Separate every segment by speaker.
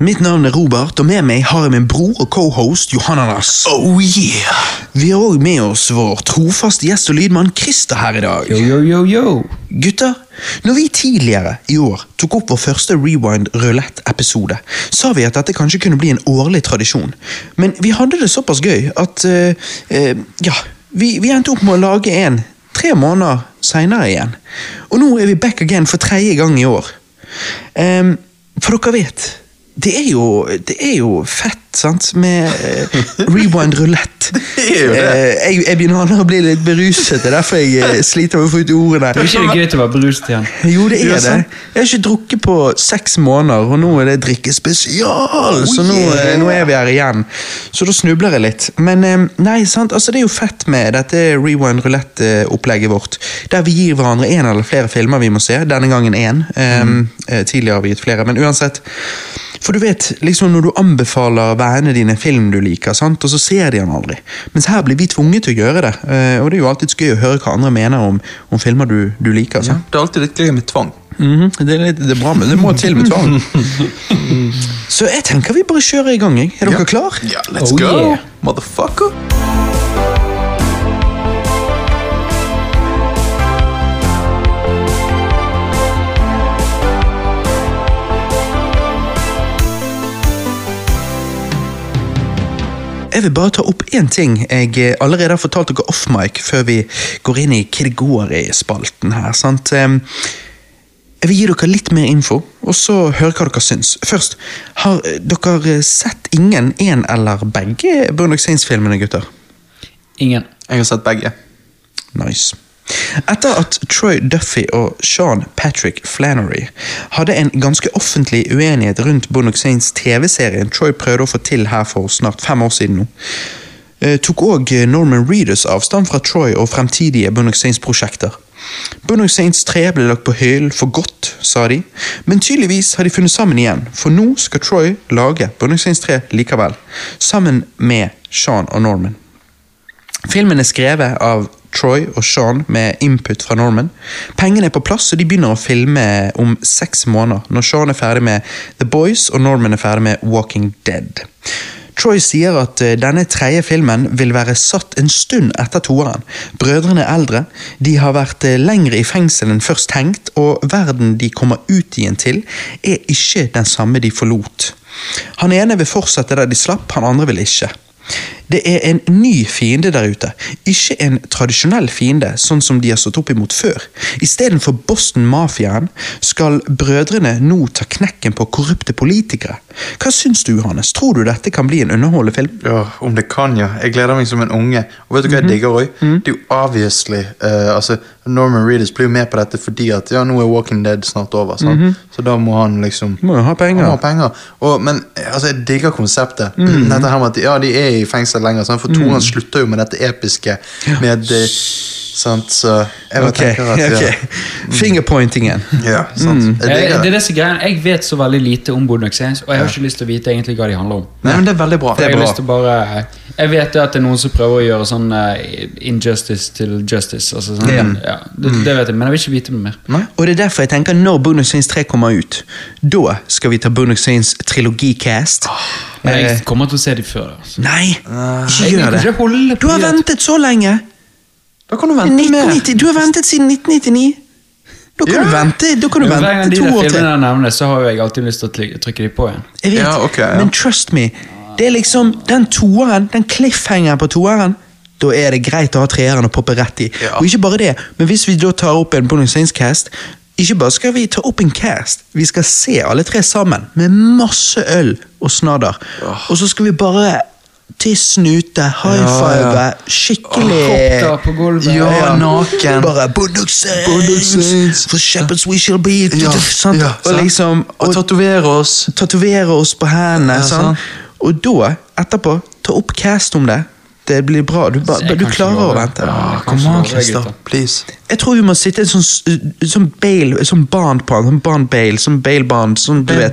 Speaker 1: Mitt navn er Robert, og med meg har jeg min bror og cohost Johananas.
Speaker 2: Oh yeah!
Speaker 1: Vi har òg med oss vår trofaste gjest og lydmann Christer her i dag.
Speaker 2: Yo, yo, yo, yo.
Speaker 1: Gutter, når vi tidligere i år tok opp vår første Rewind Rulett-episode, sa vi at dette kanskje kunne bli en årlig tradisjon. Men vi hadde det såpass gøy at eh, eh, Ja, vi, vi endte opp med å lage en tre måneder seinere igjen. Og nå er vi back again for tredje gang i år. Em, for dere vet, det er jo, det er jo fett, sant, med eh, Rewind Rulett. Eh,
Speaker 2: Det er jo det.
Speaker 1: jeg, jeg begynner å bli litt beruset, det er derfor jeg eh, sliter med å få ut ordene.
Speaker 2: Er ikke det gøy til å være beruset igjen?
Speaker 1: Jo, det er
Speaker 2: Ja,
Speaker 1: det.
Speaker 2: sant.
Speaker 1: Jeg har ikke drukket på seks måneder, og nå er det drikkespesial! Så nå, eh, nå er vi her igjen. Så da snubler jeg litt. Men eh, nei, sant, altså det er jo fett med dette Rewind Roulette-opplegget vårt. Der vi gir hverandre én eller flere filmer vi må se. Denne gangen én. Eh, eh, Tidligere har vi gitt flere, men uansett. For du vet, liksom når du anbefaler vennene dine film du liker, sant? og så ser de den aldri. Mens her blir vi tvunget til å gjøre det. eh, Og det er jo alltid gøy å høre hva andre mener om, om filmer du, du liker. sant?
Speaker 2: Det er alltid litt gøy med tvang.
Speaker 1: Mhm, det, er litt, det er bra, men det må til med tvang. Så jeg tenker vi bare kjører i gang. jeg. Er dere klar?
Speaker 2: Ja, let's
Speaker 3: Oh,
Speaker 2: go,
Speaker 3: yeah.
Speaker 2: motherfucker.
Speaker 1: Jeg vil bare ta opp én ting jeg eh, allerede har fortalt dere off-mic før vi går inn i hva det går i spalten her. sant? Em, Jeg vil gi dere litt mer info, og så høre hva dere syns. Først, har eh, dere sett ingen, én eller begge Burn Saints-filmene, gutter?
Speaker 3: Ingen.
Speaker 2: Jeg har sett begge.
Speaker 1: Nice. Etter at Troy Duffy og Sean Patrick Flannery hadde en ganske offentlig uenighet rundt Bonock Saints TV-serien Troy prøvde å få til her for snart fem år siden nå, eh, tok òg Norman Reedus avstand fra Troy og fremtidige Bonock Saints-prosjekter. Bonock Saints 3 ble lagt på hyllen for godt, sa de, men tydeligvis har de funnet sammen igjen, for nå skal Troy lage Bonock Saints 3 likevel, sammen med Sean og Norman. Filmen er skrevet av Troy og Sean med input fra Norman. Pengene er på plass, og de begynner å filme om seks måneder, når Sean er ferdig med The Boys og Norman er ferdig med Walking Dead. Troy sier at eh, denne tredje filmen vil være satt en stund etter toeren. Brødrene er eldre, de har vært eh, lengre i fengsel enn først tenkt, og verden de kommer ut igjen til, er ikke den samme de forlot. Han ene vil fortsette der de slapp, han andre vil ikke. Det er en ny fiende der ute, ikke en tradisjonell fiende, sånn som de har stått opp imot før. Istedenfor Boston-mafiaen skal brødrene nå ta knekken på korrupte politikere. Hva syns du, Johannes? Tror du dette kan bli en underholdende film?
Speaker 2: Ja, om det kan, ja. Jeg gleder meg som en unge. Og vet du hva jeg digger òg? Det er jo obviously eh, altså, Norman Reedus blir jo med på dette fordi at ja, nå er Walking Dead snart over. Sant? Så da må han liksom
Speaker 1: Må jo ha penger.
Speaker 2: Han må ha penger. Og, men altså, jeg digger konseptet. Dette her med at ja, de er i fengsel lenger, sant? for toeren slutter jo med dette episke med eh, Sant, så jeg bare
Speaker 1: Ok,
Speaker 2: tenker at ja.
Speaker 1: ok. Fingerpointingen.
Speaker 2: ja sant.
Speaker 3: Jeg,
Speaker 2: Jeg
Speaker 3: Mhm. Eh,
Speaker 2: digger
Speaker 3: det
Speaker 2: det.
Speaker 3: er det som er greien. Jeg vet så veldig lite om Boondock Saints, og jeg har ikke lyst til å vite egentlig hva de handler om.
Speaker 2: Nei, men det er veldig bra.
Speaker 3: For jeg, har lyst til å bare, eh, jeg vet det at det er noen som prøver å gjøre sånn eh, injustice til justice. Altså sånn, ja. det, det vet jeg, men jeg vil ikke vite noe mer.
Speaker 1: Og det er derfor jeg tenker når Bonus Saints 3 kommer ut, da skal vi ta Bonus Saints trilogicast.
Speaker 3: Men
Speaker 1: Eh,
Speaker 3: jeg kommer til å se de før. Altså.
Speaker 1: Nei, ikke
Speaker 3: Jeg- jeg
Speaker 1: gjør
Speaker 3: kan ikke holde
Speaker 1: det. Du
Speaker 3: på
Speaker 1: har
Speaker 3: det.
Speaker 1: ventet så lenge.
Speaker 2: Da kan du vente med.
Speaker 1: 1990, du har ventet siden 1999. Da kan
Speaker 2: Ja.
Speaker 1: du vente, da kan du
Speaker 3: Men Hver gang
Speaker 1: vente
Speaker 3: de
Speaker 1: to
Speaker 3: der
Speaker 1: år til.
Speaker 3: filmene nevnes, så har jo jeg alltid lyst til å trykke- trykke de på igjen.
Speaker 1: Jeg vet,
Speaker 2: Ja, ok, ja.
Speaker 1: men trust me. Det er liksom den toeren, den cliffhangeren på toeren. Da er det greit å ha treeren å poppe rett i.
Speaker 2: Ja.
Speaker 1: Og ikke bare det, men hvis vi da tar opp en Bonus Saints-cast ikke bare skal vi ta opp en cast, vi skal se alle tre sammen med masse øl og snadder. Og så skal vi bare tisse ute, high five,
Speaker 2: Ja,
Speaker 1: skikkelig
Speaker 3: Hoppe på gulvet.
Speaker 2: Ja, naken.
Speaker 1: Bare Bonus
Speaker 2: Bonus
Speaker 1: Saints,
Speaker 2: Saints.
Speaker 1: for shepherds we shall be. sant?
Speaker 2: ja,
Speaker 1: Og
Speaker 2: sant.
Speaker 1: liksom,
Speaker 2: Og tatovere oss.
Speaker 1: tatovere oss på hendene.
Speaker 2: Ja,
Speaker 1: sånn.
Speaker 2: sant.
Speaker 1: Og da, etterpå, ta opp cast om det. Det blir bra. Du, ba,
Speaker 3: Så jeg
Speaker 1: du
Speaker 3: kan ikke
Speaker 1: klarer å
Speaker 3: love det.
Speaker 1: vente.
Speaker 3: Ja, jeg kan
Speaker 2: Kom
Speaker 3: ikke
Speaker 2: an,
Speaker 3: love det,
Speaker 2: Christer.
Speaker 3: gutter.
Speaker 2: Please.
Speaker 1: Jeg tror vi må sitte i en sånn, s- uh, sånn bail, sånn band på han. Sånn band bail, sånn bail band, sånn du vet.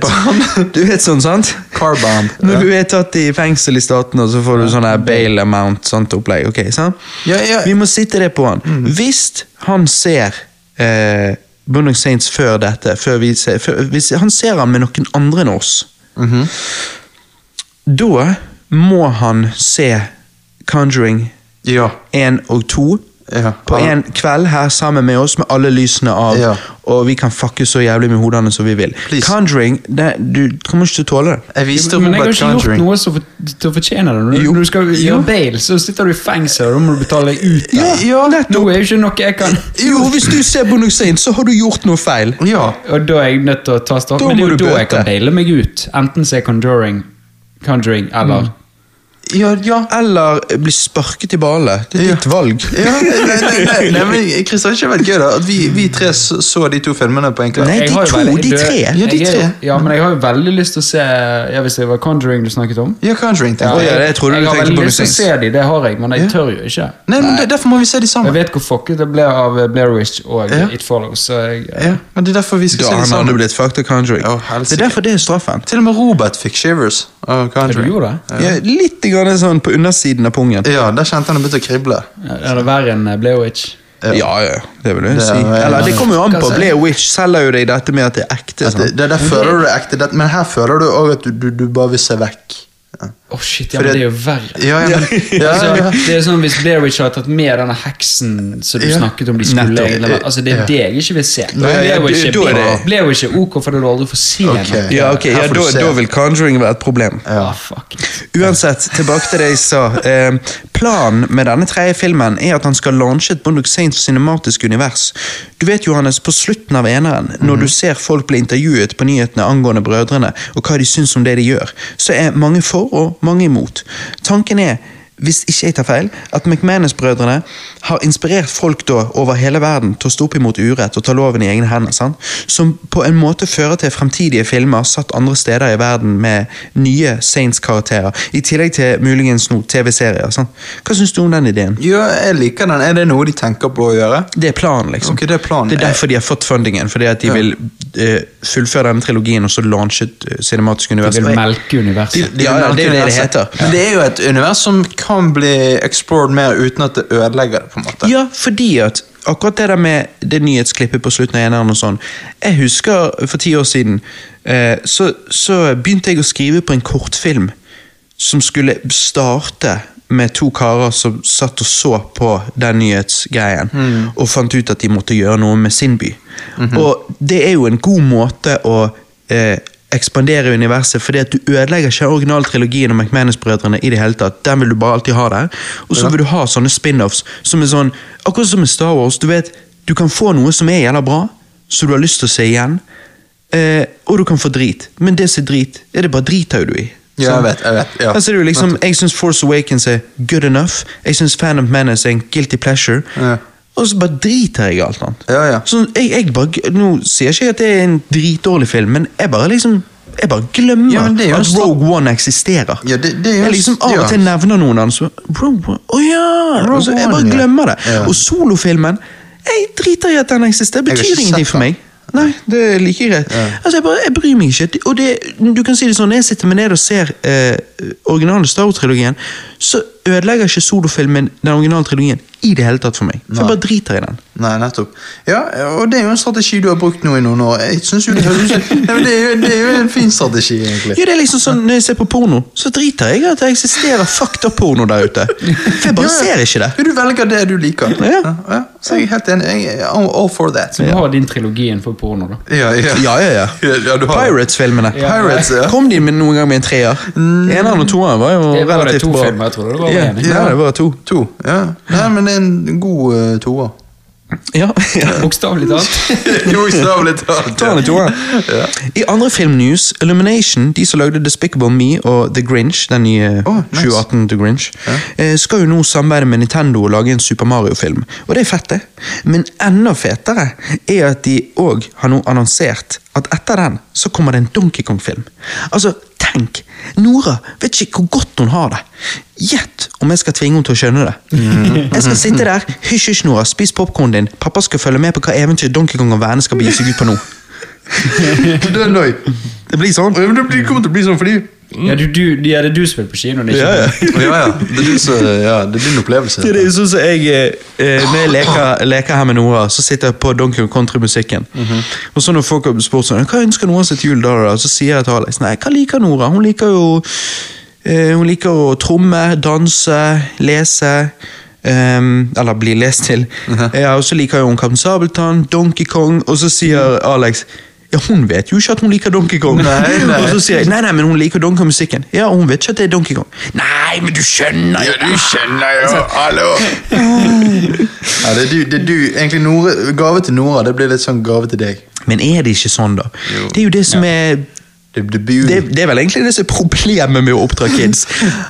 Speaker 2: Bail-band.
Speaker 1: Du vet sånn, sant?
Speaker 2: Car bomb.
Speaker 1: Når du er tatt i fengsel i staten, og så får du sånn her bail amount, sånt opplegg. ok, sant?
Speaker 2: Ja, ja.
Speaker 1: Vi må sitte det på han.
Speaker 3: Mm.
Speaker 1: Hvis han ser eh, Boondock Saints før dette, før vi ser, før, hvis han ser han med noen andre enn oss, Da må han se Conjuring
Speaker 2: Ja.
Speaker 1: 1 og 2
Speaker 2: ja.
Speaker 1: på en kveld her sammen med oss med alle lysene av,
Speaker 2: Ja.
Speaker 1: og vi kan fucke så jævlig med hodene som vi vil.
Speaker 2: Please.
Speaker 1: Conjuring, det, du kommer ikke til å tåle det.
Speaker 2: Jeg viste
Speaker 3: Men jeg har
Speaker 2: Robert
Speaker 3: ikke gjort
Speaker 2: Conjuring.
Speaker 3: noe som for, til å fortjene det. Når,
Speaker 1: Jo.
Speaker 3: når du skal gjøre bail, så sitter du i fengsel, og da må du betale ut.
Speaker 1: Ja, ja,
Speaker 3: Nå
Speaker 1: nettopp.
Speaker 3: er jo ikke noe jeg kan
Speaker 1: Jo, hvis du ser Bonus så har du gjort noe feil.
Speaker 2: Ja.
Speaker 3: Og da er jeg nødt til å ta stopp.
Speaker 1: Da
Speaker 3: Men det
Speaker 1: må
Speaker 3: er jo
Speaker 1: du
Speaker 3: da
Speaker 1: bøte.
Speaker 3: jeg kan baile meg ut. Enten så er Conjuring, Conjuring eller
Speaker 2: Ja, ja.
Speaker 1: Eller bli sparket i ballet. Det er
Speaker 2: Ja.
Speaker 1: ditt valg.
Speaker 2: Ja, nei, nei, nei, nei, men Chris, det har ikke vært gøy da at vi, vi tre så så de to filmene på en kveld.
Speaker 1: Nei,
Speaker 3: Jeg
Speaker 1: de
Speaker 3: har jo
Speaker 1: to,
Speaker 3: veldig-
Speaker 1: de
Speaker 3: du-
Speaker 1: tre.
Speaker 2: Ja, de
Speaker 3: jeg er-
Speaker 2: tre.
Speaker 3: Ja, men jeg har jo veldig lyst til å se ja, Hvis det var Conjuring du snakket om.
Speaker 2: Ja, Conjuring,
Speaker 3: Ja,
Speaker 2: tenkte jeg.
Speaker 1: ja, det trodde
Speaker 3: jeg
Speaker 1: du
Speaker 3: har
Speaker 1: tenkte
Speaker 3: veldig
Speaker 1: på
Speaker 3: lyst til å
Speaker 1: Missings.
Speaker 3: se de, det har jeg, men jeg
Speaker 2: Ja.
Speaker 3: tør jo ikke.
Speaker 2: Nei, men det, derfor må vi se de
Speaker 3: Jeg
Speaker 2: sammen.
Speaker 3: vet hvor fucket det ble av eh, Blair Witch og
Speaker 2: Ja.
Speaker 3: It Follows. Så jeg,
Speaker 2: Ja, men det er derfor vi skal
Speaker 1: Da
Speaker 2: se
Speaker 1: har
Speaker 2: de
Speaker 1: han
Speaker 2: sammen.
Speaker 1: aldri blitt fucked av Conjuring.
Speaker 2: Ja, helsike.
Speaker 1: det er derfor det er straffen.
Speaker 2: Til og med Robert fikk shivers av
Speaker 3: Ja, du
Speaker 2: Conjuring.
Speaker 3: gjorde det?
Speaker 1: Ja, litt grann sånn på undersiden av pungen.
Speaker 2: Ja, der kjente han det begynte å krible.
Speaker 3: Ja, Er det verre enn eh, Blair Witch?
Speaker 1: Ja, ja, det vil jeg
Speaker 2: Det er
Speaker 1: si.
Speaker 2: vel-
Speaker 1: Eller det kommer jo an
Speaker 3: Hva
Speaker 1: på.
Speaker 3: sier-
Speaker 1: Blair Witch selger jo deg dette med at det er ekte.
Speaker 2: At det,
Speaker 1: Sant?
Speaker 2: det, der føler du det ekte, det, men her føler du òg at du, du, du bare vil se vekk. Ja,
Speaker 3: Å shit, ja,
Speaker 2: Fordi
Speaker 3: men
Speaker 2: at-
Speaker 3: det er jo verre.
Speaker 2: ja, ja, men, ja,
Speaker 3: altså,
Speaker 2: ja.
Speaker 3: Det er sånn Hvis Blair Witch hadde tatt med denne heksen som du
Speaker 2: Ja.
Speaker 3: snakket om de skulle
Speaker 1: Nettopp.
Speaker 3: egentlig, men, Altså Det er
Speaker 2: Ja.
Speaker 3: det jeg ikke vil se.
Speaker 2: Nei, ja,
Speaker 3: Blair Witch er,
Speaker 1: da er
Speaker 3: bra.
Speaker 1: det-
Speaker 3: Blair Witch er ok, for da du aldri får se
Speaker 2: Ok.
Speaker 3: henne.
Speaker 1: Ja, ok,
Speaker 2: Her
Speaker 1: ja,
Speaker 2: får du
Speaker 1: da,
Speaker 2: se.
Speaker 1: da vil Conjuring være et problem.
Speaker 3: Ah, fuck.
Speaker 1: Uansett, tilbake til det jeg sa. Eh, planen med denne tredje filmen er at han skal launche et Bonduk Saints cinematisk univers. Du vet, Johannes, på slutten av eneren, når du ser folk bli intervjuet på nyhetene angående brødrene, og hva de syns om det de gjør, så er mange for og mange imot. Tanken er hvis ikke jeg tar feil, at McManus-brødrene har inspirert folk da over hele verden til å stå opp imot urett og ta loven i egne hender, sant? som på en måte fører til fremtidige filmer satt andre steder i verden med nye Saints-karakterer, i tillegg til muligens noen TV-serier. sant? Hva syns du om den ideen?
Speaker 2: ja, jeg liker den. Er det noe de tenker på å gjøre?
Speaker 1: Det er planen, liksom.
Speaker 2: Ok, det er planen.
Speaker 1: Det er derfor de har fått fundingen, fordi at de
Speaker 2: Ja.
Speaker 1: vil eh, fullføre denne trilogien og så launche et eh, cinematisk univers.
Speaker 3: Jeg
Speaker 1: Og
Speaker 3: vil
Speaker 1: jeg-
Speaker 3: melke universet.
Speaker 1: Ja, ja, det er jo det det
Speaker 2: universet.
Speaker 1: heter.
Speaker 2: Men det er jo et univers som kan bli explored mer uten at det ødelegger det. på en måte.
Speaker 1: Ja, fordi at akkurat det der med det nyhetsklippet på slutten av eneren og sånn Jeg husker for ti år siden eh, så, så begynte jeg å skrive på en kortfilm som skulle starte med to karer som satt og så på den nyhetsgreien og fant ut at de måtte gjøre noe med sin by. Og det er jo en god måte å eh, ekspandere universet, fordi at du ødelegger ikke originaltrilogien og McManus-brødrene i det hele tatt. Den vil du bare alltid ha der. Og så vil du ha sånne spin-offs som er sånn Akkurat som med Star Wars, du vet Du kan få noe som er jævla bra, som du har lyst til å se igjen, eh, og du kan få drit. Men det som er drit, er det bare driter jo du i.
Speaker 2: Ja, jeg
Speaker 1: Sant?
Speaker 2: vet, jeg vet, ja.
Speaker 1: Altså, det er jo liksom, jeg syns Force Awakens er good enough. Jeg syns Phantom Menace er en guilty pleasure.
Speaker 2: Ja.
Speaker 1: Og så bare driter jeg i alt annet.
Speaker 2: Ja, ja.
Speaker 1: Sånn, jeg, jeg bare, nå sier ikke jeg at det er en dritdårlig film, men jeg bare liksom jeg bare glemmer
Speaker 2: Ja, men det er jo en
Speaker 1: at
Speaker 2: stor-
Speaker 1: Rogue One eksisterer.
Speaker 2: Ja, det- det er jo en
Speaker 1: jeg liksom
Speaker 2: st-
Speaker 1: Av og
Speaker 2: ja.
Speaker 1: til nevner noen av dem, så Rogue One, Å ja!
Speaker 2: Rogue
Speaker 1: og så, jeg
Speaker 2: One,
Speaker 1: bare
Speaker 2: ja.
Speaker 1: glemmer det.
Speaker 2: Ja.
Speaker 1: Og solofilmen Jeg driter i at den eksisterer.
Speaker 2: Jeg har ikke
Speaker 1: Betyr ingenting
Speaker 2: sett
Speaker 1: for
Speaker 2: den.
Speaker 1: meg. Nei, det er like greit. Altså, jeg, bare, jeg bryr meg ikke. Og det, du kan si det sånn, Når jeg sitter meg ned og ser eh, originale Star Wars-trilogien, så ødelegger ikke solofilmen den originale trilogien i det hele tatt for meg. For jeg bare driter i den.
Speaker 2: Nei, nettopp. Ja, og det er jo en strategi du har brukt nå i noen år. Jeg synes jo Det høres ut Nei, men det er, jo, det er jo en fin strategi, egentlig.
Speaker 1: Ja, det er liksom sånn, Når jeg ser på porno, så driter jeg i at det eksisterer fucked up porno der ute. For jeg bare ser ikke det.
Speaker 2: Ja, du velger det du liker.
Speaker 1: Ja.
Speaker 2: ja. Så jeg er helt enig. Jeg er all all for that.
Speaker 3: Du har din trilogi innenfor porno, da.
Speaker 2: Ja, ja.
Speaker 1: Ja, ja, ja.
Speaker 2: Ja, du har-
Speaker 1: Pirates-filmene.
Speaker 2: Pirates, ja.
Speaker 1: Kom de med noen gang med en treer? Eneren og toeren var jo
Speaker 3: Det var det
Speaker 1: relativt
Speaker 3: to
Speaker 1: bra.
Speaker 3: filmer, jeg tror det var bare
Speaker 1: ja,
Speaker 3: en.
Speaker 1: ja, det var to.
Speaker 2: To. Ja. Nei, men det er en god uh, toer.
Speaker 1: Ja, ja.
Speaker 3: Bokstavelig talt.
Speaker 2: Bokstavelig talt.
Speaker 1: Toeren og toeren. I andre filmnews, Illumination, de som lagde Despicable Me og The Grinch, den nye
Speaker 2: Å, nice.
Speaker 1: 2018 The Grinch, eh, skal jo nå samarbeide med Nintendo og lage en Super Mario-film. Og det er fett, det. Men enda fetere er at de òg har nå annonsert at etter den så kommer det en Donkey Kong-film. Altså, tenk! Nora vet ikke hvor godt hun har det. Gjett om jeg skal tvinge henne til å skjønne det. Jeg skal sitte der. Hysj, hysj, Nora, spis popkornen din. Pappa skal følge med på hva eventyr Donkey Kong og vennene skal begi seg ut på nå.
Speaker 2: det er løy.
Speaker 1: Det blir sånn.
Speaker 2: Ja, men Det blir- kommer til å bli sånn fordi
Speaker 3: Ja, du, du, de er det du som vil på kino, det er
Speaker 1: ja.
Speaker 3: ikke
Speaker 2: Ja, ja. Det er, du som- ja, det er din opplevelse.
Speaker 1: Det er jo sånn som jeg eh, eh, Når jeg leker, leker her med Noah, så sitter jeg på Donkey Kong Country-musikken.
Speaker 2: Mhm.
Speaker 1: Og så når folk har spurt sånn, hva ønsker Noah seg til jul, da, da? så sier jeg til Alex nei, hva liker Nora? Hun liker jo eh, Hun liker å tromme, danse, lese. ehm, eller bli lest til.
Speaker 2: Mhm.
Speaker 1: ja, og så liker hun Kaptein Sabeltann, Donkey Kong, og så sier Alex ja, Hun vet jo ikke at hun liker Donkey Kong.
Speaker 2: Nei, nei.
Speaker 1: Og så sier jeg nei, nei, men hun liker Donkey Kong-musikken. Ja, og hun vet ikke at det er Donkey Kong. Nei, men du skjønner jo
Speaker 2: Ja, du skjønner jo, hallo! Ja, det er du, det er du. Egentlig Nora, gave til Nora, det blir litt sånn gave til deg.
Speaker 1: Men er det ikke sånn, da?
Speaker 2: Jo.
Speaker 1: Det er jo det som er
Speaker 2: Det, det blir jo
Speaker 1: det, det er vel egentlig det som er problemet med å oppdra kids.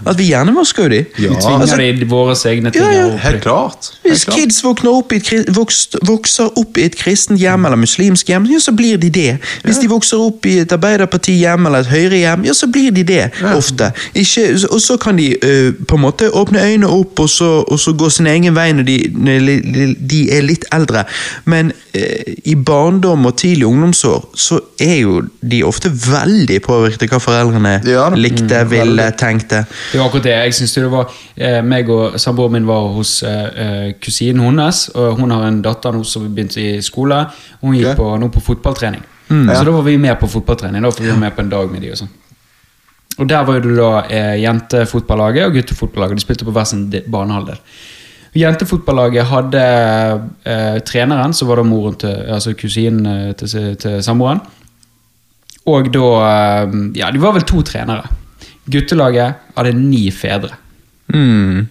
Speaker 1: At vi gjerne vasker jo de.
Speaker 2: Ja.
Speaker 3: Vi tvinger de i våre egne ting.
Speaker 1: altså- Ja, ja.
Speaker 3: og-
Speaker 2: Helt klart.
Speaker 1: Hvis
Speaker 2: Helt klart.
Speaker 1: kids våkner opp i et, kri- vokst, vokser opp i et kristent hjem eller muslimsk hjem, ja, så blir de det. Hvis de vokser opp i et arbeiderpartihjem eller et høyrehjem, ja, så blir de det ofte. Ikke, og så kan de ø, på en måte åpne øynene opp og så, og så gå sin egen vei når de, når li- de er litt eldre. Men ø, i barndom og tidlig ungdomsår så er jo de ofte veldig påvirket av hva foreldrene
Speaker 2: Ja da. Mm,
Speaker 1: likte, ville, tenkte.
Speaker 3: Det var akkurat det. jeg synes det var eh, meg og Samboeren min var hos eh, eh, kusinen hennes. og Hun har en datter nå som begynte i skole. og Hun gikk
Speaker 2: Ok.
Speaker 3: på, nå på fotballtrening. Så da var vi med på fotballtrening. da, for vi var med på en dag med de Og sånn. Og der var jo det da eh, jentefotballaget og guttefotballaget. De spilte på hver sin de- banehalvdel. Jentefotballaget hadde eh, treneren, som var da moren til, altså kusinen eh, til, si- til samboeren. Og da eh, Ja, de var vel to trenere. Guttelaget hadde ni fedre.
Speaker 1: Mm.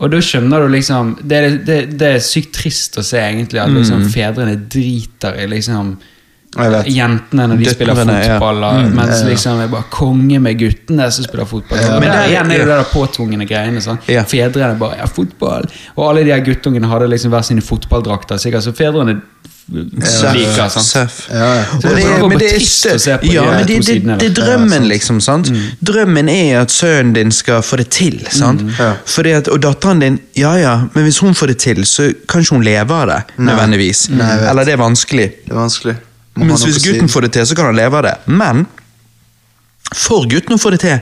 Speaker 3: Og da skjønner du liksom Det, er- det, det er sykt trist å se egentlig at liksom,
Speaker 1: Mm.
Speaker 3: fedrene driter i liksom
Speaker 2: Jeg vet.
Speaker 3: jentene når de
Speaker 1: Døtrene,
Speaker 3: spiller
Speaker 1: ja.
Speaker 3: fotball, og- mens liksom det er bare konge med guttene som spiller fotball.
Speaker 1: Men
Speaker 3: Men der
Speaker 1: det er-
Speaker 3: igjen er det
Speaker 1: ja.
Speaker 3: de påtvungne greiene. Sånn.
Speaker 1: Ja.
Speaker 3: Fedrene bare ja, 'fotball', og alle de her guttungene hadde liksom hver sine fotballdrakter. Sikkert, så fedrene
Speaker 1: Seff,
Speaker 3: liker sant?
Speaker 1: seff.
Speaker 2: Ja, ja.
Speaker 1: Og det,
Speaker 3: Det
Speaker 1: er-
Speaker 3: er
Speaker 1: men det er
Speaker 3: trist å se på de
Speaker 1: ja,
Speaker 3: her
Speaker 1: men
Speaker 3: to
Speaker 1: det,
Speaker 3: sidene, altså.
Speaker 1: det,
Speaker 3: Mm. da.
Speaker 1: det er drømmen, liksom. sant? Drømmen er at sønnen din skal få det til. sant?
Speaker 3: Mm.
Speaker 2: Ja.
Speaker 1: Fordi at, Og datteren din, ja ja, men hvis hun får det til, så kan ikke hun leve av det. nødvendigvis.
Speaker 2: jeg vet.
Speaker 1: Eller det er vanskelig.
Speaker 2: Det er vanskelig. Må ha
Speaker 1: Mens
Speaker 2: noe
Speaker 1: hvis
Speaker 2: på
Speaker 1: gutten
Speaker 2: siden.
Speaker 1: får det til, så kan han leve av det. Men for gutten å få det til,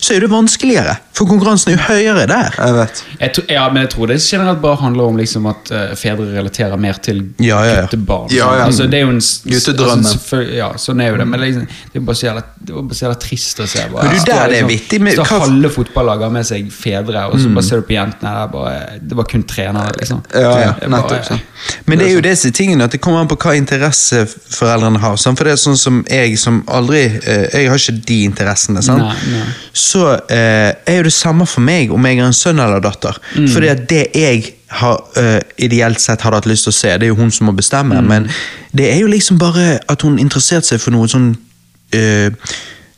Speaker 1: så er det vanskeligere. For konkurransen er jo høyere der.
Speaker 2: Jeg vet.
Speaker 3: Jeg tro, ja, men jeg tror det generelt bare handler om liksom at eh, fedre relaterer mer til
Speaker 1: Ja, ja, ja.
Speaker 3: guttebarn.
Speaker 2: Ja, ja.
Speaker 3: Altså, det er jo en s-
Speaker 2: Guttedrømmen.
Speaker 3: Altså, selvfølgelig- ja, sånn er jo det, men liksom, det er bare så jævla, det var bare så jævla trist å se. Bare,
Speaker 1: Men du, der er det vittig med-
Speaker 3: så
Speaker 1: hva- Mm.
Speaker 3: halve fotballaget har med seg fedre, og så bare ser du på jentene der, bare, det var kun trenere, liksom.
Speaker 2: Ja, ja.
Speaker 3: Det er bare-
Speaker 2: Nettopp. sant.
Speaker 1: Men det er jo det som er tingen, at det kommer an på hva interesse foreldrene har. Sant? For det er sånn som jeg som aldri eh, Jeg har ikke de interessene, sant?
Speaker 3: Nei, nei.
Speaker 1: Så eh, er jo det samme for meg om jeg er en sønn eller datter. Fordi at det jeg har, eh, ideelt sett hadde hatt lyst til å se, det er jo hun som må bestemme, men det er jo liksom bare at hun interesserte seg for noe sånn eh,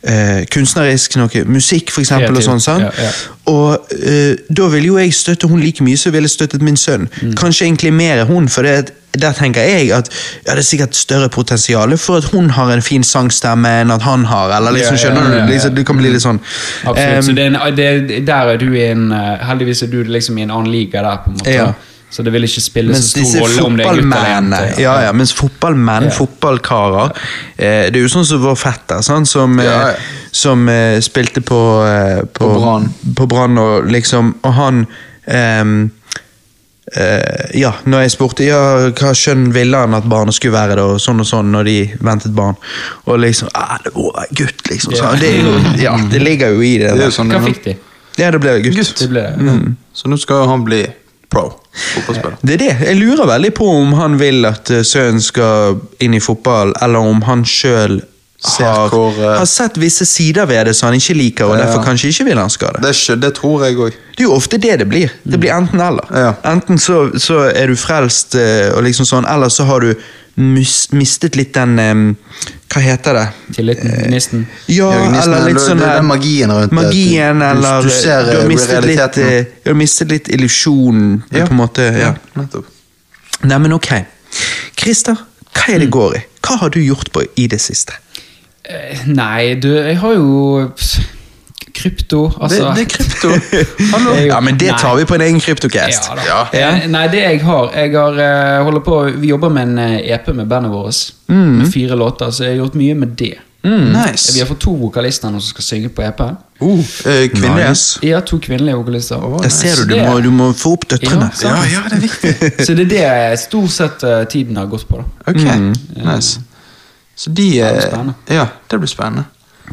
Speaker 1: eh, kunstnerisk, noe musikk for eksempel, og
Speaker 3: Kreativt,
Speaker 1: sånn, sant?
Speaker 3: ja, ja.
Speaker 1: Og eh, da ville jo jeg støtte hun like mye som jeg ville støttet min sønn.
Speaker 3: Mm.
Speaker 1: Kanskje egentlig mer hun, for det, at- der tenker jeg at ja, det er sikkert større potensial for at hun har en fin sangstemme enn at han har. eller liksom,
Speaker 3: Ja, ja,
Speaker 1: skjønner
Speaker 3: ja, ja, ja.
Speaker 1: du? Liksom, det kan bli litt sånn.
Speaker 3: Absolutt.
Speaker 1: Em,
Speaker 3: så det er en, det, er- der er du i en eh, Heldigvis er du liksom i en annen liga der, på en måte.
Speaker 1: Ja.
Speaker 3: Så det vil ikke spille så
Speaker 1: mens
Speaker 3: stor
Speaker 1: disse
Speaker 3: rolle om det er gutter eller
Speaker 1: fotballmennene
Speaker 3: jenter.
Speaker 1: ja, ja, mens fotballmenn,
Speaker 3: Ja.
Speaker 1: fotballkarer eh, Det er jo sånn som vår fetter, sant, som, eh,
Speaker 2: Ja, ja.
Speaker 1: som eh, spilte på eh, På,
Speaker 2: På Brann.
Speaker 1: på Brann, og liksom Og han ehm, eh, ja, når jeg spurte ja, hva skjønn ville han at barnet skulle være, da, og sånn og sånn, når de ventet barn. Og liksom ah, Det var en gutt, liksom. Så,
Speaker 3: Ja.
Speaker 1: det, er jo, ja, det ligger jo i det.
Speaker 2: Det er
Speaker 1: der.
Speaker 2: jo sånn
Speaker 3: Hva
Speaker 2: det er nå.
Speaker 3: fikk de?
Speaker 1: Ja, det ble jo gutt.
Speaker 3: Det ble det.
Speaker 1: Mm.
Speaker 2: Så nå skal jo han bli pro fotballspiller.
Speaker 1: Det er det. Jeg lurer veldig på om han vil at eh, sønnen skal inn i fotball, eller om han sjøl
Speaker 2: Ser
Speaker 1: har,
Speaker 2: hvor, eh,
Speaker 1: har sett visse sider ved det som han ikke liker, og
Speaker 2: Ja.
Speaker 1: derfor kanskje ikke vil han skal det.
Speaker 2: Det, skjø- det tror jeg òg.
Speaker 1: Det er jo ofte det det blir. Det blir enten-eller.
Speaker 2: Mm. Ja.
Speaker 1: Enten så, så er du frelst, eh, og liksom sånn, eller så har du mus, mistet litt den eh, Hva heter det? Eh,
Speaker 3: Tilliten? Gnisten?
Speaker 1: Ja,
Speaker 2: Jørgen Nissen,
Speaker 1: eller
Speaker 2: det-
Speaker 1: litt
Speaker 2: det-
Speaker 1: sånn
Speaker 2: det er
Speaker 1: der-
Speaker 2: den magien rundt det,
Speaker 1: magien,
Speaker 2: at du- du-
Speaker 1: eller
Speaker 2: du ser,
Speaker 1: du har
Speaker 2: eh,
Speaker 1: mistet litt,
Speaker 2: realiteten.
Speaker 1: eh, du har mistet litt illusjonen,
Speaker 2: Ja.
Speaker 1: på en måte. ja.
Speaker 2: Nettopp.
Speaker 1: Nei, men ok. Christer, hva er
Speaker 2: Mm.
Speaker 1: det går i? Hva har du gjort på i det siste?
Speaker 3: Eh, Nei, du, jeg har jo pss, krypto. Altså,
Speaker 2: det, det er krypto. Hallo.
Speaker 3: Jeg-
Speaker 1: Ja, men det tar vi på en egen kryptocast.
Speaker 3: Ja da.
Speaker 2: Ja.
Speaker 3: Eh, Nei, det jeg har Jeg har eh, holder på Vi jobber med en eh, EP med bandet vårt. Med fire låter, så jeg har gjort mye med det. Eh, Vi
Speaker 2: Mm. Nice.
Speaker 3: har fått to vokalister nå som skal synge på EP-en.
Speaker 2: Uh, eh, kvinnelige.
Speaker 1: Nice.
Speaker 3: Ja, to kvinnelige vokalister.
Speaker 2: Åh,
Speaker 1: Der ser du, du
Speaker 3: Det-
Speaker 1: må, du må få opp døtrene.
Speaker 3: Ja, sant.
Speaker 2: Ja, ja, det er viktig.
Speaker 3: Så det er det jeg stort sett eh, tiden har gått på. da
Speaker 2: Ok,
Speaker 1: Mm.
Speaker 2: nice. Så de eh,
Speaker 3: blir spennende.
Speaker 2: Ja, det blir spennende.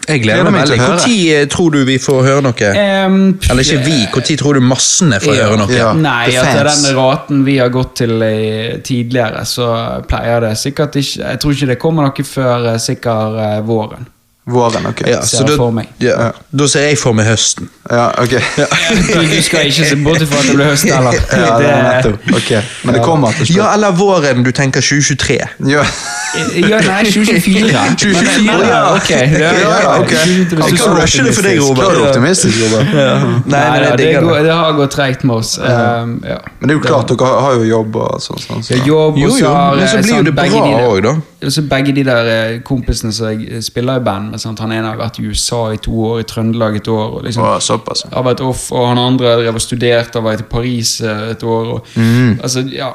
Speaker 1: Jeg gleder
Speaker 2: Gleder
Speaker 1: meg
Speaker 2: meg
Speaker 1: veldig.
Speaker 2: til å høre.
Speaker 1: Når tror du vi får høre noe?
Speaker 3: Eh, Em, pff,
Speaker 1: Eller ikke vi, når tror du massene får høre noe?
Speaker 2: Ja,
Speaker 3: Nei,
Speaker 2: the
Speaker 3: etter
Speaker 2: fans.
Speaker 3: den raten vi har gått til eh, tidligere, så pleier det sikkert ikke Jeg tror ikke det kommer noe før eh, sikkert eh, våren.
Speaker 2: Våren, ok.
Speaker 1: Ja,
Speaker 3: Ser
Speaker 1: så da,
Speaker 3: for meg.
Speaker 1: ja, da ser jeg for meg høsten.
Speaker 2: Ja, ok.
Speaker 3: Du, du skal ikke se bort ifra at det blir høst, eller?
Speaker 2: Ja, det er nettopp. Ok, Men det kommer til slutt.
Speaker 1: Ja, eller våren du tenker 2023.
Speaker 2: Ja.
Speaker 3: Ja, nei, 2024. Men-
Speaker 2: 2024,
Speaker 3: men-
Speaker 2: ja.
Speaker 3: ok. Ja, ja,
Speaker 2: Ja, ja, ok.
Speaker 3: Hvis du
Speaker 1: Jeg kan
Speaker 3: så
Speaker 1: rushe det for deg,
Speaker 2: optimistisk.
Speaker 1: Robert.
Speaker 2: Klart du er optimistisk, Robert.
Speaker 1: Nei, nei,
Speaker 3: Neida,
Speaker 1: jeg
Speaker 3: det,
Speaker 1: digger
Speaker 3: går,
Speaker 1: det.
Speaker 3: det har gått treigt med oss. Um, ja.
Speaker 2: Men det er jo klart, dere har jo jobb og sånn. sånn,
Speaker 3: Ja,
Speaker 2: så.
Speaker 3: Jobb,
Speaker 1: Jo,
Speaker 3: og så
Speaker 1: jo,
Speaker 3: har,
Speaker 1: men
Speaker 3: eh,
Speaker 1: så blir jo
Speaker 3: sant,
Speaker 1: det
Speaker 3: begge
Speaker 1: bra
Speaker 3: de der-
Speaker 1: òg, da.
Speaker 3: Og så begge de der eh, kompisene som jeg eh, spiller i band med, sant? han ene har vært i USA i to år, i Trøndelag et år, og liksom
Speaker 2: Å, Såpass.
Speaker 3: har vært off, og han andre har drevet og studert, har vært i Paris eh, et år, og
Speaker 1: Mm.
Speaker 3: altså, ja.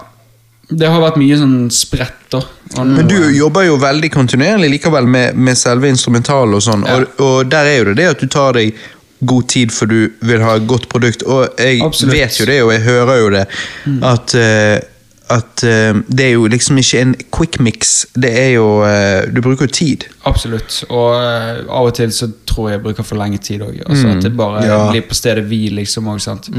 Speaker 3: Det har vært mye sånn spredt, da. Og nå,
Speaker 1: Men du
Speaker 3: eh,
Speaker 1: jobber jo veldig kontinuerlig likevel med, med selve instrumentalet og sånn,
Speaker 3: Ja.
Speaker 1: og, og der er jo det det at du tar deg god tid for du vil ha et godt produkt, og jeg
Speaker 3: Absolutt. Mm.
Speaker 1: vet jo det, og jeg hører jo det, at eh, at eh, det er jo liksom ikke en quick mix, det er jo eh, Du bruker jo tid.
Speaker 3: Absolutt. Og eh, av og til så tror jeg jeg bruker for lenge tid òg. Altså, At det bare
Speaker 2: Mm. Ja. Mm.
Speaker 3: blir på stedet hvil, liksom. Også, sant?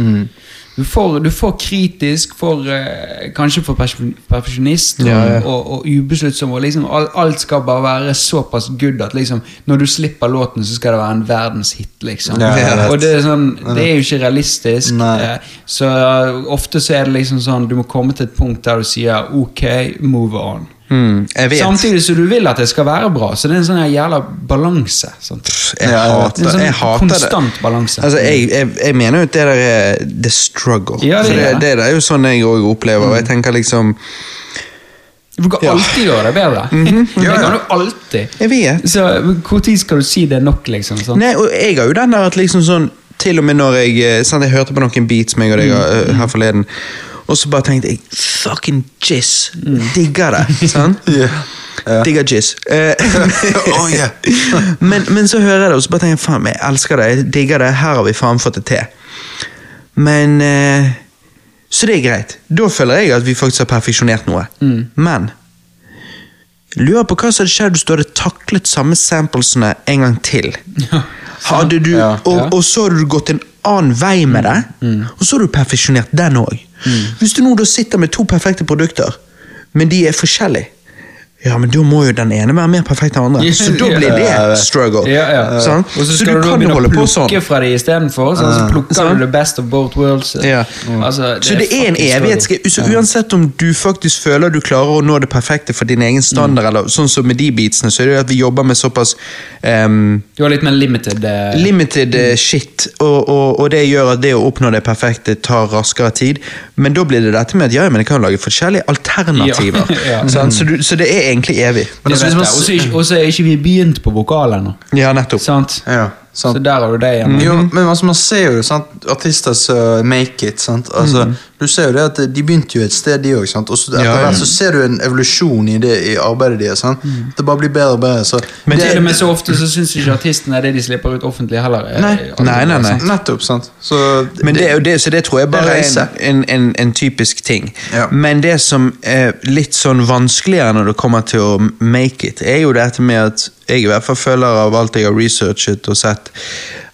Speaker 3: Du, får, du får kritisk, for, eh, kanskje for perfeksjon- perfeksjonist og,
Speaker 1: Ja, ja.
Speaker 3: og, og ubesluttsom. Og liksom, all, alt skal bare være såpass good at liksom, når du slipper låten, så skal det være en verdenshit. Liksom.
Speaker 2: Ja, jeg vet.
Speaker 3: og det er, sånn, det er jo ikke realistisk.
Speaker 2: Nei.
Speaker 3: eh, Så ofte så er det liksom sånn du må komme til et punkt der du sier ok, move on.
Speaker 1: Mm, Jeg vet.
Speaker 3: Samtidig som du vil at det skal være bra, så det er en sånn her jævla balanse. sant?
Speaker 1: Jeg
Speaker 2: Ja, jeg vet.
Speaker 1: hater,
Speaker 3: Det er en sånn
Speaker 1: jeg hater
Speaker 3: konstant
Speaker 1: det.
Speaker 3: balanse.
Speaker 1: Altså, jeg, jeg, jeg mener jo at det der er the struggle.
Speaker 3: Ja, det
Speaker 1: For
Speaker 3: er
Speaker 1: det,
Speaker 3: det. Mm.
Speaker 1: det er jo sånn jeg òg opplever. Og jeg tenker liksom
Speaker 3: Du kan alltid gjøre det bedre. Det kan du alltid.
Speaker 1: Mhm. Jeg vet.
Speaker 3: Så når skal du si det er nok, liksom? sant?
Speaker 1: Nei, og jeg har jo den der at liksom sånn Til og med når jeg eh, sant, Jeg hørte på noen beats meg og deg eh, her forleden, og så bare tenkte jeg Fucking jizz! Digger det. Sant?
Speaker 2: Ja. Ja.
Speaker 1: Digger jizz. Eh,
Speaker 2: Å, ja.
Speaker 1: men, men så hører jeg det, og så bare tenker jeg faen, jeg elsker det, jeg digger det, her har vi faen fått det til. Men eh, Så det er greit. Da føler jeg at vi faktisk har perfeksjonert noe. Men lurer på hva som hadde skjedd hvis du hadde taklet samme samplesene en gang til. Hadde du,
Speaker 2: Ja.
Speaker 1: og,
Speaker 3: Ja. Mm.
Speaker 1: og så hadde du gått en annen vei med det, og så hadde du perfeksjonert den òg. Hvis du nå da sitter med to perfekte produkter, men de er forskjellige, ja, men da må jo den ene være mer perfekt enn den andre.
Speaker 3: Ja,
Speaker 1: Så da
Speaker 3: ja.
Speaker 1: blir
Speaker 2: Ja, ja.
Speaker 1: det struggle.
Speaker 3: Ja, ja.
Speaker 1: Sant?
Speaker 3: Og så
Speaker 1: Eh, sånn. Så
Speaker 3: skal
Speaker 1: du
Speaker 3: du, da
Speaker 1: kan jo
Speaker 3: begynne å
Speaker 1: holde på
Speaker 3: plukke
Speaker 1: sånn.
Speaker 3: fra det istedenfor. Sånn, så plukker
Speaker 1: Sant?
Speaker 3: du the best of both worlds.
Speaker 1: Ja.
Speaker 3: Altså,
Speaker 1: Så det er en
Speaker 3: fucking
Speaker 1: evighetsgreie.
Speaker 3: struggle.
Speaker 1: Så uansett om du faktisk føler du klarer å nå det perfekte for din egen
Speaker 3: Mm.
Speaker 1: standard, eller sånn som med de beatsene, så er det jo at vi jobber med såpass ehm,
Speaker 3: Du har litt mer limited eh,
Speaker 1: limited eh, shit, og, og, og det gjør at det å oppnå det perfekte tar raskere tid. Men da blir det dette med at ja, men jeg kan lage forskjellige alternativer.
Speaker 3: Ja.
Speaker 1: Sant? Så, du, så det er egentlig evig.
Speaker 3: det
Speaker 2: altså, hvis
Speaker 3: vet
Speaker 2: man
Speaker 3: jeg.
Speaker 2: s-
Speaker 3: Og så er ikke- Og så er ikke vi begynt på vokal ennå.
Speaker 1: Ja, Mm. nettopp.
Speaker 3: Sant?
Speaker 2: Ja,
Speaker 3: Så
Speaker 2: sant.
Speaker 3: der har du det igjen.
Speaker 2: Jo, men altså, man ser jo det, sant? artister som make it. Sant? Altså, Du ser jo det at De begynte jo et sted, de òg. Og så etter
Speaker 1: Ja, ja.
Speaker 2: hvert så ser du en evolusjon i det i arbeidet deres. sant? Det bare blir bedre og bedre. Så
Speaker 1: Men
Speaker 3: Til
Speaker 2: det,
Speaker 3: og med så ofte så syns ikke artistene det de slipper ut offentlig heller. er-
Speaker 2: Nei.
Speaker 3: er-
Speaker 1: Nei, nei, nei.
Speaker 2: Nettopp, sant. Så
Speaker 1: Men det, er jo det, så det tror jeg bare
Speaker 2: Det reiser.
Speaker 1: er en, en, en, en typisk ting.
Speaker 2: Ja.
Speaker 1: Men det som er litt sånn vanskeligere når det kommer til å make it, er jo dette med at jeg i hvert fall føler av alt jeg har researchet og sett,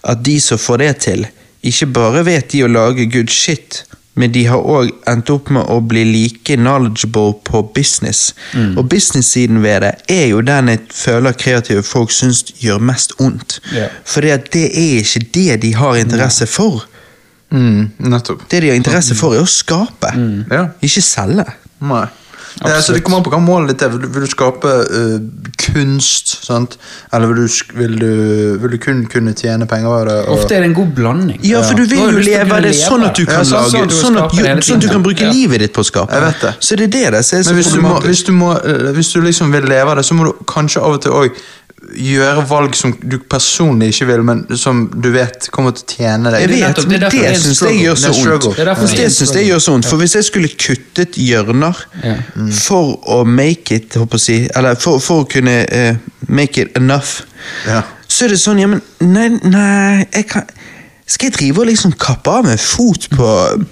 Speaker 1: at de som får det til, ikke bare vet de å lage good shit, men de har òg endt opp med å bli like knowledgeable på business. Og business-siden ved det er jo den jeg føler kreative folk syns gjør mest ondt.
Speaker 3: Ja.
Speaker 1: For det er ikke det de har interesse for.
Speaker 2: mm, Nettopp.
Speaker 1: Det de har interesse for, er å skape,
Speaker 3: Mm.
Speaker 2: Ja.
Speaker 1: ikke selge.
Speaker 2: Nei. Det, altså, det kommer an på hva målet ditt er. Vil du, vil du skape eh, kunst? sant? Eller vil du, sk- vil, du, vil du kun kunne tjene penger av det? og-
Speaker 3: Ofte er det en god blanding.
Speaker 1: Ja, for du vil
Speaker 3: Da har
Speaker 1: jo
Speaker 3: lyst til å
Speaker 1: leve
Speaker 3: kunne
Speaker 1: av det
Speaker 3: leve
Speaker 1: sånn at du
Speaker 3: det.
Speaker 1: kan
Speaker 3: Ja,
Speaker 1: lage
Speaker 3: at du
Speaker 1: Sånn at,
Speaker 3: skaper hele
Speaker 1: sånn at du
Speaker 3: tiden.
Speaker 1: kan bruke
Speaker 3: Ja.
Speaker 1: livet ditt på å skape.
Speaker 2: Jeg vet det.
Speaker 1: Så det er det det er så
Speaker 2: Men hvis du, må,
Speaker 1: problematisk.
Speaker 2: hvis, du må, eh, hvis du liksom vil leve av det, så må du kanskje av og til òg gjøre valg som du personlig ikke vil, men som du vet kommer til å tjene deg.
Speaker 1: Jeg
Speaker 3: er
Speaker 1: vet,
Speaker 3: nettopp-
Speaker 1: men
Speaker 3: det er derfor det er
Speaker 1: det
Speaker 3: en
Speaker 1: syns jeg
Speaker 3: struggle.
Speaker 1: gjør
Speaker 2: Det
Speaker 1: så
Speaker 2: er struggle.
Speaker 1: vondt.
Speaker 3: Det er derfor
Speaker 1: For
Speaker 3: det er
Speaker 1: det
Speaker 3: en
Speaker 1: synes jeg gjør så vondt. For hvis jeg skulle kuttet hjørner
Speaker 3: Ja.
Speaker 1: for å make it, håper jeg å si, eller for, for å kunne eh, make it enough,
Speaker 2: Ja.
Speaker 1: så er det sånn, ja, men nei, nei jeg kan, Skal jeg drive og liksom kappe av med fot på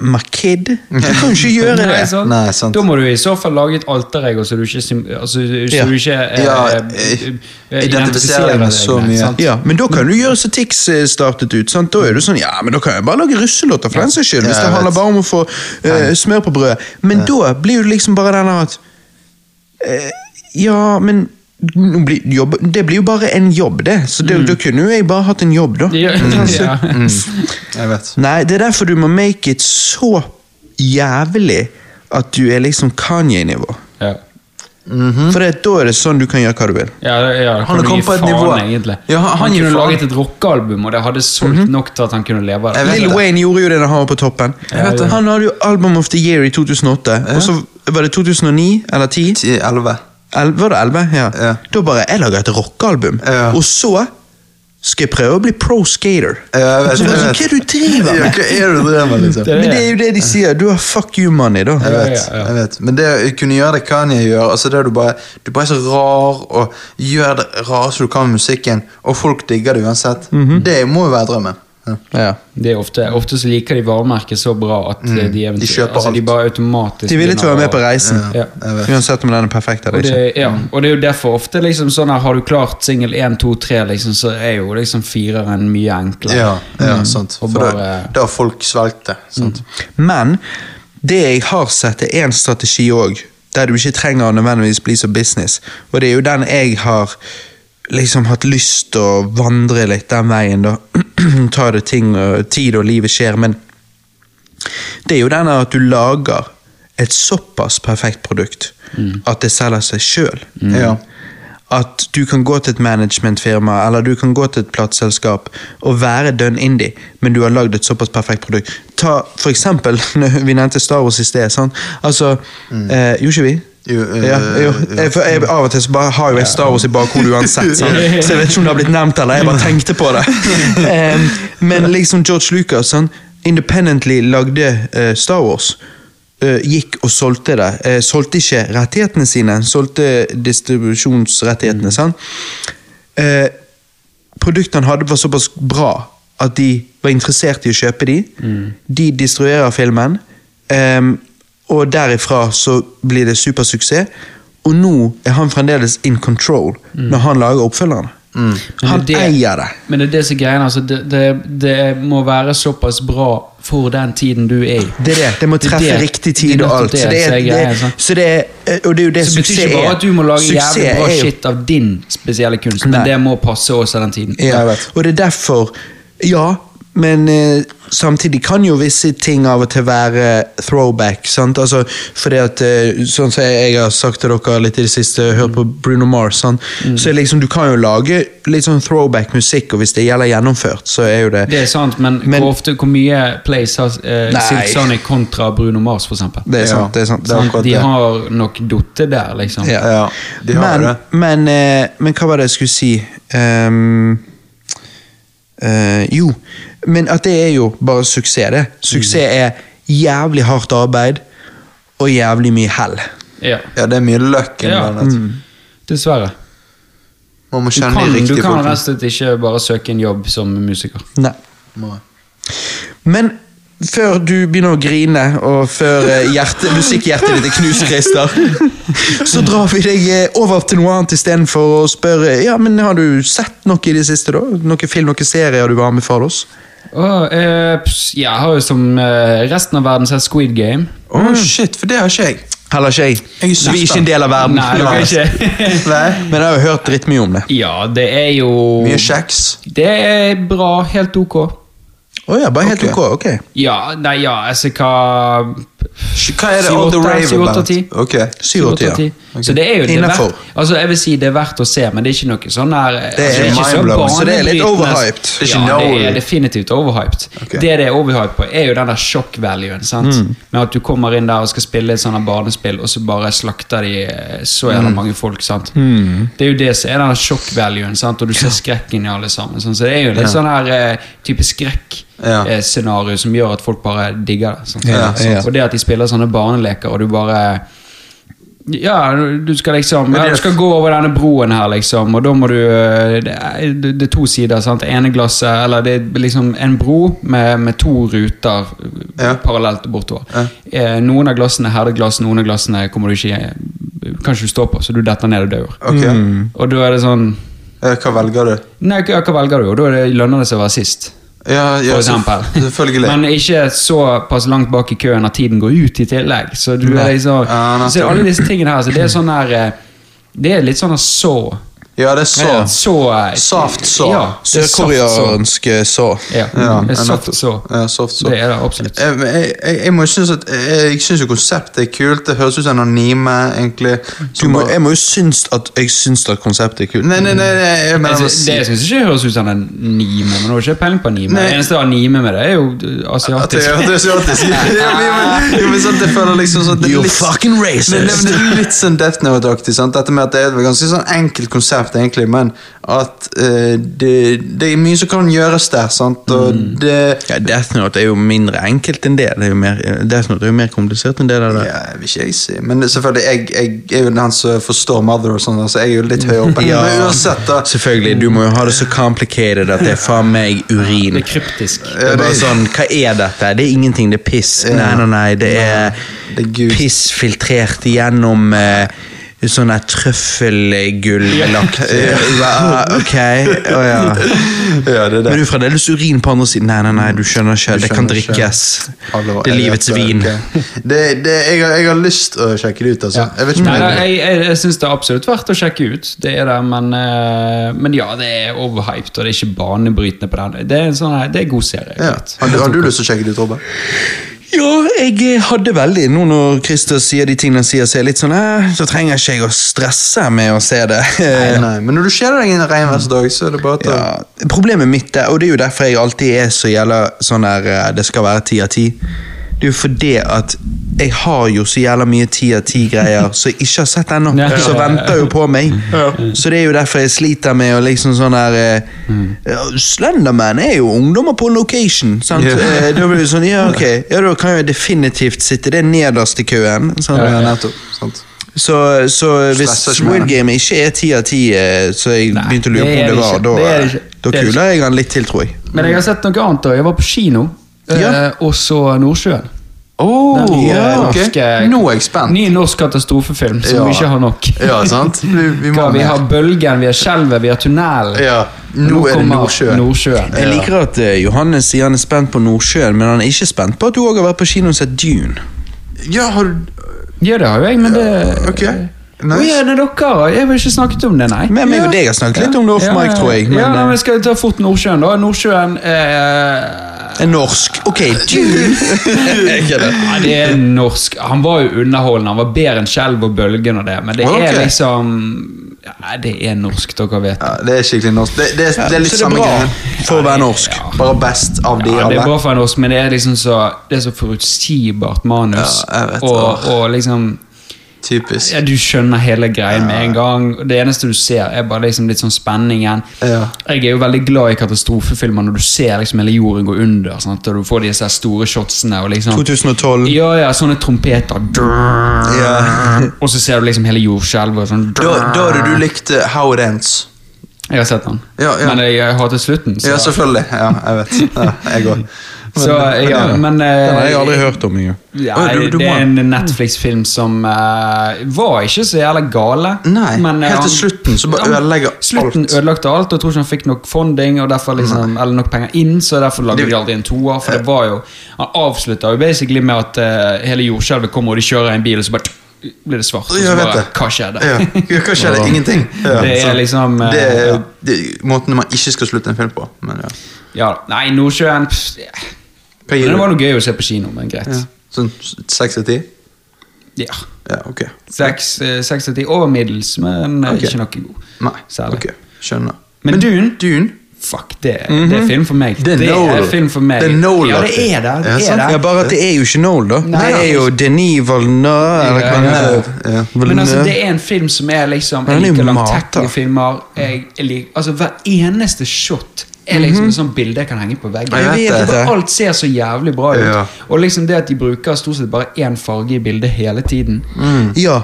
Speaker 1: Makid? Jeg kan jo ikke gjøre det.
Speaker 3: Nei, sant?
Speaker 2: Nei, sånn. sant.
Speaker 3: Da må du i så fall lage et alterego så du ikke, sim- altså, så
Speaker 1: Ja.
Speaker 3: du ikke eh,
Speaker 2: Ja,
Speaker 3: eh,
Speaker 2: eh, identifiserer deg med så
Speaker 3: med,
Speaker 2: mye.
Speaker 3: sant?
Speaker 1: Ja, men da kan du gjøre som Tix eh, startet ut. sant? Da er du sånn, ja, men da kan jeg bare lage russelåter for den saks skyld. Hvis
Speaker 2: Ja, jeg
Speaker 1: det handler
Speaker 2: vet.
Speaker 1: bare om å få eh, smør på brødet. Men da blir det liksom bare den at eh, Ja, men nå blir, jobb, det blir jo bare en jobb, det. Så det,
Speaker 2: Mm.
Speaker 1: da kunne jo jeg bare hatt en jobb, da.
Speaker 3: Ja,
Speaker 1: Mm.
Speaker 3: ja.
Speaker 2: Jeg vet.
Speaker 1: Nei, det er derfor du må make it så jævlig at du er liksom Kanye-nivå.
Speaker 3: Ja.
Speaker 2: Mhm.
Speaker 1: For det, da er det sånn du kan gjøre hva du vil.
Speaker 3: Ja, ja, kan
Speaker 2: Han
Speaker 3: du
Speaker 2: kom
Speaker 3: gi
Speaker 2: på et
Speaker 3: faen,
Speaker 2: nivå.
Speaker 3: Egentlig.
Speaker 2: Ja, han
Speaker 3: han,
Speaker 2: gir
Speaker 3: kunne
Speaker 2: faen.
Speaker 3: laget et rockealbum, og det hadde solgt
Speaker 1: Mhm.
Speaker 3: nok til at han kunne leve av
Speaker 2: Jeg vet
Speaker 1: Lil
Speaker 2: det.
Speaker 1: Wayne gjorde jo det da han var på toppen.
Speaker 3: Jeg vet det.
Speaker 1: Han hadde jo Album of the Year i 2008, og så var det 2009 eller 10?
Speaker 2: 10-11.
Speaker 1: El, var det 11? Ja.
Speaker 2: Ja.
Speaker 1: Da bare jeg lager et rockealbum,
Speaker 2: Ja.
Speaker 1: og så skal jeg prøve å bli pro skater.
Speaker 2: Ja, jeg
Speaker 1: Så bare
Speaker 2: vet, jeg
Speaker 1: sånn,
Speaker 2: vet.
Speaker 1: Hva er det du driver
Speaker 2: Ja,
Speaker 1: med?
Speaker 2: hva er det du driver med, liksom?
Speaker 3: Det er
Speaker 1: Men
Speaker 3: det.
Speaker 1: det er jo det de sier. Du har fuck you money, da.
Speaker 2: Jeg vet,
Speaker 3: Ja, ja, ja.
Speaker 2: jeg vet. Men det å kunne gjøre det Kanye gjør, altså det er du bare Du bare er så rar og gjør det rareste du kan med musikken, og folk digger det uansett.
Speaker 3: Mhm.
Speaker 2: Det må jo være drømmen. Ja.
Speaker 1: Ja.
Speaker 3: Det er ofte, ofte så liker de varemerket så bra at
Speaker 1: Mm.
Speaker 3: eh, de, eventu-
Speaker 2: De kjøper
Speaker 3: altså, de
Speaker 2: alt.
Speaker 3: bare automatisk
Speaker 1: De vil ikke være
Speaker 3: begynner
Speaker 1: med
Speaker 3: å-
Speaker 1: på reisen, liksom. Mm.
Speaker 3: Ja.
Speaker 2: Jeg vet.
Speaker 1: uansett om den er perfekt eller
Speaker 3: Og
Speaker 1: ikke.
Speaker 3: det, ja, og det er jo derfor ofte liksom sånn her, Har du klart singel 1, 2, 3, liksom, så er jo liksom fireren mye enklere. Mm.
Speaker 2: Ja, ja, sant.
Speaker 3: Mhm. Og
Speaker 2: For da,
Speaker 3: bare- Mhm.
Speaker 2: da har folk svelget det. Sant?
Speaker 1: Men det jeg har sett, er en strategi òg, der du ikke trenger å nødvendigvis bli så business. Og det er jo den jeg har liksom hatt lyst til å vandre litt den veien, da. Ta det ting og tid og livet skjer, men det er jo den at du lager et såpass perfekt produkt at det selger seg sjøl.
Speaker 3: Mhm.
Speaker 2: Ja.
Speaker 1: At du kan gå til et managementfirma eller du kan gå til et plateselskap og være dønn indie, men du har lagd et såpass perfekt produkt. Ta for eksempel når Vi nevnte Star Wars i sted. Sånn. Altså, eh, Gjorde ikke vi?
Speaker 2: Mm. Jo, eh,
Speaker 1: ja, jo.
Speaker 2: jo.
Speaker 1: Jeg, for jeg, av og til så bare har jo jeg Star Wars i bakhodet uansett, sant? så jeg vet ikke om det har blitt nevnt eller jeg bare tenkte på det. Em, men liksom George Lucas han independently lagde eh, Star Wars. eh, gikk og solgte det. Eh, solgte ikke rettighetene sine, solgte distribusjonsrettighetene. sant? Eh, produktene han hadde var såpass bra at de var interessert i å kjøpe de.
Speaker 3: Mm.
Speaker 1: De distruerer filmen, ehm, og derifra så blir det supersuksess. Og nå er han fremdeles in control når han lager oppfølgerne.
Speaker 3: Mm. Men
Speaker 1: Han
Speaker 3: det-
Speaker 1: eier det.
Speaker 3: Men det er det som er greien. Altså, det, det, det må være såpass bra for den tiden du er i.
Speaker 1: Det er det. Det må
Speaker 3: Det er
Speaker 1: treffe
Speaker 3: det-
Speaker 1: riktig
Speaker 3: det er
Speaker 1: tid og
Speaker 3: nettopp
Speaker 1: alt.
Speaker 3: det
Speaker 1: Så det er,
Speaker 3: som er greia,
Speaker 1: det,
Speaker 3: sant?
Speaker 1: så det er, og det er jo det
Speaker 3: Så det betyr
Speaker 1: suksess
Speaker 3: ikke bare
Speaker 1: er.
Speaker 3: at du må lage
Speaker 1: Suksess
Speaker 3: jævlig bra
Speaker 1: er jo-
Speaker 3: shit av din spesielle kunst, men
Speaker 1: Nei.
Speaker 3: det må passe også den tiden.
Speaker 1: Ja,
Speaker 2: Jeg vet.
Speaker 1: og det er derfor Ja, men eh, samtidig kan jo visse ting av og til være throwback. sant? Altså, fordi at, eh, sånn som jeg har sagt til dere litt i det siste, hør på Bruno Mars. sant? Så liksom, Du kan jo lage litt sånn throwback-musikk, og hvis det gjelder gjennomført, så er jo det
Speaker 3: Det er sant, men,
Speaker 1: Men-
Speaker 3: hvor ofte hvor mye plays har eh,
Speaker 1: Nei.
Speaker 3: Silk Sonic kontra Bruno Mars, for eksempel?
Speaker 1: Det er sant. det er sant.
Speaker 2: Ja, det er akkurat
Speaker 3: de
Speaker 2: det.
Speaker 3: har nok dotte der, liksom.
Speaker 1: Ja.
Speaker 2: Ja, de har
Speaker 1: men,
Speaker 2: det.
Speaker 1: Men, eh, men hva var det jeg skulle si? Ehm, eh, jo, men at det er jo bare suksess, det. Suksess
Speaker 2: Mm.
Speaker 1: er jævlig hardt arbeid og jævlig mye hell.
Speaker 3: Ja.
Speaker 2: ja, det er mye løkk i
Speaker 3: Ja. Mm.
Speaker 2: den. vet du.
Speaker 3: Dessverre.
Speaker 2: Man må
Speaker 3: Du
Speaker 2: kjenne
Speaker 3: kan, du
Speaker 2: de riktige
Speaker 3: kan rett og
Speaker 2: folkene.
Speaker 3: slett ikke bare søke en jobb som musiker.
Speaker 1: Nei.
Speaker 2: Må-
Speaker 1: Men før du begynner å grine, og før eh, hjerte, musikkhjertet ditt er knust, Christer, så drar vi deg eh, over til noe annet istedenfor å spørre Ja, men har du sett noe i det siste, da? Noe film, noen serier du vil anbefale oss?
Speaker 3: Åh, eh, ps, jeg har jo som eh, resten av verden sett Squid Game.
Speaker 2: Å, shit, for det har ikke jeg.
Speaker 1: Mm. Heller ikke jeg.
Speaker 2: Jeg er så
Speaker 1: vi er ikke en
Speaker 2: spent.
Speaker 1: del av verden.
Speaker 3: Nei, dere er ikke
Speaker 2: Nei.
Speaker 1: Men jeg har jo hørt drittmye om det.
Speaker 3: Ja, det er jo
Speaker 2: Mye kjeks.
Speaker 3: Det er bra. Helt ok.
Speaker 1: Å ja, bare helt
Speaker 2: Ok.
Speaker 1: ok. ok.
Speaker 3: Ja, nei, ja, altså hva
Speaker 2: Hva er det All the
Speaker 3: 7-8,
Speaker 2: Rave
Speaker 3: 7-8,
Speaker 2: about?
Speaker 3: 10.
Speaker 2: Ok,
Speaker 1: 7-8, ja.
Speaker 3: 7-8-10. Så det er jo det er
Speaker 1: Innenfor.
Speaker 3: verdt, altså jeg vil si det er verdt å se, men det er ikke noe sånn der altså,
Speaker 2: er
Speaker 3: ikke så
Speaker 2: mindblowing,
Speaker 1: så det er litt
Speaker 3: banebrytende-
Speaker 1: overhyped.
Speaker 2: Det er
Speaker 3: Ja,
Speaker 2: ikke
Speaker 3: det
Speaker 2: no-
Speaker 3: er definitivt overhyped.
Speaker 2: Ok.
Speaker 3: Det det er overhyped på, er jo den der sjokk-valuen. sant?
Speaker 1: Mm.
Speaker 3: Med at du kommer inn der og skal spille et sånt her barnespill, og så bare slakter de eh, så jævla
Speaker 1: Mm.
Speaker 3: mange folk. sant? Det er jo det som er den der sjokk-valuen, sant? og du ser skrekken i alle sammen. sant? Så det er jo litt sånn her eh, type skrekk.
Speaker 2: Ja.
Speaker 3: eh, Scenario som gjør at folk bare digger det. sant?
Speaker 1: Ja,
Speaker 3: Sant?
Speaker 1: ja.
Speaker 3: Og det at de spiller sånne barneleker, og du bare ja, du skal liksom
Speaker 2: Men det
Speaker 3: ja,
Speaker 2: er-
Speaker 3: Du skal gå over denne broen her, liksom, og da må du eh, Det er, det er to sider, sant. Ene glasset Eller det er liksom en bro med, med to ruter eh,
Speaker 2: Ja.
Speaker 3: parallelt bortover. Eh, Noen av glassene er herdeglass, noen av glassene kommer du ikke eh, Kanskje du står på, så du detter ned og dør.
Speaker 2: Ok,
Speaker 3: Og da er det sånn
Speaker 2: Eh, Hva velger du?
Speaker 3: Nei, hva hva velger du? Og da er det- lønner det seg å være sist.
Speaker 2: Ja, ja,
Speaker 3: For
Speaker 2: selvf-
Speaker 3: eksempel.
Speaker 2: Selvfølgelig.
Speaker 3: Men ikke såpass langt bak i køen at tiden går ut i tillegg. Så du er liksom
Speaker 2: Ja, nei.
Speaker 3: Så alle disse tingene her, så det er sånn her eh, Det er litt sånn her så
Speaker 2: ja, det er så.
Speaker 3: Så eh,
Speaker 2: Soft så.
Speaker 3: Ja, det er soft så.
Speaker 1: Sørkoreansk så.
Speaker 3: Ja,
Speaker 2: Ja,
Speaker 3: det er
Speaker 2: nettopp.
Speaker 3: soft så.
Speaker 2: Ja, soft så.
Speaker 3: Det er det absolutt.
Speaker 2: Jeg, jeg, Eh, jeg, jeg må jo synes at eh, jeg, jeg synes jo konseptet er kult. Det høres ut som en anime, egentlig.
Speaker 1: Mm. Du
Speaker 2: som
Speaker 1: må,
Speaker 2: bare-
Speaker 1: jeg må jo synes at jeg syns at konseptet er kult.
Speaker 2: Nei, nei, nei, nei, jeg mener
Speaker 3: Jeg
Speaker 2: å
Speaker 3: sy-
Speaker 2: si-
Speaker 3: det syns ikke høres ut som en anime, men nå har jeg ikke peiling på anime.
Speaker 2: altså- Nei.
Speaker 3: Det eneste anime med det er jo eh,
Speaker 2: At det
Speaker 3: asiatisk.
Speaker 2: at det er asiatisk. Ja, men- jo, men sant, jeg føler liksom sånn at det er
Speaker 1: You're
Speaker 2: litt-
Speaker 1: fucking racist.
Speaker 2: Nei, nei, men det er litt sånn Death Note-aktig. sant? Dette med at Det er et ganske sånn enkelt konsept, egentlig, men at eh, det, det er mye som kan gjøres der. sant? Og
Speaker 1: Mm.
Speaker 2: det
Speaker 1: Ja, Death Note er jo mindre enkelt enn det. det er jo mer, Death Note er jo mer komplisert enn det. Der, der.
Speaker 2: ja, jeg vil ikke jeg si. Men det- selvfølgelig, jeg, jeg er jo den som forstår Mother og sånn, så jeg er jo litt høy oppe.
Speaker 1: Ja,
Speaker 2: Men uansett, da.
Speaker 1: Selvfølgelig, du må jo ha det så complicated at det er faen meg urin.
Speaker 3: Det er kryptisk.
Speaker 1: Det er bare sånn, Hva er dette? Det er ingenting, det er piss. Nei, nei, nei, det
Speaker 2: Det er
Speaker 1: er
Speaker 2: Gud.
Speaker 1: piss filtrert gjennom eh, sånn der trøffelgull-lagt Hva- Ok, å ja.
Speaker 2: Ja, det er
Speaker 1: Men det er
Speaker 2: det.
Speaker 1: jo fremdeles urin på andre siden. Nei, nei, nei, du skjønner ikke.
Speaker 2: Du
Speaker 1: Det kan
Speaker 2: skjønner ikke.
Speaker 1: drikkes.
Speaker 2: Hallo,
Speaker 1: Det er
Speaker 2: jeg
Speaker 1: livets
Speaker 2: vet
Speaker 1: vin.
Speaker 2: ok. Det, det, jeg, har, jeg har lyst til å sjekke det ut, altså. Jeg vet ikke om
Speaker 3: Nei,
Speaker 2: jeg-
Speaker 3: da, jeg, jeg, jeg syns det er absolutt verdt å sjekke ut. Det er det, men, eh, men ja, det er overhyped, og det er ikke banebrytende på den. Det er en sånn her, det er god serie.
Speaker 2: Ja.
Speaker 3: rett.
Speaker 2: Har, du- har du lyst til å sjekke det ut, Robert?
Speaker 1: Ja, jeg eh, hadde veldig Nå når Christer sier de tingene han sier, så er jeg litt sånn eh, Så trenger ikke jeg å stresse med å se det.
Speaker 2: Nei, Mm. nei. Men når du kjeder deg en regnværsdag, så er det bare å ta
Speaker 1: Ja, problemet mitt er, og det er jo derfor jeg alltid er så jævla sånn der eh, Det skal være ti av ti. Det er jo fordi at jeg har jo så jævla mye ti av ti-greier som jeg ikke har sett ennå.
Speaker 3: Ja.
Speaker 1: Så venter jo på meg. Så det er jo derfor jeg sliter med å liksom sånn der eh,
Speaker 2: Mm.
Speaker 1: ja, Slenderman er jo ungdommer på location, sant?
Speaker 2: Ja.
Speaker 1: Eh, Da blir det sånn, ja ok, ja da kan jeg definitivt sitte det nederst i køen. sånn. sant?
Speaker 2: ja, nettopp. Sant.
Speaker 1: Så, så hvis
Speaker 2: Stresser ikke
Speaker 1: Squid
Speaker 2: med det.
Speaker 1: Game ikke er ti av ti, eh, så jeg
Speaker 3: Nei,
Speaker 1: begynte å lure
Speaker 3: det
Speaker 1: på
Speaker 3: er
Speaker 1: om det
Speaker 3: det
Speaker 1: var,
Speaker 3: ikke.
Speaker 1: da, eh,
Speaker 3: Det er det ikke.
Speaker 1: da
Speaker 3: Det er det
Speaker 1: kuler jeg han litt til, tror jeg.
Speaker 3: Men jeg har sett noe annet. da. Jeg var på kino, eh,
Speaker 1: Ja.
Speaker 3: og så Nordsjøen.
Speaker 2: Oh,
Speaker 3: Den nye
Speaker 2: ok.
Speaker 3: norske-
Speaker 2: Nå er jeg spent.
Speaker 3: Ny norsk katastrofefilm som
Speaker 2: Ja.
Speaker 3: vi ikke har nok.
Speaker 2: Ja, sant? Vi, vi
Speaker 3: Hva,
Speaker 2: må
Speaker 3: vi
Speaker 2: mer.
Speaker 3: har Bølgen, vi har Skjelvet, vi har Tunnelen.
Speaker 2: Ja. Nå er det
Speaker 3: kommer
Speaker 2: Nordsjøen.
Speaker 3: Nordsjøen.
Speaker 1: Jeg liker at eh, Johannes sier han er spent på Nordsjøen, men han er ikke spent på at du òg har vært på kino og sett Dune.
Speaker 2: Ja, har du
Speaker 3: Ja, det har jo jeg, men det
Speaker 2: Ok.
Speaker 3: Å ja,
Speaker 2: Nice.
Speaker 3: det er dere. Jeg vil ikke snakket om det, nei.
Speaker 1: Men meg
Speaker 3: Ja.
Speaker 1: og deg har snakket litt om det off mic, tror jeg. Men,
Speaker 3: ja, nei,
Speaker 1: eh,
Speaker 3: men Skal vi ta fort Nordsjøen, da? Nordsjøen eh,
Speaker 1: er norsk. Ok, Dune! Jeg kødder.
Speaker 3: Nei, det er norsk. Han var jo underholdende. Han var bedre enn Skjelv og Bølgen og det, men det
Speaker 2: Ok.
Speaker 3: er liksom Nei, det er norsk, dere vet det.
Speaker 2: Ja, det er skikkelig norsk. Det, det, det er litt
Speaker 1: Så det er
Speaker 2: samme
Speaker 1: bra
Speaker 2: greie.
Speaker 1: for å være norsk.
Speaker 2: Bare best av de
Speaker 3: Ja, det er
Speaker 2: alle.
Speaker 3: bra for norsk, men det er liksom så Det er så forutsigbart manus.
Speaker 2: Ja, jeg vet det.
Speaker 3: og, og liksom
Speaker 2: Typisk.
Speaker 3: ja, Du skjønner hele greien med en gang. og Det eneste du ser, er bare liksom litt sånn spenningen.
Speaker 2: Ja.
Speaker 3: Jeg er jo veldig glad i katastrofefilmer når du ser liksom hele jorden gå under. Sant? Og du får disse her store shotsene. Og liksom,
Speaker 1: 2012.
Speaker 3: ja, ja, sånne trompeter. drrrr,
Speaker 1: Ja.
Speaker 3: Og så ser du liksom hele jordskjelvet. og Sånn,
Speaker 2: Da,
Speaker 3: drrrr.
Speaker 2: da hadde du likt eh, How It Ends.
Speaker 3: jeg har sett den,
Speaker 2: Ja, ja.
Speaker 3: men jeg, jeg hater slutten. Så,
Speaker 2: Ja, selvfølgelig. Ja, jeg vet. Ja, jeg òg.
Speaker 3: så, ja, men eh,
Speaker 1: Den har jeg aldri hørt om engang.
Speaker 3: Ja,
Speaker 2: Oi, du- du
Speaker 3: det
Speaker 2: må-
Speaker 3: er en Netflix-film som eh, var ikke så jævla gale. eh,
Speaker 2: Nei, helt til
Speaker 3: han-
Speaker 2: slutten så bare
Speaker 3: Ja, men
Speaker 2: ødelegger
Speaker 3: Slutten
Speaker 2: alt.
Speaker 3: ødelagte alt, og jeg tror ikke han fikk nok funding og derfor liksom, eller nok penger inn, så derfor lagde
Speaker 2: Det-
Speaker 3: de aldri en toer. For det var jo Han avslutta jo basically med at eh, hele jordskjelvet kommer, og de kjører en bil, og så bare blir det svart. Og
Speaker 2: Ja,
Speaker 3: så
Speaker 2: jeg vet
Speaker 3: bare,
Speaker 2: det.
Speaker 3: hva skjedde?
Speaker 2: Ja. Ja, Hva skjer? det? Ingenting. Ja,
Speaker 3: Det er
Speaker 2: sant.
Speaker 3: liksom, eh,
Speaker 2: det er
Speaker 3: ja.
Speaker 2: det er måten man ikke skal slutte en film på. Men ja.
Speaker 3: Ja, nei, Nordsjøen pff,
Speaker 2: Hva
Speaker 3: Men
Speaker 2: gir
Speaker 3: Det var
Speaker 2: du?
Speaker 3: noe gøy å se på kino, men greit.
Speaker 2: Sånn seks av ti?
Speaker 3: Ja.
Speaker 2: Ja, ok.
Speaker 3: Seks eh, seks av ti over middels, men eh,
Speaker 2: Ok.
Speaker 3: ikke noe god.
Speaker 2: Nei,
Speaker 3: Særlig.
Speaker 2: ok. Skjønner.
Speaker 3: Men Dune?
Speaker 2: Dune?
Speaker 3: Fuck, det, det er film for meg.
Speaker 2: Mhm. Det er
Speaker 3: er
Speaker 2: Nolan.
Speaker 3: film for meg.
Speaker 2: Det er Nolan.
Speaker 3: Ja, det er det. det,
Speaker 2: Ja, sant.
Speaker 3: er det.
Speaker 1: Ja, bare at det er jo ikke Noel, da.
Speaker 3: Nei,
Speaker 1: det
Speaker 3: nei.
Speaker 1: er jo Denis Valnøe, eller hva han
Speaker 3: Ja, ja, ja.
Speaker 1: heter.
Speaker 2: Ja.
Speaker 3: Men altså,
Speaker 1: Villeneuve.
Speaker 3: det er en film som er liksom Jeg
Speaker 1: Den er jo
Speaker 3: liker
Speaker 1: mata.
Speaker 3: langtekkelige filmer. Jeg, jeg liker, altså, hver eneste shot er liksom et sånt bilde jeg kan henge på veggen.
Speaker 2: Mhm. Jeg vet
Speaker 3: Jeg vet
Speaker 1: det.
Speaker 3: at Alt ser så jævlig bra ut.
Speaker 2: Ja.
Speaker 3: Og liksom det at de bruker stort sett bare én farge i bildet hele tiden.
Speaker 1: Ja.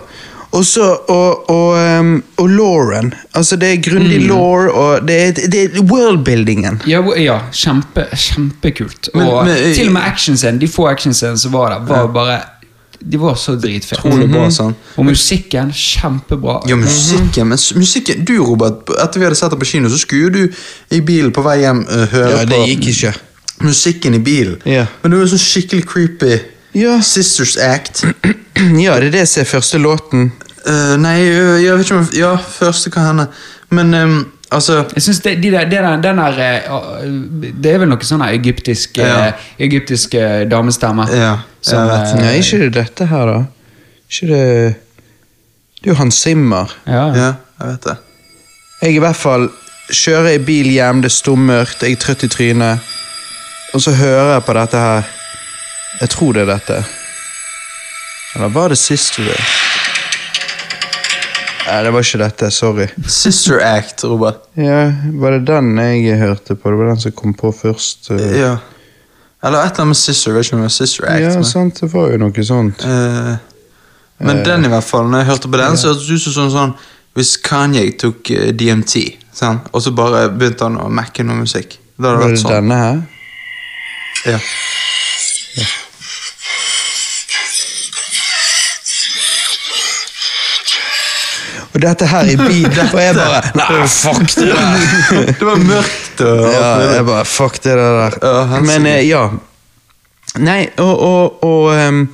Speaker 1: Og så og, og, um, og Lauren. Altså, det er grundig law, og det er, det er worldbuildingen.
Speaker 3: Ja, wo- ja kjempe, kjempekult.
Speaker 2: Men-
Speaker 3: og
Speaker 2: men, eh,
Speaker 3: til og med actionscenen, de få actionscenene som var der, var bare De var så dritfete.
Speaker 2: Utrolig bra, sant?
Speaker 3: Og musikken, kjempebra.
Speaker 2: Ja,
Speaker 1: Mhm.
Speaker 2: musikken, men s- musikken Du, Robert, etter vi hadde sett det på kino, så skulle jo du i bilen på vei hjem eh, høre
Speaker 1: Ja, det
Speaker 2: på
Speaker 1: gikk ikke.
Speaker 2: musikken i bilen.
Speaker 1: Ja.
Speaker 2: Men det var jo sånn skikkelig creepy.
Speaker 1: Ja.
Speaker 2: Sisters Act.
Speaker 1: Ja, det er det som er første låten.
Speaker 2: Eh, nei, eh, jeg vet ikke om Ja, første kan hende. Men ehm, altså
Speaker 3: Jeg synes det, de der, det, der, den der, eh, det er vel noe sånn her egyptisk, eh,
Speaker 2: Ja.
Speaker 3: egyptisk eh, damestemme.
Speaker 2: Ja,
Speaker 3: Som,
Speaker 2: jeg vet.
Speaker 3: eh,
Speaker 1: Nei, ikke det dette her, da. Ikke det Det er jo Hans Zimmer.
Speaker 3: Ja.
Speaker 2: Ja, jeg vet det.
Speaker 1: Jeg i hvert fall kjører i bil hjem, det er stummert, jeg er trøtt i trynet. Og så hører jeg på dette her. Jeg tror det er dette. Eller var det siste du Nei, det var ikke dette. Sorry.
Speaker 2: Sister Act, Robert.
Speaker 1: Ja, Var det den jeg hørte på? Det var den som kom på først. eh.
Speaker 2: Ja. Eller et eller annet med Sister. Jeg vet ikke om det var Sister Act.
Speaker 1: Ja, sånn.
Speaker 2: men-
Speaker 1: sant, det var jo noe sånt.
Speaker 2: Eh, men
Speaker 1: Eh.
Speaker 2: den i hvert fall, når jeg hørte på den, så hørtes det ut som sånn, sånn Hvis Kanye tok eh, DMT, sant? og så bare begynte han å mekke noe musikk. Da hadde det
Speaker 1: Var
Speaker 2: vært
Speaker 1: det
Speaker 2: sånn.
Speaker 1: denne her?
Speaker 2: Ja.
Speaker 1: Og dette her i bil, og jeg bare Nei, fuck det der!
Speaker 2: det var mørkt og
Speaker 1: Ja, jeg bare Fuck det der.
Speaker 2: Ja, han
Speaker 1: Men
Speaker 2: sier-
Speaker 1: eh, ja. Nei, og Og, og, ehm,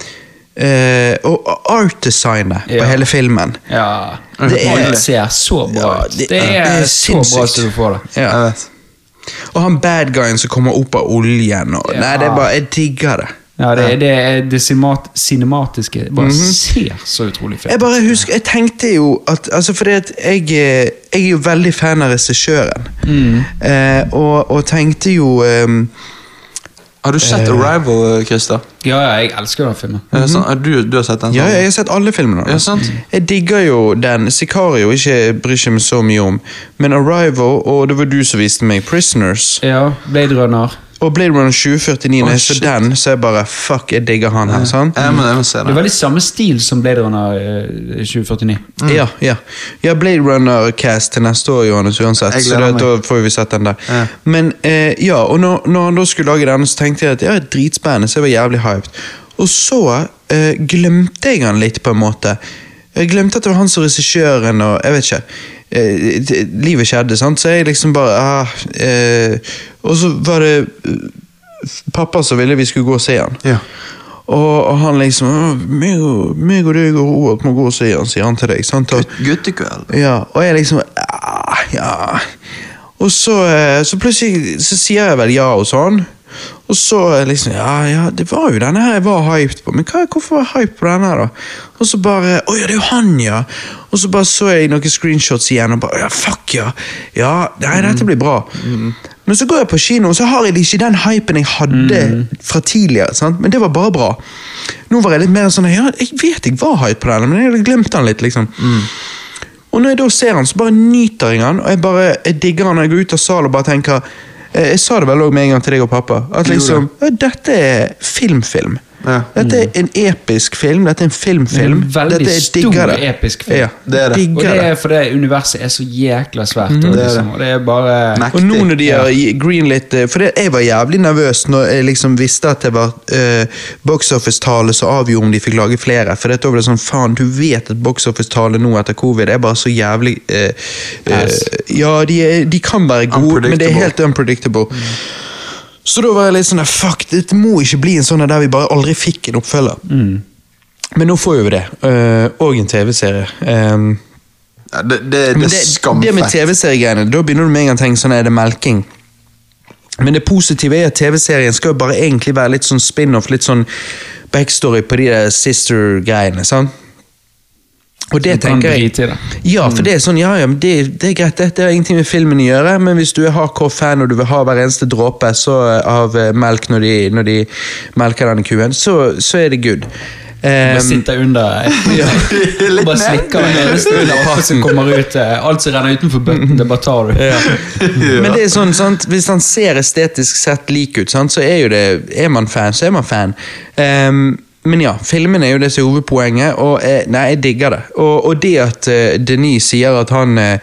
Speaker 1: eh, og art-designet
Speaker 3: Ja.
Speaker 1: på hele filmen.
Speaker 3: Ja.
Speaker 2: Det
Speaker 3: Det
Speaker 2: er-
Speaker 3: ser så bra
Speaker 1: Ja,
Speaker 3: ut.
Speaker 1: det-
Speaker 3: Det
Speaker 1: det
Speaker 3: er
Speaker 1: er
Speaker 3: så bra
Speaker 1: sinnssykt.
Speaker 3: som du får det.
Speaker 1: Ja.
Speaker 2: Jeg vet.
Speaker 1: Og han bad guyen som kommer opp av oljen og
Speaker 3: Ja.
Speaker 1: Nei, det er bare Jeg digger det.
Speaker 3: Ja, det, er- det, er det simat- cinematiske bare
Speaker 2: Mhm.
Speaker 3: ser så utrolig fett
Speaker 1: Jeg
Speaker 3: ut.
Speaker 1: bare husker, jeg tenkte jo at altså fordi at jeg, eh, jeg er jo veldig fan av regissøren.
Speaker 2: Mm.
Speaker 1: Eh, og, og tenkte jo ehm,
Speaker 2: Har du
Speaker 1: Eh.
Speaker 2: sett Arrival, eh, Christer?
Speaker 3: Ja, ja, jeg elsker den filmen.
Speaker 2: Er det sant? Er Du, du har sett den?
Speaker 1: Mhm.
Speaker 2: sånn?
Speaker 1: Ja,
Speaker 2: sant?
Speaker 1: jeg har sett alle filmene.
Speaker 2: Ja, sant.
Speaker 1: Jeg digger jo den. Sicario ikke bryr ikke meg så mye om. Men Arrival, og det var du som viste meg Prisoners,
Speaker 3: Ja, Blade Runner.
Speaker 1: og Blade Runner 2049,
Speaker 2: Å,
Speaker 1: når jeg så
Speaker 2: shit.
Speaker 1: den, så jeg bare Fuck, jeg digger han her. sant?
Speaker 2: Jeg må, jeg må se
Speaker 3: Det er
Speaker 2: den.
Speaker 3: veldig samme stil som Blade Runner eh, 2049.
Speaker 2: Mm.
Speaker 1: Ja, ja. ja, Blade Runner-cast til neste år, Johannes, uansett.
Speaker 2: Jeg
Speaker 1: Så
Speaker 2: gleder
Speaker 1: det,
Speaker 2: meg.
Speaker 1: da får vi sett den der.
Speaker 2: Ja.
Speaker 1: Men eh, ja, og når, når han da skulle lage den, så tenkte jeg at ja, dritspennende, så jeg var jævlig hyped. Og så eh, glemte jeg han litt, på en måte. Jeg glemte at det var han som regissøren, og jeg vet ikke. Eh, det- livet skjedde, sant, så jeg liksom bare ah, eh, Og så var det eh, pappa som ville vi skulle gå og se han.
Speaker 2: Ja.
Speaker 1: Og, og han liksom «Å, meg og, meg og deg og Robert må gå og se han, sier han til deg. sant? Og,
Speaker 2: Guttekveld.
Speaker 1: ja, og jeg liksom «Ah, Ja. Og så, eh, så plutselig så sier jeg vel ja og sånn. Og så eh, liksom Ja, ja, det var jo denne her jeg var hyped på, men hva, hvorfor var jeg hyped på denne? her da? Og så bare Å ja, det er jo han, ja! Og så bare så jeg noen screenshots igjen og bare Ja, fuck ja! Ja, nei, dette blir bra. Men så går jeg på kino, og så har jeg ikke den hypen jeg hadde fra tidligere. sant? Men det var bare bra. Nå var jeg litt mer sånn Ja, jeg vet jeg var hyped på denne, men jeg hadde glemt den litt, liksom. Og når jeg da ser han, så bare nyter jeg han, og jeg bare jeg digger han når jeg går ut av salen og bare tenker eh, Jeg sa det vel òg med en gang til deg og pappa, at
Speaker 2: Jo da.
Speaker 1: liksom ja, Dette er filmfilm.
Speaker 2: Ja.
Speaker 1: Dette er en episk film, dette er en filmfilm.
Speaker 3: En veldig
Speaker 1: dette er
Speaker 3: stor, episk film.
Speaker 1: Ja,
Speaker 2: Det er det.
Speaker 1: Digger
Speaker 3: Og det er
Speaker 1: det. Mhm.
Speaker 3: fordi universet er så jækla svært. og,
Speaker 2: Det er
Speaker 3: liksom,
Speaker 2: det.
Speaker 3: og det er bare
Speaker 2: Nei.
Speaker 1: Og nå når de har greenlit eh, For det, jeg var jævlig nervøs når jeg liksom visste at det var eh, box office-tale som avgjorde om de fikk lage flere. For dette var det sånn, faen, du vet at box office-tale nå etter covid er bare så jævlig eh, eh,
Speaker 3: Ass.
Speaker 1: Ja, de, er, de kan være gode, men det er
Speaker 2: Unpredictable.
Speaker 1: helt unpredictable. Så da var jeg litt sånn der, fuck, det må ikke bli en sånn der vi bare aldri fikk en oppfølger. Men nå får vi det. eh, og en TV-serie. Eh,
Speaker 2: Ja, det, det, det
Speaker 1: men det, det med
Speaker 2: er skamfett.
Speaker 1: TV-seriegreiene, da begynner du med en gang å tenke sånn, er det melking? Men det positive er at TV-serien skal jo bare egentlig være litt sånn spin-off, litt sånn backstory på de der sister-greiene. sant? Og det
Speaker 3: Du kan
Speaker 1: tenker jeg
Speaker 3: drite i Mm. det.
Speaker 1: Ja, for det er sånn, ja, ja, men det, det er greit, det, det har ingenting med filmen å gjøre, men hvis du er hardcore fan og du vil ha hver eneste dråpe så, eh, av eh, melk når de, når de melker denne kuen, så, så er det good.
Speaker 3: Bare
Speaker 1: Eh,
Speaker 3: sitter under og bare slikker den eneste under pappen som kommer ut. eh, Alt som renner utenfor bøtten,
Speaker 1: Mhm.
Speaker 3: det bare tar du.
Speaker 1: Men det er sånn, sant? hvis han ser estetisk sett lik ut, sant? så er jo det Er man fan, så er man fan. Ehm, men ja, filmen er jo det som er hovedpoenget, og eh, nei, jeg digger det. Og, og det at eh, Denis sier at han eh,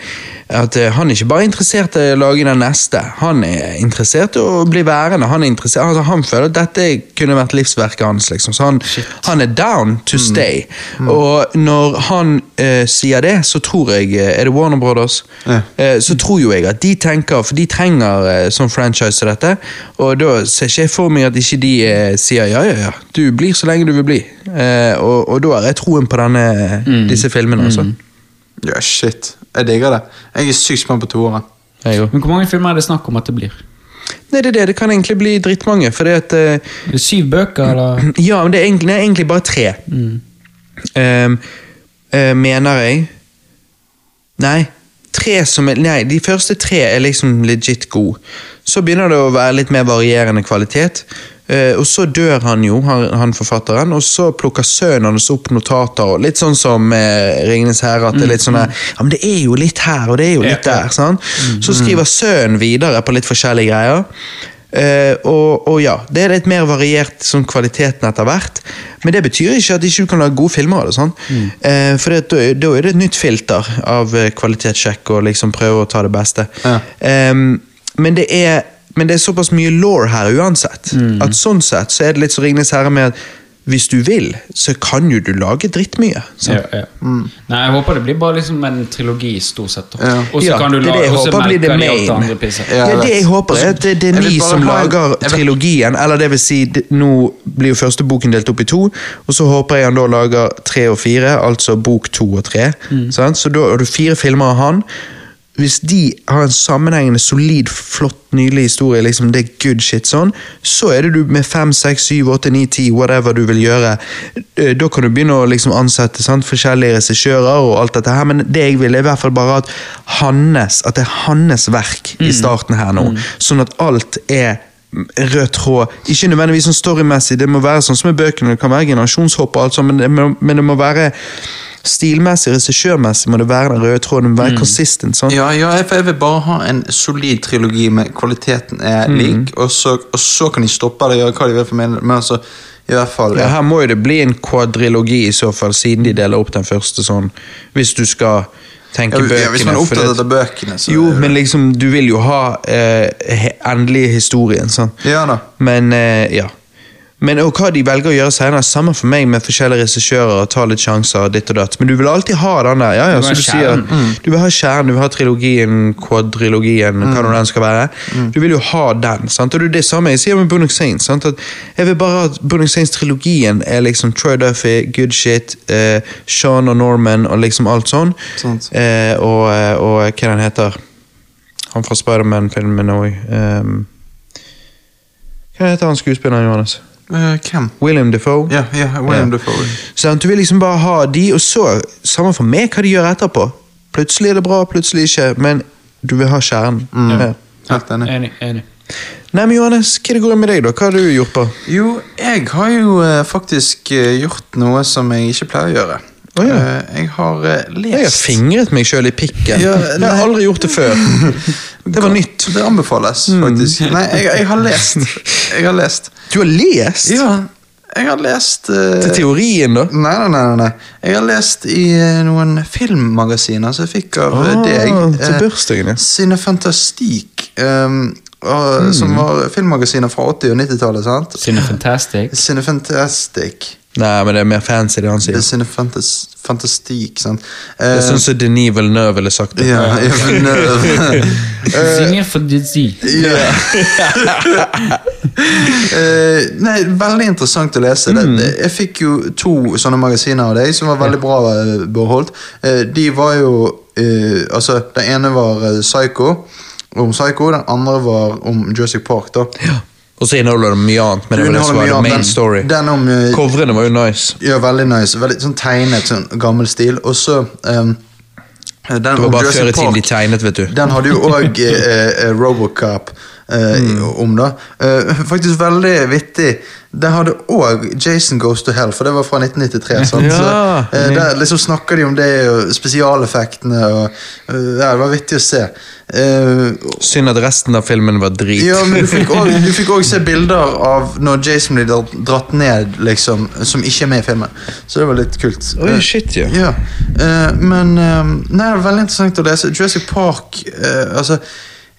Speaker 1: At eh, han er ikke bare interessert i å lage den neste, han er interessert i å bli værende. Han er interessert, altså han føler at dette kunne vært livsverket hans, liksom. Så han, han er down to stay. Og når han eh, sier det, så tror jeg eh, Er det Warner Brothers?
Speaker 2: Ja.
Speaker 1: Eh, så tror jo jeg at de tenker, for de trenger eh, sånn franchise som dette, og da ser ikke jeg for meg at ikke de eh, sier ja, ja, ja, du blir så lenge du vil bli. Eh, og, og da har jeg troen på denne, disse filmene, altså.
Speaker 2: Ja, shit. Jeg digger det. Jeg er sykt spent på toeren.
Speaker 1: Jeg òg.
Speaker 3: Men hvor mange filmer er det snakk om at det blir?
Speaker 1: Nei, det er det. Det kan egentlig bli drittmange, fordi at eh,
Speaker 3: Er det syv bøker, eller?
Speaker 1: Ja, men det er egentlig, det er egentlig bare tre.
Speaker 3: Mm.
Speaker 1: Ehm, eh, mener jeg. Nei. Tre som er, nei, de første tre er liksom legit gode. Så begynner det å være litt mer varierende kvalitet. Eh, og så dør han jo, han, han forfatteren, og så plukker sønnen hans opp notater. og Litt sånn som eh, 'Ringenes herre'. at det er litt sånn der, ja, men det er jo litt her og det er jo
Speaker 3: Ja,
Speaker 1: litt
Speaker 3: Mm, ja. Mhm.
Speaker 1: der. sant? Så skriver sønnen videre på litt forskjellige greier. Eh, og, og ja, det er litt mer variert sånn kvaliteten etter hvert. Men det betyr ikke at ikke du kan lage gode filmer av det. sånn.
Speaker 3: Mm.
Speaker 1: Eh, for det, da er- da er det et nytt filter av eh, kvalitetssjekk og liksom prøve å ta det beste.
Speaker 2: Ja.
Speaker 1: Ehm, men, det er, men det er såpass mye law her uansett.
Speaker 3: Mm.
Speaker 1: At sånn sett så er det litt så Ringenes herre med at hvis du vil, så kan jo du lage drittmye. sant?
Speaker 3: Ja, ja. Nei, jeg håper det blir bare liksom en trilogi, stort sett. da.
Speaker 2: Ja.
Speaker 3: Og så
Speaker 1: Ja,
Speaker 3: kan du
Speaker 1: det er
Speaker 3: la,
Speaker 1: det jeg
Speaker 3: og så
Speaker 1: håper blir
Speaker 3: melker
Speaker 1: det
Speaker 3: de alt det
Speaker 1: main.
Speaker 3: andre pisset.
Speaker 2: Ja,
Speaker 1: Ja,
Speaker 2: jeg
Speaker 1: det
Speaker 2: vet.
Speaker 1: jeg håper er at det, det
Speaker 2: Jeg
Speaker 1: er
Speaker 2: vil
Speaker 1: vi
Speaker 2: bare
Speaker 1: som
Speaker 2: ha en-
Speaker 1: lager
Speaker 2: jeg vil-
Speaker 1: trilogien, eller det vil si, det- nå blir jo første boken delt opp i to, og så håper jeg han da lager tre og fire, altså bok to og tre. sant? Så da har du fire filmer av han. Hvis de har en sammenhengende, solid, flott, nydelig historie, liksom det er good shit sånn, så er det du med fem, seks, syv, åtte, ni, ti, whatever du vil gjøre, eh, da kan du begynne å liksom ansette sant? forskjellige regissører og alt dette her, men det jeg vil er i hvert fall bare at hans, at det er hans verk i starten her nå, sånn at alt er rød tråd. Ikke nødvendigvis sånn storymessig, det må være sånn som i bøkene, det kan være generasjonshopp og alt sånt, men det må, men det må være stilmessig, regissørmessig må det være den røde tråden, det må
Speaker 2: Mm.
Speaker 1: være consistent, sånn.
Speaker 2: Ja, ja jeg, for jeg vil bare ha en solid trilogi med kvaliteten
Speaker 1: Mm.
Speaker 2: er lik, og så, og så kan de stoppe det og gjøre hva de vil for meg, men altså, i hvert fall
Speaker 1: Ja, her må jo det bli en kvadrilogi i så fall, siden de deler opp den første sånn, hvis du skal tenke
Speaker 2: Ja,
Speaker 1: bøkene.
Speaker 2: ja, hvis man er
Speaker 1: for det-
Speaker 2: opptatt av bøkene, så
Speaker 1: Jo, men liksom, du vil jo ha eh, he- endelig historien, sånn.
Speaker 2: Ja da.
Speaker 1: Men, eh, ja. Men og hva de velger å gjøre senere, samme for meg med forskjellige regissører, og ta litt sjanser, ditt og datt. Men du vil alltid ha den der, ja, ja,
Speaker 3: Du vil
Speaker 1: så
Speaker 3: ha
Speaker 1: du sier
Speaker 3: kjernen.
Speaker 2: Mm.
Speaker 1: at du vil ha kjernen, du vil ha trilogien, kvadrilogien, hva nå den skal være.
Speaker 2: Mm.
Speaker 1: Du vil jo ha den, sant? og det er det samme jeg sier med Bunnock Saints. Sant? At jeg vil bare at Bunnock Saints-trilogien er liksom Troy Duffy, Good Shit, eh, Sean og Norman og liksom alt sånn.
Speaker 2: Sant.
Speaker 1: Eh, og, og hva den heter Han fra Spiderman-filmen òg. hva heter han skuespilleren, Johannes?
Speaker 2: Eh, Hvem?
Speaker 1: William Defoe?
Speaker 2: Ja, ja, William
Speaker 1: Ja.
Speaker 2: Dafoe.
Speaker 1: Sånn, du vil liksom bare ha de, og så samme for meg hva de gjør etterpå. Plutselig er det bra, plutselig ikke, men du vil ha kjernen. Ja.
Speaker 2: Helt enig.
Speaker 3: Enig. enig.
Speaker 1: Nei, men Johannes, hva er det går med deg, da? Hva har du gjort på?
Speaker 2: Jo, jeg har jo eh, faktisk eh, gjort noe som jeg ikke pleier å gjøre.
Speaker 1: Å, ja.
Speaker 2: Eh, jeg har eh, lest
Speaker 1: Jeg har fingret meg sjøl i pikken.
Speaker 2: Ja,
Speaker 1: jeg har
Speaker 2: nei.
Speaker 1: aldri gjort det før. Det var Mm. nytt.
Speaker 2: Det anbefales, faktisk. Nei, jeg, jeg har lest. Jeg har lest.
Speaker 1: Du har lest
Speaker 2: Ja, jeg har lest eh,
Speaker 1: til teorien, da?
Speaker 2: Nei, nei, nei, nei, nei. Jeg har lest i eh, noen filmmagasiner som jeg fikk av eh,
Speaker 1: Ah,
Speaker 2: deg.
Speaker 1: til bursdagen, ja.
Speaker 2: Sine Fantastik,
Speaker 1: Hmm.
Speaker 2: som var filmmagasiner fra 80- og 90-tallet, sant?
Speaker 3: Sine Fantastic.
Speaker 2: Sine Fantastic.
Speaker 1: Nei, men det er mer fancy, det han
Speaker 2: Det
Speaker 1: sier.
Speaker 2: er Sine fantas Fantastik, sant?
Speaker 1: Det
Speaker 2: Eh,
Speaker 1: er sånn som Denis Villeneuve ville sagt det.
Speaker 2: ja, jeg er fornøyd.
Speaker 1: Eh.
Speaker 3: Singer for Dizzy.
Speaker 2: Ja. Eh, nei, veldig interessant å lese. Det,
Speaker 1: Mm.
Speaker 2: det- Jeg fikk jo to sånne magasiner av deg som var veldig bra eh, beholdt. Eh, de var jo eh, Altså, den ene var eh, Psycho, om Psycho. Den andre var om Jurassic Park, da.
Speaker 1: Og så inneholder det mye annet, men det var det som var the main story.
Speaker 2: Den om eh,
Speaker 1: Coverene var jo nice.
Speaker 2: Ja, veldig nice. Veldig sånn tegnet, sånn gammel stil. Og så ehm, den,
Speaker 1: Det var
Speaker 2: om
Speaker 1: bare
Speaker 2: Jurassic
Speaker 1: før i tiden de
Speaker 2: Park,
Speaker 1: tegnet, vet du.
Speaker 2: Den hadde jo òg eh, eh, Robocop eh,
Speaker 1: Mm.
Speaker 2: om, da. Eh, faktisk veldig vittig. Den hadde òg Jason Goes to Hell, for det var fra 1993. sant? Så,
Speaker 1: Ja.
Speaker 2: eh, der liksom snakker de om det og spesialeffektene og eh, ja, Det var vittig å se. Eh,
Speaker 1: Synd at resten av filmen var drit.
Speaker 2: ja, men du fikk også- du fikk òg se bilder av når Jason blir dra- dratt ned, liksom, som ikke er med i filmen. Så det var litt kult.
Speaker 1: Oi, shit, ja.
Speaker 2: Ja, eh, men eh, Nei, det er veldig interessant å lese. Jurassic Park eh, Altså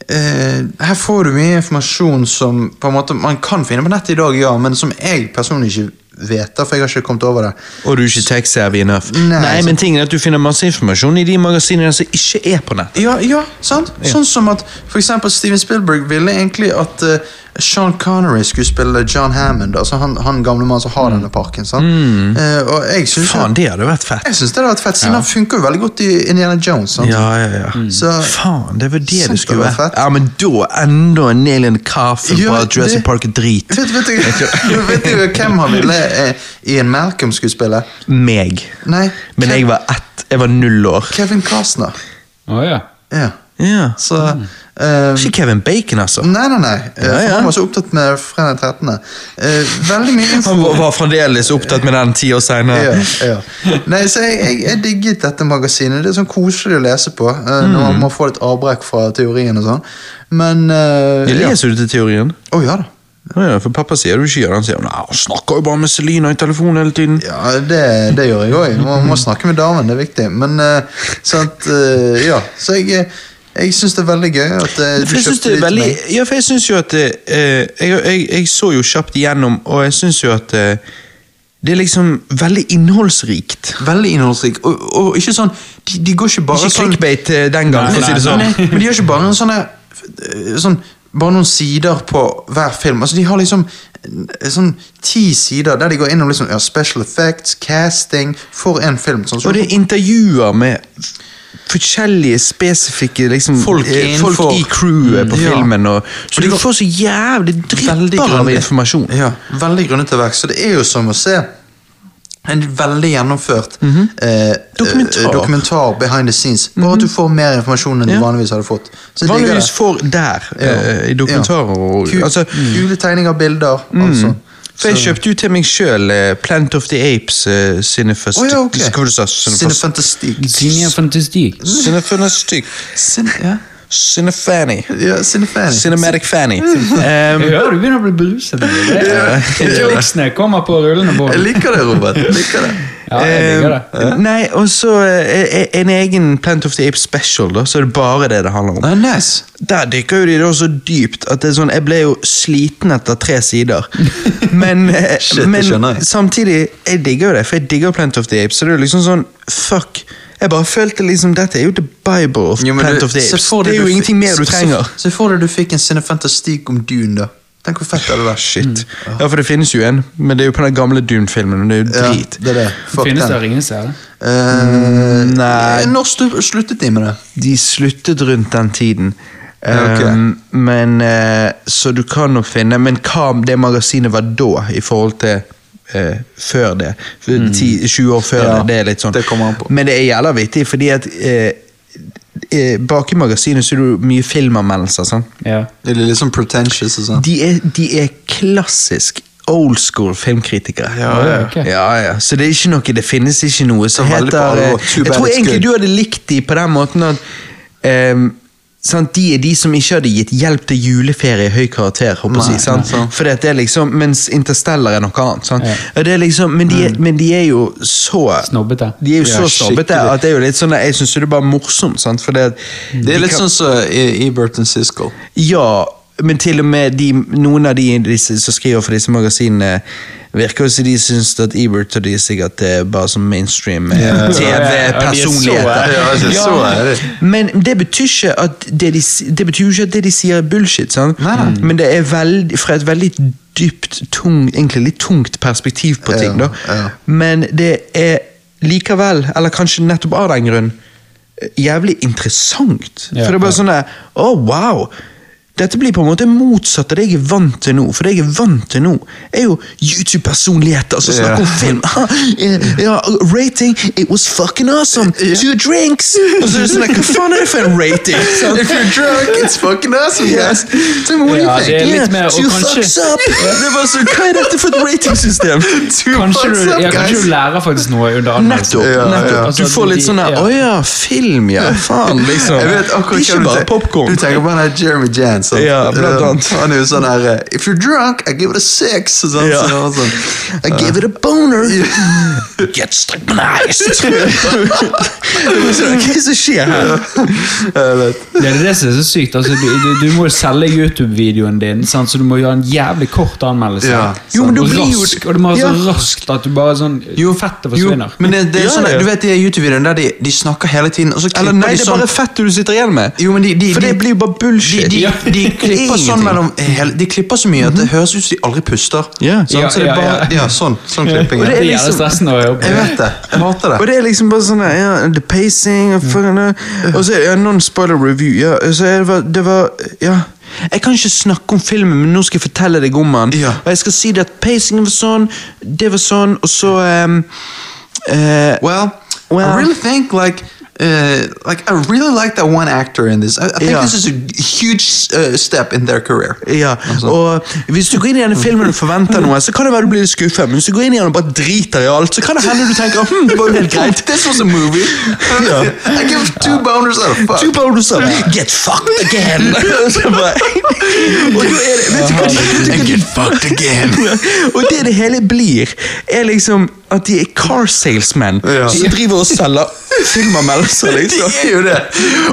Speaker 2: eh, Her får du mye informasjon som på en måte man kan finne på nettet i dag, ja, men som jeg personlig ikke vet, da, for jeg har ikke kommet over det.
Speaker 1: Og du er ikke tech-savvy enough.
Speaker 2: Nei,
Speaker 1: Nei, men tingen er at du finner masse informasjon i de magasinene som ikke er på nett.
Speaker 2: Ja, ja, sant? Sånn som at for eksempel Steven Spielberg ville egentlig at eh, Sean Connery skulle spille John Hammond, altså han, han gamle mannen som har denne parken. Sant? Eh, og jeg
Speaker 1: Mm.
Speaker 2: syns
Speaker 1: Faen, det hadde vært fett.
Speaker 2: jeg synes det hadde vært fett, siden han funker jo veldig godt i Indiana Jones. Sant?
Speaker 1: Ja, ja, ja.
Speaker 2: Så,
Speaker 1: Faen, det var det
Speaker 2: Sant,
Speaker 1: det skulle
Speaker 2: det var
Speaker 1: være.
Speaker 2: fett.
Speaker 1: Ja, men da enda en nail in the coffin
Speaker 2: Ja,
Speaker 1: på at Jurassic
Speaker 2: det-
Speaker 1: Park er drit.
Speaker 2: vet, vet, du, vet du hvem han ville eh, Ian Malcolm skulle spille?
Speaker 1: Meg.
Speaker 2: Nei,
Speaker 1: Men
Speaker 2: Kev-
Speaker 1: jeg var ett, jeg var null år.
Speaker 2: Kevin Costner.
Speaker 3: Å ja.
Speaker 2: Ja,
Speaker 1: Ja.
Speaker 2: så... eh,
Speaker 1: Ikke Kevin Bacon, altså.
Speaker 2: Nei, nei, nei.
Speaker 1: Mm.
Speaker 2: Eh,
Speaker 1: Ja,
Speaker 2: for
Speaker 1: ja.
Speaker 2: Han var så opptatt med Fredag 13. Eh, veldig mye info.
Speaker 1: Han var var fremdeles opptatt med den ti år
Speaker 2: ja,
Speaker 1: senere.
Speaker 2: ja. Nei, så jeg, jeg, jeg digget dette magasinet. Det er sånn koselig å lese på eh, når
Speaker 1: Mm.
Speaker 2: man må få litt avbrekk fra teorien og sånn. Men eh,
Speaker 1: Jeg
Speaker 2: ja.
Speaker 1: leser du til teorien?
Speaker 2: Å, ja da.
Speaker 1: Å Ja, for pappa sier du ikke gjør det. Han sier nei, han snakker jo bare med Selina i telefonen hele tiden.
Speaker 2: Ja, det, det gjør jeg òg. Man må snakke med damen, det er viktig. Men eh, sant, eh, ja. Så jeg, eh, jeg syns det er veldig gøy at eh, du
Speaker 1: For jeg synes
Speaker 2: kjøpte
Speaker 1: det er
Speaker 2: det til
Speaker 1: veldig,
Speaker 2: meg.
Speaker 1: ja, for jeg synes jo at eh, jeg, jeg, jeg så jo kjapt igjennom, og jeg syns jo at eh, det er liksom veldig innholdsrikt.
Speaker 2: Veldig innholdsrik. Og, og ikke sånn De, de går ikke bare
Speaker 1: Ikke
Speaker 2: sånn
Speaker 1: clickbait eh, den gang, for å
Speaker 3: Nei,
Speaker 1: si det
Speaker 3: nei,
Speaker 1: sånn.
Speaker 2: Nei, men de har ikke bare en sånn her, eh, sånn, bare noen sider på hver film. Altså, de har liksom eh, sånn ti sider der de går innom liksom, ja, special effects, casting, for en film. Sånn, så
Speaker 1: Og det er intervjuer med forskjellige spesifikke liksom,
Speaker 2: Folk
Speaker 1: eh, folk
Speaker 2: innenfor- Mm,
Speaker 1: i crewet på
Speaker 2: Ja.
Speaker 1: filmen. Og, så
Speaker 2: de
Speaker 1: du
Speaker 2: går-
Speaker 1: får så jævlig
Speaker 2: Veldig
Speaker 1: drypper av
Speaker 2: grundig.
Speaker 1: informasjon.
Speaker 2: Ja, veldig grunnete verk. Så det er jo som å se en veldig gjennomført eh,
Speaker 1: Mhm. Dokumentar. Mhm.
Speaker 2: eh, dokumentar behind the scenes. Bare at du får mer informasjon enn du vanligvis hadde fått. Så jeg digger det.
Speaker 1: Vanligvis får der, eh, i dokumentarer og
Speaker 2: Ku-
Speaker 1: altså, Mhm.
Speaker 2: Kule tegninger, bilder, altså.
Speaker 1: For jeg kjøpte jo til meg sjøl eh, Planet of the Apes eh, sine første
Speaker 2: Å ja, ok.
Speaker 1: Hva var det du sa? Sine første-
Speaker 2: Cinefantastikk.
Speaker 3: Senior Fantasy.
Speaker 1: Cinefantastic.
Speaker 2: Sin, ja.
Speaker 1: Cinefanny.
Speaker 2: Ja, Cinefanny.
Speaker 1: Cinematic fanny.
Speaker 3: Jeg hører du begynner å bli beruset. Det er- Ehm, Jokesene kommer på rullende
Speaker 2: Jeg
Speaker 3: bånd.
Speaker 2: liker det, Robert. Jeg liker det.
Speaker 3: Ja, jeg digger det.
Speaker 1: Eh, Nei, og så eh, eh, en egen Plant of the Apes special, da, så er det bare det det handler om.
Speaker 2: Ah, nice.
Speaker 1: Der dykker jo de da så dypt at det er sånn, jeg ble jo sliten etter tre sider. Men, eh,
Speaker 2: Shit, det
Speaker 1: men
Speaker 2: skjønner jeg.
Speaker 1: samtidig, jeg digger jo det, for jeg digger Plant of the Apes. Så det er jo liksom sånn, fuck. Jeg bare følte liksom, dette er jo the bible of
Speaker 2: Jo, men
Speaker 1: Plant
Speaker 2: du-
Speaker 1: of the
Speaker 2: se
Speaker 1: Apes.
Speaker 2: for deg
Speaker 1: Det er
Speaker 2: du
Speaker 1: jo
Speaker 2: fikk-
Speaker 1: ingenting mer du
Speaker 2: se-
Speaker 1: trenger.
Speaker 2: Se for deg du fikk en Cinefantastikk om Dune, da. Tenk hvor fett det hadde vært.
Speaker 1: Shit. Ja, for det finnes jo en, men det er jo på den gamle Dune-filmen, og det er jo
Speaker 2: Ja,
Speaker 1: drit.
Speaker 2: det er det. Fuck
Speaker 3: Finnes det
Speaker 2: den.
Speaker 3: ingen seere?
Speaker 2: Eh,
Speaker 1: nei.
Speaker 2: Når stu- sluttet de med det?
Speaker 1: de sluttet rundt den tiden.
Speaker 2: Ja, ok.
Speaker 1: Um, men eh, Så du kan nok finne Men hva om det magasinet var da, i forhold til eh, før det? For 10, 20 år før
Speaker 2: Mm. Ja,
Speaker 1: det. Det er litt sånn.
Speaker 2: det kommer an på.
Speaker 1: Men det er jævla vittig, fordi at eh, eh, Bak i magasinet så er det jo mye filmanmeldelser. sant?
Speaker 3: Ja.
Speaker 2: Eller litt sånn pretentious og sånn.
Speaker 1: De er, de er klassisk old school filmkritikere.
Speaker 2: Ja,
Speaker 3: ja, ok.
Speaker 1: ja, ja. Så det er ikke noe, det finnes ikke noe som
Speaker 2: Det er veldig på
Speaker 1: heter eh,
Speaker 2: alvor. Too
Speaker 1: Jeg
Speaker 2: bad
Speaker 1: tror
Speaker 2: it's
Speaker 1: egentlig
Speaker 2: good.
Speaker 1: du hadde likt de på den måten at ehm, sant, De er de som ikke hadde gitt hjelp til juleferie i høy karakter. håper jeg å
Speaker 2: Nei,
Speaker 1: si, sant?
Speaker 2: nei, sant.
Speaker 1: For det er liksom, Mens Interstellar er noe annet. Sant?
Speaker 3: Ja.
Speaker 1: Ja, Det er liksom, men, de er, men de er jo så
Speaker 3: Snobbete.
Speaker 1: De er jo
Speaker 2: Mm. Ja,
Speaker 1: så snobbete
Speaker 2: skikkelig.
Speaker 1: at det er jo litt sånn, jeg syns det er bare morsomt. Sant? For det,
Speaker 2: Det er litt sånn som i Burton Siskel.
Speaker 1: ja, men til og med de, noen av de, disse som skriver for disse magasinene, virker jo som de syns at Ebert og de sikkert er bare som mainstream eh,
Speaker 2: Ja.
Speaker 1: TV-personligheter.
Speaker 2: Ja, altså, så er det.
Speaker 1: Men det betyr ikke at det de, s- det betyr jo ikke at det de sier er bullshit, sant? Mm.
Speaker 2: Nei, nei.
Speaker 1: men det er veldig, fra et veldig dypt, tung, egentlig litt tungt perspektiv på ting.
Speaker 2: Ja,
Speaker 1: Da.
Speaker 2: ja.
Speaker 1: Men det er likevel, eller kanskje nettopp av den grunn, jævlig interessant.
Speaker 3: Ja,
Speaker 1: For det er bare
Speaker 3: ja.
Speaker 1: sånn der, oh, wow! Dette blir på en måte motsatt av det jeg er vant til nå. For det jeg er vant til nå, er jo YouTube-personligheter som snakker om film. Ha, eh, ja, rating, it was fucking awesome! Two drinks! Og så er det sånn, Hva faen er det for en rating? sant?
Speaker 2: If you're drunk, it's fucking awesome, guys. Tell me what
Speaker 3: Ja, det
Speaker 2: you
Speaker 3: er
Speaker 2: think.
Speaker 1: Yeah,
Speaker 3: litt mer,
Speaker 1: two
Speaker 3: og kanskje
Speaker 1: fucks up! Det var så, Hva er dette for et ratingsystem?
Speaker 2: Two
Speaker 3: Kanskje du,
Speaker 2: fucks up,
Speaker 3: ja, kanskje du
Speaker 2: guys.
Speaker 3: lærer faktisk noe under
Speaker 1: Nettopp.
Speaker 3: anmeldelsen.
Speaker 2: Ja, ja.
Speaker 1: nettopp.
Speaker 3: Altså,
Speaker 1: Du får litt
Speaker 3: de-
Speaker 1: sånn her
Speaker 3: ja.
Speaker 1: Å ja, oh, film, ja. Faen, liksom.
Speaker 2: Jeg vet akkurat
Speaker 1: Ikke
Speaker 2: hva du
Speaker 1: bare
Speaker 2: tenker.
Speaker 1: popkorn.
Speaker 2: Du tenker på han her Jeremy Jan. sant?
Speaker 1: Ja, blant
Speaker 2: Um,
Speaker 1: annet.
Speaker 2: Han er jo sånn her eh, If you're drunk, I give it a six. og Sånn,
Speaker 1: Ja.
Speaker 2: så han sånn.
Speaker 1: I gave it a boner. Get strychnized! Hva er det som skjer her?
Speaker 2: Jeg vet.
Speaker 3: Det er det som er så sykt. Altså, du, du, du må jo selge YouTube-videoen din, sant? så du må gjøre en jævlig kort anmeldelse.
Speaker 2: Ja.
Speaker 1: Jo, men
Speaker 3: og,
Speaker 1: du blir jo-
Speaker 3: rask, og du må ha så
Speaker 1: Ja.
Speaker 3: raskt at du bare sånn Fettet
Speaker 2: Jo,
Speaker 3: forsvinner.
Speaker 2: men det, det er
Speaker 1: Ja,
Speaker 2: sånn,
Speaker 1: ja.
Speaker 2: Du vet de YouTube-videoene der de, de snakker hele tiden, og så klipper
Speaker 1: Eller nei,
Speaker 2: de
Speaker 1: det er
Speaker 2: sånn
Speaker 1: bare fettet du sitter igjen med.
Speaker 2: Jo, men de, de,
Speaker 1: For det
Speaker 2: de-
Speaker 1: blir jo bare bullshit.
Speaker 2: De,
Speaker 3: Ja.
Speaker 2: de, de klipper
Speaker 1: Ingenting.
Speaker 2: sånn
Speaker 1: Mhm.
Speaker 2: mellom hele- De klipper så mye at det høres ut som de aldri puster.
Speaker 1: Ja.
Speaker 2: Sånn,
Speaker 3: Ja,
Speaker 2: så det er
Speaker 3: ja,
Speaker 2: bare,
Speaker 3: ja.
Speaker 2: ja, sånn, sånn klipping.
Speaker 1: Og
Speaker 3: det
Speaker 1: det
Speaker 2: ja.
Speaker 1: er
Speaker 3: er jævlig
Speaker 1: liksom-
Speaker 3: stressende å jobbe
Speaker 2: Jeg
Speaker 3: med.
Speaker 2: vet det. Jeg hater
Speaker 1: Og
Speaker 2: det.
Speaker 1: det er liksom bare sånn ja, The pacing og fucking, Og så ja, non-spoiler review. Ja, så er det, var, det var Ja. Jeg kan ikke snakke om filmen, men nå skal jeg fortelle deg om den.
Speaker 2: Ja.
Speaker 1: Og jeg skal si det at pacingen var sånn, det var sånn, og så ehm, eh,
Speaker 2: Well, I
Speaker 1: Well-
Speaker 2: really think like uh, like I really like that one actor in this. I, I think
Speaker 1: Ja.
Speaker 2: this is a huge uh, step in their career.
Speaker 1: Ja, og Hvis du går inn i denne filmen og forventer noe, så kan det være du blir litt skuffet. Men hvis du går inn i den og bare driter i alt, så kan det hende du tenker hm, det sånn var jo helt greit.
Speaker 2: This was a movie. I give two boners out of fuck.
Speaker 1: Two bonus up. Get fucked again! Så bare- og da er det, vet du hva, vet du hva
Speaker 2: get fucked again.
Speaker 1: Og det det hele blir, er liksom at de er car salesmen
Speaker 2: Ja.
Speaker 1: som driver og selger filmanmeldelser, liksom.
Speaker 2: Det er jo det.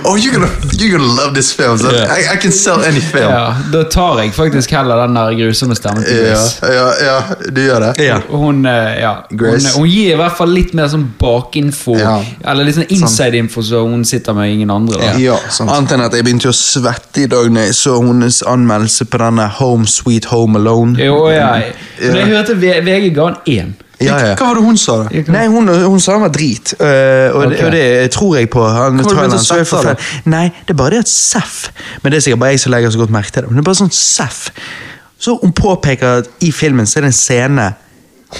Speaker 2: Oh, you're gonna, you're gonna love this film. son.
Speaker 1: Ja.
Speaker 2: I, I can sell any film.
Speaker 3: Ja, da tar jeg faktisk heller den der grusomme stemmen til
Speaker 2: Ja,
Speaker 3: Grace.
Speaker 2: ja, ja, du gjør det.
Speaker 1: Ja.
Speaker 3: Hun, eh, ja, hun,
Speaker 2: Grace.
Speaker 3: hun gir i hvert fall litt mer sånn bakinfo,
Speaker 2: Ja.
Speaker 3: eller litt sånn inside-info, så hun sitter med ingen andre. Da.
Speaker 2: Ja, sant.
Speaker 1: Annet enn at jeg begynte å svette i dag når jeg så hennes anmeldelse på denne Home Sweet Home Alone.
Speaker 3: Jo, ja. Men jeg hørte V- VG ga han én.
Speaker 1: Ja, ja.
Speaker 2: Hva var det hun sa, da?
Speaker 1: Nei, hun, hun sa han var drit, øh, og,
Speaker 3: Ok.
Speaker 1: det, og det tror jeg på. Han,
Speaker 2: du
Speaker 1: traileren,
Speaker 2: begynt å
Speaker 1: så jeg
Speaker 2: svette,
Speaker 1: forferd- Nei, det er bare det at Seff Men det er sikkert bare jeg som legger så godt merke til det. Men det er bare sånn Seff Så hun påpeker at i filmen så er det en scene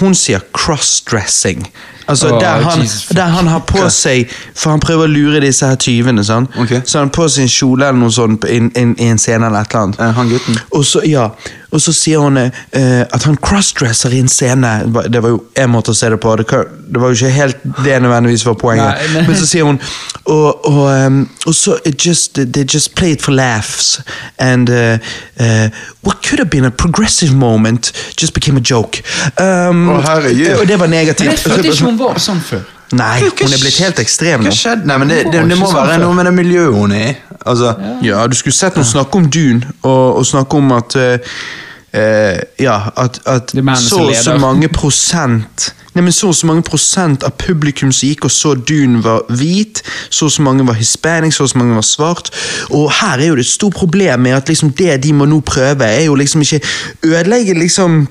Speaker 1: hun sier crossdressing. Altså
Speaker 3: Åh,
Speaker 1: der, han,
Speaker 3: Jesus fuck.
Speaker 1: der han har på seg For han prøver å lure disse her tyvene. sant?
Speaker 2: Ok.
Speaker 1: Så han har på seg en kjole eller noe sånt på- i en- i en scene. eller et eller annet
Speaker 2: Eh, han gutten?
Speaker 1: og så, ja, og så sier hun eh, at han crossdresser i en scene. Det var jo en måte å se det på. Det, kan- det var jo ikke helt det nødvendigvis var poenget.
Speaker 3: Nei, nei.
Speaker 1: Men så sier hun og, og, ehm, og så it just, They just play it for laughs. And eh, eh, what could have been a progressive moment just became a joke. Um,
Speaker 2: Å, herregud.
Speaker 1: og det var
Speaker 3: Men jeg
Speaker 1: negativt.
Speaker 3: følte ikke hun var sånn før.
Speaker 1: Nei, hun er blitt helt ekstrem
Speaker 2: Hva
Speaker 1: nå.
Speaker 2: skjedde? Nei, men det, det,
Speaker 3: Hun var
Speaker 2: det må
Speaker 3: ikke sånn
Speaker 2: være
Speaker 3: før.
Speaker 2: noe med det miljøet hun er i. Altså,
Speaker 1: Ja, du skulle sett noen snakke om Dune, og, og snakke om at eh, eh, Ja, at, at
Speaker 3: Det er mennene
Speaker 1: så
Speaker 3: som
Speaker 1: og så
Speaker 3: leder.
Speaker 1: mange prosent Nei, men så og så mange prosent av publikum som gikk og så Dune, var hvit. Så og så mange var hispanic, så og så mange var svart. Og her er jo det et stort problem med at liksom det de må nå prøve, er jo liksom ikke ødelegge liksom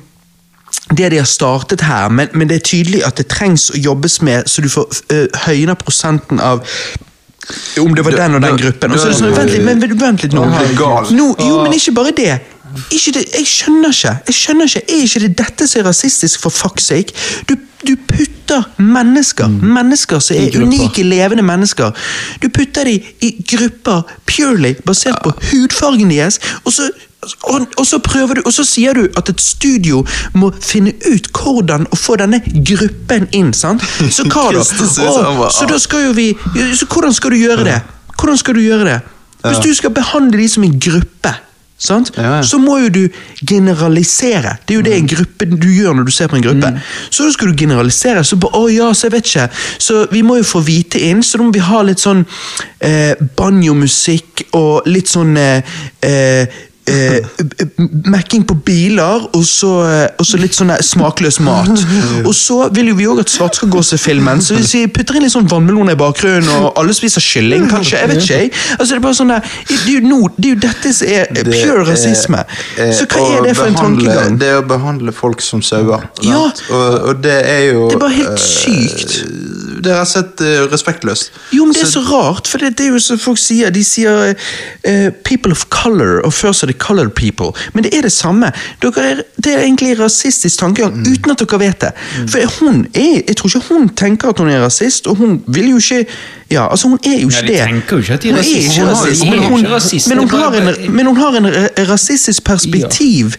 Speaker 1: det de har startet her, men, men det er tydelig at det trengs å jobbes med, så du får øh, høyner prosenten av om det var den og den gruppen. Og så er det sånn, vent litt, men, men, vent litt nå.
Speaker 2: Nå er det galt.
Speaker 1: nå. Jo,
Speaker 3: Ah.
Speaker 1: men ikke bare det. Ikke det. Jeg skjønner ikke. Jeg skjønner ikke. Er ikke det dette som er rasistisk, for fuck's sake? Du, du putter mennesker, mennesker som
Speaker 3: Mm. I
Speaker 1: er
Speaker 3: grupper.
Speaker 1: unike, levende mennesker, du putter de i grupper purely basert på
Speaker 3: Ah.
Speaker 1: hudfargen deres, og så og, og så prøver du, og så sier du at et studio må finne ut hvordan å få denne gruppen inn. sant? Så hva da?
Speaker 2: Kristus, jeg
Speaker 1: Å,
Speaker 2: sa bare,
Speaker 1: så da skal jo vi Så hvordan skal du gjøre det? Hvordan skal du gjøre det? Hvis du skal behandle de som en gruppe, sant?
Speaker 2: Ja, ja.
Speaker 1: så må jo du generalisere. Det er jo det en gruppe du gjør når du ser på en gruppe. Så da skal du generalisere. Så bare, å ja, så jeg vet ikke. Så vi må jo få hvite inn, så da må vi ha litt sånn eh, banjomusikk og litt sånn eh, eh, eh, mekking på biler, og så, og så litt sånn der smakløs mat. Og så vil jo vi òg at svarte skal gå og se filmen, så hvis vi putter inn litt sånn vannmeloner i bakgrunnen, og alle spiser kylling, kanskje, jeg vet ikke. jeg. Altså Det er bare sånn der, det er jo, nå- det er jo dette som er
Speaker 2: det
Speaker 1: pure
Speaker 2: er-
Speaker 1: rasisme.
Speaker 2: eh,
Speaker 1: Så hva
Speaker 2: å
Speaker 1: er det for en
Speaker 2: behandle-
Speaker 1: tankegang?
Speaker 2: Det er å behandle folk som sauer.
Speaker 1: Ja.
Speaker 2: sant? Og, og det er jo
Speaker 1: Det er bare helt
Speaker 2: eh,
Speaker 1: sykt.
Speaker 2: det er rett og slett eh, respektløst.
Speaker 1: Jo, men det er så rart, for det, det er jo som folk sier. De sier eh, 'people of color', og før sa de 'color people'. Men det er det samme. Dere er, det er egentlig rasistisk
Speaker 3: Mm.
Speaker 1: tankegang, uten at dere vet det. For hun er, jeg tror ikke hun tenker at hun er rasist, og hun vil jo ikke Ja, altså, hun er jo ikke
Speaker 3: de
Speaker 1: det.
Speaker 3: tenker jo ikke at de er
Speaker 1: Hun
Speaker 3: rasister.
Speaker 1: ikke
Speaker 3: Hun er
Speaker 1: rasist,
Speaker 3: jo
Speaker 1: men hun-
Speaker 3: ikke rasist.
Speaker 1: Men hun
Speaker 3: Det er
Speaker 1: har
Speaker 3: bare-
Speaker 1: en, men hun har en ra- rasistisk perspektiv,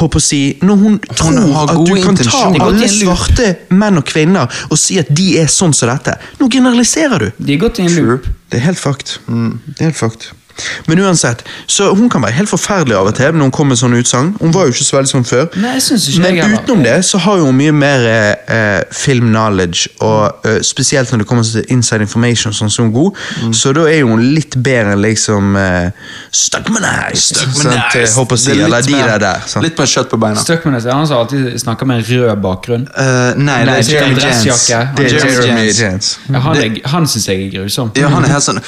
Speaker 1: håper jeg å si, når hun tror
Speaker 2: har
Speaker 1: at du
Speaker 2: gode
Speaker 1: kan ta
Speaker 2: intensjoner.
Speaker 1: alle
Speaker 3: Det går til en loop.
Speaker 1: svarte menn og kvinner og si at de er sånn som dette. Nå generaliserer du.
Speaker 3: De har gått i en loop.
Speaker 1: Det er helt fucked.
Speaker 2: Mm.
Speaker 1: Det er helt fucked. Men uansett, så hun kan være helt forferdelig av og til når hun kommer med sånne utsagn. Hun var jo ikke så veldig sånn før.
Speaker 3: Nei, jeg synes ikke
Speaker 1: Men
Speaker 3: jeg heller.
Speaker 1: utenom det så har jo hun mye mer eh, eh, film knowledge, og eh, spesielt når det kommer til inside information, sånn som hun er god. Så da er jo hun litt bedre enn liksom eh, Stuckmanized! sant, eh, Håper jeg å si.
Speaker 2: Det er litt
Speaker 1: Eller de
Speaker 2: mer-
Speaker 1: der der. sant.
Speaker 2: Litt mer kjøtt på beina.
Speaker 3: Stuckman er han som alltid snakker med en rød bakgrunn.
Speaker 2: Eh, nei, det
Speaker 3: Nei,
Speaker 2: er
Speaker 3: det er
Speaker 2: Jeremy
Speaker 3: dressjakke.
Speaker 2: Jans.
Speaker 3: Det
Speaker 1: Det er
Speaker 2: Jeremy
Speaker 1: Jeremy
Speaker 2: Jans.
Speaker 1: Jans.
Speaker 3: Ja, han er- han syns jeg er grusom.
Speaker 2: Ja, han er helt sånn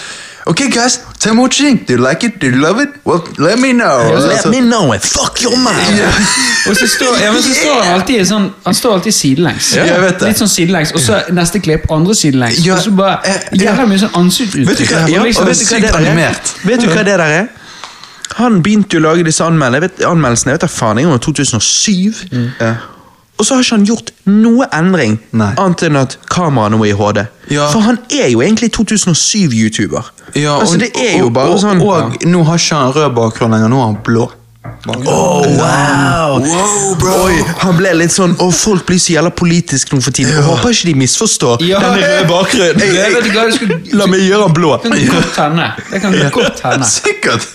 Speaker 2: Ok, guys, tell me what you think. Do you like it? Do you love it? Well, let me know.
Speaker 1: Let
Speaker 2: Altså-
Speaker 1: me know it! Fuck your mind!
Speaker 2: Ja.
Speaker 3: Og så står, ja, men så står han alltid i sånn Han står alltid sidelengs.
Speaker 2: Ja, jeg vet det.
Speaker 3: Litt sånn sidelengs, og så neste klipp andre sidelengs.
Speaker 2: Ja,
Speaker 3: og så bare
Speaker 2: eh, ja.
Speaker 3: Jævla mye sånn ansiktsuttrykk.
Speaker 1: Vet du hva, ja,
Speaker 3: Og
Speaker 1: og
Speaker 3: liksom-
Speaker 1: vet du hva
Speaker 2: sykt
Speaker 1: det der er?
Speaker 2: animert.
Speaker 1: Vet du hva det der er? Han begynte jo å lage disse anmeldelsene, jeg vet, anmeldelsene, jeg vet da faen, jeg var 2007.
Speaker 2: Ja.
Speaker 1: Og så har ikke han gjort noe endring,
Speaker 2: Nei.
Speaker 1: annet enn at kameraet nå er i HD.
Speaker 2: Ja.
Speaker 1: For han er jo egentlig 2007-YouTuber.
Speaker 2: Ja, og,
Speaker 1: altså, det er jo
Speaker 2: og-
Speaker 1: bare
Speaker 2: og,
Speaker 1: sånn
Speaker 2: Og, nå har ikke han rød bakgrunn lenger, nå har han blå.
Speaker 1: Oh, wow! Oi, han ble litt sånn Og folk blir så jævla politiske nå for tiden. Jeg håper ikke de misforstår
Speaker 3: Ja.
Speaker 1: denne røde bakgrunnen.
Speaker 3: Ja,
Speaker 1: Jeg-
Speaker 3: vet du hva, du skulle-
Speaker 1: La meg gjøre han blå.
Speaker 3: Det kan godt hende. Det kan godt hende.
Speaker 2: Sikkert!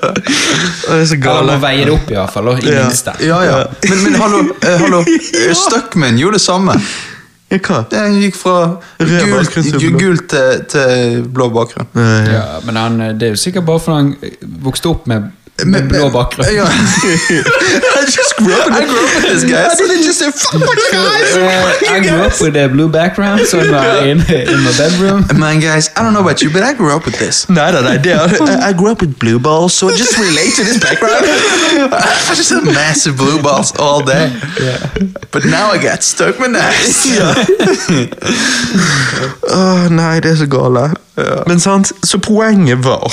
Speaker 1: Å, Det er så
Speaker 3: Eller
Speaker 1: gale.
Speaker 3: må veie det opp, i hvert fall. og I
Speaker 1: Ja.
Speaker 3: minste.
Speaker 2: Ja, ja. Men, men hallo, eh, hallo. Eh, Stuckman gjorde det samme.
Speaker 1: Ja, hva?
Speaker 2: Han gikk fra
Speaker 1: Rød
Speaker 2: gult,
Speaker 1: bakgrunn til blå.
Speaker 2: gult til, til blå bakgrunn.
Speaker 3: Ja, men han, eh, det er jo sikkert bare fordi han eh, vokste opp med, med blå bakgrunn.
Speaker 2: Ja.
Speaker 1: I just grew up in
Speaker 2: I grew up with this, guys.
Speaker 1: I didn't just say fuck what you guys.
Speaker 3: Uh, I grew up with a blue background, so I'm uh, in, in my bedroom.
Speaker 2: Man, guys, I don't know about you, but I grew up with this.
Speaker 1: Nei, nei, nei, det er, I grew up with blue balls, so I just relate to this background.
Speaker 2: I just had massive blue balls all day. But now I got Stuckmanized.
Speaker 1: Åh, nei, det er så gale. Men sant, så poenget var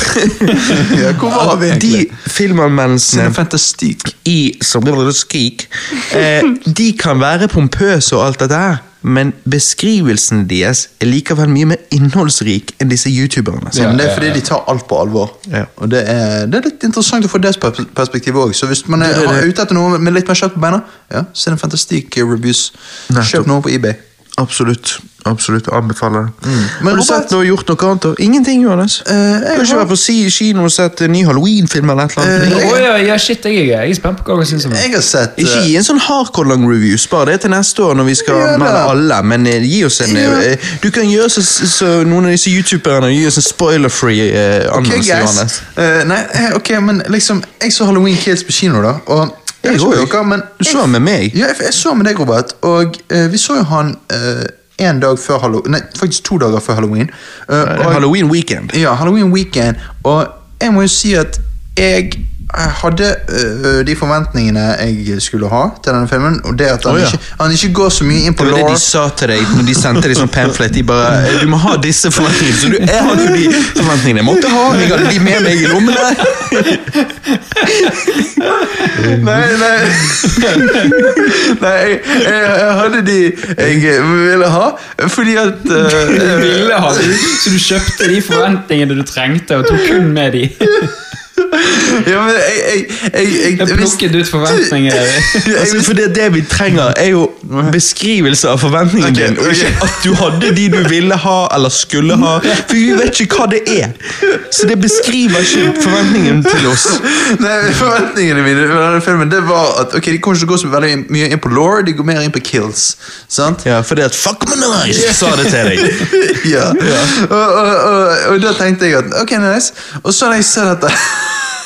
Speaker 2: Ja, hvor var vi
Speaker 1: at de
Speaker 2: egentlig?
Speaker 1: filmanmeldelsene
Speaker 2: Sin fantastikk.
Speaker 1: i som blir det skrik, eh, de kan være pompøse og alt dette her, men beskrivelsen deres er likevel mye mer innholdsrik enn disse youtuberne.
Speaker 2: Ja,
Speaker 1: sant?
Speaker 2: men det er fordi de tar alt på alvor.
Speaker 1: Ja.
Speaker 2: Og det er, det er litt interessant å få det pers- perspektivet òg. Så hvis man er,
Speaker 1: Det er det.
Speaker 2: er ute etter noe med litt mer kjøtt på beina, ja, så er det fantastisk reviews.
Speaker 1: Nettopp.
Speaker 2: Kjøp noe på eBay.
Speaker 1: Absolutt. Absolutt anbefaler det.
Speaker 2: Mm. Men
Speaker 1: har du
Speaker 2: Robert-
Speaker 1: sett noe gjort noe annet? da? Ingenting, Johannes.
Speaker 2: Eh, jeg
Speaker 1: du har ikke
Speaker 2: har- Eh,
Speaker 1: vært på si kino og sett en ny Halloween-film eller et eller
Speaker 3: Å
Speaker 1: annet?
Speaker 3: ja, ja, shit, jeg er, jeg er spent på hva dere syns om det.
Speaker 2: Jeg har sett
Speaker 1: ikke
Speaker 2: eh,
Speaker 1: gi en sånn hardcore lang review. Spar det til neste år når vi skal
Speaker 2: Ja, da.
Speaker 1: anmelde alle. Men eh, gi oss en
Speaker 2: Ja.
Speaker 1: eh, Du kan gjøre så, så noen av disse youtuberne gir oss en spoiler-free eh,
Speaker 2: Ok,
Speaker 1: anmeldelse, Johannes.
Speaker 2: guys. Eh, nei, eh, ok, men liksom Jeg så Halloween Kids på kino, da. Og
Speaker 1: Jeg
Speaker 2: jeg vet ikke med
Speaker 1: òg.
Speaker 2: dere, men
Speaker 1: Du så den med meg.
Speaker 2: Ja, jeg, jeg så med deg, Robert. Og eh, vi så jo han én dag før halloween Nei, faktisk to dager før halloween. Eh,
Speaker 1: Eh,
Speaker 2: og-
Speaker 1: Halloween weekend.
Speaker 2: Ja, Halloween weekend. Og jeg må jo si at jeg eh, hadde øh, de forventningene jeg skulle ha til denne filmen. Og det at han,
Speaker 1: Å, ja.
Speaker 2: ikke, han ikke går så mye inn på
Speaker 1: Det var det
Speaker 2: lore.
Speaker 1: de sa til deg når de sendte deg sånn pamphlet. De bare eh, 'Du må ha disse forventningene.' Så du, jeg hadde jo de forventningene jeg måtte ha. Jeg hadde de med meg i lommene.
Speaker 2: Nei, nei. nei jeg, jeg, jeg hadde de jeg ville ha, fordi at
Speaker 3: Du
Speaker 2: øh,
Speaker 3: ville ha de, så du kjøpte de forventningene du trengte, og tok kun med de.
Speaker 2: Ja, men jeg, jeg, jeg, jeg,
Speaker 3: Jeg plukket ut forventningene.
Speaker 1: Altså, for det, det vi trenger, er jo beskrivelse av forventningen
Speaker 2: Ok,
Speaker 1: din. Og ikke
Speaker 2: ok.
Speaker 1: at du hadde de du ville ha eller skulle ha. For vi vet ikke hva det er. Så det beskriver ikke forventningen til oss.
Speaker 2: Nei, Forventningene mine med denne filmen Det var at ok, de kommer ikke til å gå så veldig mye inn på lore, de går mer inn på kills. Sant?
Speaker 1: Ja, for det at fuck me nice sa det til deg.
Speaker 2: ja. Og, og, og, og da tenkte jeg at ok, nice. Og så når jeg ser dette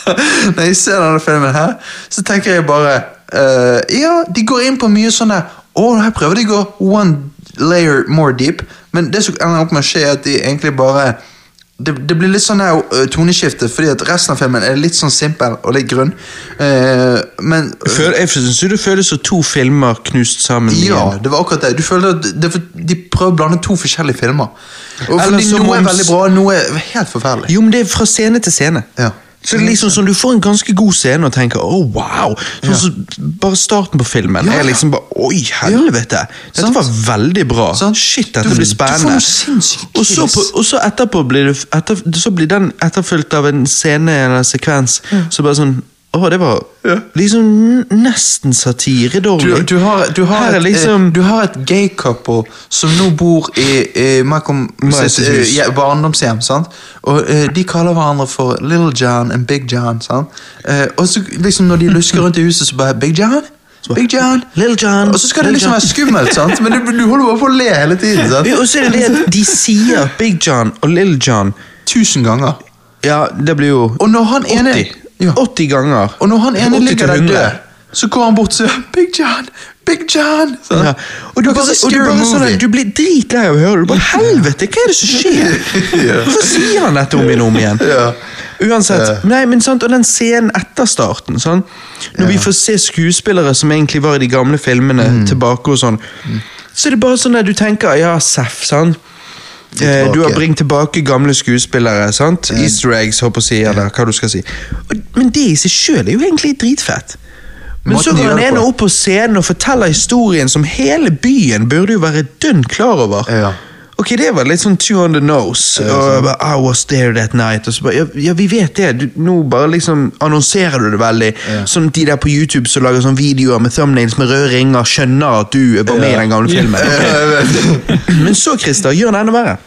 Speaker 2: Når jeg ser denne filmen her, så tenker jeg bare eh, Ja, de går inn på mye sånn der Å, her prøver de å gå one layer more deep, men det som ender opp med å skje, er at de egentlig bare det, det blir litt sånn der øh, toneskifte, fordi at resten av filmen er litt sånn simpel og litt grunn. Eh, men
Speaker 1: Føl, jeg syns jo det føles som to filmer knust sammen
Speaker 2: Ja,
Speaker 1: igjen.
Speaker 2: det var akkurat det. Du føler at det, er for- De prøver å blande to forskjellige filmer. Og
Speaker 1: Eller
Speaker 2: fordi
Speaker 1: som
Speaker 2: Noe er
Speaker 1: om-
Speaker 2: veldig bra, noe er helt forferdelig.
Speaker 1: Jo, men det er fra scene til scene.
Speaker 2: Ja.
Speaker 1: Så det er liksom sånn, Du får en ganske god scene og tenker 'oh, wow'. Sånn som bare starten på filmen
Speaker 2: Ja, ja.
Speaker 1: er liksom bare 'oi, helvete'. Dette
Speaker 2: Sant.
Speaker 1: var veldig bra.
Speaker 2: Sant.
Speaker 1: Shit, dette
Speaker 2: Du-
Speaker 1: blir
Speaker 2: du får
Speaker 1: spennende.
Speaker 2: noe sinnssykt
Speaker 1: og, så på,
Speaker 2: kiss.
Speaker 1: og så etterpå blir, det, etter, så blir den etterfulgt av en scene eller sekvens så bare sånn Å, det var liksom n- nesten satire
Speaker 2: Du,
Speaker 1: dårlig.
Speaker 2: du, har, du, har
Speaker 1: Her er
Speaker 2: et,
Speaker 1: liksom-
Speaker 2: eh, du har et gay couple som nå bor i, i Malcolm
Speaker 1: Miles'
Speaker 2: sitt eh,
Speaker 1: hus.
Speaker 2: ja, barndomshjem. sant? Og eh, De kaller hverandre for Little John and Big John. sant? Eh, og så liksom når de lusker rundt i huset, så bare Big John? Big John?
Speaker 1: Little John,
Speaker 2: Og så skal det
Speaker 1: Little
Speaker 2: liksom
Speaker 1: John.
Speaker 2: være skummelt, sant? men du, du holder bare på å le hele tiden. sant?
Speaker 1: Ja, og så er det det at de sier Big John og Little John
Speaker 2: Tusen ganger.
Speaker 1: Ja, det blir jo
Speaker 2: Og når han ene
Speaker 1: 80,
Speaker 2: Ja.
Speaker 1: 80 ganger.
Speaker 2: Og når han ene
Speaker 1: 80
Speaker 2: ligger
Speaker 1: til
Speaker 2: der
Speaker 1: 100.
Speaker 2: død, så går han bort og sier 'Big John! Big John!' Sånn.
Speaker 1: Ja. Og du,
Speaker 2: Det er
Speaker 1: bare,
Speaker 2: så
Speaker 1: og du,
Speaker 2: scary
Speaker 1: bare sånn,
Speaker 2: movie.
Speaker 1: der, du blir dritlei av å høre det. Du bare, Helvete, hva er det som skjer? Hvorfor sier han dette om igjen og om igjen?
Speaker 2: Ja.
Speaker 1: Uansett, nei, men sant, Og den scenen etter starten, sånn, når vi får se skuespillere som egentlig var i de gamle filmene,
Speaker 2: Mm.
Speaker 1: tilbake og sånn, så er det bare sånn at du tenker ja, seff, sant. Eh, Du har
Speaker 2: Tilbake.
Speaker 1: bringt tilbake gamle skuespillere. sant? Easter eggs, håper jeg, å si, eller hva du skal si. Og, men det i seg sjøl er jo egentlig dritfett. Men
Speaker 2: Måten
Speaker 1: så går
Speaker 2: de gjør
Speaker 1: han
Speaker 2: det
Speaker 1: ene
Speaker 2: på.
Speaker 1: opp på scenen og forteller historien som hele byen burde jo være dønn klar over.
Speaker 2: Ja. sånn.
Speaker 1: Ok, det var litt sånn two on the nose. og jeg bare, I was there that night. Og så bare, ja, ja, vi vet det. Du, nå bare liksom annonserer du det veldig. Som de der på YouTube som lager sånne videoer med thumbnails med røde ringer, skjønner at du var med i den gamle filmen. Ok.
Speaker 2: Ja, jeg vet.
Speaker 1: Men så, Christer, gjør han enda verre.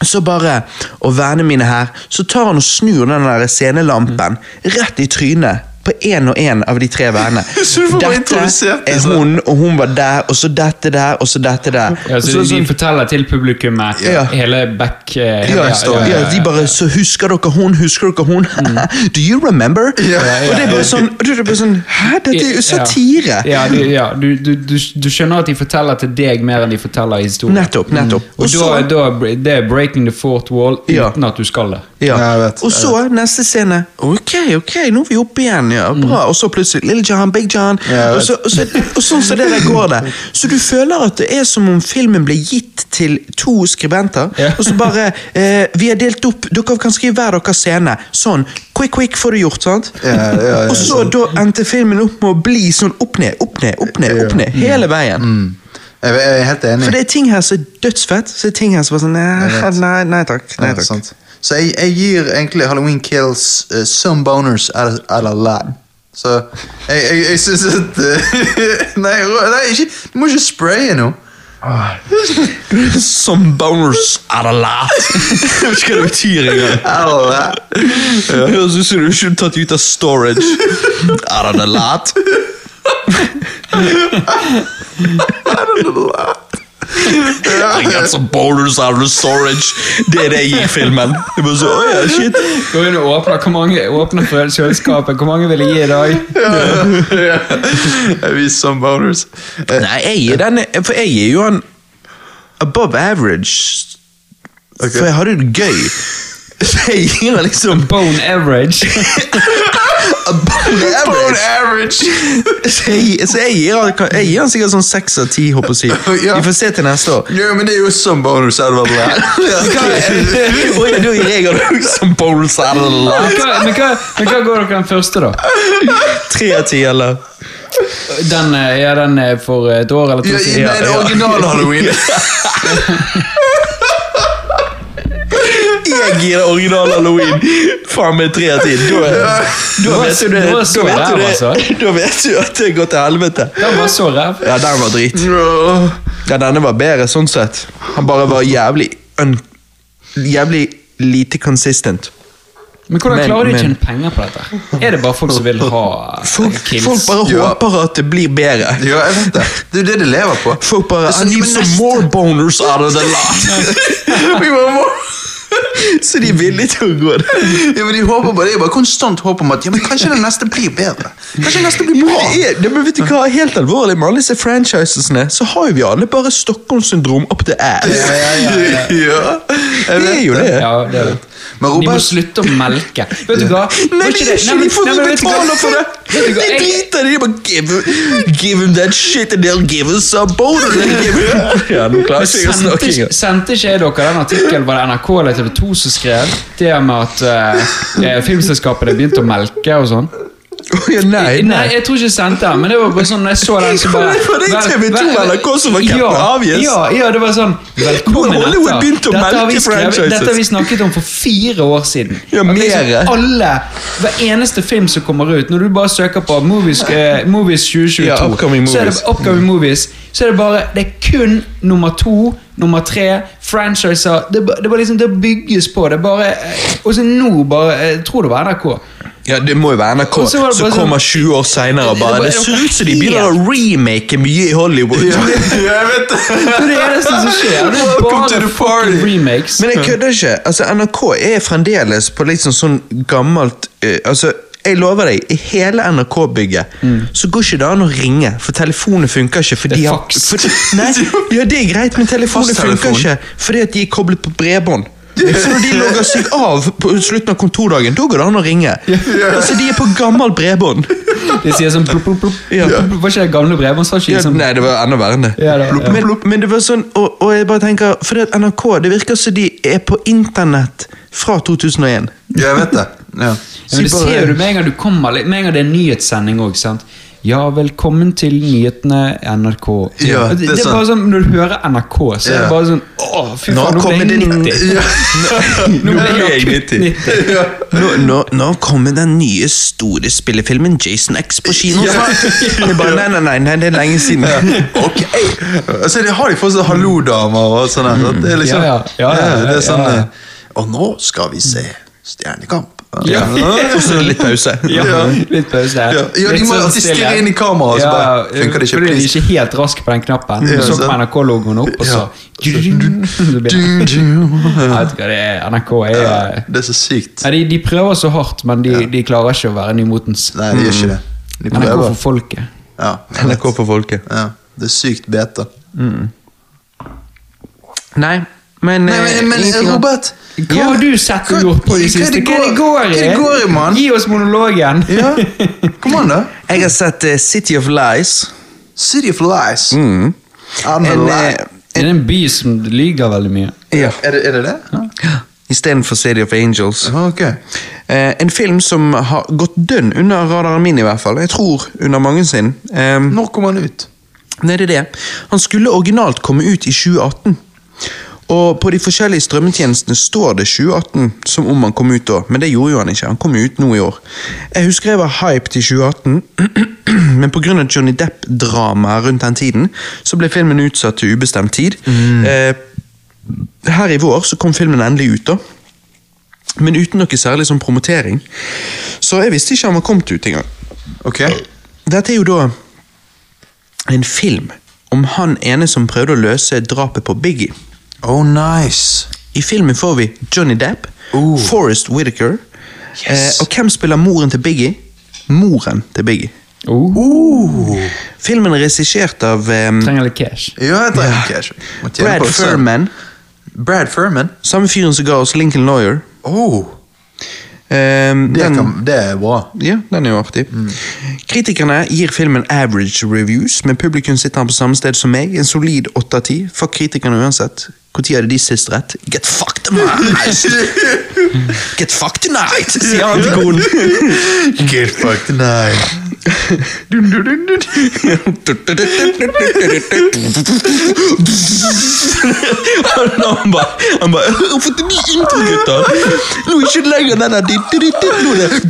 Speaker 1: Så bare, og vennene mine her, så tar han og snur den der scenelampen rett i trynet på én og én av de tre vennene.
Speaker 2: Så du får bare introdusert det,
Speaker 1: er
Speaker 2: så.
Speaker 1: hun, og hun var der, og så dette der, og så dette der.
Speaker 3: Ja,
Speaker 1: Og
Speaker 3: så
Speaker 1: så er det
Speaker 3: de,
Speaker 1: sånn-
Speaker 3: forteller til publikummet
Speaker 1: Ja.
Speaker 3: hele back... eh,
Speaker 1: ja,
Speaker 3: ja, ja, ja,
Speaker 1: ja, de bare Så husker dere hun, husker dere hun? Do you remember?
Speaker 2: Ja, ja, ja.
Speaker 1: Og det er bare sånn, og det er bare sånn Hæ, dette er jo satire!
Speaker 3: Ja, ja, du, ja du, du, du, du skjønner at de forteller til deg mer enn de forteller i historien.
Speaker 1: Nettopp, nettopp.
Speaker 3: Og,
Speaker 1: Og så-
Speaker 3: da, da, det er breaking the fourth wall
Speaker 1: Ja.
Speaker 3: uten at du skal det.
Speaker 1: Ja.
Speaker 2: Ja, jeg vet,
Speaker 1: og
Speaker 2: jeg
Speaker 1: så neste scene. Ok, ok, nå er vi oppe igjen. ja, bra. Og så plutselig Little John, Big John.
Speaker 2: Ja, jeg
Speaker 1: og, så, og, så, og sånn som det der går det. Så du føler at det er som om filmen ble gitt til to skribenter.
Speaker 3: Ja.
Speaker 1: Og så bare eh, Vi har delt opp, dere kan skrive hver deres scene. Sånn. Quick, quick får du gjort, sant?
Speaker 2: Ja, ja, sånn. ja,
Speaker 1: og så da endte filmen opp med å bli sånn opp ned, opp ned, opp ned, opp ned, hele veien.
Speaker 2: Mm. Jeg vet- jeg er helt enig.
Speaker 1: For det er ting her som er dødsfett, så er det ting her som er sånn Nei, nei, nei takk. Nei,
Speaker 2: Ja,
Speaker 1: takk.
Speaker 2: sant. Så jeg, jeg gir egentlig Halloween Kills eh, some boners eller, eller lab. Så jeg, jeg, jeg syns at eh, Nei, rå- nei ikke, du må ikke spraye nå.
Speaker 1: Some boners are a lot. Jeg vet ikke hva det betyr engang.
Speaker 2: Eller
Speaker 1: Det Høres ut som du ikke er tatt ut av storage. Are a lot. I got some boners out of storage. Det er det jeg gir filmen. Det er bare så, oh ja, shit.
Speaker 3: Gå inn og åpne, hvor mange åpner for kjøleskapet? Hvor mange vil jeg gi i dag?
Speaker 2: Jeg gir some boners. Eh,
Speaker 1: Nei, jeg gir den For jeg gir jo han above average.
Speaker 2: Ok.
Speaker 1: For jeg hadde det gøy. Så jeg gir han liksom
Speaker 3: Bone average.
Speaker 1: above
Speaker 2: Bone average!
Speaker 1: Så jeg, så jeg, gir, han- jeg gir han sikkert sånn seks av ti, håper jeg å si.
Speaker 2: Ja.
Speaker 1: Vi får se til neste år.
Speaker 2: Jo, men det er jo some boners out of lab.
Speaker 1: Oi, da gir jeg han som bowls out of the
Speaker 3: Men
Speaker 1: lot.
Speaker 3: hva, men hva, men hva går dere den første, da?
Speaker 1: Tre av ti, eller?
Speaker 3: Den, eh, ja, den er for et år eller to
Speaker 2: Ja,
Speaker 3: siden.
Speaker 2: nei, det
Speaker 1: ja.
Speaker 2: originale Halloween.
Speaker 1: Jeg gir det original halloween faen meg tre av ti. Da, da vet du det.
Speaker 3: Det var
Speaker 1: Da
Speaker 3: så
Speaker 1: vet du,
Speaker 3: ræv,
Speaker 1: det,
Speaker 3: altså.
Speaker 1: da vet du at det går til helvete.
Speaker 3: Den var så ræv.
Speaker 1: Ja, den var drit. Ja, denne var bedre, sånn sett. Han bare var jævlig un... Jævlig lite consistent.
Speaker 3: Men hvordan
Speaker 1: Men-
Speaker 3: klarer de å
Speaker 1: men-
Speaker 3: tjene penger på dette? Er det bare folk som vil ha eh,
Speaker 1: Folk,
Speaker 3: kills?
Speaker 1: folk bare
Speaker 2: Ja.
Speaker 1: håper at det blir bedre.
Speaker 2: Ja, jeg vet det. Det er jo det de lever på.
Speaker 1: Folk bare
Speaker 2: Det er sånn,
Speaker 1: I need
Speaker 2: jo,
Speaker 1: some
Speaker 2: men neste-
Speaker 1: more boners out of the lot.
Speaker 2: Vi må må
Speaker 1: Så de er villige til å gå der.
Speaker 2: Ja, men de håper bare, det er bare konstant håp om at ja, men kanskje den neste blir bedre. Kanskje den neste blir
Speaker 1: Men
Speaker 2: bra.
Speaker 1: det er, det, men vet du hva, helt alvorlig, med alle disse franchisene, så har jo vi alle bare Stockholm-syndrom up the ass.
Speaker 2: Ja, jeg
Speaker 1: Det er jo det.
Speaker 3: Ja, det er det.
Speaker 2: Men
Speaker 3: De må
Speaker 2: Robert,
Speaker 3: slutte å melke. Vet du hva?
Speaker 1: Nei,
Speaker 3: Var
Speaker 1: men
Speaker 3: ikke
Speaker 1: ikke
Speaker 3: nei, men-
Speaker 1: de får
Speaker 3: nei,
Speaker 1: jo
Speaker 3: men vet du hva?
Speaker 1: betale for det!
Speaker 3: Vet du hva?
Speaker 1: De
Speaker 3: Jeg-
Speaker 1: driter i det! Bare give, give him that shit, and they'll give us a boat! and they'll give him- Ja, nå klarer jeg ikke å
Speaker 3: Sendte,
Speaker 1: snakke
Speaker 3: ikke-
Speaker 1: engang.
Speaker 3: sendte ikke jeg dere den artikkelen var det NRK eller TV 2 som skrev? Det med at eh, eh, filmselskapene begynte å melke og sånn.
Speaker 1: Å, ja, Nei,
Speaker 3: Nei, jeg tror ikke jeg sendte den, men det var bare sånn når jeg så den så bare
Speaker 1: Var det
Speaker 3: vel-
Speaker 1: TV2
Speaker 3: vel-
Speaker 1: eller NRK som var Captain
Speaker 3: ja,
Speaker 1: Obvious?
Speaker 3: Ja, ja, det var sånn
Speaker 1: Nå
Speaker 3: Velkommen
Speaker 1: har Hollywood begynt å
Speaker 3: dette har, vi
Speaker 1: melke
Speaker 3: skrevet,
Speaker 1: franchises.
Speaker 3: dette har vi snakket om for fire år siden.
Speaker 1: Ja,
Speaker 3: At liksom
Speaker 1: mere.
Speaker 3: alle, Hver eneste film som kommer ut, når du bare søker på Movies, eh, movies 2022,
Speaker 1: Ja, upcoming
Speaker 3: så er det
Speaker 1: movies. Mm.
Speaker 3: Upcoming Movies, så er det bare Det er kun nummer to, nummer tre, franchiser Det, er ba- det, er bare liksom, det bygges på. Det er bare eh, Og så nå bare eh, Jeg tror det var NRK.
Speaker 1: Ja, det må jo være NRK
Speaker 3: Og så var det
Speaker 1: som
Speaker 3: bare sånn-
Speaker 1: kommer 20 år seinere og bare
Speaker 3: Det var-
Speaker 1: Det ser ut som de begynner å remake mye i Hollywood.
Speaker 2: Ja, jeg vet det.
Speaker 3: Det er det eneste som skjer. Det er
Speaker 2: Welcome to
Speaker 3: bare
Speaker 2: the
Speaker 3: fucking
Speaker 2: party.
Speaker 3: remakes.
Speaker 1: Men jeg kødder ikke. Altså, NRK er fremdeles på liksom sånn gammelt eh, Altså, jeg lover deg, i hele NRK-bygget så går ikke det an å ringe, for telefonen funker ikke. For
Speaker 3: Mm. Det er
Speaker 1: de har-
Speaker 3: faks.
Speaker 1: For, nei, ja, det er greit, men telefonen
Speaker 2: Fasttelefon.
Speaker 1: funker ikke fordi at de er koblet på bredbånd. Så når de logger seg av på slutten av kontordagen, da går det an å ringe. Altså, De er på gammelt bredbånd.
Speaker 3: De sier sånn plupp, plupp, plupp.
Speaker 1: Ja.
Speaker 3: Plupp, plupp. Var ikke det gamle bredbånd? Sa ikke
Speaker 1: Ja,
Speaker 3: de sånn
Speaker 1: nei, det var enda verre enn det.
Speaker 3: Ja, det var- ja.
Speaker 1: Men, men det var sånn, og, og jeg bare tenker, fordi at NRK, det virker som de er på internett fra 2001.
Speaker 2: Ja, jeg vet det. Ja.
Speaker 3: ja, men Det ser jo du med en gang du kommer litt- Med en gang det er nyhetssending òg, sant. Ja, velkommen til nyhetene NRK.
Speaker 2: Ja,
Speaker 3: det,
Speaker 2: det er
Speaker 3: er bare sånn Når du hører NRK, så er det
Speaker 2: Ja.
Speaker 3: bare sånn Å, fy
Speaker 1: Nå
Speaker 3: faen, nå ble
Speaker 1: kommer det
Speaker 3: jeg 90.
Speaker 2: Ja.
Speaker 3: Nå ble
Speaker 1: ble jeg
Speaker 3: jeg
Speaker 1: 90.
Speaker 3: 90.
Speaker 1: Nå, nå, nå kommer den nye store spillefilmen Jason X på kino. Jeg bare, nei, nei, nei, nei, det er lenge siden.
Speaker 2: Ok. Altså, de har de fortsatt hallo-damer og sånn. her, sant? Det er liksom,
Speaker 3: Ja, ja. Ja, ja, ja,
Speaker 2: det er sånn,
Speaker 3: ja, ja.
Speaker 2: eh, Og nå skal vi se Stjernekamp.
Speaker 3: Ja.
Speaker 1: Og så er det litt pause.
Speaker 3: Ja,
Speaker 2: Ja.
Speaker 3: litt pause.
Speaker 2: Ja, ja, de
Speaker 3: Litt
Speaker 2: må
Speaker 3: sånn
Speaker 2: alltid
Speaker 3: stille.
Speaker 2: stirre inn i kameraet, så bare,
Speaker 3: Ja,
Speaker 2: funker det ikke,
Speaker 3: Fordi de er
Speaker 2: please?
Speaker 3: ikke helt raske på den knappen. Du
Speaker 2: Ja,
Speaker 3: så
Speaker 2: sant.
Speaker 3: på NRK-logoen opp, og så
Speaker 2: Ja.
Speaker 3: Så blir det-
Speaker 2: Ja.
Speaker 3: Jeg vet ikke hva det er. NRK er eh,
Speaker 2: Det er så sykt.
Speaker 3: Nei, de, de prøver så hardt, men de, de klarer ikke å være nymotens.
Speaker 2: Nei, de gjør ikke det. De
Speaker 3: NRK
Speaker 2: prøver.
Speaker 3: for folket.
Speaker 2: Ja,
Speaker 1: NRK for folket.
Speaker 2: ja. Det er sykt beta.
Speaker 1: Nei, men...
Speaker 2: Nei,
Speaker 1: eh,
Speaker 2: men, men
Speaker 1: ingenting annet.
Speaker 2: Robert
Speaker 3: Hva har du sett og
Speaker 2: hva-
Speaker 3: gjort på
Speaker 2: hva
Speaker 3: i det
Speaker 2: det
Speaker 3: siste? Hva er det
Speaker 2: går-
Speaker 3: går i? eh?
Speaker 2: hva er det går i, mann?
Speaker 3: Gi oss monologen.
Speaker 2: Ja, kom an, da.
Speaker 1: Jeg har sett eh, City of Lies.
Speaker 2: City of Lies. I'm
Speaker 1: Mm. En,
Speaker 2: alive.
Speaker 1: eh,
Speaker 3: Det er en by som lyger veldig mye.
Speaker 1: ja,
Speaker 2: Er det, er det det?
Speaker 1: i stedet for City of Angels.
Speaker 2: Ja, Ok.
Speaker 1: Eh, en film som har gått dønn under radaren min, i hvert fall. Jeg tror under mange sin. Eh,
Speaker 2: Når kom han ut?
Speaker 1: nei, det er det. Han skulle originalt komme ut i 2018. Og på de forskjellige strømmetjenestene står det 2018 som om han kom ut da, men det gjorde jo han ikke. Han kom jo ut nå i år. Jeg husker jeg var hyped i 2018, men pga. Johnny Depp-dramaet rundt den tiden, så ble filmen utsatt til ubestemt tid. Eh, her i vår så kom filmen endelig ut, da. Men uten noe særlig sånn promotering. Så jeg visste ikke han var kommet ut engang.
Speaker 2: Ok.
Speaker 1: Dette er jo da en film om han ene som prøvde å løse drapet på Biggie.
Speaker 2: Oh, nice.
Speaker 1: I filmen får vi Johnny Depp,
Speaker 2: Oh.
Speaker 1: Forrest Whitaker
Speaker 2: Yes.
Speaker 1: eh, Og hvem spiller moren til Biggie? Moren til Biggie.
Speaker 3: Oh,
Speaker 2: Uh.
Speaker 1: Filmen er regissert av eh,
Speaker 3: trenger litt cash.
Speaker 2: Ja, jeg trenger cash. Må tjene på
Speaker 1: Brad
Speaker 2: det selv.
Speaker 1: Furman,
Speaker 2: Brad Furman?
Speaker 1: samme fyren som ga oss Lincoln Lawyer.
Speaker 2: Oh,
Speaker 1: Eh,
Speaker 2: det,
Speaker 1: den-
Speaker 2: kan, det er bra.
Speaker 1: Ja, den er jo artig. Kritikerne gir filmen average reviews, men publikum sitter her på samme sted som meg. En solid 8 av 10. Fuck kritikerne uansett. Når hadde de sist rett? Get fucked tonight! Get fucked tonight, sier han til konen.
Speaker 2: Get fucked tonight.
Speaker 1: han bare Han bare Hvorfor ikke de introgutter? Nå er ikke lenger den der ditt, ditt, ditt, nå er det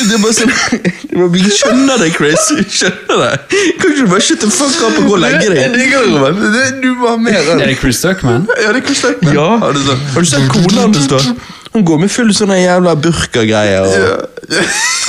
Speaker 1: Det er bare sånn det var, Jeg skjønner det, Chris. Jeg skjønner det. Kan ikke du bare shut the fuck up og gå og legge deg?
Speaker 2: Det går, Robert. Det- Du var mer
Speaker 3: Er
Speaker 2: enn
Speaker 3: det Chris Duckman?
Speaker 2: Ja, det er Chris Duckman.
Speaker 1: Ja.
Speaker 2: Har du sånn
Speaker 1: Har du sett kona hans, da? Hun går med full sånn jævla burkagreier. og-
Speaker 2: Ja,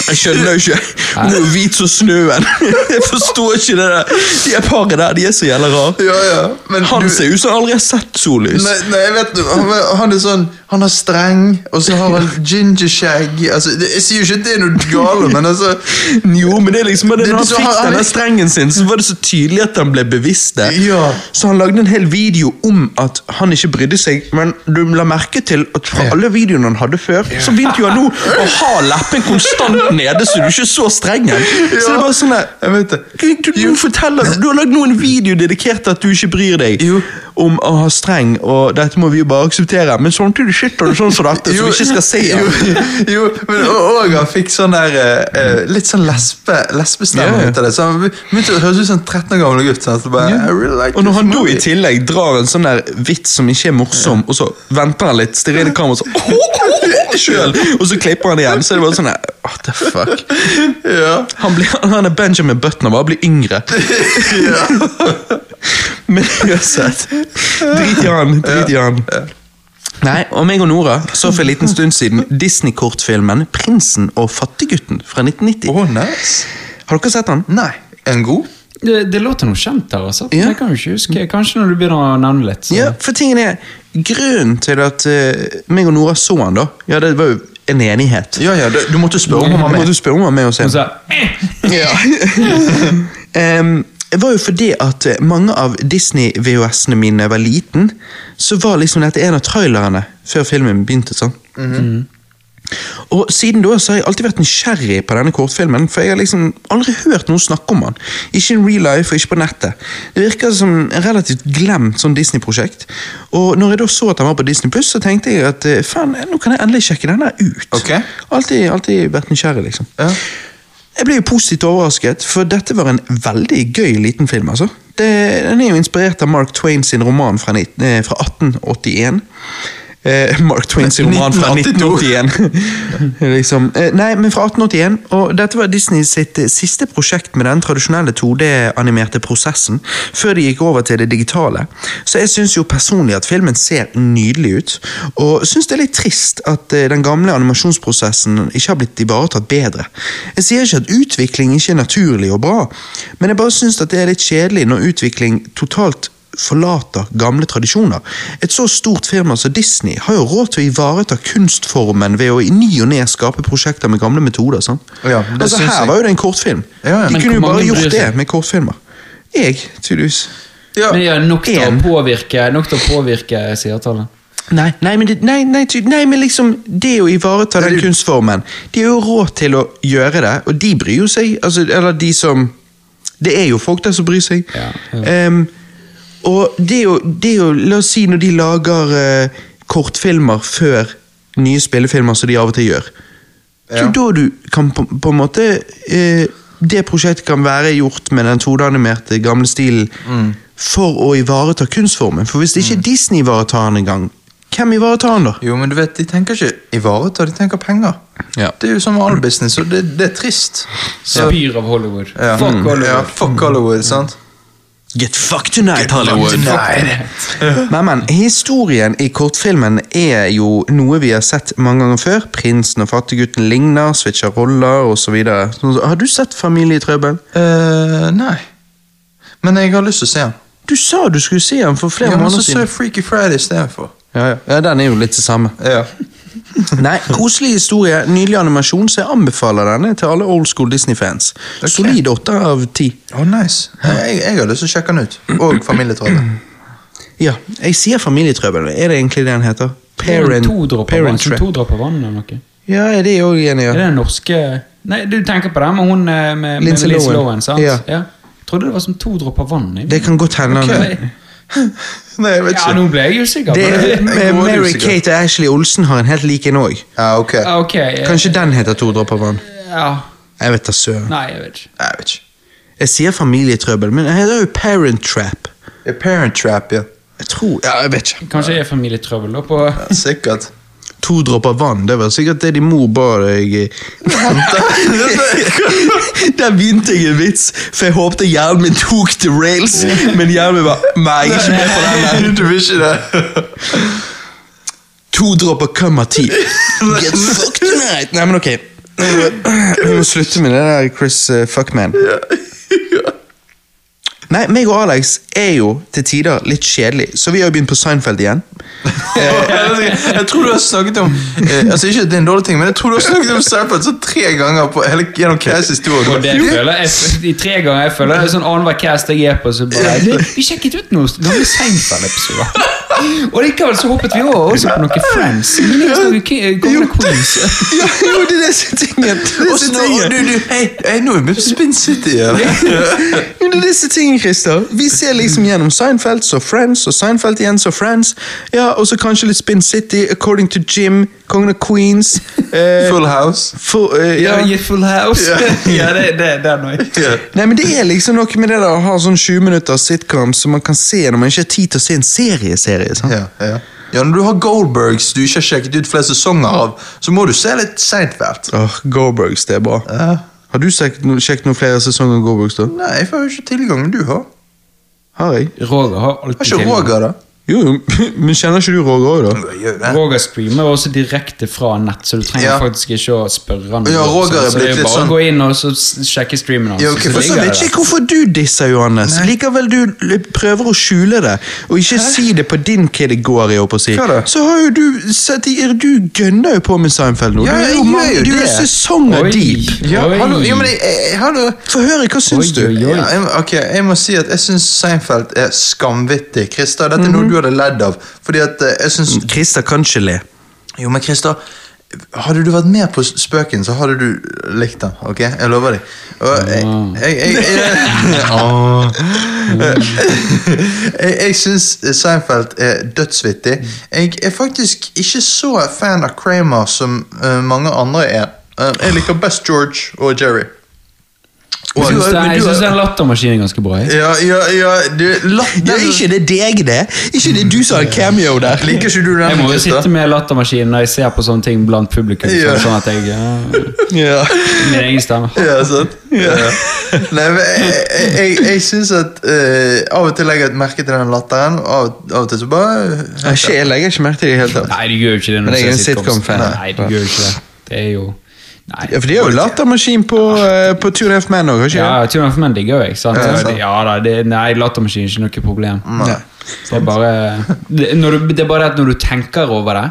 Speaker 1: Jeg skjønner jo ikke. Hun er jo hvit som snøen. Jeg forstår ikke det der. De er paret der, de er så jævla rare.
Speaker 2: Ja, ja. Men
Speaker 1: Han
Speaker 2: du-
Speaker 1: ser ut som han aldri har sett sollys.
Speaker 2: Nei, nei, jeg vet du, han, han er sånn Han har streng, og så har han gingerskjegg altså, det- Jeg sier jo ikke at det er noe galt, men altså
Speaker 1: Jo, men det er liksom det,
Speaker 2: Det-
Speaker 1: Når han
Speaker 2: så
Speaker 1: fikk
Speaker 2: han- han-
Speaker 1: denne strengen sin, så var det så tydelig at han ble bevisst det.
Speaker 2: Ja.
Speaker 1: Så han lagde en hel video om at han ikke brydde seg, men du la merke til at fra alle videoene han hadde før, så begynte jo han nå å ha leppen konstant nede, så du ikke så strengen. Så det er bare sånn der,
Speaker 2: Jeg vet det.
Speaker 1: du, du, forteller, du har lagd noen video dedikert til at du ikke bryr deg
Speaker 2: Jo.
Speaker 1: om å ha streng, og dette må vi jo bare akseptere, men samtidig sitter du sånn som dette, som vi ikke skal se.
Speaker 2: jo, jo, men og, og han fikk sånn der eh, eh, Litt sånn lesbe, lesbestemme
Speaker 1: Ja, ja.
Speaker 2: ut av det. Så han begynte å høres ut som en 13 år gammel gutt. Sant? Så Bare, I really like
Speaker 1: Og når
Speaker 2: this
Speaker 1: han da i
Speaker 2: movie.
Speaker 1: tillegg drar en sånn der vits som ikke er morsom, og så venter han litt, stirrer inn i kameraet og så sjøl, og så klipper han igjen, så er det bare sånn der, What the fuck?
Speaker 2: ja.
Speaker 1: Han, blir, han er Benjamin Button og bare blir yngre. Men uansett, drit i han. Drit i han. Nei, og meg og Nora så for en liten stund siden Disney-kortfilmen 'Prinsen og fattiggutten' fra 1990.
Speaker 2: Å, nice.
Speaker 1: Har dere sett den?
Speaker 2: Nei. En god?
Speaker 3: Det, det låter noe kjent der, altså.
Speaker 1: Ja.
Speaker 3: Jeg kan jo ikke huske. Kanskje når du begynner å nevne litt. Så.
Speaker 1: Ja, for tingen er Grunnen til at eh, meg og Nora så han da Ja, det var jo en enighet
Speaker 2: Ja, ja, du, du måtte spørre om han var
Speaker 1: Må
Speaker 2: med.
Speaker 1: du spørre om han var med og se
Speaker 3: Og
Speaker 1: den?
Speaker 3: så, eh,
Speaker 1: Em, Det var jo fordi at eh, mange av Disney-VHS-ene mine da jeg var liten Så var liksom dette en av trailerne Før filmen begynte sånn
Speaker 2: Mhm.
Speaker 1: Og siden da så har jeg alltid vært nysgjerrig på denne kortfilmen, for jeg har liksom aldri hørt noen snakke om han. Ikke in real life og ikke på nettet. Det virker som en relativt glemt sånn Disney-prosjekt. Og når jeg da så at han var på Disney+, Plus, så tenkte jeg at eh, faen, nå kan jeg endelig sjekke den der ut.
Speaker 2: Ok.
Speaker 1: Altid, alltid vært nysgjerrig, liksom.
Speaker 2: Ja.
Speaker 1: Jeg ble jo positivt overrasket, for dette var en veldig gøy liten film. altså. Det, den er jo inspirert av Mark Twain sin roman fra, nitt- eh, fra 1881. Eh, Mark Twain sin roman fra 1981. liksom. eh, nei, men fra 1881. Og dette var Disney sitt eh, siste prosjekt med den tradisjonelle 2D-animerte prosessen, før de gikk over til det digitale. Så jeg syns jo personlig at filmen ser nydelig ut, og syns det er litt trist at eh, den gamle animasjonsprosessen ikke har blitt ivaretatt bedre. Jeg sier ikke at utvikling ikke er naturlig og bra, men jeg bare syns at det er litt kjedelig når utvikling totalt forlater gamle tradisjoner. Et så stort firma som Disney har jo råd til å ivareta kunstformen ved å i ny og ne skape prosjekter med gamle metoder. sant?
Speaker 2: Ja, det
Speaker 1: altså,
Speaker 2: syns
Speaker 1: her
Speaker 2: jeg.
Speaker 1: var jo det en kortfilm.
Speaker 2: Ja, ja.
Speaker 1: De
Speaker 3: Men
Speaker 1: kunne jo
Speaker 3: hvor
Speaker 1: bare
Speaker 3: mange
Speaker 1: gjort
Speaker 3: bryr seg?
Speaker 1: det med kortfilmer. Jeg, tydeligvis.
Speaker 2: Ja.
Speaker 3: men ja, nok til å
Speaker 1: En.
Speaker 3: påvirke, nok til å påvirke sidertallet.
Speaker 1: Nei, nei, men, det, nei, nei, ty, nei, men liksom det å ivareta den
Speaker 2: Det er jo-
Speaker 1: kunstformen De har jo råd til å gjøre det, og de bryr jo seg. Altså, eller de som Det er jo folk der som bryr seg.
Speaker 3: Ja, ja.
Speaker 1: Em, og det er, jo, det er jo La oss si når de lager eh, kortfilmer før nye spillefilmer, som de av og til gjør. Det er jo
Speaker 2: Ja.
Speaker 1: da du kan på, på en måte eh, Det prosjektet kan være gjort med den 2D-animerte gamle stilen for å ivareta kunstformen. For hvis ikke Disney ivaretar den engang, hvem ivaretar den da?
Speaker 2: Jo, men du vet, de tenker ikke ivareta, de tenker penger.
Speaker 1: Ja.
Speaker 2: Det er jo som med all business, og det, det er trist. Så-
Speaker 3: Spyr av Hollywood.
Speaker 2: ja. Mm.
Speaker 3: Fuck Hollywood.
Speaker 2: Ja, fuck Hollywood, sant?
Speaker 1: Get fucked tonight,
Speaker 2: Nei.
Speaker 1: Men, men, historien i kortfilmen er jo noe vi har sett mange ganger før. Prinsen og fattiggutten ligner, switcher roller osv. Har du sett Familietrøbbel?
Speaker 2: Eh, nei. Men jeg har lyst til å se den.
Speaker 1: Du sa du skulle se den for flere
Speaker 2: Ja, men så
Speaker 1: måneder
Speaker 2: ser jeg
Speaker 1: siden.
Speaker 2: Freaky Friday istedenfor.
Speaker 1: Ja, ja. ja, den er jo litt det samme.
Speaker 2: Ja.
Speaker 1: Nei, Koselig historie, nydelig animasjon, så jeg anbefaler denne til alle old school Disney-fans. Solid åtte av ti.
Speaker 2: Oh, nice. Jeg, jeg har lyst til å sjekke den ut. Og Familietrollet.
Speaker 1: Ja, jeg sier familietrøbbel. Er det egentlig det den heter?
Speaker 3: Det er
Speaker 1: Parent,
Speaker 3: To dråper vann,
Speaker 1: parent
Speaker 3: som
Speaker 1: trap.
Speaker 3: to dråper vann eller noe.
Speaker 1: Ja, er det òg enig
Speaker 3: altså. Er
Speaker 1: i?
Speaker 3: det den norske Nei, du tenker på den med hun eh, med, med
Speaker 1: Lindsay
Speaker 3: Lindsay Lohan,
Speaker 1: Lohan,
Speaker 3: sant?
Speaker 1: ja.
Speaker 3: Jeg trodde det var som to dråper vann. jeg.
Speaker 1: Det kan godt hende.
Speaker 3: Men-
Speaker 1: Okay.
Speaker 2: Nei, jeg vet
Speaker 3: Ja,
Speaker 2: ikke.
Speaker 3: nå ble jeg usikker.
Speaker 1: Det
Speaker 3: men-
Speaker 1: er, eh,
Speaker 2: Jeg var
Speaker 1: Mary
Speaker 2: usikker.
Speaker 1: Kate og Ashley Olsen har en helt lik en òg.
Speaker 2: Ja, ok.
Speaker 3: Ja, ok. eh,
Speaker 1: Kanskje den heter To dråper vann.
Speaker 3: Ja.
Speaker 1: Jeg vet da søren.
Speaker 3: Nei, jeg vet ikke.
Speaker 2: Nei, jeg vet ikke.
Speaker 1: Jeg sier familietrøbbel, men det heter jo Parent Trap.
Speaker 2: A Parent Trap, ja.
Speaker 1: Jeg tror Ja, jeg vet ikke.
Speaker 3: Kanskje jeg er familietrøbbel da på
Speaker 2: Sikkert.
Speaker 1: To dråper vann, det var sikkert det din mor ba deg Der begynte jeg en vits, for jeg håpte hjernen min tok til rails, men hjernen min bare Nei, jeg er ikke med på den der.
Speaker 2: du vil ikke det?
Speaker 1: To dråper cum av ti. Get fucked tonight. Nei, men ok. Vi må slutte med det der Chris eh, Fuckman. Nei, meg og Alex er jo til tider litt kjedelig, så vi har jo begynt på Seinfeld igjen.
Speaker 2: jeg tror du har snakket om eh, Altså Ikke at det er en dårlig ting, men jeg tror du har snakket om Seinfeld så tre ganger på hele, gjennom Kæs historie.
Speaker 3: Og det føler jeg, de tre ganger jeg føler det er sånn annenhver cast jeg er på, så bare "Du, Vi sjekket ut noen gamle Seinfeld-episoder. Og likevel så hoppet vi over også på noen Friends. Men det er jo ikke noen gamle Queens.
Speaker 1: Ja, jo, det er det som er tingen. Det
Speaker 2: Og så nå, du, du, hei, hei, nå er vi på Spin City igjen.
Speaker 1: Men det er disse tingene, Christer. Vi ser liksom gjennom Seinfeld, så Friends, og Seinfeld igjen, så Friends. Ja, og så kanskje litt Spin City, According to Jim, Kongen av Queens. Eh,
Speaker 2: Full House.
Speaker 1: for, eh,
Speaker 3: Ja,
Speaker 1: ja.
Speaker 3: i Full House. Ja, det, det, det er noe.
Speaker 2: Ja.
Speaker 1: Nei, men Det er liksom noe med det der å ha sånn 20 minutter sitcom som man kan se når man ikke har tid til å se en serieserie. sant?
Speaker 2: Ja, ja. ja, når du har Goldbergs du ikke har sjekket ut flere sesonger av, så må du se litt Seinfeld.
Speaker 1: Åh, Goldbergs, det er bra.
Speaker 2: Ja.
Speaker 1: Har du sjekket no sjekket noen flere sesonger av Goldbergs? da?
Speaker 2: Nei, jeg får jo ikke tilgang, men du har.
Speaker 1: Har jeg?
Speaker 3: Roger har
Speaker 2: Har
Speaker 3: alltid
Speaker 2: ikke
Speaker 3: tilgang.
Speaker 2: Roger, da?
Speaker 1: Jo, jo, men kjenner ikke du Roger òg, da?
Speaker 2: Jeg gjør det.
Speaker 3: Roger streamer også direkte fra nett, så du trenger
Speaker 2: Ja.
Speaker 3: faktisk ikke å spørre han.
Speaker 2: Ja, Roger er
Speaker 3: så det
Speaker 2: blitt
Speaker 3: er
Speaker 2: litt
Speaker 3: bare
Speaker 2: sånn-
Speaker 3: å gå inn og så s- sjekke streamen hans.
Speaker 2: Ja, ok,
Speaker 3: så
Speaker 2: for
Speaker 1: Jeg
Speaker 2: så
Speaker 3: ligger
Speaker 1: vet
Speaker 3: det der.
Speaker 1: ikke hvorfor du disser, Johannes. Likevel du l- prøver å skjule det. Og ikke si det på din hva det går i. holdt på å si.
Speaker 2: Hva da?
Speaker 1: Så har jo du sett i- Du gønner jo på med Seinfeld nå.
Speaker 2: Ja,
Speaker 1: du er
Speaker 2: jeg
Speaker 1: jo
Speaker 2: gjør
Speaker 1: mange,
Speaker 2: jo
Speaker 1: du er
Speaker 2: det.
Speaker 1: sesonger
Speaker 3: Oi.
Speaker 1: deep.
Speaker 2: Ja,
Speaker 3: Oi.
Speaker 2: hallo, ja, men jeg, jeg, hallo.
Speaker 1: Få høre, hva syns
Speaker 3: Oi,
Speaker 1: du?
Speaker 3: oi, oi.
Speaker 2: Ja, jeg, ok, jeg må si at jeg syns Seinfeld er skamvittig. Christer, dette er
Speaker 3: Mhm.
Speaker 2: noe du hadde ledd av. Fordi at eh, jeg synes,
Speaker 1: Christer kan ikke le.
Speaker 2: Jo, men Christer, hadde du vært med på spøken, så hadde du likt den. Ok, jeg lover deg. Og jeg
Speaker 3: Ah.
Speaker 2: jeg, jeg, jeg, Åh. jeg, jeg syns Seinfeld er dødsvittig. Jeg er faktisk ikke så fan av Kramer som eh, mange andre er. Eh, jeg liker best George og Jerry.
Speaker 3: Jeg
Speaker 2: Men
Speaker 3: syns
Speaker 2: du-
Speaker 3: det-
Speaker 2: men
Speaker 3: Jeg
Speaker 2: du-
Speaker 3: syns den lattermaskinen er ganske bra. Jeg.
Speaker 2: Ja, ja, ja du, la,
Speaker 1: Ja, ikke det deg, det. Ikke det du som har cameo der.
Speaker 2: Liker ikke du
Speaker 3: Jeg
Speaker 2: den,
Speaker 3: må jo
Speaker 2: Christer?
Speaker 3: sitte med lattermaskinen når jeg ser på sånne ting blant publikum.
Speaker 2: Ja.
Speaker 3: Sånn, sånn at jeg ja,
Speaker 1: Ja.
Speaker 3: Min egen stemme.
Speaker 2: Ja, sant? Ja. Nei, men jeg, jeg, jeg, jeg syns at eh, Av og til legger jeg merke til den latteren, og av, av og til så bare
Speaker 1: Ikke, jeg legger ikke merke til det i det hele tatt.
Speaker 3: Nei, du gjør jo ikke det. når
Speaker 1: Men
Speaker 3: du
Speaker 1: jeg er
Speaker 3: ser
Speaker 1: en sitcom-fan.
Speaker 3: Nei, du gjør jo ikke det. Det er jo Nei.
Speaker 1: Ja, for det er jo lattermaskin på, uh, på Two and a Half Men òg, har ikke det?
Speaker 3: Ja, Tune of Men digger jo jeg. sant?
Speaker 2: Ja, sant.
Speaker 3: Ja da, det, Nei, lattermaskinen er ikke noe problem.
Speaker 1: Nei.
Speaker 3: Det er bare det, når du, det er bare at når du tenker over det,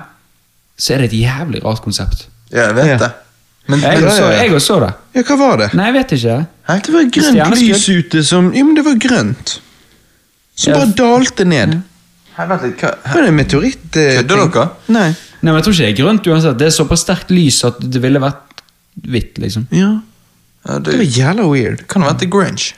Speaker 3: så er det et jævlig rart konsept.
Speaker 2: Ja, jeg vet
Speaker 1: Ja.
Speaker 2: det. Men,
Speaker 3: Jeg
Speaker 2: men
Speaker 1: ja,
Speaker 3: også,
Speaker 1: ja.
Speaker 3: jeg også så det.
Speaker 1: Ja, hva var det?
Speaker 3: Nei, jeg vet ikke.
Speaker 2: Hæ?
Speaker 1: Det var grønt
Speaker 3: Stjerneskudd.
Speaker 1: lys ute som Jo, men det var grønt. Som
Speaker 3: Ja.
Speaker 1: bare dalte ned.
Speaker 2: Hæ, vent litt, hva
Speaker 1: Var det en meteoritt? eh,
Speaker 2: Kødder
Speaker 1: ting?
Speaker 2: dere?
Speaker 1: Nei.
Speaker 3: Nei, men Jeg tror ikke det er grønt uansett. Det er såpass sterkt lys at det ville vært hvitt. liksom.
Speaker 1: Ja.
Speaker 2: Ja,
Speaker 1: Det var
Speaker 2: det
Speaker 1: jævla weird.
Speaker 2: kan jo være til Grinch.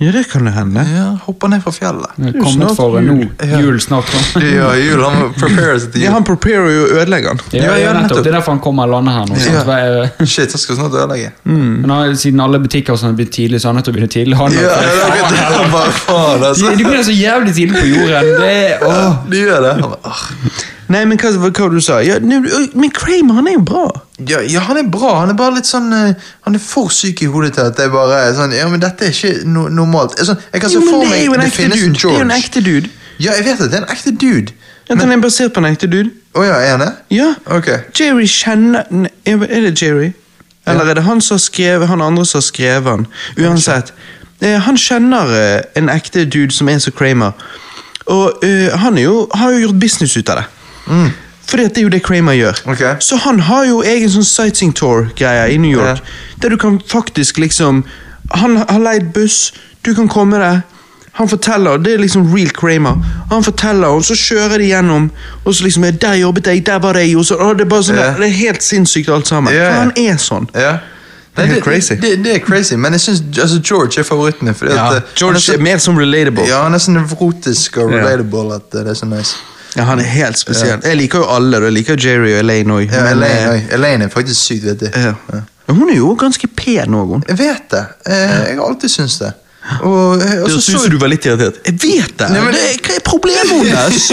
Speaker 1: Ja, det kan det hende.
Speaker 2: Ja, hopper ned fra fjellet.
Speaker 3: Det er
Speaker 1: jo
Speaker 3: kommet
Speaker 1: snart
Speaker 3: for
Speaker 1: jul.
Speaker 3: nå.
Speaker 2: Ja.
Speaker 3: Jul snart. kom.
Speaker 2: Ja, jul, han må prepare seg til
Speaker 1: Ja,
Speaker 2: jul.
Speaker 1: han preparer jo å ødelegge han.
Speaker 3: Ja,
Speaker 2: Ja,
Speaker 3: ja,
Speaker 2: ja,
Speaker 3: nettopp.
Speaker 2: nettopp.
Speaker 3: Det er derfor han kommer og lander her nå. sant?
Speaker 2: Ja.
Speaker 3: Hva er-
Speaker 2: Shit, han skal snart ødelegge.
Speaker 3: Men han, siden alle butikker og sånn blir tidlig, så er han nødt til å begynne tidlig. Han,
Speaker 2: Ja, ja, dere deler bare faen,
Speaker 3: de,
Speaker 2: altså.
Speaker 3: de begynner så jævlig tidlig på jorden. Det er,
Speaker 2: Ja,
Speaker 3: åh.
Speaker 2: De gjør det. Han bare, «Åh».
Speaker 1: Nei, men hva, hva, hva du sa ja, nei, øy, Men Kramer, han er jo bra.
Speaker 2: Ja, ja, han er bra. Han er bare litt sånn eh, Han er for syk i hodet til at det bare er sånn Ja, men dette er ikke no normalt. Jeg er Sånn, jeg kan se
Speaker 1: Jo, men
Speaker 2: for
Speaker 1: det er
Speaker 2: meg
Speaker 1: jo en
Speaker 2: det
Speaker 1: ekte
Speaker 2: finnes
Speaker 1: dude.
Speaker 2: en
Speaker 1: Det er jo en
Speaker 2: George.
Speaker 1: ekte dude.
Speaker 2: Ja, jeg vet det. Det er en ekte dude.
Speaker 1: At han er basert på en ekte dude.
Speaker 2: Å ja, er han det?
Speaker 1: Ja.
Speaker 2: Ok.
Speaker 1: Jerry kjenner Nei, Er det Jerry? Eller er det han som har skrevet Han andre som har skrevet han? Uansett. eh, Han kjenner eh, en ekte dude som er så Kramer. Og eh, han er jo, har jo gjort business ut av det. Fordi at det er jo det Kramer gjør.
Speaker 2: Mm. Ok.
Speaker 1: Så han har jo egen sånn sightseeing tour-greie i New York. Der du kan faktisk liksom Han har leid buss, du kan komme deg. Han forteller, Det er liksom real Kramer. Han forteller, og så kjører de gjennom. Og så liksom Der jobbet jeg, der var jeg, og så og Det er bare sånn,
Speaker 2: Ja.
Speaker 1: det er helt sinnssykt alt sammen.
Speaker 2: Ja, ja.
Speaker 1: For han er sånn.
Speaker 2: Ja.
Speaker 1: Det er helt crazy.
Speaker 2: Det, det er crazy, men jeg syns altså, George er favoritten min. Fordi at, eh, han
Speaker 1: George
Speaker 2: så-
Speaker 1: er mer som relatable. Ja.
Speaker 2: ja, han er så nevrotisk og
Speaker 1: Ja.
Speaker 2: relatable at eh, det er så nice.
Speaker 1: Han er helt spesiell. Jeg liker jo alle. da. Jeg liker Jerry og Elaine òg.
Speaker 2: Ja, Elaine,
Speaker 1: eh,
Speaker 2: oi, Elaine er faktisk sykt vittig.
Speaker 1: Hun er jo ganske pen òg, hun.
Speaker 2: Jeg vet det. Eh, Jeg har alltid syntes det. Og, eh, og
Speaker 1: Det
Speaker 2: så
Speaker 1: høres
Speaker 2: så
Speaker 1: ut som du var litt irritert. Jeg vet det!
Speaker 2: Nei, men-
Speaker 1: det er, hva er problemet hennes?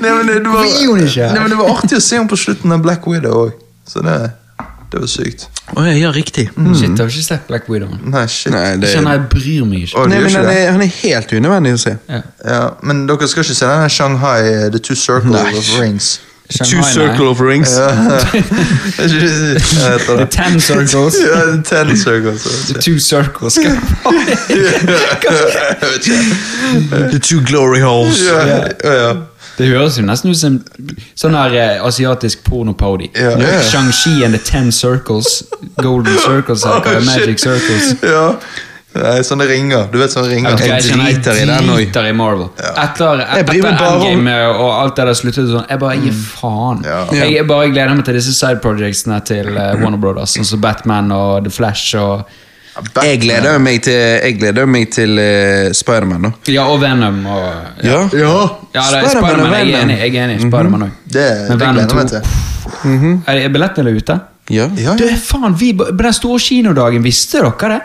Speaker 2: Nei, men det, det var,
Speaker 3: Hvorfor er hun ikke her?
Speaker 2: Nei, men det var artig å se henne på slutten av Black Widow òg. Så det, det var sykt.
Speaker 1: Å ja, ja, riktig. Mm.
Speaker 3: Shit, jeg har ikke sett Black Widow.
Speaker 2: Nei, shit.
Speaker 1: Nei,
Speaker 3: Jeg
Speaker 1: det
Speaker 3: kjenner jeg bryr meg ikke.
Speaker 2: Å, du
Speaker 1: Nei, men
Speaker 2: gjør ikke
Speaker 1: han
Speaker 2: det?
Speaker 1: er, han er helt unødvendig å se.
Speaker 3: Ja.
Speaker 2: Ja, men dere skal ikke se den her Shanghai eh, The Two Circle
Speaker 1: Nei.
Speaker 2: of Rings.
Speaker 1: Two
Speaker 3: Shanghai,
Speaker 1: circle of rings.
Speaker 2: Ja. Hva heter
Speaker 3: The
Speaker 2: det?
Speaker 3: ten circles.
Speaker 2: Ja, ten circles.
Speaker 3: The two circles.
Speaker 2: Jeg vet ikke.
Speaker 1: The two glory holes.
Speaker 2: Ja, ja, ja.
Speaker 3: Det høres jo nesten ut som sånn her eh, asiatisk pornoparody.
Speaker 2: Ja. Ja.
Speaker 3: Shang-Chi and the Ten Circles. Golden Circles.
Speaker 1: Oh,
Speaker 3: eller hva,
Speaker 2: Å, shit.
Speaker 3: Magic Circles.
Speaker 2: Ja. Nei, sånne ringer. Du vet sånne ringer.
Speaker 3: Vet du hva,
Speaker 1: Jeg
Speaker 3: kjenner
Speaker 1: driter i den også.
Speaker 3: sånn driter i Marvel. Etter,
Speaker 1: Jeg bryr
Speaker 3: etter
Speaker 1: meg bare om- Mm.
Speaker 3: Endgame eh, og alt det der sluttet sånn, jeg bare gir faen.
Speaker 2: Ja.
Speaker 3: Jeg, jeg bare gleder meg til disse side projectsene til eh, Warner Brothers, sånn som Batman og The Flash og,
Speaker 1: Jeg gleder meg til, jeg gleder meg til eh, Spiderman, da.
Speaker 3: ja, og Venom. Og,
Speaker 1: Ja.
Speaker 2: Ja.
Speaker 3: Ja, det er
Speaker 1: Spider-Man og
Speaker 3: Spider-Man, jeg
Speaker 1: Venom.
Speaker 3: er
Speaker 1: Mhm.
Speaker 3: enig. Jeg er enig, Spider-Man også.
Speaker 2: Det, det
Speaker 3: Men Venom
Speaker 2: gleder jeg meg
Speaker 3: 2,
Speaker 2: til.
Speaker 3: Er, er billettene ute?
Speaker 1: Ja.
Speaker 2: Ja,
Speaker 3: Du,
Speaker 2: ja.
Speaker 3: faen, vi, på den store kinodagen, visste dere det?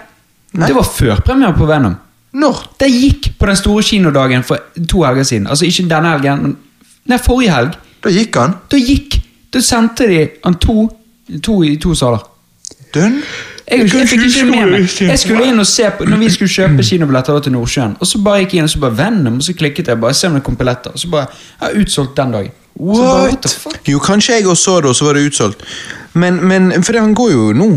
Speaker 3: Det var førpremiere på Venom.
Speaker 2: Når?
Speaker 3: Det gikk på den store kinodagen for to helger siden. Altså ikke denne helgen, men nei, forrige helg.
Speaker 2: Da gikk han.
Speaker 3: Da gikk Da sendte de han to, to i to saler.
Speaker 2: Dønn.
Speaker 3: Jeg, jeg, fikk ikke med meg. Jeg skulle inn og se på Når vi skulle kjøpe kinobilletter da til Nordsjøen, og så bare gikk jeg inn og så bare Venom, og så klikket jeg bare se om det kom billetter, og så bare ja, Utsolgt den dagen. Så bare, what the fuck?
Speaker 1: Jo, kanskje jeg også så det, og så var det utsolgt. Men, men for det, han går jo nå.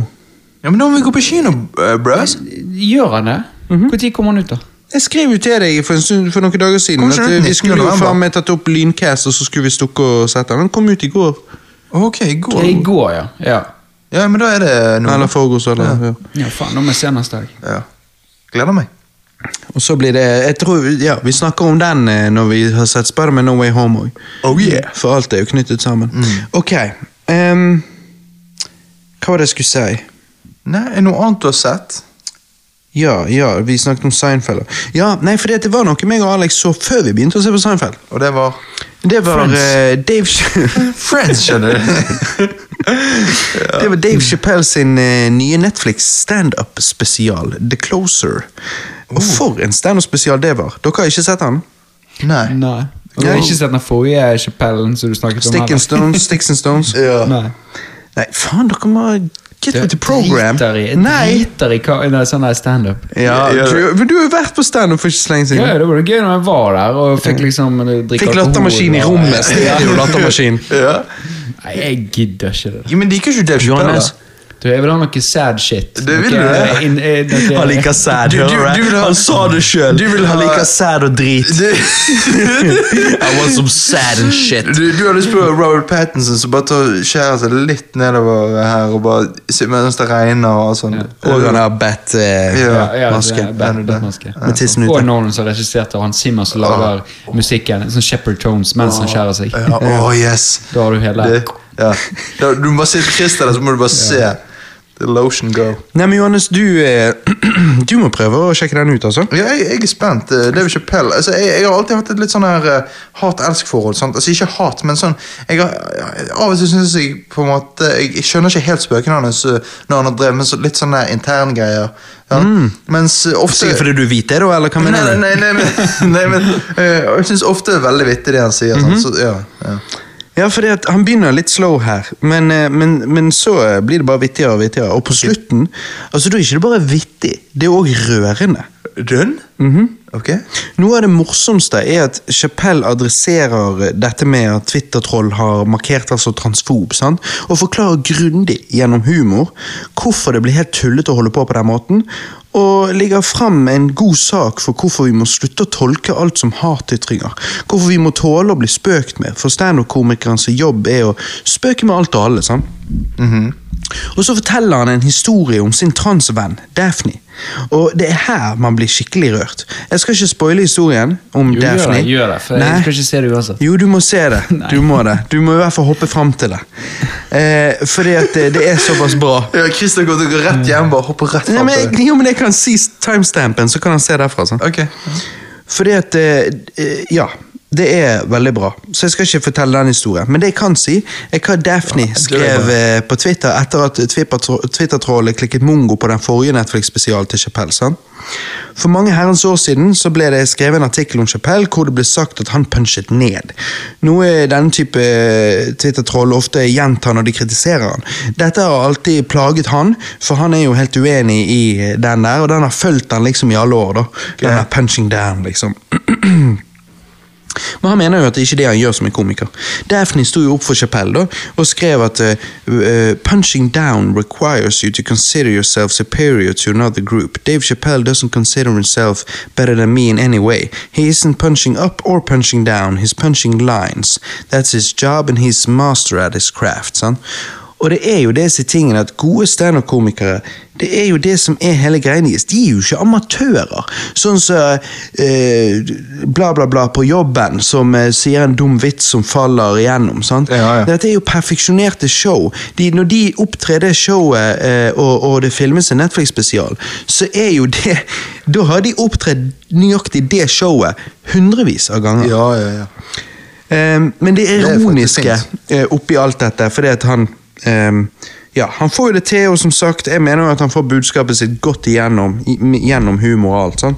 Speaker 2: Ja, men da må vi gå på kino, eh, bros.
Speaker 3: Gjør han det? Når kommer han ut, da?
Speaker 1: Jeg skrev jo til deg for, en stund, for noen dager siden at
Speaker 2: Kom ikke
Speaker 1: eh,
Speaker 2: ut
Speaker 1: vi
Speaker 2: 19.
Speaker 1: skulle jo
Speaker 2: november.
Speaker 1: faen meg tatt opp Lyncast, og så skulle vi stukke og sette den. Han kom ut i går.
Speaker 2: Ok,
Speaker 3: Det er I
Speaker 2: god.
Speaker 3: går, ja. ja.
Speaker 2: Ja, men da er det noe.
Speaker 1: Eller forgårs, eller ja.
Speaker 3: Ja, faen, da må jeg se neste dag.
Speaker 2: Ja. Gleder meg.
Speaker 1: Og så blir det jeg tror, ja, Vi snakker om den eh, når vi har sett Spiderman No Way Home òg.
Speaker 2: Oh, yeah. Mm.
Speaker 1: For alt er jo knyttet sammen. Ok. ehm, hva var det jeg skulle si?
Speaker 2: Nei, er det noe annet du har sett?
Speaker 1: Ja, ja, vi snakket om Seinfeld. Ja, nei, for det var noe meg og Alex så før vi begynte å se på Seinfeld.
Speaker 2: Og det var
Speaker 1: Det var
Speaker 3: Friends.
Speaker 1: eh, Dave Ch-
Speaker 2: Friends, skjønner du.
Speaker 1: Det var Dave Chappelle sin eh, nye Netflix standup-spesial, The Closer.
Speaker 2: Oh.
Speaker 1: Og for en standup-spesial det var! Dere har ikke sett den?
Speaker 2: Nei.
Speaker 3: Nei. Jeg har ikke sett den forrige Chapellen som du snakket om.
Speaker 1: Stick and Stones, Sticks and Stones.
Speaker 2: Ja.
Speaker 3: Nei.
Speaker 1: Nei, faen, dere må get with the program.
Speaker 3: Driter i, jeg
Speaker 1: Nei!
Speaker 3: driter i hva, nei, sånn der standup.
Speaker 1: Ja,
Speaker 2: Ja, ja.
Speaker 1: du, men du har jo vært på standup for ikke så lenge
Speaker 3: Ja,
Speaker 1: siden.
Speaker 3: ja, det var det gøy når jeg var der og fikk liksom eh, drikke
Speaker 1: Fikk
Speaker 3: alkohol
Speaker 1: lattermaskin i
Speaker 3: og-
Speaker 1: rommet. Stereo lattermaskin.
Speaker 2: Ja.
Speaker 3: Nei, jeg gidder ikke det.
Speaker 2: Jo, men liker ikke du Dave Chappelle?
Speaker 1: Johannes.
Speaker 2: da?
Speaker 3: Du, jeg vil ha noe sad shit.
Speaker 2: Det vil
Speaker 3: Noe,
Speaker 2: du, det.
Speaker 3: eh, inn- eh, noe-
Speaker 1: sad, eh.
Speaker 2: Du- du- hører jeg. du vil ha- Han sa det selv. Du vil ha- Han liker
Speaker 1: sad og drit. I want some sad and shit.
Speaker 2: Du, du har lyst på Robert Pattinson som bare tar skjærer seg litt nedover her og bare sitter mens det regner og sånn.
Speaker 1: Og han har bedt eh,
Speaker 3: Ja, ja,
Speaker 1: Maske.
Speaker 3: det er Bat-
Speaker 2: Er det det?
Speaker 3: Batman-maske.
Speaker 1: Med tissen ute.
Speaker 3: Og Nolan som regisserte, og han Simmer som lager musikken. Sånn Shepherd Tones mens han skjærer seg.
Speaker 2: Ja, oh, yes.
Speaker 3: Da har du hele
Speaker 2: Det, ja. da, du må bare sitte trist der, så må du bare se the lotion go.
Speaker 1: Nei, men Johannes, du, eh, du må prøve å sjekke den ut, altså.
Speaker 2: Ja, jeg, jeg er spent. eh, Dave Chappelle altså, jeg, jeg har alltid hatt et litt sånn her eh, hat-elsk-forhold. sant? Altså, Ikke hat, men sånn jeg har, Av og til syns jeg på en måte Jeg, jeg skjønner ikke helt spøkene hans eh, når han har drevet med så, litt sånne interngreier. Ja. Mens eh, ofte
Speaker 1: Sikkert Mm. fordi du vet det, da? eller hva
Speaker 2: Nei,
Speaker 1: mener
Speaker 2: nei,
Speaker 1: du?
Speaker 2: nei, nei, men- nei men eh, Jeg syns ofte det er veldig vittig det han sier. sant?
Speaker 1: Mhm.
Speaker 2: så, ja, ja.
Speaker 1: Ja, fordi at Han begynner litt slow her, men, eh, men, men så eh, blir det bare vittigere og vittigere. Og på slutten altså da er ikke det bare vittig, det er òg rørende.
Speaker 2: Dønn? Ok.
Speaker 1: Noe av det morsomste er at Chappelle adresserer dette med at Twitter-troll har markert altså transfob, sant? og forklarer grundig gjennom humor hvorfor det blir helt tullete å holde på på den måten, og ligger fram med en god sak for hvorfor vi må slutte å tolke alt som hatytringer. Hvorfor vi må tåle å bli spøkt med, for standup-komikerens jobb er å spøke med alt og alle. sant?
Speaker 3: Mhm.
Speaker 1: Og så forteller han en historie om sin transvenn, Daphne. Og det er her man blir skikkelig rørt. Jeg skal ikke spoile historien om
Speaker 3: Jo, gjør
Speaker 1: Daphne.
Speaker 3: det, gjør det, for jeg skal ikke se det uansett.
Speaker 1: Jo, du må se det. Du må det. Du må i hvert fall hoppe fram til det. Eh, fordi at det, det er såpass bra.
Speaker 2: Ja, Christer går til å gå rett hjem bare hopper rett
Speaker 1: Nei,
Speaker 2: fram
Speaker 1: men,
Speaker 2: til det.
Speaker 1: jeg- jo, men jeg kan si timestampen, så kan han se derfra. altså. sant?
Speaker 2: Ok.
Speaker 1: Fordi at eh, eh, Ja. Det er veldig bra, så jeg skal ikke fortelle den historien. Men det jeg kan si, er hva Daphne skrev eh, på Twitter etter at Twippertro- Twitter-trollet klikket mongo på den forrige Netflix-spesialen til Chappelle. sant? For mange herrens år siden så ble det skrevet en artikkel om Chappelle hvor det ble sagt at han punchet ned. Noe denne type eh, Twitter-troll ofte gjentar når de kritiserer han. Dette har alltid plaget han, for han er jo helt uenig i den der, og den har fulgt han liksom i alle år. da. Den der punching down, liksom. Men han mener jo at det ikke er det han gjør som en komiker. Daphne sto jo opp for Chappelle da, og skrev at eh, eh, punching down requires you to consider yourself superior to another group. Dave Chappelle doesn't consider himself better than me in any way. He isn't punching up or punching down, he's punching lines. That's his job and he's master at his craft. Sant? Og det er jo det som er tingen at gode standup-komikere det er jo det som er hele greia deres. De er jo ikke amatører. Sånn som eh, bla, bla, bla på jobben som eh, sier en dum vits som faller igjennom. Sant?
Speaker 2: Ja, ja.
Speaker 1: Dette er jo perfeksjonerte show. De, når de opptrer det showet, eh, og, og det filmes en Netflix-spesial, så er jo det Da har de opptredd nøyaktig det showet hundrevis av ganger.
Speaker 2: Ja, ja, ja.
Speaker 1: Ehm, men det
Speaker 2: er faktisk
Speaker 1: ironiske
Speaker 2: fint.
Speaker 1: eh, oppi alt dette, fordi at han ehm, ja, Han får jo det til, og som sagt, jeg mener jo at han får budskapet sitt godt igjennom i, m- gjennom humor og alt. sånn.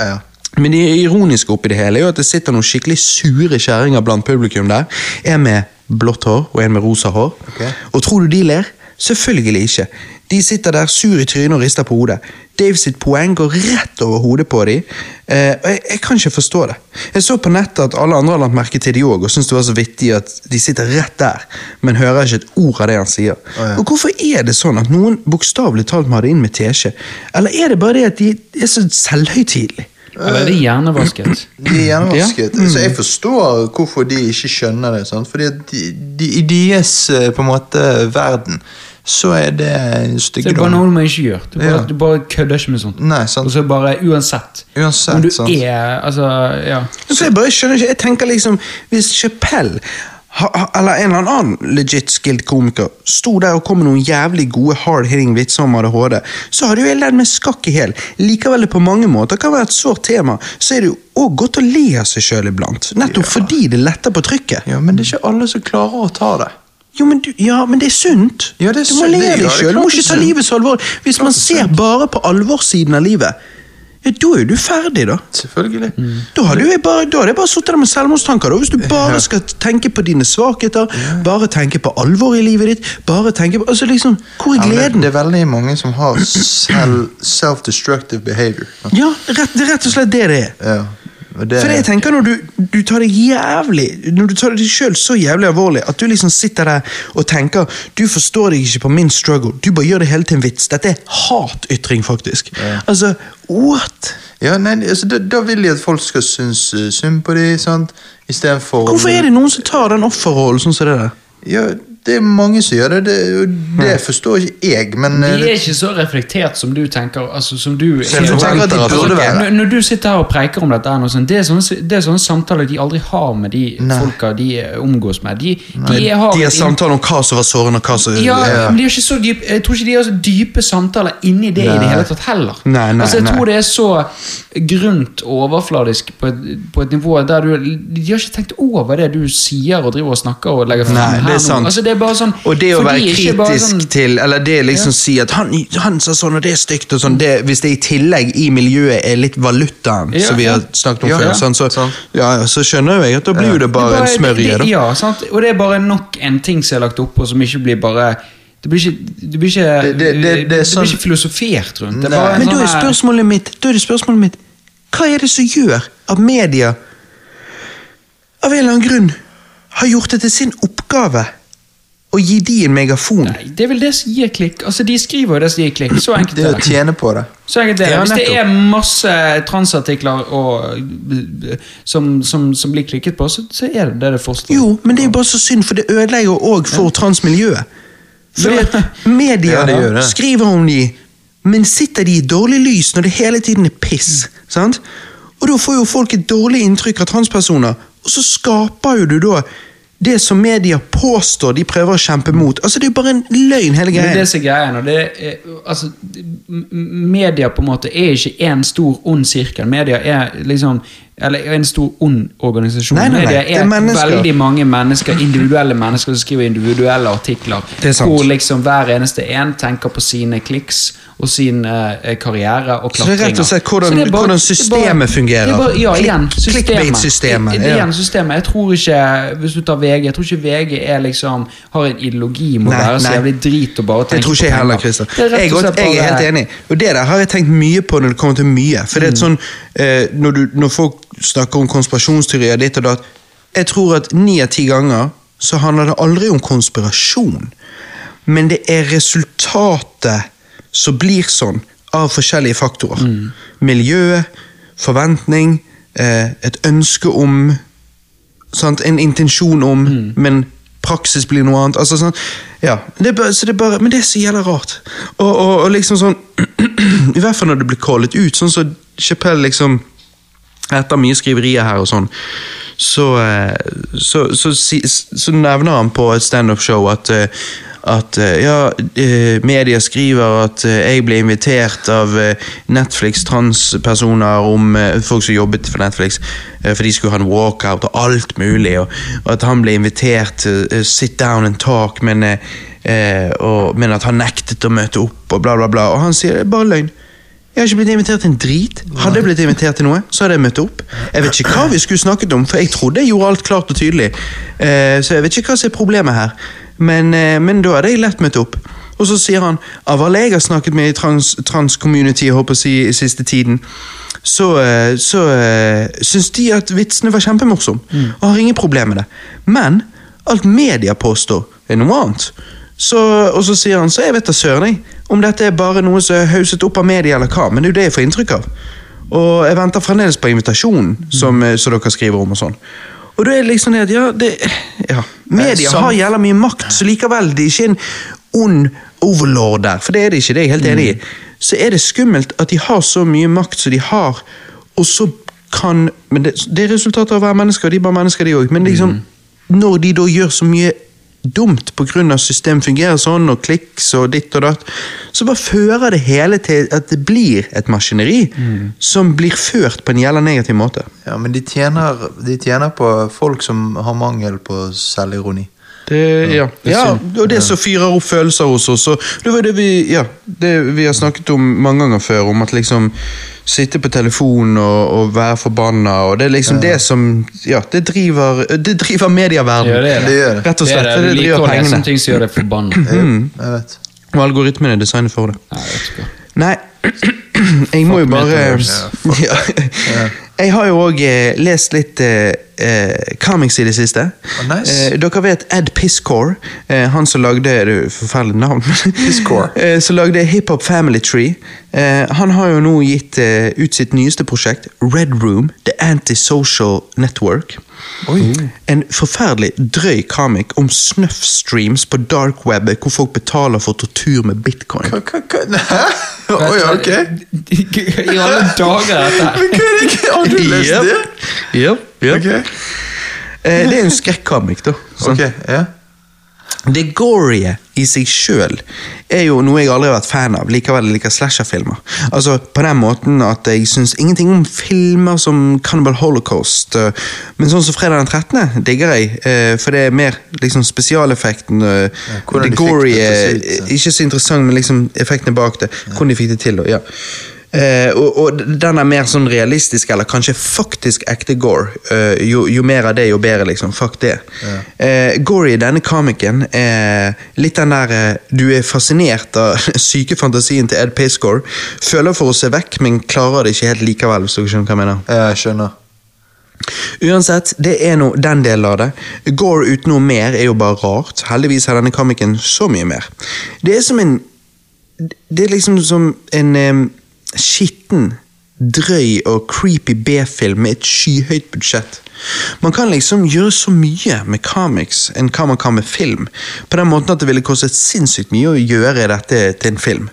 Speaker 2: ja.
Speaker 1: Men det ironiske oppi det hele er jo at det sitter noen skikkelig sure kjerringer blant publikum der. En med blått hår og en med rosa hår.
Speaker 2: Ok.
Speaker 1: Og tror du de ler? Selvfølgelig ikke. De sitter der sur i trynet og rister på hodet. Dave sitt poeng går rett over hodet på dem. Eh, og jeg, jeg kan ikke forstå det. Jeg så på nettet at alle andre har lagt merke til de òg, og syns det var så vittig at de sitter rett der, men hører ikke et ord av det han sier.
Speaker 2: ja.
Speaker 1: Og hvorfor er det sånn at noen bokstavelig talt må ha det inn med teskje? Eller er det bare det at de er så selvhøytidelige?
Speaker 3: Eller er det hjernevasket?
Speaker 2: De er gjennomvasket. Så
Speaker 1: Mm.
Speaker 2: jeg forstår hvorfor de ikke skjønner det. Sant? Fordi at de, de, i deres eh, på en måte, verden så er det
Speaker 3: Det er bare
Speaker 2: styggedom.
Speaker 3: noe man ikke gjør. Du bare,
Speaker 2: Ja.
Speaker 3: du bare kødder ikke med sånt.
Speaker 2: Nei, sant.
Speaker 3: Og så bare uansett.
Speaker 2: Uansett,
Speaker 3: Om du
Speaker 2: sant.
Speaker 3: er Altså, ja.
Speaker 1: Så jeg bare skjønner ikke, jeg tenker liksom Hvis Chappelle ha, ha, eller en eller annen legit skilled komiker sto der og kom med noen jævlig gode hard-hitting vitser om ADHD, så hadde jo jeg ledd meg skakk i hæl. Likevel det på mange måter kan være et sårt tema, så er det jo òg godt å le av seg sjøl iblant. Nettopp fordi det letter på trykket.
Speaker 2: Ja, men det er ikke alle som klarer å ta det.
Speaker 1: Jo, men, du, ja, men det er sunt.
Speaker 2: Ja, det er
Speaker 1: du må
Speaker 2: sunt.
Speaker 1: le
Speaker 2: Det- ja,
Speaker 1: av
Speaker 2: det
Speaker 1: deg
Speaker 2: er
Speaker 1: sjøl. Du
Speaker 2: klart
Speaker 1: må
Speaker 2: det er
Speaker 1: ikke ta
Speaker 2: sunt.
Speaker 1: livet så alvorlig. Hvis man ser bare på alvorssiden av livet, ja, da er jo du ferdig, da.
Speaker 2: Selvfølgelig.
Speaker 3: Mm.
Speaker 1: Da hadde jo jeg bare, da hadde jeg bare sittet der med selvmordstanker. Da. Hvis du bare skal tenke på dine svakheter, bare tenke på alvoret i livet ditt bare tenke på, altså liksom, Hvor er
Speaker 2: Ja, men det,
Speaker 1: gleden?
Speaker 2: det er veldig mange som har selv, self-destructive behavior.
Speaker 1: Ja, rett, Det er rett og slett det det er.
Speaker 2: Ja. og det-
Speaker 1: For jeg tenker Når du, du tar det jævlig Når du tar deg sjøl så jævlig alvorlig at du liksom sitter der og tenker Du forstår deg ikke på min struggle. Du bare gjør det hele til en vits. Dette er hatytring, faktisk. Altså, what?
Speaker 2: Ja, nei, altså, da, da vil de at folk skal synes eh, synd på dem, sant? Istedenfor
Speaker 1: Hvorfor er det noen som tar den offerrollen sånn som det der?
Speaker 2: Ja, det er mange som gjør det. Det, og det forstår ikke jeg, men
Speaker 3: De
Speaker 2: eh,
Speaker 3: er ikke så reflektert som du tenker. Altså, som du
Speaker 2: jeg tenker at de burde
Speaker 3: Ok,
Speaker 2: være.
Speaker 3: når- Når du sitter her og preiker om dette, her nå, sånn, det, er sånne, det er sånne samtaler de aldri har med de
Speaker 2: Nei.
Speaker 3: folka de omgås med. De, de har
Speaker 1: De har
Speaker 3: et inn-
Speaker 1: samtaler om hva som var sårende, og hva som
Speaker 3: Ja, men de er ikke så dyp, Jeg tror ikke de har så dype samtaler inni det i det
Speaker 2: Nei.
Speaker 3: hele tatt heller.
Speaker 1: Nei, nei,
Speaker 3: altså, jeg
Speaker 1: nei.
Speaker 3: tror det er så grunt og overfladisk på et, på et nivå der du De har ikke tenkt over det du sier og driver og snakker og legger frem
Speaker 1: Nei,
Speaker 3: her
Speaker 1: det er
Speaker 3: nå.
Speaker 1: sant.
Speaker 3: Altså, det er bare sånn,
Speaker 1: og det å
Speaker 3: for de
Speaker 1: være
Speaker 3: er ikke bare
Speaker 1: kritisk
Speaker 3: sånn-
Speaker 1: til Eller det liksom si at han, 'han sa sånn, og det er stygt', og sånn, det, hvis det i tillegg i miljøet er litt valutaen
Speaker 3: Ja,
Speaker 1: som vi har
Speaker 3: ja.
Speaker 1: snakket om
Speaker 2: Ja,
Speaker 1: før,
Speaker 2: ja.
Speaker 1: sånn, så,
Speaker 2: Sant.
Speaker 1: ja, ja, så skjønner jo jeg at da blir jo det bare en smørje.
Speaker 3: det-
Speaker 1: da.
Speaker 3: det- Ja, sant? og det er bare nok en ting som er lagt opp, og som ikke blir bare Det blir ikke, det blir ikke,
Speaker 2: Det- det- det- det er sånn-
Speaker 3: blir ikke filosofert rundt. Det er
Speaker 2: Nei.
Speaker 3: bare en
Speaker 1: Men da
Speaker 3: sånn
Speaker 1: er
Speaker 3: her-
Speaker 1: spørsmålet mitt, da er det spørsmålet mitt Hva er det som gjør at media av en eller annen grunn har gjort det til sin oppgave å gi de en megafon?
Speaker 3: Nei, det er vel det som gir klikk. Altså, De skriver jo det som gir klikk. Så enkelt
Speaker 2: det
Speaker 3: er
Speaker 2: å
Speaker 3: det.
Speaker 2: tjene på det.
Speaker 3: Så enkelt er det.
Speaker 1: Ja,
Speaker 3: Hvis det
Speaker 1: nettopp.
Speaker 3: er masse transartikler og, eh, som, som, som blir klikket på, så, så er det det det forstår.
Speaker 1: Jo, men det er jo bare så synd, for det ødelegger jo òg for transmiljøet. Fordi
Speaker 3: Ja.
Speaker 1: at media
Speaker 2: Ja, det gjør det.
Speaker 1: skriver om de, men sitter de i dårlig lys når det hele tiden er piss?
Speaker 2: Mm.
Speaker 1: sant? Og da får jo folk et dårlig inntrykk av transpersoner, og så skaper jo du da det som media påstår de prøver å kjempe mot. Altså, Det er jo bare en løgn, hele
Speaker 3: Men det
Speaker 1: greia.
Speaker 3: som er greien, og det er, altså, m- m- media på en måte er ikke en stor ond sirkel. Media er liksom eller en stor ond organisasjon.
Speaker 1: Nei, nei, nei,
Speaker 3: Media
Speaker 1: det er
Speaker 3: er,
Speaker 1: mennesker.
Speaker 3: veldig mange mennesker, individuelle mennesker som skriver individuelle artikler.
Speaker 1: Det er sant.
Speaker 3: Hvor liksom hver eneste en tenker på sine kliks og sin eh, karriere og
Speaker 1: Så det er
Speaker 3: klatringer.
Speaker 1: rett og slett hvordan-
Speaker 3: Så det er
Speaker 1: hvordan
Speaker 3: det er
Speaker 1: systemet fungerer.
Speaker 3: det er bare- Ja,
Speaker 1: Click-
Speaker 3: igjen,
Speaker 1: clickbait-systemet,
Speaker 3: systemet.
Speaker 1: ja.
Speaker 3: Igjen systemet. Jeg tror ikke, hvis du tar VG, jeg tror ikke VG er liksom, har en ideologi med å
Speaker 1: Nei,
Speaker 3: være så
Speaker 1: nei.
Speaker 3: jævlig drit og bare
Speaker 1: Det tror ikke jeg heller, Christer. Jeg, er godt- jeg er helt enig. Og det der har jeg tenkt mye på når det kommer til mye. For det er et sånn, eh, når, du, når folk snakker om konspirasjonsteorier ditt og datt. Jeg tror at ni av ti ganger så handler det aldri om konspirasjon. Men det er resultatet som blir sånn av forskjellige faktorer. Miljøet, forventning, eh, et ønske om sant? En intensjon om, men praksis blir noe annet. Altså, sånn, ja. det er bare, så det er bare, men det er så jævla rart. Og, og, og liksom sånn I hvert fall når det blir callet ut, sånn som så Chapelle liksom etter mye skriverier her og sånn, så, eh, så, så, si- så nevner han på et standup-show at eh, at eh, ja, eh, media skriver at eh, jeg ble invitert av eh, Netflix transpersoner om eh, folk som jobbet for Netflix, eh, for de skulle ha en walkout og alt mulig, og, og at han ble invitert til eh, sit down and talk, men, eh, eh, og, men at han nektet å møte opp, og bla, bla, bla. Og han sier det er bare løgn. Jeg har ikke blitt invitert til en drit. Hadde jeg blitt invitert til noe, så hadde jeg møtt opp. Jeg vet ikke hva vi skulle snakket om, for jeg trodde jeg gjorde alt klart og tydelig. Eh, Så jeg vet ikke hva som er problemet her, men, eh, men da hadde jeg lett møtt opp. Og så sier han av alle jeg har snakket med i trans- trans-community trans håper jeg å si, i siste tiden, så, eh, så eh, syns de at vitsene var kjempemorsomme, og har ingen problemer med det. Men alt media påstår, er noe annet. Så, og så sier han så jeg vet da søren jeg, om dette er bare noe som er hauset opp av media eller hva, men det er jo det jeg får inntrykk av. Og jeg venter fremdeles på invitasjonen som, eh, som dere skriver om og sånn. Og da er det liksom det at ja, det, ja. Media har jævla mye makt, så likevel det er ikke en ond overlord der, for det er det ikke, det er jeg helt enig i. Så er det skummelt at de har så mye makt som de har, og så kan Men det, det er resultatet av å være mennesker, og de er bare mennesker, de òg, men liksom Når de da gjør så mye dumt pga. system fungerer sånn, og kliks og ditt og datt, så bare fører det hele til at det blir et maskineri som blir ført på en jævla negativ måte.
Speaker 2: Ja, men de tjener, de tjener på folk som har mangel på selvironi.
Speaker 1: Det, ja.
Speaker 3: er
Speaker 1: ja,
Speaker 3: synd.
Speaker 1: og det som fyrer opp følelser hos oss. Og det var det vi, ja, det vi har snakket om mange ganger før, om at liksom sitte på telefonen og, og være forbanna, og det er liksom det som Ja, det driver, det driver medieverdenen.
Speaker 3: Ja, det er det.
Speaker 2: Det gjør det.
Speaker 1: Rett og slett.
Speaker 3: det,
Speaker 1: Det,
Speaker 3: er det. Du liker
Speaker 1: driver
Speaker 3: å lese
Speaker 1: pengene.
Speaker 3: om ting som gjør deg forbanna.
Speaker 1: Hm.
Speaker 2: Jeg vet.
Speaker 1: Og algoritmen er designet for det.
Speaker 3: Nei, jeg vet ikke.
Speaker 1: Nei, jeg må jo
Speaker 3: Fuck
Speaker 1: bare
Speaker 3: metaverse.
Speaker 1: ja. Jeg har jo òg eh, lest litt eh, eh, comics i det siste.
Speaker 2: Å, nice.
Speaker 1: eh, dere vet Ed Piscore, eh, han som lagde Det er jo forferdelig navn.
Speaker 2: Piscor.
Speaker 1: eh, som lagde Hiphop Family Tree. Eh, han har jo nå gitt eh, ut sitt nyeste prosjekt, Red Room, The Antisocial Network. En forferdelig drøy comic om snuff-streams på dark web, hvor folk betaler for tortur med bitcoin.
Speaker 2: Hva- hva- hva- Hæ? Oi, ok.
Speaker 3: I alle dager, dette her.
Speaker 2: Men hva er det? Har du lest
Speaker 1: Yep.
Speaker 2: det?
Speaker 1: Yep, yep.
Speaker 2: Ok,
Speaker 1: Eh, det er en skrekk-comic, da. sant?
Speaker 2: ok, ja.
Speaker 1: Det gorie i seg sjøl er jo noe jeg aldri har vært fan av. Likevel jeg liker slasherfilmer. Altså, på den måten at jeg syns ingenting om filmer som Cannibal Holocaust. eh, Men sånn som Fredag den 13. digger jeg, eh, for det er mer liksom spesialeffekten. eh,
Speaker 2: hvordan
Speaker 1: det
Speaker 2: de fikk
Speaker 1: gory
Speaker 2: det
Speaker 1: er
Speaker 2: til å se ut, så.
Speaker 1: ikke så interessant, men liksom effektene bak det. Hvordan de fikk det til. Og, ja. Eh, og, og den er mer sånn realistisk, eller kanskje faktisk ekte gore. Eh, jo, jo mer av det, jo bedre, liksom. Fuck det. Eh, Gory, denne komikken, er litt den der eh, Du er fascinert av syke fantasien til Ed Payscore. Føler for å se vekk, men klarer det ikke helt likevel, hvis dere skjønner hva jeg mener.
Speaker 2: Ja, Jeg skjønner.
Speaker 1: Uansett, det er nå den delen av det. Gore uten noe mer er jo bare rart. Heldigvis har denne komikken så mye mer. Det er som en Det er liksom som en em, skitten, drøy og creepy B-film med et skyhøyt budsjett. Man kan liksom gjøre så mye med comics enn hva man kan med film. På den måten at det ville kostet sinnssykt mye å gjøre dette til en film.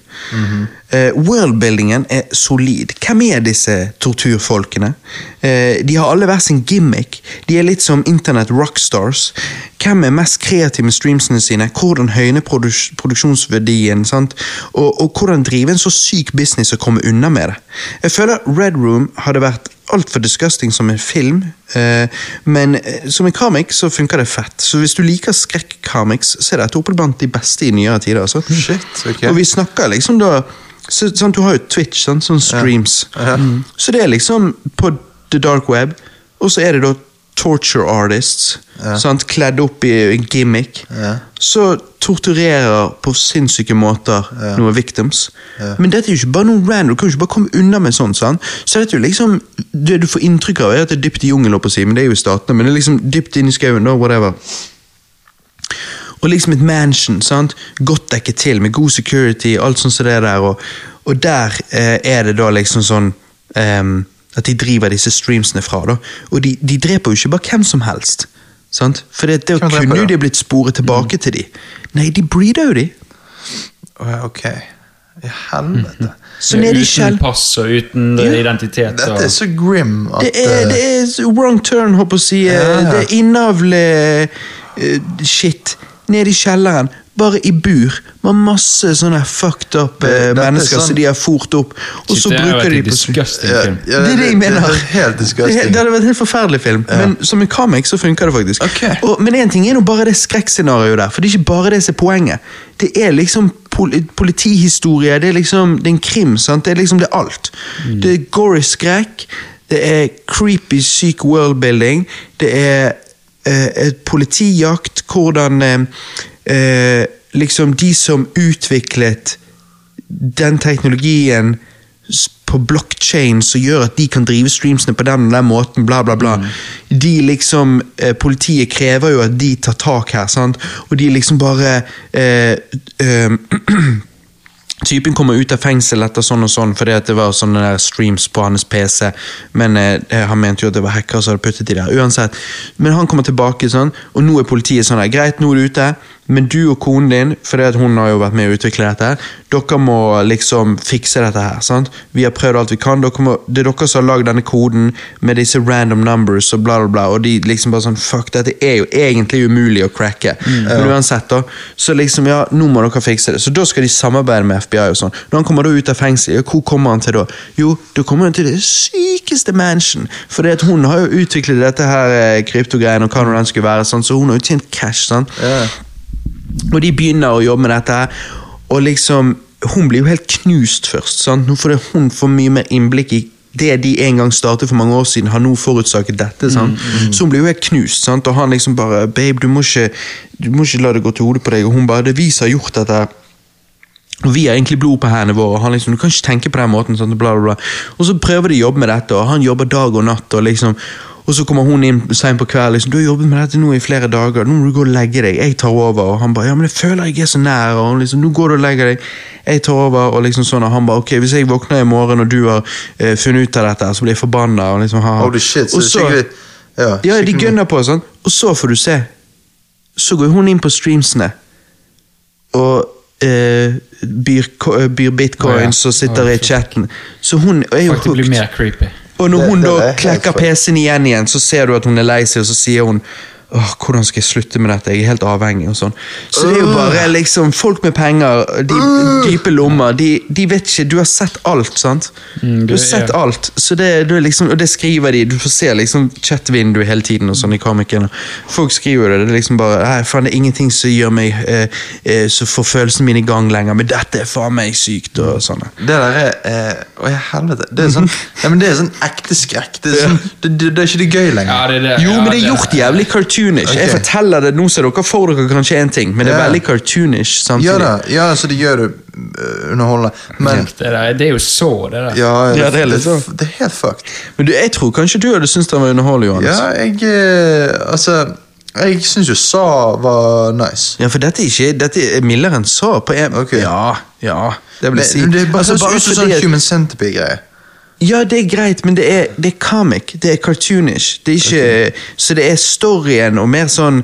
Speaker 1: Eh, worldbuildingen er solid. Hvem er disse torturfolkene? Eh, de har alle hver sin gimmick. De er litt som internett rockstars. Hvem er mest kreativ med streamsene sine? Hvordan høyne produs produksjonsverdien? Sant? Og, og hvordan drive en så syk business og komme unna med det? Jeg føler Red Room hadde vært altfor disgusting som en film, eh, men eh, som en comic så funker det fett. Så hvis du liker skrekk-comics, så er dette oppe blant de beste i nyere tider. altså.
Speaker 2: Shit, ok.
Speaker 1: Og vi snakker liksom da så, sånn, Du har jo Twitch, sånn, sånn streams.
Speaker 2: Ja.
Speaker 1: Mm. Så det er liksom på the dark web, og så er det da torture artists. Sant? Kledd opp i en gimmick.
Speaker 2: Ja.
Speaker 1: Så torturerer på sinnssyke måter noen victims. Men dette er jo ikke bare noen random, du kan jo ikke bare komme unna med sånn. sant? Så dette er jo liksom det du får inntrykk av, er at det er dypt i jungelen, holdt på å si, men det er jo i Statene. Men det er liksom dypt inn i skauen, da, whatever. Og liksom et mansion, sant? godt dekket til, med god security, alt sånn som det der. Og, og der eh, er det da liksom sånn ehm, at de driver disse streamsene fra. da. Og de, de dreper jo ikke bare hvem som helst. sant? For det, det
Speaker 2: Hvem dreper
Speaker 1: kunne jo
Speaker 2: da? Mm.
Speaker 1: de blitt sporet tilbake til de. Nei, de breeder jo de.
Speaker 2: Å, ja, ok. I helvete.
Speaker 1: Så nede i
Speaker 3: Uten
Speaker 1: kjell...
Speaker 3: pass og uten eh,
Speaker 1: Ja.
Speaker 3: identitet.
Speaker 2: Dette
Speaker 3: Og,
Speaker 2: er så grim at eh,
Speaker 1: Det er, det er s- wrong turn, håper jeg å si. eh,
Speaker 2: Ja.
Speaker 1: Det er innavle eh, shit ned i kjelleren. Bare i bur, med masse sånne fucked up eh,
Speaker 2: Dette er
Speaker 1: mennesker
Speaker 2: sånn-
Speaker 1: som de har fôrt opp. Og så
Speaker 3: Shit, det har vært
Speaker 1: bruker de
Speaker 3: en
Speaker 1: på
Speaker 3: disgusting
Speaker 2: Ja,
Speaker 3: film.
Speaker 2: ja,
Speaker 1: det er det jeg mener.
Speaker 2: Det, er helt
Speaker 1: Det,
Speaker 2: disgusting.
Speaker 1: det hadde vært en helt forferdelig film, men som en comic så funker det faktisk.
Speaker 2: Ok.
Speaker 1: Og, men én ting er nå bare det skrekkscenarioet der, for det er ikke bare det som er poenget. Det er liksom pol politihistorie, det er liksom det er en krim, sant? det er liksom det er alt.
Speaker 2: Mm.
Speaker 1: Det er gory skrekk, det er creepy syk worldbuilding, det er eh, et politijakt, hvordan eh, eh, liksom de som utviklet den teknologien s- på blockchain som gjør at de kan drive streamsene på den og den måten, bla, bla, bla. De liksom, eh, politiet krever jo at de tar tak her, sant? Og de liksom bare eh, eh, Typen kommer ut av fengsel etter sånn og sånn fordi at det var sånne der streams på hans PC. Men eh, han mente jo at det var hackere som hadde puttet de der. uansett. Men han kommer tilbake, sånn, og nå er politiet sånn her. Greit, nå er du ute, men du og konen din, fordi at hun har jo vært med å utvikle dette, dere må liksom fikse dette her. sant? Vi har prøvd alt vi kan. Dere må, det er dere som har lagd denne koden med disse random numbers og bla, bla, bla. Og de liksom bare sånn Fuck, dette er jo egentlig umulig å cracke. Men uansett, da. Så liksom, ja, nå må dere fikse det. Så da skal de samarbeide med FBI og sånn. Når han kommer da ut av fengsel, ja, hvor kommer han til da? Jo, da kommer han til det sykeste mansion. For det at hun har jo utviklet dette her eh, kryptogreiene og hva nå den skulle være, sånn, så hun har jo tjent cash, sant.
Speaker 2: Ja.
Speaker 1: Og de begynner å jobbe med dette, her, og liksom Hun blir jo helt knust først, sant? Nå får det, hun får mye mer innblikk i det de en gang startet for mange år siden, har nå forutsaket dette. Sant? Så hun blir jo helt knust, sant? og han liksom bare 'Babe, du må ikke, du må ikke la det gå til hodet på deg.' Og hun bare 'Det er vi som har gjort dette.' her.» Og vi har egentlig blod på hendene våre, og han liksom, du kan ikke tenke på den måten. Sånn, bla, bla, bla. Og så prøver de å jobbe med dette, og han jobber dag og natt. Og liksom, og så kommer hun inn sent på kvelden liksom, du har jobbet med dette nå i flere dager, nå må du gå og legge deg. Jeg tar over. Og han bare ja, men jeg føler jeg er så nær. Og hun liksom, nå går du og legger deg. Jeg tar over. Og liksom sånn, og han bare ok, hvis jeg våkner i morgen og du har eh, funnet ut av dette, så blir jeg forbanna. Og liksom, ha, ha.
Speaker 2: eh, Holy shit. Så
Speaker 1: Og
Speaker 2: det er skikkelig Ja,
Speaker 1: ja, de
Speaker 2: skikkelig-
Speaker 1: gønner på, sånn. og så får du se. Så går hun inn på streamsene og eh, byr, ko- eh, byr bitcoins
Speaker 3: Å, ja.
Speaker 1: og sitter
Speaker 3: Å,
Speaker 1: i chatten. Så hun er jo
Speaker 3: Faktisk blir
Speaker 1: hooked.
Speaker 3: mer creepy.
Speaker 1: Og når
Speaker 2: Det-
Speaker 1: hun
Speaker 2: det er
Speaker 1: da
Speaker 2: helt
Speaker 1: klekker
Speaker 2: for-
Speaker 1: PC-en igjen igjen, så ser du at hun er lei seg, og så sier hun Åh, hvordan skal jeg slutte med dette, jeg er helt avhengig og sånn. Så det er jo
Speaker 2: Øh.
Speaker 1: bare liksom folk med penger, de dype lommer, de, de vet ikke Du har sett alt, sant?
Speaker 3: Mm,
Speaker 1: Du har
Speaker 3: det-
Speaker 1: sett
Speaker 3: ja.
Speaker 1: alt, så det, du er liksom, og det skriver de. Du får se liksom chat-vinduet hele tiden og sånn i komikken. Folk skriver jo det. Det er liksom bare Nei, faen, det er ingenting som gjør meg eh, eh, Som får følelsene mine i gang lenger, men dette er faen meg sykt og sånn.
Speaker 2: Det der er eh, Å, ja, helvete. Det er sånn, ja, men det er sånn ekte skrekk. Det er, sånn, det, det, det er ikke det gøy lenger.
Speaker 3: Ja, det er det.
Speaker 1: Jo,
Speaker 3: ja,
Speaker 1: men det er gjort jævlig cartoonish. Jeg
Speaker 2: Ok.
Speaker 1: forteller det nå, så dere får dere kanskje én ting, men det er
Speaker 2: Ja.
Speaker 1: veldig cartoonish
Speaker 2: Ja
Speaker 1: samtidig.
Speaker 2: da, ja, så det gjør det eh, underholdende. Men
Speaker 3: Det, der, det er jo så, det der.
Speaker 2: ja,
Speaker 1: Ja, det er litt
Speaker 2: det,
Speaker 1: sånn.
Speaker 2: det er helt fucked.
Speaker 1: Men du, jeg tror kanskje du hadde syntes den var underholdende, Johannes.
Speaker 2: Ja,
Speaker 1: Ja.
Speaker 2: jeg eh, Altså, jeg syns jo Sa var nice.
Speaker 1: for dette er ikke Dette er mildere enn så. På en,
Speaker 2: Ok.
Speaker 1: Ja, ja, det vil
Speaker 2: Men
Speaker 1: jeg si.
Speaker 2: Det er bare,
Speaker 1: Altså,
Speaker 2: høres
Speaker 1: bare
Speaker 2: ut som
Speaker 1: fordi
Speaker 2: sånn
Speaker 1: at-
Speaker 2: Human Centipede-greie.
Speaker 1: Ja, det er greit, men det er, det er comic. Det er cartoonish. Det er ikke, Så det er storyen og mer sånn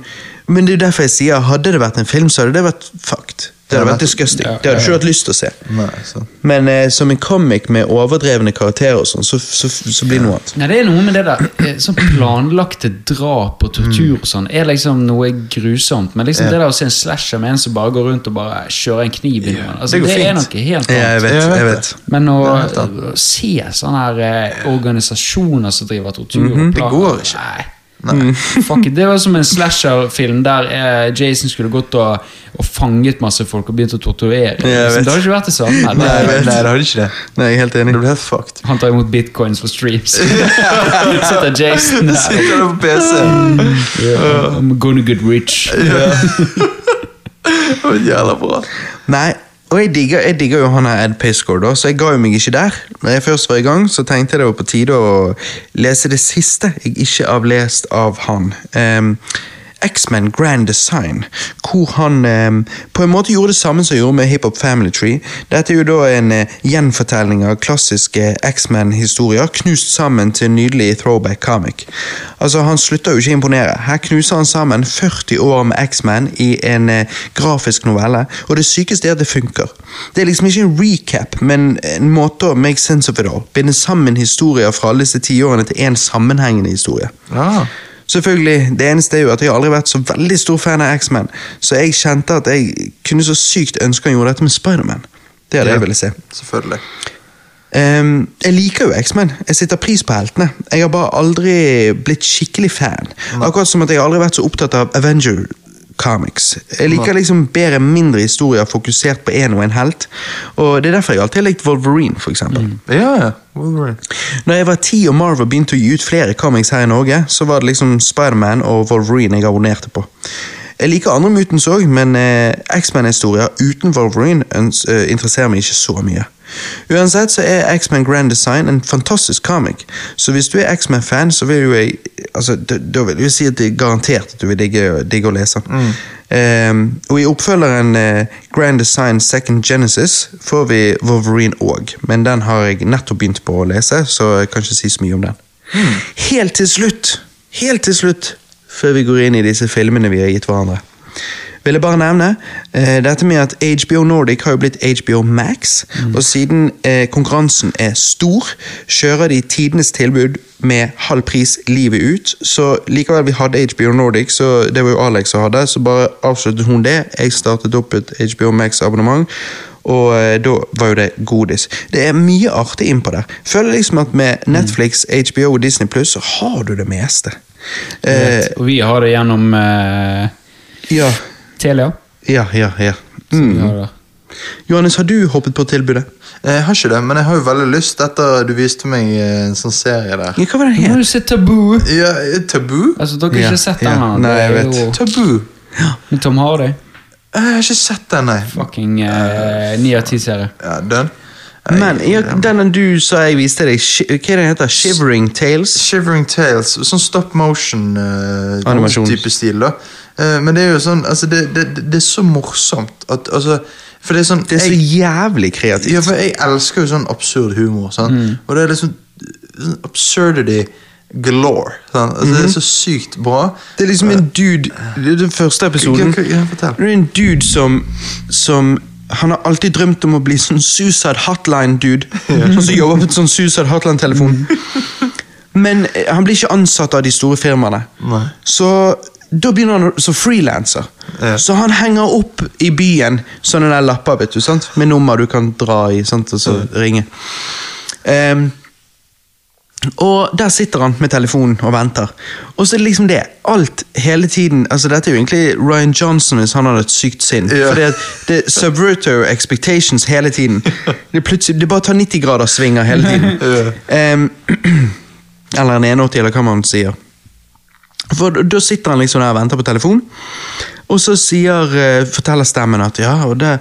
Speaker 1: Men det er jo derfor jeg sier hadde det vært en film, så hadde det vært fucked. Det hadde
Speaker 2: Ja,
Speaker 1: vært disgusting.
Speaker 3: ja,
Speaker 1: Det hadde
Speaker 3: ja,
Speaker 1: ikke du hatt lyst til å se.
Speaker 2: Nei, sant.
Speaker 1: Men eh, som en comic med overdrevne karakterer og sånn, så, så, så blir det noe annet.
Speaker 3: Nei, det er noe med det der eh, sånn planlagte drap og tortur og sånn, er liksom noe grusomt. Men liksom det der å se en slasher med en som bare går rundt og bare kjører en kniv inn i noen, altså,
Speaker 2: det går
Speaker 3: det, er
Speaker 2: fint.
Speaker 3: noe helt
Speaker 1: Ja, jeg
Speaker 3: annet.
Speaker 1: vet,
Speaker 2: Jeg vet
Speaker 1: jeg
Speaker 2: det.
Speaker 1: vet.
Speaker 3: Men å,
Speaker 2: Det er helt annet.
Speaker 3: å se sånne her eh, organisasjoner som driver tortur og
Speaker 2: Mhm. det
Speaker 3: planer
Speaker 2: går ikke.
Speaker 3: Nei. Mm. Fuck it, Det var som en slasher-film der eh, Jason skulle gått og, og fanget masse folk og begynt å torturere. Liksom.
Speaker 1: vet.
Speaker 3: Det har ikke vært det samme. eller?
Speaker 2: Nei, nei, det hadde ikke det.
Speaker 1: Nei, jeg er helt enig.
Speaker 2: Det ble helt fucked.
Speaker 3: Han tar imot bitcoins for streams. Sitter Jason der.
Speaker 2: Sitter der på PC.
Speaker 1: Eh,
Speaker 3: I'm gonna get rich.
Speaker 2: Det var Jævla bra.
Speaker 1: Nei, Og jeg digger, jeg digger jo han her Ed Pacecore, da, så jeg ga jo meg ikke der. Når jeg først var i gang, så tenkte jeg det var på tide å lese det siste jeg ikke har lest av han. Ehm, X-Men Grand Design, hvor han ehm, på en måte gjorde det samme som han gjorde med Hip Hop Family Tree. Dette er jo da en eh, gjenfortelling av klassiske eh, X-Men-historier, knust sammen til en nydelig throwback comic. Altså, Han slutter jo ikke å imponere. Her knuser han sammen 40 år med X-Man i en eh, grafisk novelle, og det sykeste er at det funker. Det er liksom ikke en recap, men en måte å make sense of it all. Binde sammen historier fra alle disse tiårene til én sammenhengende historie.
Speaker 2: Ja.
Speaker 1: Selvfølgelig, Det eneste er jo at jeg har aldri vært så veldig stor fan av X-Man, så jeg kjente at jeg kunne så sykt ønske han gjorde dette med Spiderman. Det hadde jeg ville se.
Speaker 2: Selvfølgelig.
Speaker 1: Ehm, jeg liker jo X-Men. Jeg setter pris på heltene. Jeg har bare aldri blitt skikkelig fan. Akkurat som at jeg aldri har vært så opptatt av Avenger Comics. Jeg liker liksom bedre mindre historier fokusert på én og en helt. Og Det er derfor jeg alltid har likt Wolverine. For eksempel.
Speaker 2: Ja, ja. Wolverine.
Speaker 1: Når jeg var ti og Marvel begynte å gi ut flere comics her i Norge, så var det liksom Spiderman og Wolverine jeg abonnerte på. Jeg liker andre mutants òg, men eh, X-Man-historier uten Wolverine øns- eh, interesserer meg ikke så mye. Uansett så er X-Man Grand Design en fantastisk comic, så hvis du er X-Man-fan, så vil jo jeg altså, da, da vil jeg si at det er garantert at du vil digge, digge å lese den. Ehm, og i oppfølgeren eh, Grand Design Second Genesis får vi Wolverine òg, men den har jeg nettopp begynt på å lese, så jeg kan ikke si så mye om den. Helt til slutt, helt til slutt, før vi går inn i disse filmene vi har gitt hverandre, vil jeg bare nevne eh, dette med at HBO Nordic har jo blitt HBO Max, og siden eh, konkurransen er stor, kjører de tidenes tilbud med halv pris livet ut. Så likevel, vi hadde HBO Nordic, så det var jo Alex som hadde, så bare avsluttet hun det. Jeg startet opp et HBO Max-abonnement, og eh, da var jo det godis. Det er mye artig innpå der. Føler liksom at med Netflix, HBO og Disney Pluss, så har du det meste. Eh,
Speaker 3: Og vi har det gjennom eh,
Speaker 1: ja,
Speaker 3: Telia.
Speaker 1: ja, ja. ja.
Speaker 3: Så
Speaker 1: Mm.
Speaker 3: vi har det.
Speaker 1: Johannes, har du hoppet på tilbudet?
Speaker 2: Jeg har ikke det, men jeg har jo veldig lyst etter du viste meg eh, en sånn serie der.
Speaker 1: Ja, hva var det
Speaker 3: Nå
Speaker 1: her?
Speaker 3: har du sett Taboo!
Speaker 2: Ja, eh, Tabu?
Speaker 3: Altså, Dere har
Speaker 1: Ja,
Speaker 3: ikke sett
Speaker 1: ja.
Speaker 3: den? her.
Speaker 1: Nei, jeg
Speaker 3: Det er
Speaker 1: vet.
Speaker 2: Tabu?
Speaker 3: jo- Med Tom Hardy.
Speaker 2: Jeg har ikke sett den, nei.
Speaker 3: Fucking eh, ni av ti-serie.
Speaker 2: Ja, den.
Speaker 1: Men ja, den du sa jeg viste deg, shi- hva er den heter? Shivering Tales?
Speaker 2: Shivering Tales. Sånn stop
Speaker 1: Animasjon.
Speaker 2: motion-type stil. da. Eh, men det er jo sånn altså, det, det, det det er så morsomt at altså, For det er sånn
Speaker 1: Det er så
Speaker 2: jeg,
Speaker 1: jævlig Mm. kreativt.
Speaker 2: ja, for jeg elsker jo sånn absurd humor. Sant? Og det er liksom sånn absurdity galore. Sant? Altså, Det er så sykt bra.
Speaker 1: Mhm.
Speaker 2: Eh,
Speaker 1: Det er liksom en dude det er Den første episoden
Speaker 2: Hva- hva- ja, fortell.
Speaker 1: Det er en dude som, som Han har alltid drømt om å bli sånn Suicide Hotline-dude. Sånn som jobber på en sånn Suicide Hotline-telefon.
Speaker 2: Mhm.
Speaker 1: Men eh, han blir ikke ansatt av de store firmaene.
Speaker 2: Nei.
Speaker 1: Så da begynner han å- som frilanser.
Speaker 2: Ja.
Speaker 1: Så han henger opp i byen sånne der lapper vet du, sant? med nummer du kan dra i sant? og så ringe. Ehm, og der sitter han med telefonen og venter. Og så er det liksom det. Alt hele tiden altså Dette er jo egentlig Ryan Johnson hvis han hadde et sykt sinn.
Speaker 2: Ja.
Speaker 1: Fordi at det subverter jo expectations hele tiden. Det, er plutselig, det bare tar 90 grader svinger hele tiden. Ehm, eller en 180, eller hva man sier. For da- da sitter han liksom der og venter på telefon, og så sier, eh, forteller stemmen at ja, og der,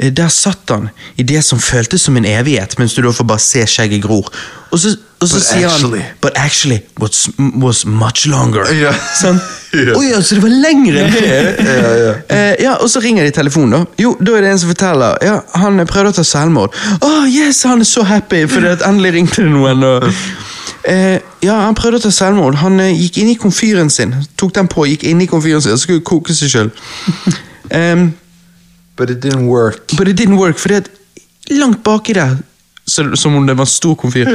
Speaker 1: eh, der satt han i det som føltes som en evighet, mens du da får bare se skjegget gror. Og så, og så
Speaker 2: But
Speaker 1: sier
Speaker 2: actually-
Speaker 1: han But actually, what's, was much longer.
Speaker 2: Ja.
Speaker 1: Sånn.
Speaker 2: Ja.
Speaker 1: Å ja, så det var lengre enn det?
Speaker 2: Ja, ja.
Speaker 1: Eh, ja, og så ringer de telefonen, da. Jo, da er det en som forteller. Ja, han prøvde å ta selvmord. Oh, yes, han er så happy, for det at endelig ringte det noen. Og, eh, ja, han prøvde å ta selvmord. Han eh, gikk inn i komfyren sin. Tok den på, gikk inn i komfyren sin, og skulle koke seg sjøl. Um,
Speaker 2: But it didn't work.
Speaker 1: but it didn't work, fordi at langt baki der, så, som om det var en stor komfyr,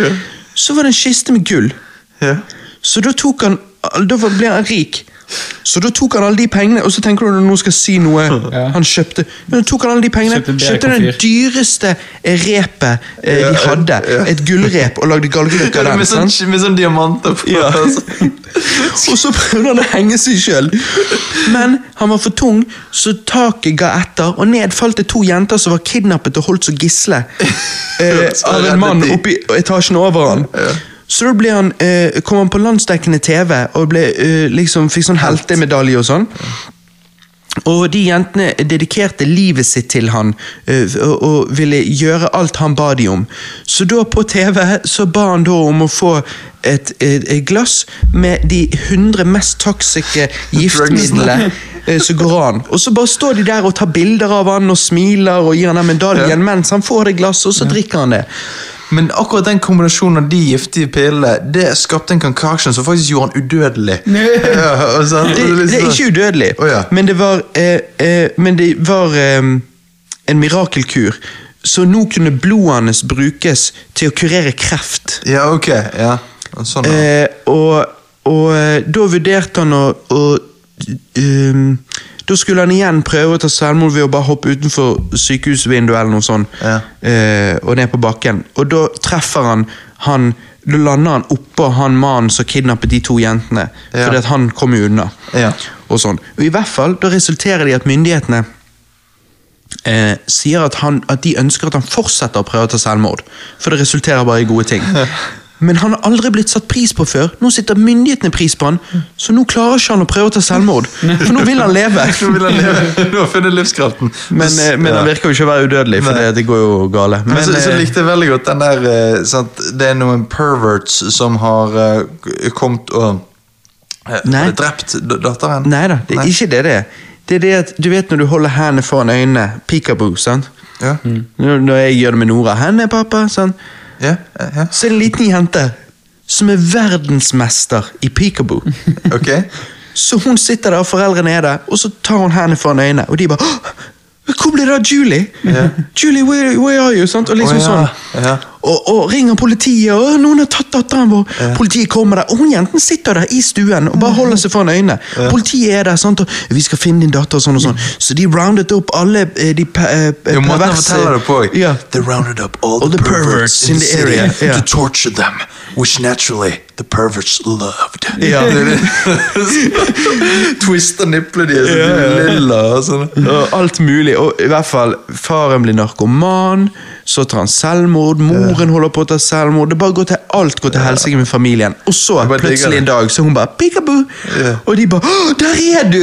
Speaker 1: så var det en kiste med gull.
Speaker 2: Ja.
Speaker 1: Så da tok han Da var- ble han rik. Så da tok han alle de pengene, og så tenker du at nå skal jeg si noe
Speaker 3: Ja.
Speaker 1: han kjøpte. Men da tok han alle de pengene,
Speaker 3: Kjøpte en bedre
Speaker 1: kjøpte den
Speaker 3: komfyr.
Speaker 1: dyreste repet eh,
Speaker 2: Ja,
Speaker 1: de
Speaker 2: ja,
Speaker 1: hadde.
Speaker 2: ja.
Speaker 1: Et gullrep, og lagde galgedukker av den.
Speaker 2: Med sånn,
Speaker 1: sant?
Speaker 2: med sånn diamanter på.
Speaker 1: altså. Og så prøvde han å henge seg sjøl, men han var for tung, så taket ga etter, og ned falt det to jenter som var kidnappet og holdt som gisle eh,
Speaker 2: Så
Speaker 1: av
Speaker 2: reddet
Speaker 1: en mann
Speaker 2: de.
Speaker 1: oppi etasjen over han. Så da ble han, eh, kom han på landsdekkende TV og ble, eh, liksom, fikk sånn heltemedalje og sånn. Og de jentene dedikerte livet sitt til han eh, og, og ville gjøre alt han ba de om. Så da på TV så ba han da om å få et, et, et glass med de 100 mest toksiske giftmidlene eh, som går an. Og så bare står de der og tar bilder av han og smiler og gir han den medaljen mens han får det glasset, og så drikker han det.
Speaker 2: Men akkurat den kombinasjonen av de giftige pillene Det skapte en concoction som faktisk gjorde han udødelig. Ja, og sånn, og
Speaker 1: Det,
Speaker 2: er litt
Speaker 1: det er
Speaker 2: sånn-
Speaker 1: ikke udødelig,
Speaker 2: Å, ja.
Speaker 1: men det var, eh, eh, men det var eh, en mirakelkur. Så nå kunne blodet hans brukes til å kurere kreft.
Speaker 2: Ja, ok. Ja. Sånn, ja.
Speaker 1: Eh, og, og eh, da vurderte han å, å ehm, Da skulle han igjen prøve å ta selvmord ved å bare hoppe utenfor sykehusvinduet eller noe sånt.
Speaker 2: Ja.
Speaker 1: eh, og ned på bakken. Og da treffer han han Da lander han oppå han mannen som kidnappet de to jentene.
Speaker 2: Ja.
Speaker 1: Fordi at han kom jo unna.
Speaker 2: Ja.
Speaker 1: Og sånn. Og i hvert fall, da resulterer det i at myndighetene eh, sier at, han, at de ønsker at han fortsetter å prøve å ta selvmord. For det resulterer bare i gode ting. Men han har aldri blitt satt pris på før. Nå sitter myndighetene pris på han, så nå klarer ikke han å prøve å ta selvmord. For nå vil han leve.
Speaker 2: Nå vil han leve. Nå har han funnet livskraften.
Speaker 1: Men, eh, men
Speaker 2: Ja.
Speaker 1: han virker jo ikke å være udødelig, for
Speaker 2: Nei.
Speaker 1: det, det går jo gale.
Speaker 2: Men, så, så
Speaker 1: eh,
Speaker 2: likte jeg veldig godt den der eh, sant, Det er noen perverts som har eh, k- kommet og eh,
Speaker 1: Nei.
Speaker 2: drept d- datteren.
Speaker 1: Nei da, det er ikke det det er. Det er det at, Du vet når du holder hendene foran øynene, peekaboo, sant?
Speaker 2: Ja.
Speaker 1: Når når jeg gjør det med Nora. Henne, pappa, sant?
Speaker 2: Ja, eh, ja.
Speaker 1: Så er det en liten jente som er verdensmester i peekaboo.
Speaker 2: Ok.
Speaker 1: Så hun sitter der, og foreldrene er der, og så tar hun hendene foran øynene, og de bare «Åh, Hvor ble det av Julie? Julie, where, where are you? Sant? Og liksom
Speaker 2: Å, ja,
Speaker 1: sånn.
Speaker 2: ja.
Speaker 1: Og, og ringer politiet, og «Åh, noen har tatt datteren vår. Politiet kommer der, og hun jenten sitter der i stuen og bare holder seg foran øynene. Politiet er der, sant, og vi skal finne din datter, og sånn og sånn. Så de roundet opp alle eh, de pe- eh,
Speaker 2: Mm. Jo, måten han
Speaker 1: perverse
Speaker 2: forteller det på jeg.
Speaker 1: Ja.
Speaker 2: They rounded up all,
Speaker 1: All the perverts in the
Speaker 2: city
Speaker 1: area, ja.
Speaker 2: to torture them, which naturally the perverts loved.
Speaker 1: Ja.
Speaker 2: Twist og nipple de er sånn lilla og sånn.
Speaker 1: Og alt mulig. Og i hvert fall, Faren blir narkoman, så tar han selvmord, moren holder på å ta selvmord. det bare går til Alt går til helsike med familien. Og så
Speaker 2: bare digger
Speaker 1: plutselig en
Speaker 2: det.
Speaker 1: dag så hun bare Peekaboo! Og de bare Å, der er du!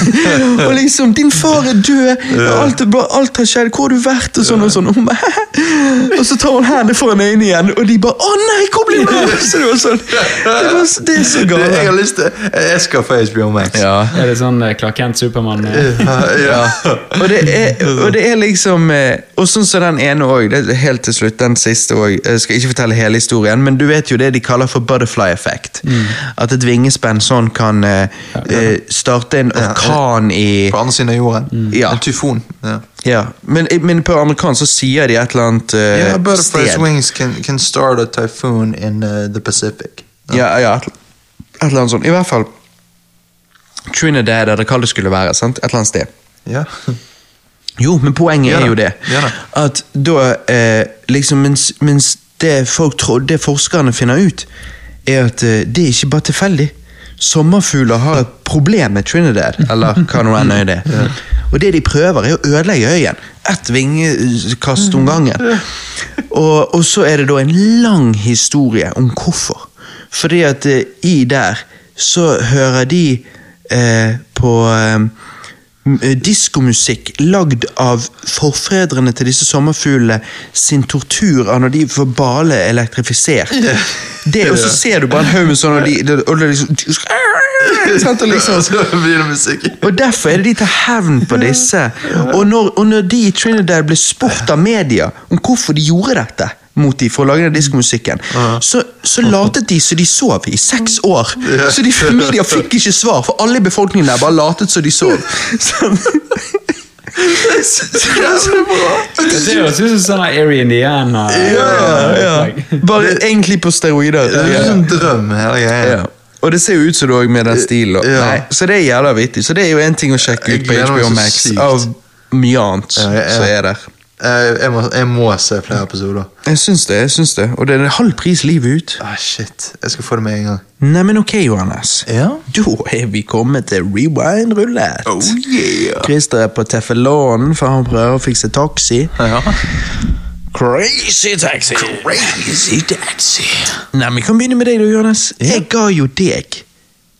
Speaker 1: og liksom Din far er død! Alt, er bra, alt har skjedd! Hvor har du vært? Og sånn og sånn. Og, hun bare, «Hæ?» og så tar hun hendene foran øynene igjen, og de bare Å nei, hvor ble det av?» Så det var sånn. Det, var, så- det er så
Speaker 2: Det, jeg har
Speaker 1: galt.
Speaker 2: lyst til Jeg skal få HBO Max.
Speaker 3: Er det sånn eh, Clark Kent Supermann? eh?
Speaker 2: ja.
Speaker 1: og, det er, og det er liksom eh, Og sånn som den ene òg, helt til slutt, den siste òg. Jeg skal ikke fortelle hele historien, men du vet jo det de kaller for butterfly effect. At et vingespenn sånn kan eh, eh, starte en orkan i
Speaker 2: På andre siden av jorden.
Speaker 1: Ja.
Speaker 2: En tyfon. Mm. Ja.
Speaker 1: ja. men, men på amerikansk så sier de et eller annet eh,
Speaker 2: Yeah, butterflies'
Speaker 1: sted.
Speaker 2: wings can, can start a typhoon in uh, the Pacific.
Speaker 1: Ja, ja, et, et eller annet sånt. I hvert fall Trinidad er det hva det skulle være. sant? Et eller annet sted.
Speaker 2: Ja.
Speaker 1: Jo, men poenget
Speaker 2: Ja da,
Speaker 1: er jo det.
Speaker 2: ja
Speaker 1: At da eh, liksom mens, mens det folk trodde, det forskerne finner ut, er at eh, det er ikke bare tilfeldig. Sommerfugler har et problem med Trinidad, eller hva nå enn øy det er. Og det de prøver, er å ødelegge øyen. Ett vingekast om gangen. Og, og så er det da en lang historie om hvorfor. Fordi at eh, i der så hører de eh, på eh, m- eh, diskomusikk lagd av forfedrene til disse sommerfuglene sin tortur av når de får bale elektrifisert. Det, og så ser du bare en haug med sånne, og de, de- og det liksom sant, og liksom
Speaker 2: Så blir det musikk.
Speaker 1: og Derfor er det de tar hevn på disse. Og når, og når de i Trinidad ble spurt av media om hvorfor de gjorde dette mot de for å lage den diskomusikken, så, så latet de som de sov i seks år. Så de media fikk ikke svar, for alle i befolkningen der bare latet som de sov. Sånn.
Speaker 3: Det høres ut som sånn her Airy Indiana.
Speaker 1: Ja, ja. Bare egentlig på steroider.
Speaker 2: Det er en drøm, hele greia.
Speaker 1: Ja. Og det ser jo ut som det òg med den stilen. og-
Speaker 2: Ja.
Speaker 1: Nei, så det er jævla vittig. Så det er jo én ting å sjekke ut
Speaker 2: Jeg
Speaker 1: på
Speaker 2: gleder meg
Speaker 1: HBO
Speaker 2: så
Speaker 1: Max
Speaker 2: sykt.
Speaker 1: av mye annet
Speaker 2: Ja, ja, ja.
Speaker 1: som er der.
Speaker 2: Eh, Jeg, må, jeg må se flere episoder.
Speaker 1: Jeg syns det, jeg syns det. Og det er halv pris livet ut.
Speaker 2: Ah, shit. Jeg skal få det med en gang.
Speaker 1: Neimen ok, Johannes.
Speaker 2: Ja.
Speaker 1: Da er vi kommet til rewind rulett.
Speaker 2: Oh, yeah.
Speaker 1: Christer er på Teffelon, for han prøver å fikse taxi.
Speaker 2: Ja.
Speaker 1: Crazy taxi! Crazy taxi. Nei, Vi kan begynne med deg, da, Johannes. Jeg ga jo deg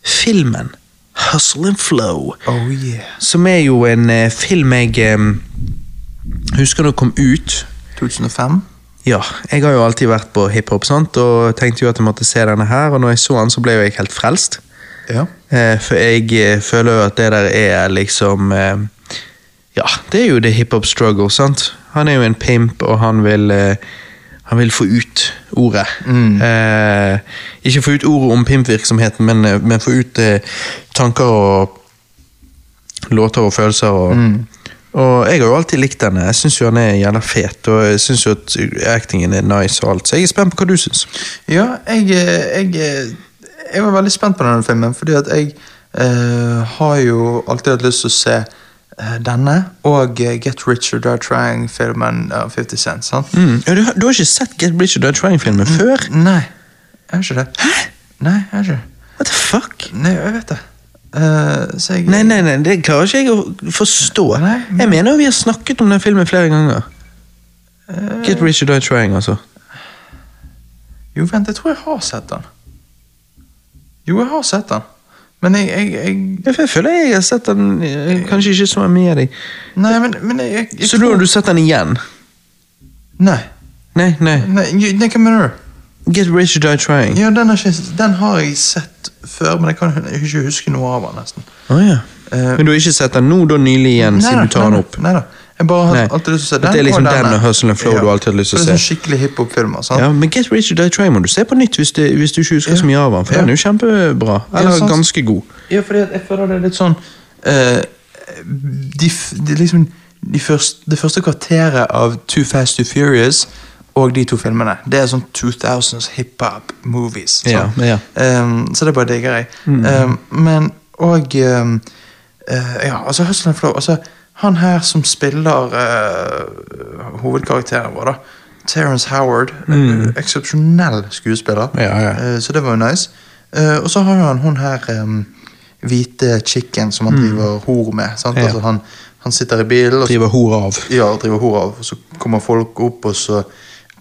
Speaker 1: filmen Hustle and Flow.
Speaker 2: Oh yeah.
Speaker 1: Som er jo en eh, film jeg eh, husker da kom ut.
Speaker 2: 2005?
Speaker 1: Ja, jeg har jo alltid vært på hiphop, sant? og tenkte jo at jeg måtte se denne her. Og når jeg så den, så ble jo jeg helt frelst.
Speaker 2: Ja.
Speaker 1: Eh, for jeg eh, føler jo at det der er liksom eh, Ja, det er jo det hiphop struggle, sant? Han er jo en pimp, og han vil eh, han vil få ut ordet. Eh, ikke få ut ordet om pimpvirksomheten, men, eh, men få ut eh, tanker og låter og følelser. Og, og jeg har jo alltid likt denne. Jeg syns jo han er jævla fet, og jeg syns jo at actingen er nice og alt. Så jeg er spent på hva du syns.
Speaker 2: Ja, jeg, eh, jeg, eh, jeg var veldig spent på denne filmen, fordi at jeg eh, har jo alltid hatt lyst til å se eh, denne og eh, Get Rich or Die Trying-filmen av 50 Cent. sant?
Speaker 1: Mm. Ja, Du, har- du har ikke sett Get Bleacher Dead Trying-filmen før?
Speaker 2: Nei, jeg har ikke det. Hæ? Nei, jeg har ikke det.
Speaker 1: What the fuck?
Speaker 2: Nei, jeg vet det. Eh, så jeg
Speaker 1: Nei, nei, nei, det klarer ikke jeg å forstå.
Speaker 2: Nei, men-
Speaker 1: Jeg mener jo vi har snakket om den filmen flere ganger. Get Rich or Die Trying, altså.
Speaker 2: eh, Jo, vent, jeg tror jeg har sett den. Jo, jeg har sett den. Men jeg, jeg, jeg
Speaker 1: Jeg føler jeg har sett den eh, kanskje ikke så mye av deg.
Speaker 2: Nei, men, men jeg, jeg, jeg
Speaker 1: Så da har du sett den igjen?
Speaker 2: Nei.
Speaker 1: Nei, nei.
Speaker 2: Nei, jo, nei, hva mener du?
Speaker 1: Get Rich or Die Trying.
Speaker 2: Ja, den, har ikke, den har jeg sett før, men jeg kan hu- ikke huske noe av den, nesten.
Speaker 1: Å ja.
Speaker 2: Eh,
Speaker 1: Men du har ikke sett den nå da nylig igjen,
Speaker 2: nei da,
Speaker 1: siden du tar
Speaker 2: nei
Speaker 1: den
Speaker 2: da,
Speaker 1: opp?
Speaker 2: Nei da. Jeg bare har
Speaker 1: Nei.
Speaker 2: alltid lyst til å se
Speaker 1: At
Speaker 2: den.
Speaker 1: det er liksom
Speaker 2: og
Speaker 1: den
Speaker 2: denne.
Speaker 1: og Hustle and Flow du alltid har lyst til å
Speaker 2: For Det er
Speaker 1: se.
Speaker 2: sånn skikkelig hiphop-filmer. sant?
Speaker 1: Ja, men Get Rich or Die Trying må du se på nytt hvis, det, hvis du ikke husker så mye av den, for
Speaker 2: Ja.
Speaker 1: den er jo kjempebra. Eller
Speaker 2: sant.
Speaker 1: ganske god.
Speaker 2: Ja, fordi at jeg føler det er litt sånn eh, de, f- de liksom de første, Det første kvarteret av Too Fast Too Furious og de to filmene, det er sånn 2000s hiphop movies.
Speaker 1: Ja,
Speaker 2: sant?
Speaker 1: ja. Mm.
Speaker 2: Ehm, så det bare digger jeg. Ehm, men og ehm, eh, Ja, altså Hustle and Flow altså, Han her som spiller eh, hovedkarakteren vår, da. Terence Howard. eh, Eksepsjonell skuespiller.
Speaker 1: Mm. Ja, ja.
Speaker 2: Eh, Så det var jo nice. Eh, og så har han hun her em, hvite chicken som han driver hor med. Sant?
Speaker 1: Mm. Ja.
Speaker 2: Altså, han, han sitter i bilen og så,
Speaker 1: Driver hora av.
Speaker 2: ja, og driver hor av, og så kommer folk opp, og så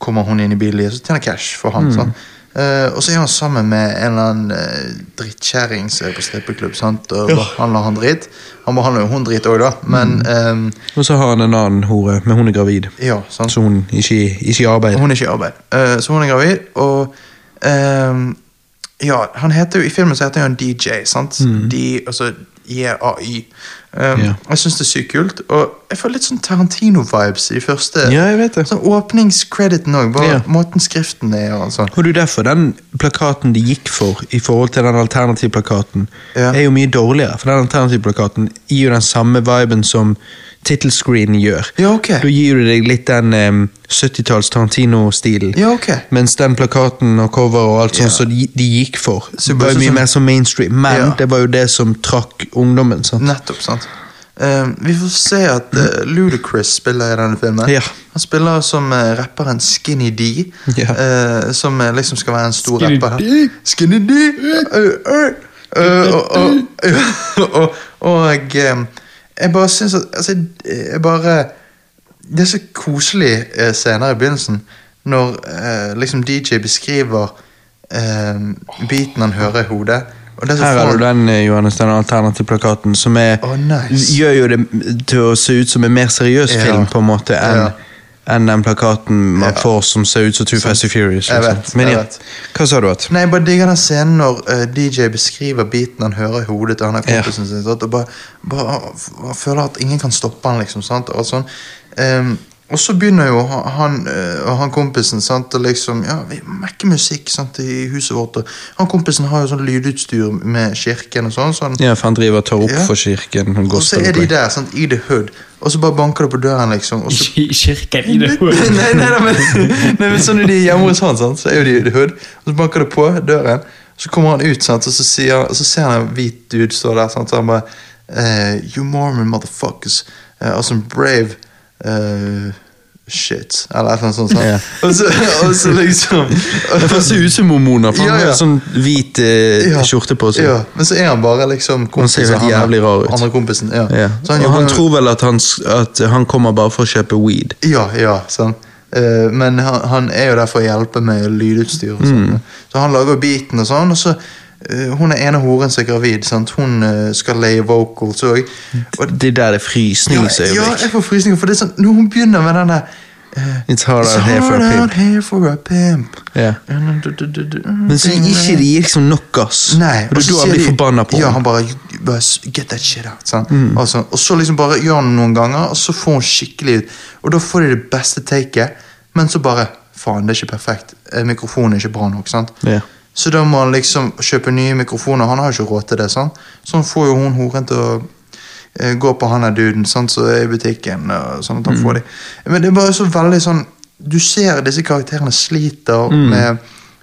Speaker 2: kommer hun inn i bilen, og så tjener cash for
Speaker 1: Mm.
Speaker 2: han. Sant? Eh, og så er han sammen med en eller annen uh, drittkjerring som er på strippeklubb. Sant? Og behandler han dritt. Han behandler jo hun dritt òg, da, men em,
Speaker 1: Og så har han en annen hore, men hun er gravid.
Speaker 2: ja. sant?
Speaker 1: Mm. Så hun ikke, ikke i arbeid.
Speaker 2: Og Hun er ikke i arbeid. Eh, så hun er gravid, og ehm, Ja, han heter jo, I filmen så heter han DJ, sant? D, altså J-A-Y. Ehm,
Speaker 1: Mm. Ja.
Speaker 2: Jeg syns det er sykt kult, og jeg får litt sånn Tarantino-vibes i de første.
Speaker 1: Ja, jeg vet det.
Speaker 2: Sånn Åpningscrediten òg, bare
Speaker 1: Ja.
Speaker 2: måten skriften er og sånn.
Speaker 1: Og du, derfor den plakaten de gikk for i forhold til den alternative plakaten,
Speaker 2: Ja.
Speaker 1: er jo mye dårligere. For den alternative plakaten gir jo den samme viben som tittelscreenen gjør.
Speaker 2: Ja, ok.
Speaker 1: Da gir du deg litt den em, 70-talls Tarantino-stilen.
Speaker 2: Ja, ok.
Speaker 1: Mens den plakaten og cover og alt
Speaker 2: Ja.
Speaker 1: sånt som de, de gikk for,
Speaker 2: Så det
Speaker 1: var
Speaker 2: bare
Speaker 1: jo mye
Speaker 2: sånn-
Speaker 1: mer som mainstream. Men
Speaker 2: Ja.
Speaker 1: det var jo det som trakk ungdommen. sant?
Speaker 2: Nettopp, sant. Ehm, vi får se at eh, Ludacris spiller i denne filmen.
Speaker 1: Mm. Ja.
Speaker 2: Han spiller som eh, rapperen Skinny D,
Speaker 1: Ja.
Speaker 2: eh, som eh, liksom skal være en stor
Speaker 3: Skinny
Speaker 2: rapper.
Speaker 3: D?
Speaker 2: Skinny D! Eh, eh, eh, og- og- Og og, ehm, jeg bare syns at altså, jeg bare Det er så koselig eh, senere i begynnelsen, når eh, liksom DJ beskriver ehm, beaten han hører i hodet. Og det er så
Speaker 1: Her
Speaker 2: får
Speaker 1: har
Speaker 2: han-
Speaker 1: du den, eh, Johannes, den alternative plakaten, som er,
Speaker 2: Å, nice.
Speaker 1: gjør jo det til å se ut som en mer seriøs
Speaker 2: Ja.
Speaker 1: film, på en måte, enn
Speaker 2: Ja.
Speaker 1: enn den plakaten man
Speaker 2: Ja.
Speaker 1: får som ser ut som Too Fast and Furious.
Speaker 2: Jeg
Speaker 1: liksom.
Speaker 2: vet,
Speaker 1: Men
Speaker 2: jeg
Speaker 1: ja,
Speaker 2: vet.
Speaker 1: hva sa du at?
Speaker 2: Nei, jeg bare digger den scenen når eh, DJ beskriver biten han hører i hodet til han der
Speaker 1: Ja.
Speaker 2: kompisen sin. Sant? Og bare, bare f- han føler at ingen kan stoppe han, liksom. Sant? Og, sånn. Ehm, og så begynner jo ha- han eh, og han kompisen sant? Og liksom, ja, vi mekker musikk sant? i huset vårt. Og han kompisen har jo sånn lydutstyr med kirken og sånn. sånn.
Speaker 1: Ja, for han driver og tar opp
Speaker 2: Ja.
Speaker 1: for kirken.
Speaker 2: Og så er de der, sant? i the hood, og så bare banker det på døren, liksom. Og så
Speaker 3: Ikke i kirken i det
Speaker 2: nei, nei, nei, men, nei, men sånn er de hjemme hos han, sant? så er jo de i hood. Og så banker det på døren, så kommer han ut, sant? og så, sier, så ser han en hvit dude stå der. Sant? Så han bare eh, You Mormon motherfuckers eh, are some brave eh, shit. Eller et eller annet sånt. sant?
Speaker 1: Ja.
Speaker 2: Og, så, og så liksom
Speaker 1: Det ser ut som mormoner, for
Speaker 2: Ja,
Speaker 1: han har
Speaker 2: ja.
Speaker 1: sånn hvit eh,
Speaker 2: Ja.
Speaker 1: skjorte på seg.
Speaker 2: Ja, men så er han bare liksom kompisen.
Speaker 1: helt jævlig rar ut.
Speaker 2: Andre kompisen, ja.
Speaker 1: Ja.
Speaker 2: Så han
Speaker 1: og
Speaker 2: jobber
Speaker 1: han
Speaker 2: med-
Speaker 1: tror vel at han, s- at han kommer bare for å kjøpe weed.
Speaker 2: Ja, ja, sant. Eh,
Speaker 1: Mm.
Speaker 2: men han, han er jo der for å hjelpe med lydutstyr. og sånn. Så han lager beaten og sånn, og så eh, Hun er ene horen som er gravid. Sant? Hun eh, skal leie vocals òg.
Speaker 1: Og det der er
Speaker 2: ja,
Speaker 1: frysningsøyeblikk.
Speaker 2: jeg får frysninger, for det er sånn Når hun begynner med den der eh,
Speaker 1: It's hard
Speaker 2: It's
Speaker 1: out here for a pimp.
Speaker 2: hard out here for a pimp.
Speaker 1: Ja.
Speaker 2: And du- du- du- du-
Speaker 1: Men så ikke de gir liksom nok gass.
Speaker 2: Mm. Nei,
Speaker 1: og det er da
Speaker 2: sier
Speaker 1: han blir
Speaker 2: de-
Speaker 1: forbanna på Mm.
Speaker 2: Ja,
Speaker 1: henne.
Speaker 2: han bare, "You guys, Get that shit out. sant? Og, så, og så liksom bare gjør han det noen ganger, og så får hun skikkelig ut. Og da får de det beste taket, men så bare Faen, det er ikke perfekt. Eh, Mikrofonen er ikke bra nok. sant?
Speaker 1: Ja.
Speaker 2: Så da må han liksom kjøpe nye mikrofoner. Han har jo ikke råd til det. sant? Så han får jo hun horen til å eh, gå på han der duden sant? Så er i butikken. Og sånn at
Speaker 1: Mm.
Speaker 2: han får de. Men det er bare så veldig sånn Du ser disse karakterene sliter
Speaker 1: Mm.
Speaker 2: med,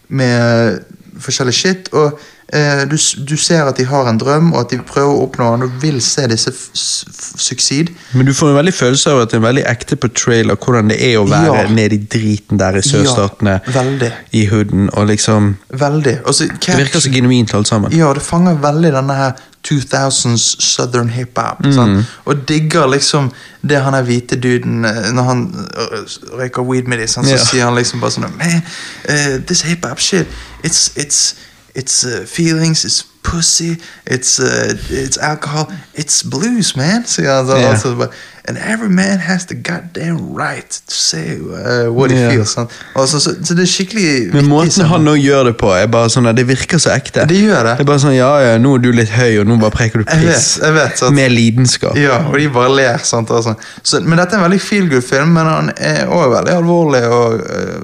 Speaker 2: med forskjellig shit. Og eh, du, s- du ser at de har en drøm, og at de prøver å oppnå den. Du vil se disse f- s- f- succeed.
Speaker 1: Men du får en veldig følelse av at det er en veldig ekte portrayal av hvordan det er å være
Speaker 2: Ja.
Speaker 1: nede i driten der i sørstatene,
Speaker 2: Ja, veldig.
Speaker 1: i hooden, og liksom
Speaker 2: Veldig. Og så
Speaker 1: Det virker så genuint alt sammen.
Speaker 2: Ja, det fanger veldig denne her 2000s southern hiphop.
Speaker 1: Mm.
Speaker 2: sant? Og digger liksom det han er hvite duden eh, Når han eh, røyker weed med dem, så
Speaker 1: Ja.
Speaker 2: sier han liksom bare sånn Man, eh, this hiphop shit, it's, it's, it's eh, feelings, it's pussy, it's, eh, it's alcohol, it's blues, man. Sier han sånn.
Speaker 1: Ja.
Speaker 2: og så bare, And every man has the goddamn right to say eh, what he
Speaker 1: Ja.
Speaker 2: feels. sant? Og så, så, så det er skikkelig
Speaker 1: Men
Speaker 2: vittig,
Speaker 1: måten
Speaker 2: sånn.
Speaker 1: han nå gjør det på, er bare sånn at det virker så ekte.
Speaker 2: Det gjør det.
Speaker 1: Det er bare sånn, ja, ja, nå er du litt høy, og nå bare preker du
Speaker 2: Jeg vet,
Speaker 1: piss.
Speaker 2: jeg vet, sant?
Speaker 1: Med lidenskap.
Speaker 2: Ja, og de bare ler. sant, altså. så, Men dette er en veldig feel good film, men han er også veldig alvorlig, og eh,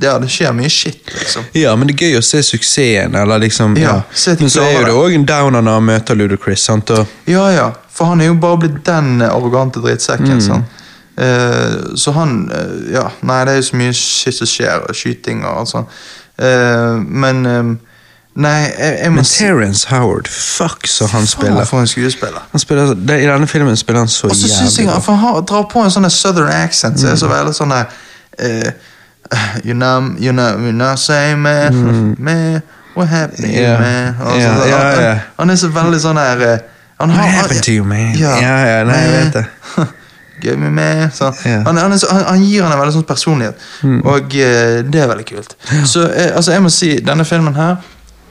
Speaker 2: ja, det skjer mye shit, liksom.
Speaker 1: Ja, men det er gøy å se suksessen, eller liksom
Speaker 2: Ja,
Speaker 1: ja.
Speaker 2: se at de
Speaker 1: Men så er jo
Speaker 2: klarer
Speaker 1: det òg en downer når han møter Ludacris, sant, og
Speaker 2: Ja, ja, for han er jo bare blitt den arrogante drittsekken.
Speaker 1: Mm.
Speaker 2: sant? Eh, så han eh, Ja, nei, det er jo så mye shit som skjer, og skyting og alt sånt. Eh, men eh, Nei, jeg, jeg må
Speaker 1: Men Terence Howard, fuck så han
Speaker 2: Faen,
Speaker 1: spiller.
Speaker 2: for en skuespiller.
Speaker 1: Han spiller så- det- I denne filmen spiller han så
Speaker 2: Og så syns
Speaker 1: jævlig
Speaker 2: jeg
Speaker 1: bra. Mm.
Speaker 2: at han har, drar på en sånn der southern accent, så er det så veldig sånn der eh, You know, you know, you know, say man,
Speaker 1: Mm.
Speaker 2: man, what happened to
Speaker 1: Ja.
Speaker 2: you, man? Og
Speaker 1: Ja,
Speaker 2: så-
Speaker 1: ja,
Speaker 2: han,
Speaker 1: ja.
Speaker 2: han er så veldig sånn der eh, han
Speaker 1: What
Speaker 2: har- han-
Speaker 1: happened to you, man? Ja, ja, nei, jeg vet det.
Speaker 2: Give me man. Så.
Speaker 1: Ja.
Speaker 2: Han, han, er så, han, han gir han en veldig sånn personlighet,
Speaker 1: Mm.
Speaker 2: og eh, det er veldig kult. Så eh, altså, jeg må si, denne filmen her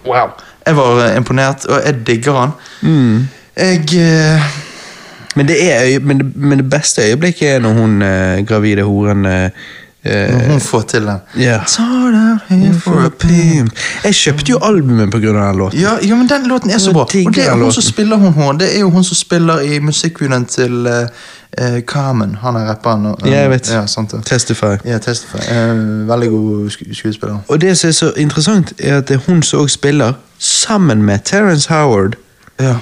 Speaker 2: Wow. Jeg var eh, imponert, og jeg digger han. Mm. Jeg eh,
Speaker 1: Men det, er, øye- men, det, men det beste øyeblikket er når hun eh, gravide horen eh, eh,
Speaker 2: Hun får til den.
Speaker 1: Ja. Mm.
Speaker 2: It's hard out here for a pimp.
Speaker 1: Jeg kjøpte jo albumet pga. den låten.
Speaker 2: Ja, ja, men den låten er så
Speaker 1: Jeg
Speaker 2: bra. Og
Speaker 1: digger
Speaker 2: det er
Speaker 1: den
Speaker 2: hun
Speaker 1: låten.
Speaker 2: som spiller hun hånd. Det er jo hun som spiller i musikkvideoen til eh, eh, Carmen. Han er rapperen. og, eh,
Speaker 1: Ja, jeg vet.
Speaker 2: Ja, sant det.
Speaker 1: Testify.
Speaker 2: Ja, Testify. Eh, veldig god sku skuespiller.
Speaker 1: Og det som er så interessant, er at det er hun som òg spiller sammen med Terence Howard
Speaker 2: Ja.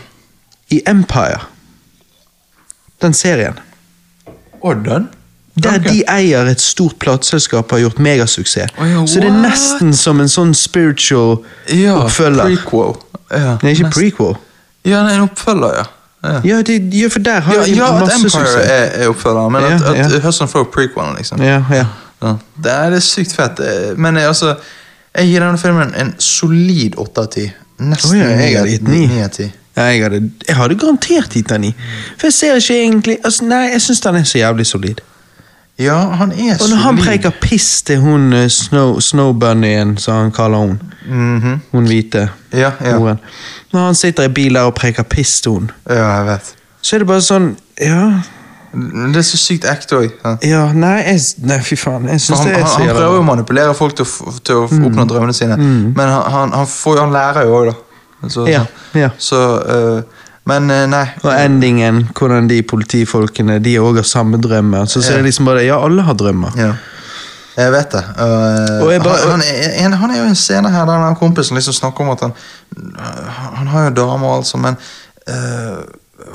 Speaker 1: i Empire. Den serien.
Speaker 2: Og den?
Speaker 1: Der
Speaker 2: Ok.
Speaker 1: de eier et stort plateselskap og har gjort megasuksess.
Speaker 2: Å ja,
Speaker 1: så det er
Speaker 2: what?
Speaker 1: nesten som en sånn spiritual
Speaker 2: Ja,
Speaker 1: oppfølger.
Speaker 2: prequel. Ja,
Speaker 1: Nei, ikke
Speaker 2: nest-
Speaker 1: prequel.
Speaker 2: Ja, nei, en oppfølger, ja. Ja,
Speaker 1: Ja, de, ja, for der har
Speaker 2: ja,
Speaker 1: de
Speaker 2: ja at
Speaker 1: masse
Speaker 2: Empire
Speaker 1: suksess.
Speaker 2: er, er oppfølgeren, men at,
Speaker 1: Ja,
Speaker 2: at
Speaker 1: ja.
Speaker 2: Hudson Foe er prequelen, liksom.
Speaker 1: Ja, ja.
Speaker 2: Ja. Det er, det er sykt fett. eh, Men jeg, altså, jeg gir denne filmen en solid 8 av 10. Nesten
Speaker 1: Å ja, jeg hadde gitt ni.
Speaker 2: 9 av 10.
Speaker 1: Ja, jeg, hadde, jeg hadde garantert gitt den i. For jeg ser ikke egentlig altså, Nei, jeg syns den er så jævlig solid.
Speaker 2: Ja, han er
Speaker 1: Og når han preker piss til hun eh, Snow, Snow Bunnyen, som han kaller hun,
Speaker 2: Mhm.
Speaker 1: hun hvite
Speaker 2: Ja, ja.
Speaker 1: horen Når han sitter i bil der og preker piss til hun,
Speaker 2: ja, jeg vet.
Speaker 1: så er det bare sånn Ja,
Speaker 2: Men Det er så sykt ekte òg. Han,
Speaker 1: ja nei, jeg, nei fy faen. Jeg syns
Speaker 2: han,
Speaker 1: det er så
Speaker 2: han
Speaker 1: jævla Mm.
Speaker 2: prøver jo å manipulere folk til å, f- til å f- oppnå drømmene sine, men han, han, han, får, jo- han lærer jo òg, da. Altså, Så,
Speaker 1: Ja, ja.
Speaker 2: så eh, Men eh, nei.
Speaker 1: Og endingen, hvordan de politifolkene de òg har samme drømmer. Så, så er det liksom bare Ja, alle har drømmer.
Speaker 2: Ja. Jeg vet det. Og, eh,
Speaker 1: Og jeg bare-
Speaker 2: han, han, er, en, han er jo en scene her der han kompisen liksom snakker om at han Han han har jo dame og alt sånt, men eh,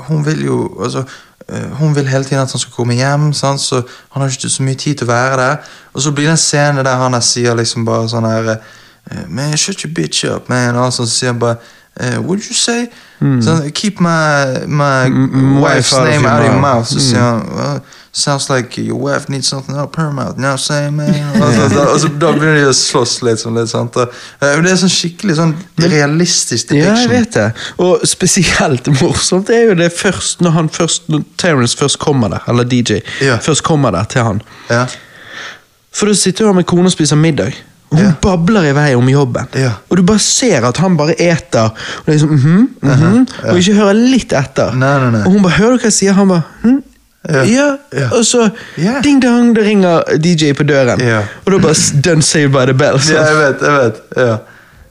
Speaker 2: hun vil jo altså, eh, Hun vil hele tiden at han skal komme hjem, sant? så han har ikke så mye tid til å være der. Og så blir det en scene der han der sier liksom bare sånn her eh, Man, shut your bitch up, man. Og så sier han bare eh, What did you say? Sånn, Keep my, my
Speaker 1: Mm. m-
Speaker 2: wife's
Speaker 1: wife out of
Speaker 2: name
Speaker 1: your
Speaker 2: out of your
Speaker 1: mouth." Mm.
Speaker 2: mouth. Så sier han well, Sounds like your wife needs something Oh, up her mouth. Now say man. Og så, så, og så, da begynner de å slåss litt. Sånn, litt sant? Og, eh, men det er sånn skikkelig sånn realistisk
Speaker 1: Ja, jeg
Speaker 2: depiction.
Speaker 1: vet det. Og spesielt morsomt er jo det først når han først, når Terence først kommer der, eller DJ,
Speaker 2: Ja.
Speaker 1: først kommer der til han.
Speaker 2: Ja.
Speaker 1: For da sitter jo han med kona og spiser middag. Og hun
Speaker 2: Ja.
Speaker 1: babler i vei om jobben.
Speaker 2: Ja.
Speaker 1: Og du bare ser at han bare eter, og, liksom, mhm, mhm, og ikke hører litt etter.
Speaker 2: Uh-huh. Nei, nei, nei.
Speaker 1: Og hun bare hører du hva jeg sier, han bare hm?
Speaker 2: Ja.
Speaker 1: ja.
Speaker 2: Ja.
Speaker 1: Og så
Speaker 2: Ja.
Speaker 1: ding-dong, det ringer DJ på døren.
Speaker 2: Ja.
Speaker 1: Og da bare Done saved by the bell. sant?
Speaker 2: Ja, jeg vet, jeg vet. Ja.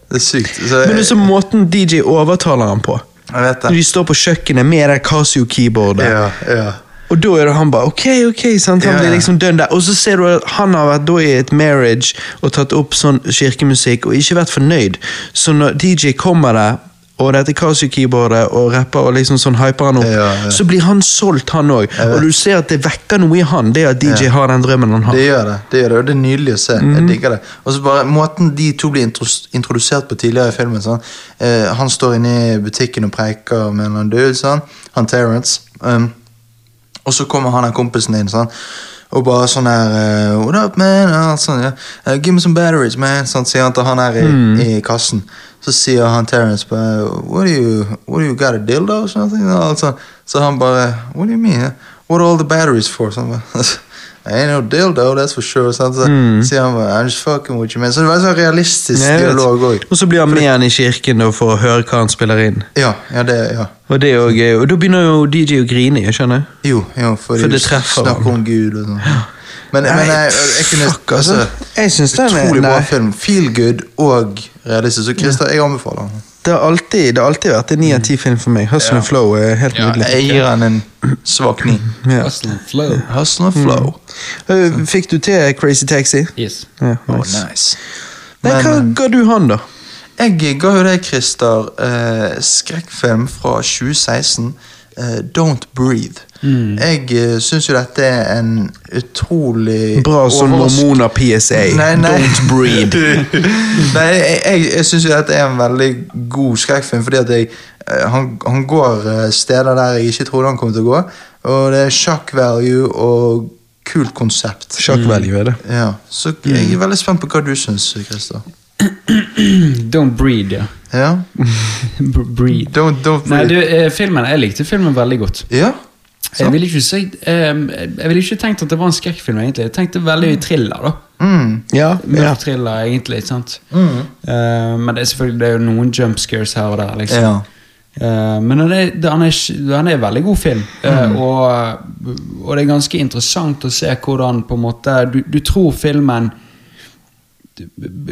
Speaker 2: Det er sykt. Så jeg,
Speaker 1: Altså- Men liksom måten DJ overtaler han på.
Speaker 2: jeg vet
Speaker 1: Når
Speaker 2: det.
Speaker 1: de står på kjøkkenet med det Casio-keyboardet.
Speaker 2: Ja, ja.
Speaker 1: Og da er det han bare ok, ok, sant? han
Speaker 2: Ja, ja.
Speaker 1: blir liksom dønn der. Og så ser du at han har vært da i et marriage og tatt opp sånn kirkemusikk og ikke vært fornøyd. Så når DJ kommer der, og dette Casio-keyboardet og rapper og liksom sånn hyper han opp,
Speaker 2: Ja, ja.
Speaker 1: så blir han solgt, han òg.
Speaker 2: vet.
Speaker 1: Og du ser at det vekker noe i han, det at DJ har den drømmen han har.
Speaker 2: Det gjør det. det gjør det, og det er nydelig å se.
Speaker 1: Mhm.
Speaker 2: Jeg digger det. Og så bare Måten de to blir intros- introdusert på tidligere i filmen sånn. eh, Han står inne i butikken og preiker med en eller annen dude, sånn. han Terence. Um, og så kommer han her kompisen inn sånn, og bare sånn her eh, What up, man? Og alt sånn, ja. Eh, give me some batteries, man. Sånn, sier han til han her i,
Speaker 1: Mm.
Speaker 2: i kassen. Så sier han Terence bare What do you, what do you got a dildo? or something?» Og alt sånn. Så han bare What do you mean? What are all the batteries for? Sånn, bare, Ain't no dildo, that's for sure. Sånn, så sier han bare I'm just fucking with you, man. Så det var en sånn realistisk
Speaker 1: Mm. Jeg vet.
Speaker 2: dialog òg.
Speaker 1: Og så blir han med igjen i kirken da, for å høre hva han spiller inn.
Speaker 2: Ja, ja, det, ja.
Speaker 1: Og det er jo gøy. Og da begynner jo DJ å grine. jeg skjønner
Speaker 2: Jo, jo, for,
Speaker 1: For det treffer
Speaker 2: Snakk om Gud og sånn. Men, men jeg, jeg kunne
Speaker 1: fuck, altså. Jeg synes den er-
Speaker 2: Utrolig bra
Speaker 1: nei.
Speaker 2: film. Feel good og realistisk. Så Christer, jeg anbefaler den.
Speaker 1: Det har alltid, det har alltid vært en ni av ti film for meg. Hustle and Flow er helt nydelig.
Speaker 2: Jeg gir den en svak ni.
Speaker 1: Ja.
Speaker 3: Hustle and flow.
Speaker 2: Hustle and flow.
Speaker 1: Øh, Fikk du til Crazy Taxi?
Speaker 3: Yes.
Speaker 1: Ja,
Speaker 2: Oh,
Speaker 1: nice.
Speaker 2: nice.
Speaker 1: Nei, hva
Speaker 2: Men,
Speaker 1: ga du han, da?
Speaker 2: eh, jeg ga jo deg, Christer, eh, skrekkfilm fra 2016. eh, Don't Breathe.
Speaker 1: Mm.
Speaker 2: Jeg eh, syns jo dette er en utrolig
Speaker 1: Bra sånn
Speaker 2: overraskende-
Speaker 1: mormoner PSA.
Speaker 2: Nei, nei.
Speaker 1: Don't breed.
Speaker 2: Nei, jeg, jeg, jeg syns jo dette er en veldig god skrekkfilm, fordi at jeg, eh, han, han går eh, steder der jeg ikke trodde han kom til å gå. Og det er shock value og kult konsept.
Speaker 3: Mm.
Speaker 2: Mm.
Speaker 1: Sjakk value Mm. er det.
Speaker 2: Ja, Så jeg er veldig spent på hva du syns, Christer.
Speaker 3: Don't breed, ja.
Speaker 2: Ja?
Speaker 3: B breed.
Speaker 2: Don't, don't
Speaker 3: Nei, du, eh, filmen, jeg likte filmen veldig godt.
Speaker 2: Ja?
Speaker 3: Jeg ville ikke, si, eh, jeg ville ikke tenkt at det var en skrekkfilm, egentlig. Jeg tenkte veldig thriller, da.
Speaker 2: Mm.
Speaker 1: Ja,
Speaker 3: Mørk
Speaker 1: ja.
Speaker 3: thriller, egentlig. sant? Eh, men det er selvfølgelig det er jo noen jump scares her og der. liksom.
Speaker 2: Ja.
Speaker 3: Eh, men han er, det- han, er, ikke- han er en veldig god film, eh, og, og det er ganske interessant å se hvordan på en måte, du, du tror filmen du,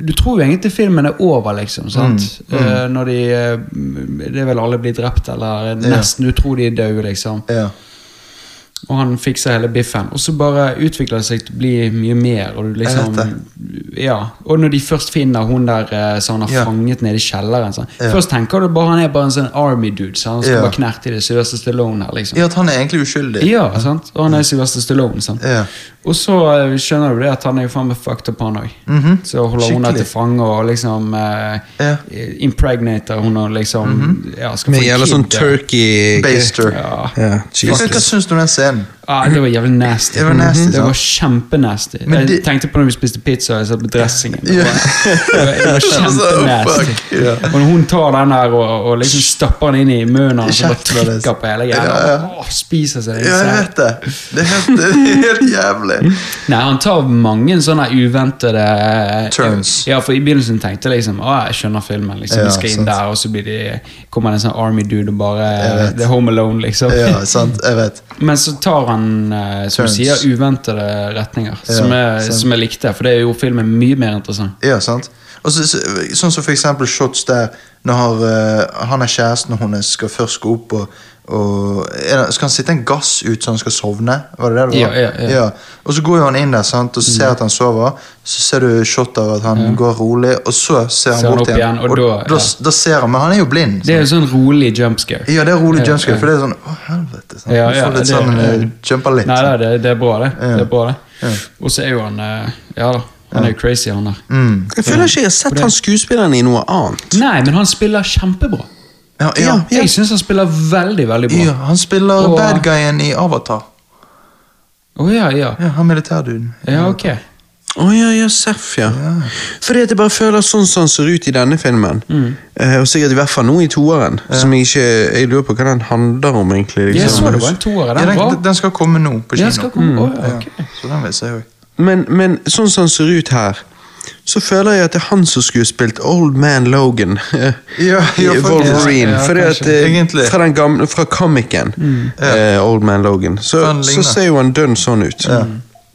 Speaker 3: du tror jo egentlig filmen er over, liksom. sant? Eh, når de eh, Det er vel alle blir drept, eller nesten. Du tror de er døde, liksom.
Speaker 2: ja.
Speaker 3: Og han fikser hele biffen. Og så bare utvikler det seg til å bli mye mer. Og du liksom
Speaker 2: Jeg
Speaker 3: ja. Og når de først finner hun der eh, som han har
Speaker 2: Ja.
Speaker 3: fanget nede i kjelleren sånn.
Speaker 2: Ja.
Speaker 3: Først tenker du bare han er bare en sånn army dude. Så han skal
Speaker 2: Ja.
Speaker 3: bare knerte i det Sylvester Stallone her, liksom.
Speaker 2: ja, at han er egentlig uskyldig.
Speaker 3: Ja, sant? Og han er Sylvester Stallone. Sant?
Speaker 2: Ja.
Speaker 3: Og så eh, skjønner du det at han er jo faen meg fucked up, han òg.
Speaker 2: Mhm.
Speaker 3: Så holder hun
Speaker 2: Skikkelig.
Speaker 3: henne til fange og liksom eh,
Speaker 2: Ja. Mhm.
Speaker 3: impregnater hun og liksom ja, skal
Speaker 1: Med
Speaker 3: få en
Speaker 1: jævla
Speaker 3: kid,
Speaker 1: sånn
Speaker 3: ja.
Speaker 1: turkey
Speaker 2: Baster.
Speaker 3: Ja.
Speaker 1: Ja,
Speaker 2: Hva, hva
Speaker 1: Jesus.
Speaker 2: syns du om den scenen?
Speaker 3: Ja, Ah, det var jævlig nasty.
Speaker 2: Det var nasty,
Speaker 3: Mhm. Det var
Speaker 2: sant?
Speaker 3: kjempenasty.
Speaker 2: Men det-
Speaker 3: Jeg tenkte på når vi spiste pizza og jeg satt på dressingen. Det
Speaker 2: Ja. Altså,
Speaker 3: var, det var kjempenasty.
Speaker 2: Fuck, ja.
Speaker 3: Og når hun tar den der og, og liksom stapper den inn i munnen og så bare
Speaker 2: Kjeft var det.
Speaker 3: trykker på hele greia
Speaker 2: Ja, ja.
Speaker 3: Åh, spiser seg
Speaker 2: Ja, jeg
Speaker 3: selv.
Speaker 2: vet det. Det er helt, det er helt jævlig.
Speaker 3: Nei, han tar mange sånne uventede eh,
Speaker 2: Turns.
Speaker 3: Ja, for i begynnelsen tenkte jeg liksom Å, jeg skjønner filmen. liksom
Speaker 2: Ja,
Speaker 3: Vi skal inn
Speaker 2: sant.
Speaker 3: der, og så blir de, kommer det en sånn army dude og
Speaker 2: Jeg
Speaker 3: bare eh,
Speaker 2: vet.
Speaker 3: The Home Alone, liksom.
Speaker 2: Ja, sant. Jeg vet.
Speaker 3: Men så tar han eh, som du
Speaker 2: Turns.
Speaker 3: sier, uventede retninger, som, jeg,
Speaker 2: sant.
Speaker 3: som jeg likte. For det gjorde filmen mye mer interessant.
Speaker 2: Ja, sant? Og så, så, sånn som for eksempel shots der når har, eh, han er kjæresten og hun er- skal først gå opp og, og er det- Skal han sitte en gass ut så han skal sovne? Var det det det var?
Speaker 3: Ja, ja, Mm. ja.
Speaker 2: Og så går jo han inn der sant? og så ser at han sover. Så ser du shot av at han går rolig, og så ser han
Speaker 3: Ser han
Speaker 2: bort
Speaker 3: opp
Speaker 2: igjen.
Speaker 3: igjen, og da-
Speaker 2: da,
Speaker 3: ja.
Speaker 2: da ser han, Men han er jo blind.
Speaker 3: Det er jo sånn rolig jumpscare.
Speaker 2: Ja, det er rolig
Speaker 3: Ja,
Speaker 2: jumpscare,
Speaker 3: ja.
Speaker 2: for det er sånn Å, helvete. Sant?
Speaker 3: Ja, ja,
Speaker 2: du får litt
Speaker 3: det-
Speaker 2: sånn
Speaker 3: ja.
Speaker 2: eh, Jumper litt.
Speaker 3: Nei, nei det, det er bra, det.
Speaker 2: Ja.
Speaker 3: det, er bra, det.
Speaker 2: Ja.
Speaker 3: Og så er jo han eh, Ja da, han er jo crazy, han der.
Speaker 2: Mm.
Speaker 1: Jeg føler ikke jeg har sett han skuespilleren i noe annet.
Speaker 3: Nei, men han spiller kjempebra.
Speaker 2: Ja, ja, ja,
Speaker 3: Jeg syns han spiller veldig, veldig bra. Å ja.
Speaker 2: Han spiller
Speaker 3: Og-
Speaker 2: bad guyen i Avatar.
Speaker 3: ja, ja.
Speaker 2: Ja, han militærduden.
Speaker 3: ok.
Speaker 1: Å ja, ja, Seff, ja. Fordi at jeg bare føler sånn som han ser ut i denne filmen,
Speaker 3: Mm.
Speaker 1: eh, og sikkert i hvert fall nå i toeren, som jeg ikke Jeg lurer på hva den handler om, egentlig.
Speaker 3: Jeg
Speaker 1: Liksom.
Speaker 3: så det var en toer.
Speaker 2: Ja,
Speaker 3: Den
Speaker 2: den,
Speaker 3: var
Speaker 2: den- den skal komme nå på kino.
Speaker 3: Ja, skal komme. Å, ja, ok.
Speaker 2: Så den vil jeg se òg.
Speaker 1: Men, men sånn som han ser ut her, så føler jeg at det er han som skulle spilt Old Man Logan. eh,
Speaker 2: Ja,
Speaker 1: i
Speaker 2: ja, faktisk.
Speaker 1: Wolverine.
Speaker 3: Ja,
Speaker 1: fordi at,
Speaker 3: kanskje.
Speaker 1: eh,
Speaker 2: Egentlig.
Speaker 1: fra, den gamle, fra komikken
Speaker 3: Mm.
Speaker 1: eh, Old Man Logan.
Speaker 2: Han
Speaker 1: Så, så
Speaker 2: ligner.
Speaker 1: ser jo han dønn sånn ut.
Speaker 2: Ja.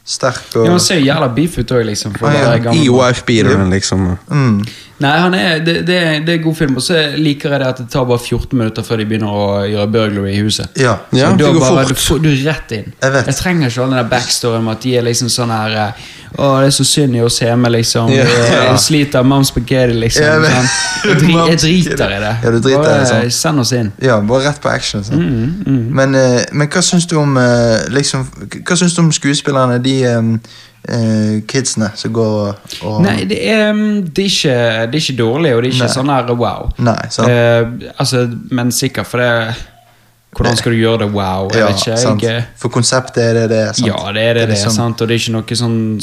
Speaker 2: Sterk og
Speaker 3: Mm. Ja, han ser jo jævla beef ut òg, liksom. For
Speaker 2: Ja,
Speaker 3: å
Speaker 2: ja.
Speaker 3: være gammel.
Speaker 1: I wife-beateren, liksom.
Speaker 2: mm.
Speaker 3: Nei, han er, det, det, er- det er god film. Og så liker jeg det at det tar bare 14 minutter før de begynner å gjøre burglary i huset.
Speaker 2: Ja.
Speaker 3: Så
Speaker 1: Ja,
Speaker 3: da
Speaker 1: det går
Speaker 3: bare,
Speaker 1: fort.
Speaker 3: Du, får- du er rett inn.
Speaker 2: Jeg vet.
Speaker 3: trenger ikke all den der backstoryen med at de er liksom sånn her eh, Å, det er så synd i oss hjemme, liksom.
Speaker 1: Ja.
Speaker 3: Eh, Jeg sliter. Mom spaghetti, liksom.
Speaker 2: Jeg vet.
Speaker 3: Sånn. Jeg, dri, jeg driter i det.
Speaker 2: Ja, du driter i det,
Speaker 3: bare,
Speaker 2: sant.
Speaker 3: Send oss inn.
Speaker 2: Ja, bare rett på action. sant?
Speaker 3: Mm,
Speaker 2: Men, eh, men hva syns du om eh, liksom, k- Hva syns du om skuespillerne, de eh, eh, kidsene som går og, og
Speaker 3: Nei, det er, mm, det, er ikke, det er ikke dårlig, og det er ikke
Speaker 2: Nei.
Speaker 3: sånn her wow.
Speaker 2: Nei, sant.
Speaker 3: Eh, altså, men sikkert, for det Hvordan skal du gjøre det wow? Jeg
Speaker 2: Ja,
Speaker 3: vet ikke.
Speaker 2: sant.
Speaker 3: Jeg,
Speaker 2: For konseptet er det det er, sant?
Speaker 3: ja, det er det, det,
Speaker 2: sånn-
Speaker 3: sant? og det er ikke noe sånn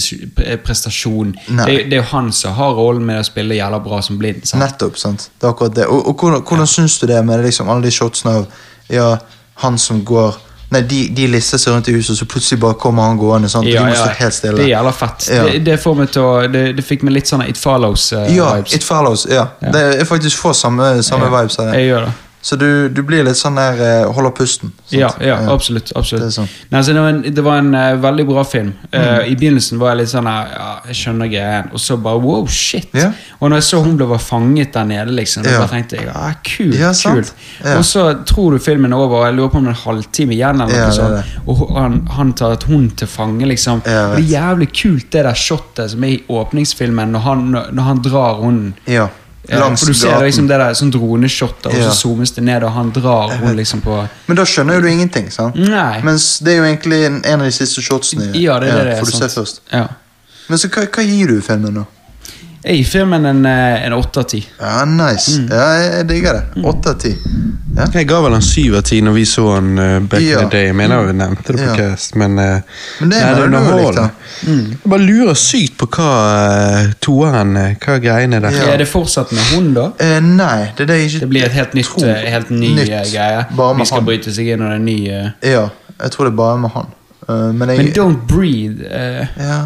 Speaker 3: skuespillerprestasjon.
Speaker 2: Nei.
Speaker 3: Det, det er jo han som har rollen med å spille jævla bra som blind. Sant?
Speaker 2: Nettopp. sant? Det er akkurat det. Og, og hvordan, hvordan syns du det med liksom, alle de shotsene av ja, han som går Nei, de, de lister seg rundt i huset, og så plutselig bare kommer han gående. sant? og de må stå helt stille.
Speaker 3: Det er jævla fett.
Speaker 2: Ja.
Speaker 3: Det, det, får meg til å, det, det fikk meg litt sånn It Follows-vibes.
Speaker 2: Ja, It Follows. Ja.
Speaker 3: Ja.
Speaker 2: Det er faktisk få samme, samme vibes av det.
Speaker 3: Jeg gjør det.
Speaker 2: Så du, du blir litt sånn der eh, Holder pusten. sant? Eh,
Speaker 3: Ja, ja, absolutt. absolutt.
Speaker 2: Det er Mm. sånn.
Speaker 3: Nei, altså, det var en, det var en eh, veldig bra film. Eh, I begynnelsen var jeg litt sånn eh, ja, Jeg skjønner greien, og så bare wow, shit.
Speaker 2: Ja.
Speaker 3: Og når jeg så hun ble var fanget der nede, liksom, da
Speaker 2: Ja.
Speaker 3: bare tenkte jeg ja, kult.
Speaker 2: Ja, sant.
Speaker 3: kult.
Speaker 2: Ja.
Speaker 3: Og så tror du filmen er over, og jeg lurer på om det er en halvtime igjen, eller
Speaker 2: Ja,
Speaker 3: noe
Speaker 2: det er det.
Speaker 3: sånt, og hun- han, han tar et hund til fange, liksom.
Speaker 2: Ja,
Speaker 3: Og
Speaker 2: jeg
Speaker 3: det er jævlig kult, det der shotet som er i åpningsfilmen, når han, når han drar hunden.
Speaker 2: Ja.
Speaker 3: Eh,
Speaker 2: Langs
Speaker 3: for du ser
Speaker 2: gaten.
Speaker 3: liksom det der sånn droneshot, og
Speaker 2: Ja.
Speaker 3: så zoomes det ned, og han drar hunden liksom på
Speaker 2: Men da skjønner jo du ingenting, sant?
Speaker 3: Mm. Nei.
Speaker 2: Mens det er jo egentlig en, en av de siste shotsene.
Speaker 3: Ja, det er det. det er
Speaker 2: Eh, får du se
Speaker 3: sant.
Speaker 2: først.
Speaker 3: Ja.
Speaker 2: Men så hva, hva gir du filmen nå?
Speaker 3: Jeg gir filmen en, eh, en 8 av 10.
Speaker 2: Ja, nice.
Speaker 3: Mm.
Speaker 2: Ja, jeg, jeg digger det. Åtte av ti. Ja.
Speaker 1: Jeg ga vel han syv av ti når vi så han eh, back
Speaker 2: Ja.
Speaker 1: in the day. Jeg mener jeg nevnte det på
Speaker 2: Ja.
Speaker 1: cast, men, eh,
Speaker 2: Men det
Speaker 1: nei,
Speaker 2: mener du jo
Speaker 1: underholdende.
Speaker 2: likt, da.
Speaker 3: Mm.
Speaker 1: Jeg bare lurer sykt på hva uh, toeren eh, Hva greiene der.
Speaker 2: Ja.
Speaker 3: Er det fortsatt med hund, da?
Speaker 2: Eh, nei, det er det jeg ikke
Speaker 3: Det blir et helt nytt,
Speaker 2: tror.
Speaker 3: eh, helt ny
Speaker 2: Nytt.
Speaker 3: eh, greie.
Speaker 2: Bare
Speaker 3: Vi
Speaker 2: med
Speaker 3: skal
Speaker 2: han.
Speaker 3: bryte seg inn, og det er en ny eh,
Speaker 2: Ja, jeg tror det er bare med han. Eh, men jeg
Speaker 3: Men Don't Breathe eh,
Speaker 2: ja.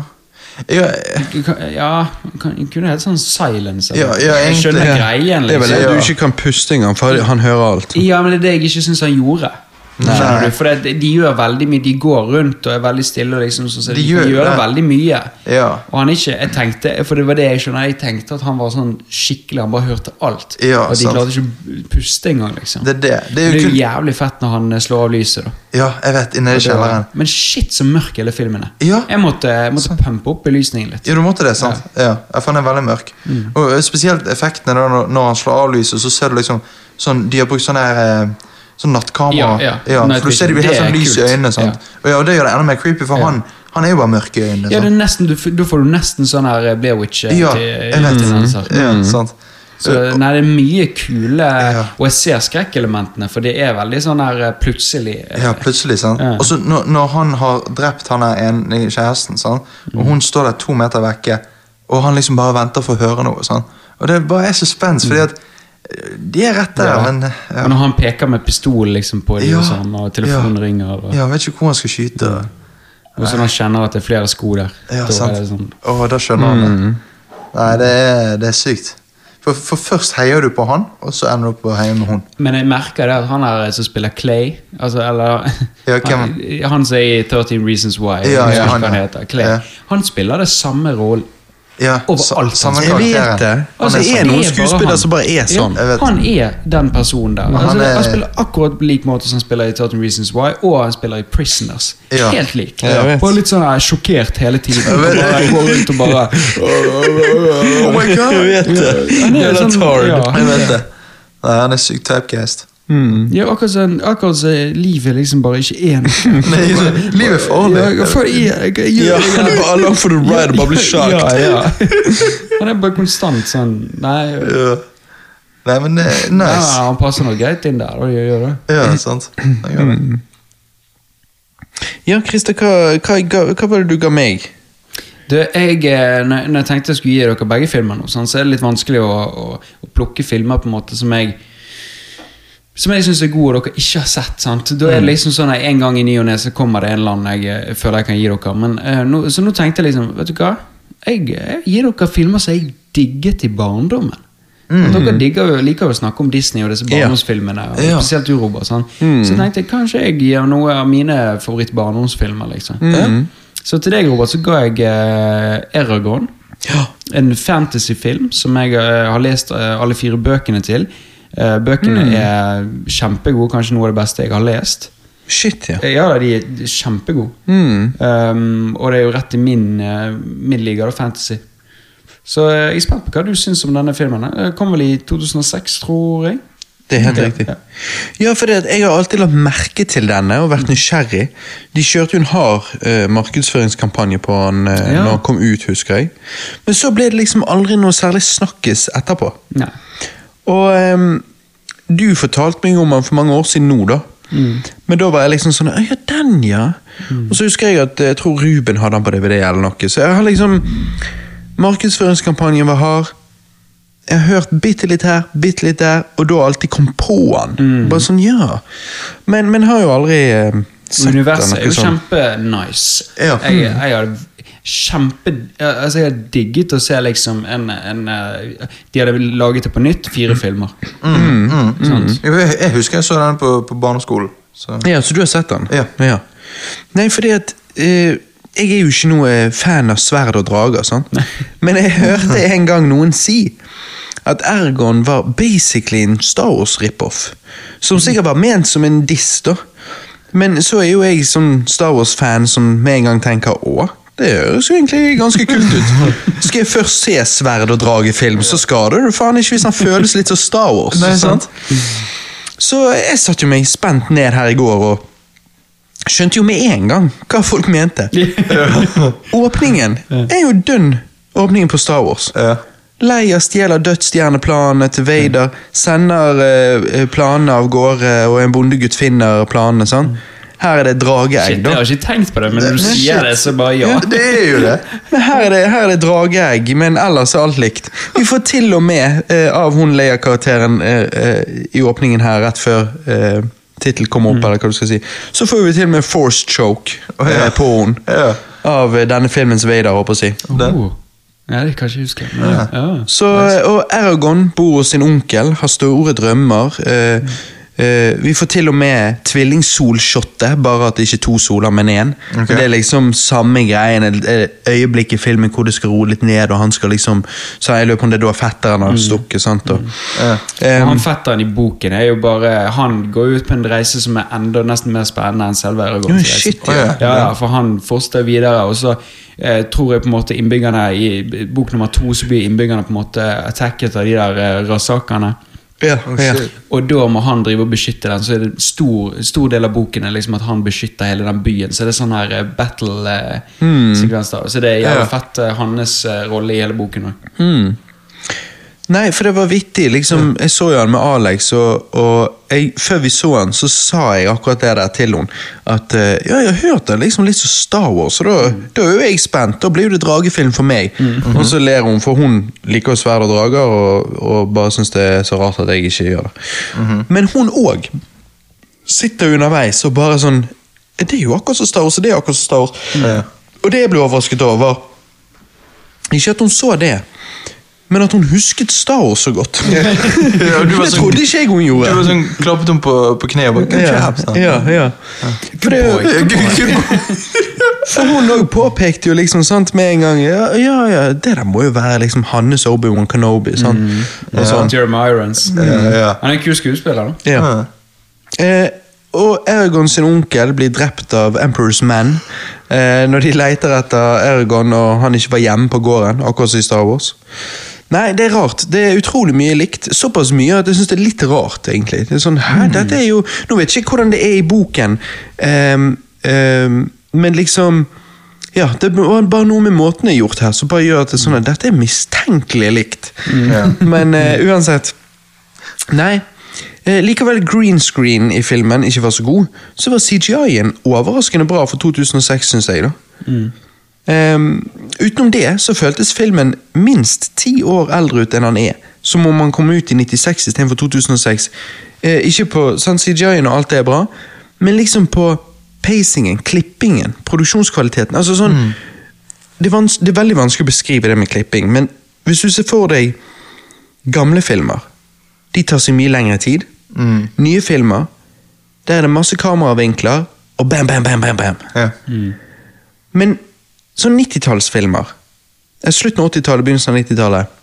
Speaker 2: Ja, eh,
Speaker 3: du kan- Ja, kan, kunne hett sånn silence. eller
Speaker 2: Ja, ja,
Speaker 3: noe. jeg
Speaker 2: egentlig.
Speaker 3: skjønner
Speaker 1: Ja.
Speaker 3: greien, liksom.
Speaker 1: Det er vel det
Speaker 2: Ja.
Speaker 1: du ikke kan puste engang, for han hører alt.
Speaker 3: Ja, men det er det jeg ikke syns han gjorde. Skjønner du? For det, de gjør veldig mye. De går rundt og er veldig stille. og Liksom, sånn, så de,
Speaker 2: De
Speaker 3: gjør,
Speaker 2: gjør det.
Speaker 3: veldig mye.
Speaker 2: Ja.
Speaker 3: Og han ikke, jeg tenkte, for det var det jeg skjønner, jeg tenkte at han var sånn skikkelig, han bare hørte alt.
Speaker 2: Ja,
Speaker 3: og de
Speaker 2: sant.
Speaker 3: klarte ikke å puste engang, liksom.
Speaker 2: det er det. Det
Speaker 3: Men det
Speaker 2: er
Speaker 3: er
Speaker 2: jo
Speaker 3: jo
Speaker 2: kun
Speaker 3: jævlig fett når han eh, slår av lyset. da.
Speaker 2: Ja, jeg vet. Inne i kjelleren.
Speaker 3: Men shit, så mørk hele filmen er.
Speaker 2: Ja.
Speaker 3: Jeg måtte, jeg måtte pumpe opp belysningen litt.
Speaker 2: Ja, du måtte det, sant? Ja, ja for han er veldig mørk.
Speaker 3: Mm.
Speaker 2: Og eh, spesielt effektene da, når, når han slår av lyset, så ser du liksom sånn, De har brukt sånn her eh, Sånn nattkamera.
Speaker 3: Ja, ja. Night
Speaker 2: for du ser de
Speaker 3: vision.
Speaker 2: blir helt
Speaker 3: Det er
Speaker 2: sånn lys i
Speaker 3: kult.
Speaker 2: øynene. sant? Og, ja, og det gjør det enda mer creepy, for han, han er jo bare mørk i øynene.
Speaker 3: Ja, det er
Speaker 2: sant?
Speaker 3: nesten, du, f- Da får du nesten sånn her Blairwich-tendenser.
Speaker 2: Ja, jeg vet det. Ja,
Speaker 3: Mm.
Speaker 2: sant?
Speaker 3: Så, nei, det er mye kule
Speaker 2: Ja.
Speaker 3: Og jeg ser skrekkelementene, for det er veldig sånn her eh, plutselig eh,
Speaker 2: Ja, plutselig, sant?
Speaker 3: Ja.
Speaker 2: Og så når, når han har drept han der ene kjæresten, sant? og
Speaker 3: Mm.
Speaker 2: hun står der to meter vekke, og han liksom bare venter for å høre noe, sant? og det bare er suspens,
Speaker 3: Mm.
Speaker 2: fordi at eh, de er rett der, men eh, ja.
Speaker 3: Når han peker med pistol liksom, på dem, og, sånn, og telefonen
Speaker 2: ja.
Speaker 3: ringer, og,
Speaker 2: Ja, vet ikke hvor han skal skyte.
Speaker 3: og så når han kjenner at det er flere sko der.
Speaker 2: Ja,
Speaker 3: da
Speaker 2: sant.
Speaker 3: er det sånn Mm.
Speaker 2: Å, da skjønner han det. Nei, det er, det er sykt. For, for først heier du på han, og så ender du opp med å heie med hun.
Speaker 3: Men jeg merker det at han her som spiller Clay altså, eller,
Speaker 2: Ja, hvem?
Speaker 3: han, han som er i 13 Reasons Why,
Speaker 2: Ja,
Speaker 3: jeg husker
Speaker 2: ja,
Speaker 3: ikke
Speaker 2: han,
Speaker 3: hva han,
Speaker 2: ja.
Speaker 3: heter, Clay,
Speaker 2: Ja.
Speaker 3: han spiller det samme rollen.
Speaker 2: Ja,
Speaker 3: Overalt,
Speaker 2: sa- samme
Speaker 3: sant?
Speaker 1: Jeg vet
Speaker 2: karakteren.
Speaker 1: det.
Speaker 2: Han
Speaker 1: Altså,
Speaker 2: er
Speaker 1: det er
Speaker 2: sånn.
Speaker 1: noen
Speaker 3: bare
Speaker 1: skuespillere
Speaker 3: han.
Speaker 1: som bare er sånn.
Speaker 3: Ja,
Speaker 2: vet.
Speaker 3: han er den personen der.
Speaker 2: han
Speaker 3: altså,
Speaker 2: er-
Speaker 3: han spiller akkurat på lik måte som han spiller i 13 Reasons Why, og han spiller i Prisoners.
Speaker 2: Ja.
Speaker 3: Helt lik.
Speaker 1: Ja, jeg vet.
Speaker 3: og litt sånn her sjokkert hele tiden.
Speaker 2: Jeg vet.
Speaker 3: Bare går rundt og bare
Speaker 2: Oh my god!
Speaker 1: Jeg vet det.
Speaker 3: Han er
Speaker 1: Jævla
Speaker 3: sånn-
Speaker 1: tard.
Speaker 3: ja.
Speaker 2: Jeg vet det. Nei, han er sykt typecast.
Speaker 1: Mm.
Speaker 3: Ja, akkurat som akkurat så er livet liksom bare ikke er noe.
Speaker 2: Nei, livet er farlig.
Speaker 3: Ja, for jeg- jeg- jeg-
Speaker 1: Ja, han er bare along for the ride og bare blir
Speaker 3: Ja,
Speaker 1: shocked.
Speaker 3: ja. Han er bare konstant sånn Nei,
Speaker 2: Ja. Nei, men det er
Speaker 3: nei
Speaker 2: nice.
Speaker 3: han passer noe greit inn der. Og gjør det.
Speaker 2: Ja, sant. Han gjør det.
Speaker 1: Ja, Christer, hva, hva, ga- hva var det du ga meg?
Speaker 3: Du, jeg, eh, når når jeg tenkte jeg skulle gi dere begge filmer, nå, sånn, så er det litt vanskelig å, å, å plukke filmer på en måte som jeg som jeg syns er gode og dere ikke har sett. sant? Da er det liksom sånn at En gang i ny og ne så kommer det en eller annen jeg eh, føler jeg kan gi dere. Men, eh, nå, så nå tenkte jeg liksom Vet du hva? jeg, jeg gir dere filmer som jeg digget i barndommen. Dere digger, jo- liker jo å snakke om Disney og disse
Speaker 1: Ja.
Speaker 3: barndomsfilmene. Og
Speaker 2: Ja.
Speaker 3: Spesielt du, Robert. sant? Så tenkte jeg kanskje jeg gir noe av mine favoritt-barndomsfilmer. Liksom. Så til deg, Robert, så ga jeg eh, Eragon.
Speaker 1: Ja.
Speaker 3: En fantasyfilm som jeg eh, har lest eh, alle fire bøkene til. Eh, bøkene er kjempegode, kanskje noe av det beste jeg har lest.
Speaker 1: Shit, ja. Hmm,
Speaker 3: Eh, Ja, de er de er kjempegode. Um, og det er jo rett i min, eh, min liga, da, fantasy. Så eh, jeg er spent på hva du syns om denne filmen. Den kom vel i 2006, tror jeg.
Speaker 1: Det er helt riktig. Ja, for det at Jeg har alltid lagt merke til denne og vært nysgjerrig. De kjørte jo en hard eh, markedsføringskampanje på den eh,
Speaker 3: Ja.
Speaker 1: når den kom ut, husker jeg. Men så ble det liksom aldri noe særlig snakkes etterpå.
Speaker 3: Nei.
Speaker 1: Og ehm, du fortalte meg om han for mange år siden nå, da.
Speaker 3: Mm.
Speaker 1: Men da var jeg liksom sånn Ja, den, ja. Og så husker jeg at eh, jeg tror Ruben hadde han på DVD eller noe. Så jeg har liksom Markedsføringskampanjen var hard. Jeg har hørt bitte litt her, bitte litt der, og da alltid kom på han.
Speaker 3: Mm.
Speaker 1: Bare sånn, ja. Men, men har jo aldri eh, sett den,
Speaker 3: Universet er
Speaker 1: noe
Speaker 3: jo
Speaker 1: sånn.
Speaker 3: kjempenice.
Speaker 2: Ja.
Speaker 3: Jeg, jeg har kjempe eh, Altså, jeg har digget å se liksom en, en eh, De hadde laget det på nytt, fire filmer. Sant?
Speaker 2: Mm, Jeg, jeg husker jeg så den på, på barneskolen. Så.
Speaker 1: Ja, så du har sett den?
Speaker 2: Ja.
Speaker 1: Nei, fordi at eh, Jeg er jo ikke noe eh, fan av sverd og drager, sant? men jeg hørte en gang noen si at Ergon var basically en Star Wars rip-off. Som sikkert var ment som en diss, da. Men så er jo jeg sånn Star Wars-fan som med en gang tenker å, det høres jo egentlig ganske kult ut. Skal jeg først se sverd og drage-film, så skader du faen ikke hvis han føles litt som Star Wars.
Speaker 2: Nei, sant.
Speaker 1: Så jeg satt jo meg spent ned her i går og skjønte jo med en gang hva folk mente. Åpningen er jo dønn åpningen på Star Wars.
Speaker 2: Ja.
Speaker 1: Leia stjeler dødsstjerneplanene til Vader, sender eh, planene av gårde, og en bondegutt finner planene. sånn. Her er det
Speaker 3: Shit,
Speaker 1: drageegg,
Speaker 3: jeg
Speaker 1: da.
Speaker 3: har ikke tenkt på det, men når du
Speaker 2: Nei,
Speaker 3: sier
Speaker 2: shit.
Speaker 3: det, så bare ja.
Speaker 2: Ja, det er jo det.
Speaker 1: Men her er det, her er det drageegg, men ellers er alt likt. Vi får til og med eh, av hun Leia-karakteren eh, eh, i åpningen her rett før eh, tittelen kommer
Speaker 2: Mm.
Speaker 1: opp, eller hva du skal si, så får vi til og med force choke
Speaker 2: Å, ja.
Speaker 1: eh, på hun.
Speaker 2: Ja.
Speaker 1: Av eh, denne filmens Vader, håper jeg å si.
Speaker 2: Den.
Speaker 3: Oh. Nei, det kan jeg ikke huske. Men, ja.
Speaker 1: Så, eh, og Eragon bor hos sin onkel, har store drømmer. eh, eh, vi får til og med tvillingsolshotet, bare at det ikke er to soler, men én.
Speaker 2: Ok.
Speaker 1: Det er liksom samme greien. et- et Øyeblikk i filmen hvor det skal roe litt ned, og han skal liksom Så jeg lurer på om det er da fetteren har stukket. sant? Og,
Speaker 2: Mm. Ja.
Speaker 1: eh,
Speaker 3: Han fetteren i boken er jo bare Han går ut på en reise som er enda nesten mer spennende enn selve Eragon.
Speaker 1: Ja, shit,
Speaker 2: ja.
Speaker 3: ja, ja, for han forster videre, og så eh, tror jeg på en måte innbyggerne i bok nummer to så blir innbyggerne på en måte attacket av de der eh, rasakerne.
Speaker 1: ja, ja.
Speaker 2: Oh, shit.
Speaker 3: Og da må han drive og beskytte den, så er det en stor, stor del av boken er liksom at han beskytter hele den byen. Så det er sånn her eh, battle-sekvens. da Så det er
Speaker 2: Hmm. Ja.
Speaker 3: jævlig fett eh, hans eh, rolle i hele boken òg.
Speaker 1: Nei, for det var vittig. liksom, Jeg så jo han med Alex, og, og jeg, før vi så han, så sa jeg akkurat det der til henne. At eh, ja, jeg har hørt det liksom litt som Star Wars, og da, da er jo jeg spent. Da blir jo det dragefilm for meg. Og så ler hun, for hun liker jo sverd og drager, og, og bare syns det er så rart at jeg ikke gjør det. Men hun òg sitter underveis og bare sånn Det er jo akkurat som Star Wars, og det er akkurat som Star Wars.
Speaker 2: Ja.
Speaker 1: Og det jeg ble overrasket over, var ikke at hun så det, men at hun husket Star Wars så godt.
Speaker 2: Ja, du var
Speaker 1: det
Speaker 2: sånn-
Speaker 1: trodde ikke jeg hun
Speaker 2: Du
Speaker 1: gjorde.
Speaker 2: var sånn, klappet henne på, på kneet og bare «Good
Speaker 1: ja,
Speaker 2: job, son».
Speaker 1: ja, ja. For, det,
Speaker 2: Good- good boy.
Speaker 1: for hun òg påpekte jo liksom sant, med en gang Ja, ja, ja det der må jo være liksom Hannes Obi-Wan Kenobi. Sant?
Speaker 2: Mm.
Speaker 1: Og sånn.
Speaker 3: Jeremy Irons.
Speaker 2: Ja, ja.
Speaker 3: Han er en kul skuespiller, da.
Speaker 1: ja.
Speaker 2: Ja.
Speaker 1: Eh, og Eragon sin onkel blir drept av Emperor's Men eh, når de leter etter Eragon og han ikke var hjemme på gården, akkurat som i Star Wars. Nei, det er rart. Det er utrolig mye likt. Såpass mye at jeg syns det er litt rart, egentlig. Det er sånn, hæ, dette er jo Nå vet jeg ikke hvordan det er i boken, ehm, ehm, men liksom ja, Det var bare noe med måten det er gjort her, som bare gjør at det er sånn at dette er mistenkelig likt.
Speaker 2: Ja.
Speaker 1: Men eh, uansett Nei. Eh, likevel green screen i filmen ikke var så god, så var CGI-en overraskende bra for 2006, syns jeg. da. Ehm, utenom det så føltes filmen minst ti år eldre ut enn han er. Som om han kom ut i 96 istedenfor 2006. Eh, ikke på sant, CGI-en og alt det er bra, men liksom på pacingen, klippingen, produksjonskvaliteten. altså sånn det, er vans det er veldig vanskelig å beskrive det med klipping, men hvis du ser for deg gamle filmer De tar seg mye lengre tid. Nye filmer, der er det masse kameravinkler, og bam, bam, bam, bam, bam.
Speaker 2: Ja.
Speaker 1: Men sånn 90-tallsfilmer eh, Slutten av 80-tallet, begynnelsen av 90-tallet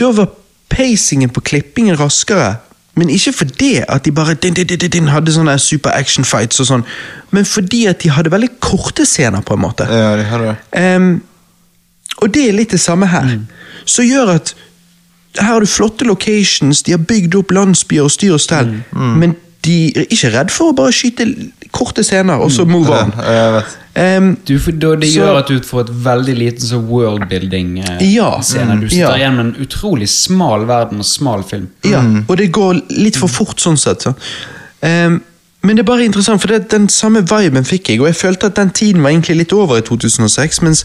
Speaker 1: Da var pacingen på klippingen raskere Men ikke fordi at de bare din, din, din, din, din, Hadde sånne super action fights og sånn Men fordi at de hadde veldig korte scener på en måte
Speaker 2: ja, de hadde det.
Speaker 1: Ehm, og det er litt det samme her. Som gjør at her har du flotte locations, de har bygd opp landsbyer og styr og stell, men de er ikke redd for å bare skyte l- korte scener, og så move
Speaker 2: Ja,
Speaker 1: on.
Speaker 2: jeg vet.
Speaker 1: Ehm,
Speaker 3: Du, for da, det
Speaker 1: Så-
Speaker 3: gjør at du får et veldig liten sånn så worldbuilding-scene.
Speaker 1: Ja, mm,
Speaker 3: du sitter
Speaker 1: ja.
Speaker 3: igjen med en utrolig smal verden og smal film. Mm.
Speaker 1: ja, og det går litt for fort sånn sett. Så. Ehm, men det er bare interessant, for det, den samme viben fikk jeg, og jeg følte at den tiden var egentlig litt over i 2006, mens,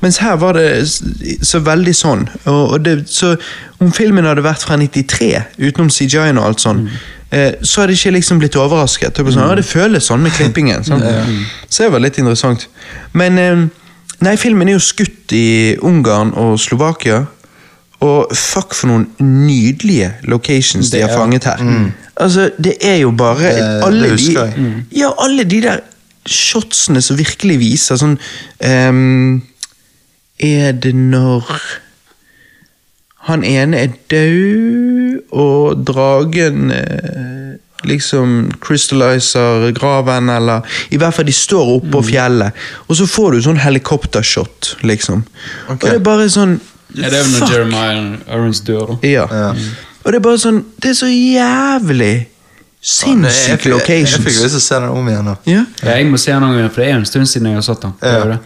Speaker 1: mens her var det s- så veldig sånn. Og, og det, så om filmen hadde vært fra 93, utenom CGI-en og alt sånn, eh, så hadde jeg ikke liksom blitt overrasket. Det, var sånn, ja, det føles sånn med klippingen. Sant? Så det var litt interessant. Men ehm, nei, filmen er jo skutt i Ungarn og Slovakia, og fuck for noen nydelige locations de har fanget her. Altså, det er jo bare
Speaker 2: mm. Det-
Speaker 1: alle
Speaker 2: det husker
Speaker 1: de,
Speaker 2: jeg. Mm.
Speaker 1: Ja, alle de der shotsene som virkelig viser sånn ehm, Er det når han ene er død, og dragen eh, liksom crystalliser graven, eller I hvert fall de står oppe
Speaker 2: Mm.
Speaker 1: på fjellet, og så får du sånn helikoptershot, liksom. Og det er bare sånn
Speaker 3: Ja, det er jo når
Speaker 1: fuck.
Speaker 3: Jeremiah Irons dør, da.
Speaker 1: Ja.
Speaker 2: Ja.
Speaker 1: Og det er bare sånn Det er så jævlig
Speaker 2: Nei, jeg fikk-
Speaker 1: sinnssyke
Speaker 2: Jeg fikk
Speaker 1: locations.
Speaker 2: lyst til å se den om igjen nå.
Speaker 1: Ja.
Speaker 3: Ja, jeg må se den noen ganger, for det er jo en stund siden jeg har sett den. Det er jo det.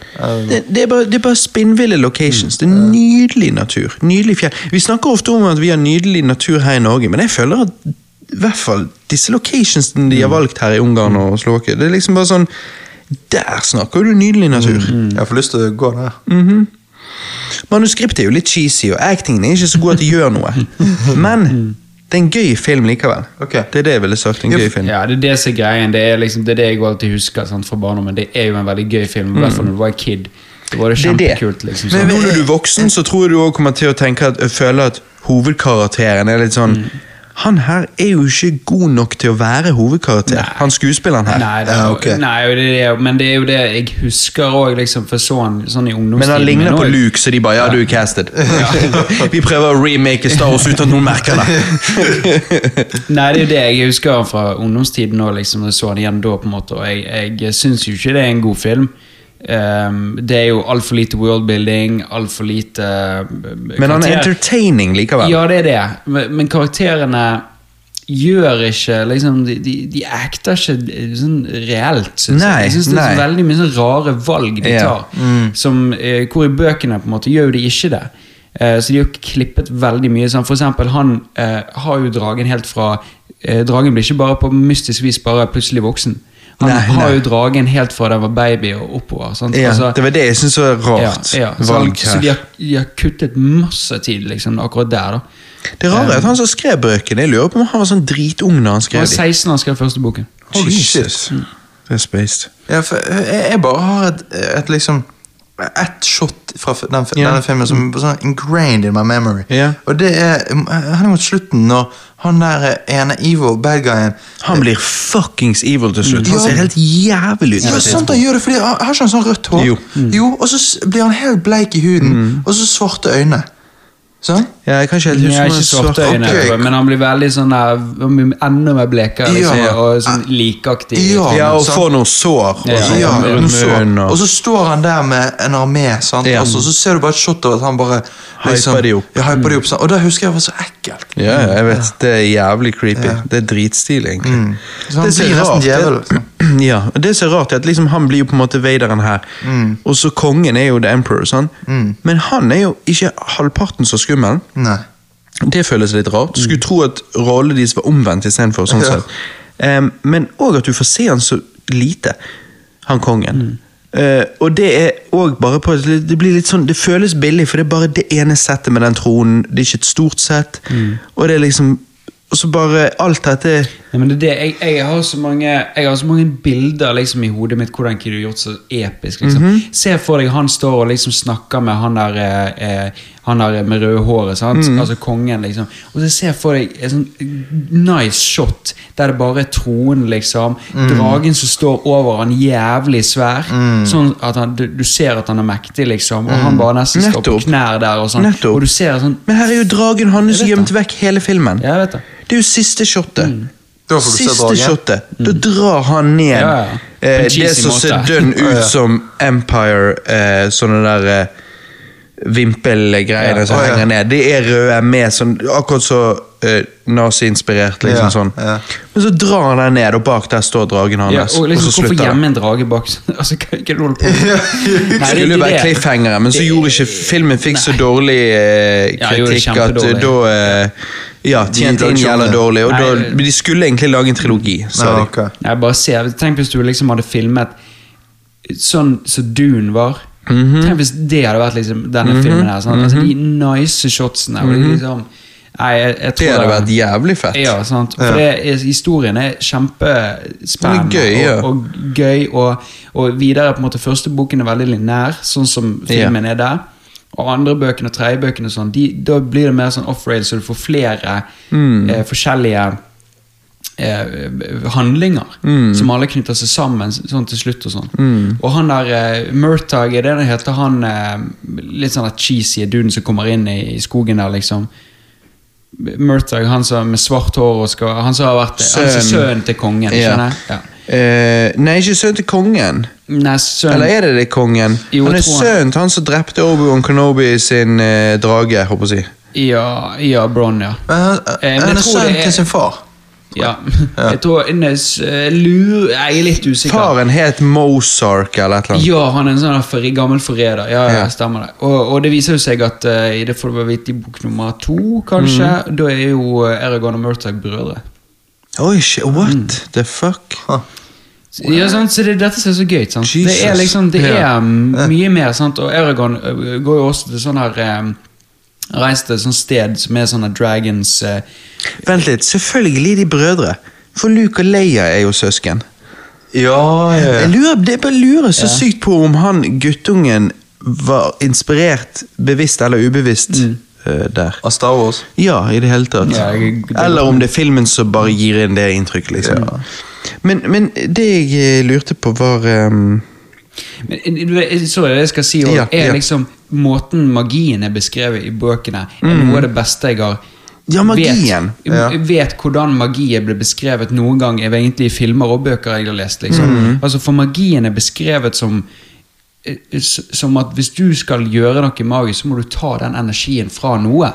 Speaker 1: Det, det, er bare, det er bare spinnville locations. Det er
Speaker 2: Mm.
Speaker 1: nydelig natur. Nydelig fjell. Vi snakker ofte om at vi har nydelig natur her i Norge, men jeg føler at i hvert fall disse locationsene
Speaker 2: Mm.
Speaker 1: de har valgt her i Ungarn og Slovakia, det er liksom bare sånn Der snakker du nydelig natur.
Speaker 2: Jeg får lyst til å gå der.
Speaker 1: Manuskriptet er jo litt cheesy, og actingen er ikke så god at det gjør noe. Men det er en gøy film likevel.
Speaker 2: Mm. Ok.
Speaker 1: Det er det jeg ville sagt. En gøy film.
Speaker 3: Ja, det er det som er greien. Det er, liksom, det er det jeg alltid husker sant, fra barndommen. Det er jo en veldig gøy film, i hvert fall når du var kid. Det var det
Speaker 1: Mm. Det er det.
Speaker 3: kjempekult, liksom.
Speaker 1: Men
Speaker 3: sånn.
Speaker 1: nå når du er voksen, så tror jeg du også kommer til å tenke at, føle at hovedkarakteren er litt sånn Han her er jo ikke god nok til å være hovedkarakter. Han skuespilleren her.
Speaker 3: Nei, det er,
Speaker 2: Ja,
Speaker 3: jo-
Speaker 2: ok.
Speaker 3: nei og det er, men det er jo det jeg husker òg, liksom, for sånn, sånn i ungdomstiden.
Speaker 1: Men han ligner
Speaker 3: min
Speaker 1: på
Speaker 3: også.
Speaker 1: Luke, så de bare ja, du er casted. Vi prøver å remake Star Wars uten at noen merker det.
Speaker 3: Nei, det er jo det jeg husker han fra ungdomstiden òg, liksom. når Jeg så han igjen da, på en måte, og jeg, jeg syns jo ikke det er en god film. Ehm, det er jo altfor lite worldbuilding, altfor lite eh,
Speaker 1: Men han er
Speaker 3: karakter.
Speaker 1: entertaining likevel.
Speaker 3: Ja, det er det. Men, men karakterene gjør ikke liksom, De, de, de acter ikke eh, sånn reelt, synes
Speaker 1: Nei,
Speaker 3: jeg. Jeg synes det er
Speaker 1: nei.
Speaker 3: så veldig mye sånn rare valg de
Speaker 1: Ja. mm.
Speaker 3: tar. Som, eh, hvor i bøkene på en måte gjør jo de ikke det. Eh, så de har klippet veldig mye. Sånn. For eksempel, han eh, har jo dragen helt fra eh, Dragen blir ikke bare på mystisk vis bare plutselig voksen. Han
Speaker 1: Nei,
Speaker 3: har
Speaker 1: nei.
Speaker 3: jo dragen helt fra da han var baby og oppover. Sant?
Speaker 1: Ja,
Speaker 3: Altså-
Speaker 1: det var det jeg syntes var rart.
Speaker 3: ja, ja. Så,
Speaker 1: Valg
Speaker 3: så de,
Speaker 1: her.
Speaker 3: har, de har kuttet masse tid liksom, akkurat der. da
Speaker 1: Det rare er at han som skrev bøkene, jeg lurer på om han var sånn dritung når han
Speaker 3: Han Mm. var
Speaker 1: skrev dem.
Speaker 3: 16 da han skrev første boken.
Speaker 2: Holy shit.
Speaker 1: Jesus. Det er spaced.
Speaker 2: Ja, for jeg, jeg bare har et, et liksom ett shot fra f- den, fi-
Speaker 1: Ja. Mm.
Speaker 2: denne filmen som er sånn ingrained in my memory.
Speaker 1: Ja.
Speaker 2: Og det er Han er mot slutten når han der eh, ene evil bad guyen
Speaker 1: Han blir fuckings evil til
Speaker 3: Mm.
Speaker 1: slutt. Han
Speaker 2: Ja.
Speaker 1: ser helt jævlig ut. sånn på
Speaker 2: Ja,
Speaker 1: et
Speaker 2: sant
Speaker 1: tidspunkt.
Speaker 2: han gjør det, fordi han har ikke han sånn rødt hår?
Speaker 1: Jo. Mm.
Speaker 2: jo Og så s- blir han helt bleik i huden, og så svarte øyne. Sånn?
Speaker 1: Ja, jeg kan ikke helt huske
Speaker 3: Jeg har
Speaker 1: om
Speaker 3: ikke
Speaker 1: han
Speaker 3: svarte
Speaker 1: svarte-
Speaker 3: øyne,
Speaker 2: ok.
Speaker 3: men han blir veldig sånn der, han blir enda mer blekere liksom,
Speaker 2: Ja.
Speaker 3: og sånn likeaktig.
Speaker 2: Ja.
Speaker 1: Ja, og
Speaker 2: sant?
Speaker 1: får noen sår. Og
Speaker 3: Ja,
Speaker 1: så,
Speaker 2: Ja,
Speaker 1: rundt
Speaker 2: og så,
Speaker 1: munnen og
Speaker 2: og så står han der med en armé, sant?
Speaker 1: Ja.
Speaker 2: Og så, så ser du bare et shot av at han bare liksom
Speaker 1: Hyper de opp. Mm.
Speaker 2: Ja, hyper de opp sant? Og da husker jeg det var så ekkelt.
Speaker 1: Ja, ja, Mm. jeg vet. Det er jævlig creepy. Det er dritstil, egentlig.
Speaker 2: Så han
Speaker 1: som
Speaker 2: blir
Speaker 1: er
Speaker 2: nesten
Speaker 1: rart,
Speaker 2: djevel. liksom.
Speaker 1: det- Ja, og det som er rart, er at liksom han blir jo på en måte vaderen her.
Speaker 2: Mm.
Speaker 1: Og så kongen er jo the emperor, sant? Men han er jo ikke halvparten så skummel.
Speaker 2: Nei.
Speaker 1: Det føles litt rart.
Speaker 3: Mm.
Speaker 1: Skulle tro at rollene deres var omvendt istedenfor. Sånn
Speaker 2: Ja.
Speaker 1: sett. Em, men òg at du får se han så lite, han kongen.
Speaker 3: Mm.
Speaker 1: Eh, og det er òg bare på at det- Det blir litt sånn, det
Speaker 3: Mm.
Speaker 1: føles billig, for det er bare det ene settet med den tronen. Det er ikke et stort sett. Og det er liksom
Speaker 2: Og så bare alt dette
Speaker 3: Nei, men det er det. Jeg, jeg, har så mange, jeg har så mange bilder liksom, i hodet mitt hvordan Kid har gjort så episk. Liksom.
Speaker 1: Mhm.
Speaker 3: Se for deg han står og liksom snakker med han der, eh, eh, han der med røde håret, sant?
Speaker 1: Mhm.
Speaker 3: altså kongen. liksom. Og så se for deg et sånn nice shot der det bare er tronen, liksom.
Speaker 1: Mhm.
Speaker 3: Dragen som står over han, jævlig svær. Sånn at han, du, du ser at han er mektig, liksom. Og han bare nesten står på
Speaker 1: Mhm. Nettopp.
Speaker 3: knær der. Og, sånn.
Speaker 1: Nettopp.
Speaker 3: og du ser sånn
Speaker 1: Men her er jo dragen hans
Speaker 3: Jeg vet
Speaker 1: gjemt vekk hele filmen.
Speaker 3: Ja, jeg vet det.
Speaker 1: Det er jo siste shotet.
Speaker 3: Mm.
Speaker 2: Da får du se
Speaker 1: Siste
Speaker 2: dragen.
Speaker 1: shotet. Da drar han ned
Speaker 3: Ja, ja. På en
Speaker 1: eh, det
Speaker 3: cheesy
Speaker 1: som ser
Speaker 3: måte.
Speaker 1: dønn
Speaker 2: Ja,
Speaker 1: ut
Speaker 2: ja.
Speaker 1: som Empire, eh, sånne der eh, vimpelgreiene
Speaker 3: Ja.
Speaker 1: som
Speaker 2: Å, ja.
Speaker 1: henger ned. De er røde med, sånn, akkurat så eh, nazi-inspirert, liksom
Speaker 2: Ja,
Speaker 1: sånn.
Speaker 2: ja.
Speaker 1: Men så drar han den ned, og bak der står dragen
Speaker 3: Ja,
Speaker 1: hans.
Speaker 3: og liksom,
Speaker 1: så
Speaker 3: hvorfor
Speaker 1: slutter det.
Speaker 3: gjemme en drage bak altså, Hva hva er det du holder på
Speaker 1: Det
Speaker 3: med? Nei, det er
Speaker 1: skulle jo
Speaker 3: ikke
Speaker 1: være
Speaker 3: det.
Speaker 1: cliffhangere, men så
Speaker 3: Det-
Speaker 1: gjorde ikke filmen fikk så dårlig eh,
Speaker 3: Ja, det gjorde
Speaker 1: kritikk at eh,
Speaker 3: kjempedårlig.
Speaker 1: da eh, Ja, tjente inn jævla dårlig, og da
Speaker 3: Nei,
Speaker 1: men De skulle egentlig lage en trilogi, sa
Speaker 2: Nei,
Speaker 1: de.
Speaker 2: ok.
Speaker 3: Nei, bare se. Tenk hvis du liksom hadde filmet sånn som Dune var.
Speaker 1: Mhm.
Speaker 3: Tenk hvis det hadde vært liksom denne filmen her. Sant? Altså, de nice shotsene. og liksom, nei, jeg, jeg tror
Speaker 1: Mhm. Det hadde vært jævlig fett.
Speaker 3: Ja, sant. For det er, historien er kjempespennende
Speaker 1: Den er gøy, ja.
Speaker 3: og, og gøy. Og, og videre på en måte Første boken er veldig lineær, sånn som filmen er der. Og andre bøkene og tredje bøkene og sånn, de, da blir det mer sånn off-rail, så du får flere
Speaker 1: Mm.
Speaker 3: eh, forskjellige eh, handlinger
Speaker 1: Mm.
Speaker 3: som alle knytter seg sammen sånn til slutt. Og sånn Og han der eh, Murtag, er det det heter? Han eh, litt sånn der cheesy duden som kommer inn i, i skogen der, liksom. Murtag, han som med svart hår og skal Han som har vært sønnen altså,
Speaker 1: Sønn.
Speaker 3: sønnen til kongen.
Speaker 1: Ja.
Speaker 3: skjønner jeg? Ja.
Speaker 1: Eh, nei, ikke sønnen til kongen.
Speaker 3: Nei, sønnen
Speaker 1: Eller er det det kongen?
Speaker 3: Jo,
Speaker 1: han er
Speaker 3: jeg tror han-
Speaker 1: sønnen til han som drepte Obi-Wan Kenobi sin eh, drage, håper jeg å si.
Speaker 3: Ja, ja Bron, ja.
Speaker 2: Men han-
Speaker 3: Eh, men
Speaker 2: Han
Speaker 3: jeg
Speaker 2: er
Speaker 3: tror det
Speaker 2: sønnen
Speaker 3: er-
Speaker 2: til sin far.
Speaker 3: ja. Jeg tror Nes eh, Lur Jeg er litt usikker.
Speaker 1: Faren het Mozark eller et eller annet.
Speaker 3: Ja, han er en sånn forri- gammel forræder. Ja, ja,
Speaker 1: Ja.
Speaker 3: stemmer det. Og, og det viser jo seg at eh, i det får du bare vite i bok nummer to, kanskje, da er jo eh, Eragon og Murtag brødre.
Speaker 1: Oi, shit, what
Speaker 3: Mm.
Speaker 1: the fuck?
Speaker 3: Så- Ja, sant? Så det, dette som er så gøy. Sant? Det er
Speaker 1: Jesus.
Speaker 3: liksom, det er
Speaker 1: Ja.
Speaker 3: mm, mye mer, sant? og Eragon ø, går jo også til sånn her um, Reist til et sånt sted som er sånne dragons eh,
Speaker 1: Vent litt, selvfølgelig de brødre. For Luke og Leia er jo søsken.
Speaker 2: Ja, ja,
Speaker 1: Jeg
Speaker 2: ja.
Speaker 1: lurer, det bare lurer så sykt på om han guttungen var inspirert, bevisst eller ubevisst, eh, der.
Speaker 2: Av Star Wars.
Speaker 1: Ja, i det hele tatt.
Speaker 3: Ja, jeg- det-
Speaker 1: Eller om det er filmen som bare gir inn det inntrykket, liksom. Men, men det jeg eh, lurte på, var ehm,
Speaker 3: Men, eh, du vet, sorry, det jeg skal si også,
Speaker 1: Ja,
Speaker 3: er
Speaker 1: ja.
Speaker 3: liksom Måten magien er beskrevet i bøkene, er noe av det beste jeg har
Speaker 1: Mm. Ja, magien.
Speaker 3: Vet, vet hvordan magi ble beskrevet noen gang er egentlig i filmer og bøker jeg har lest. Liksom.
Speaker 1: Mm.
Speaker 3: Altså, for magien er beskrevet som eh, s- som at hvis du skal gjøre noe magisk, så må du ta den energien fra noe.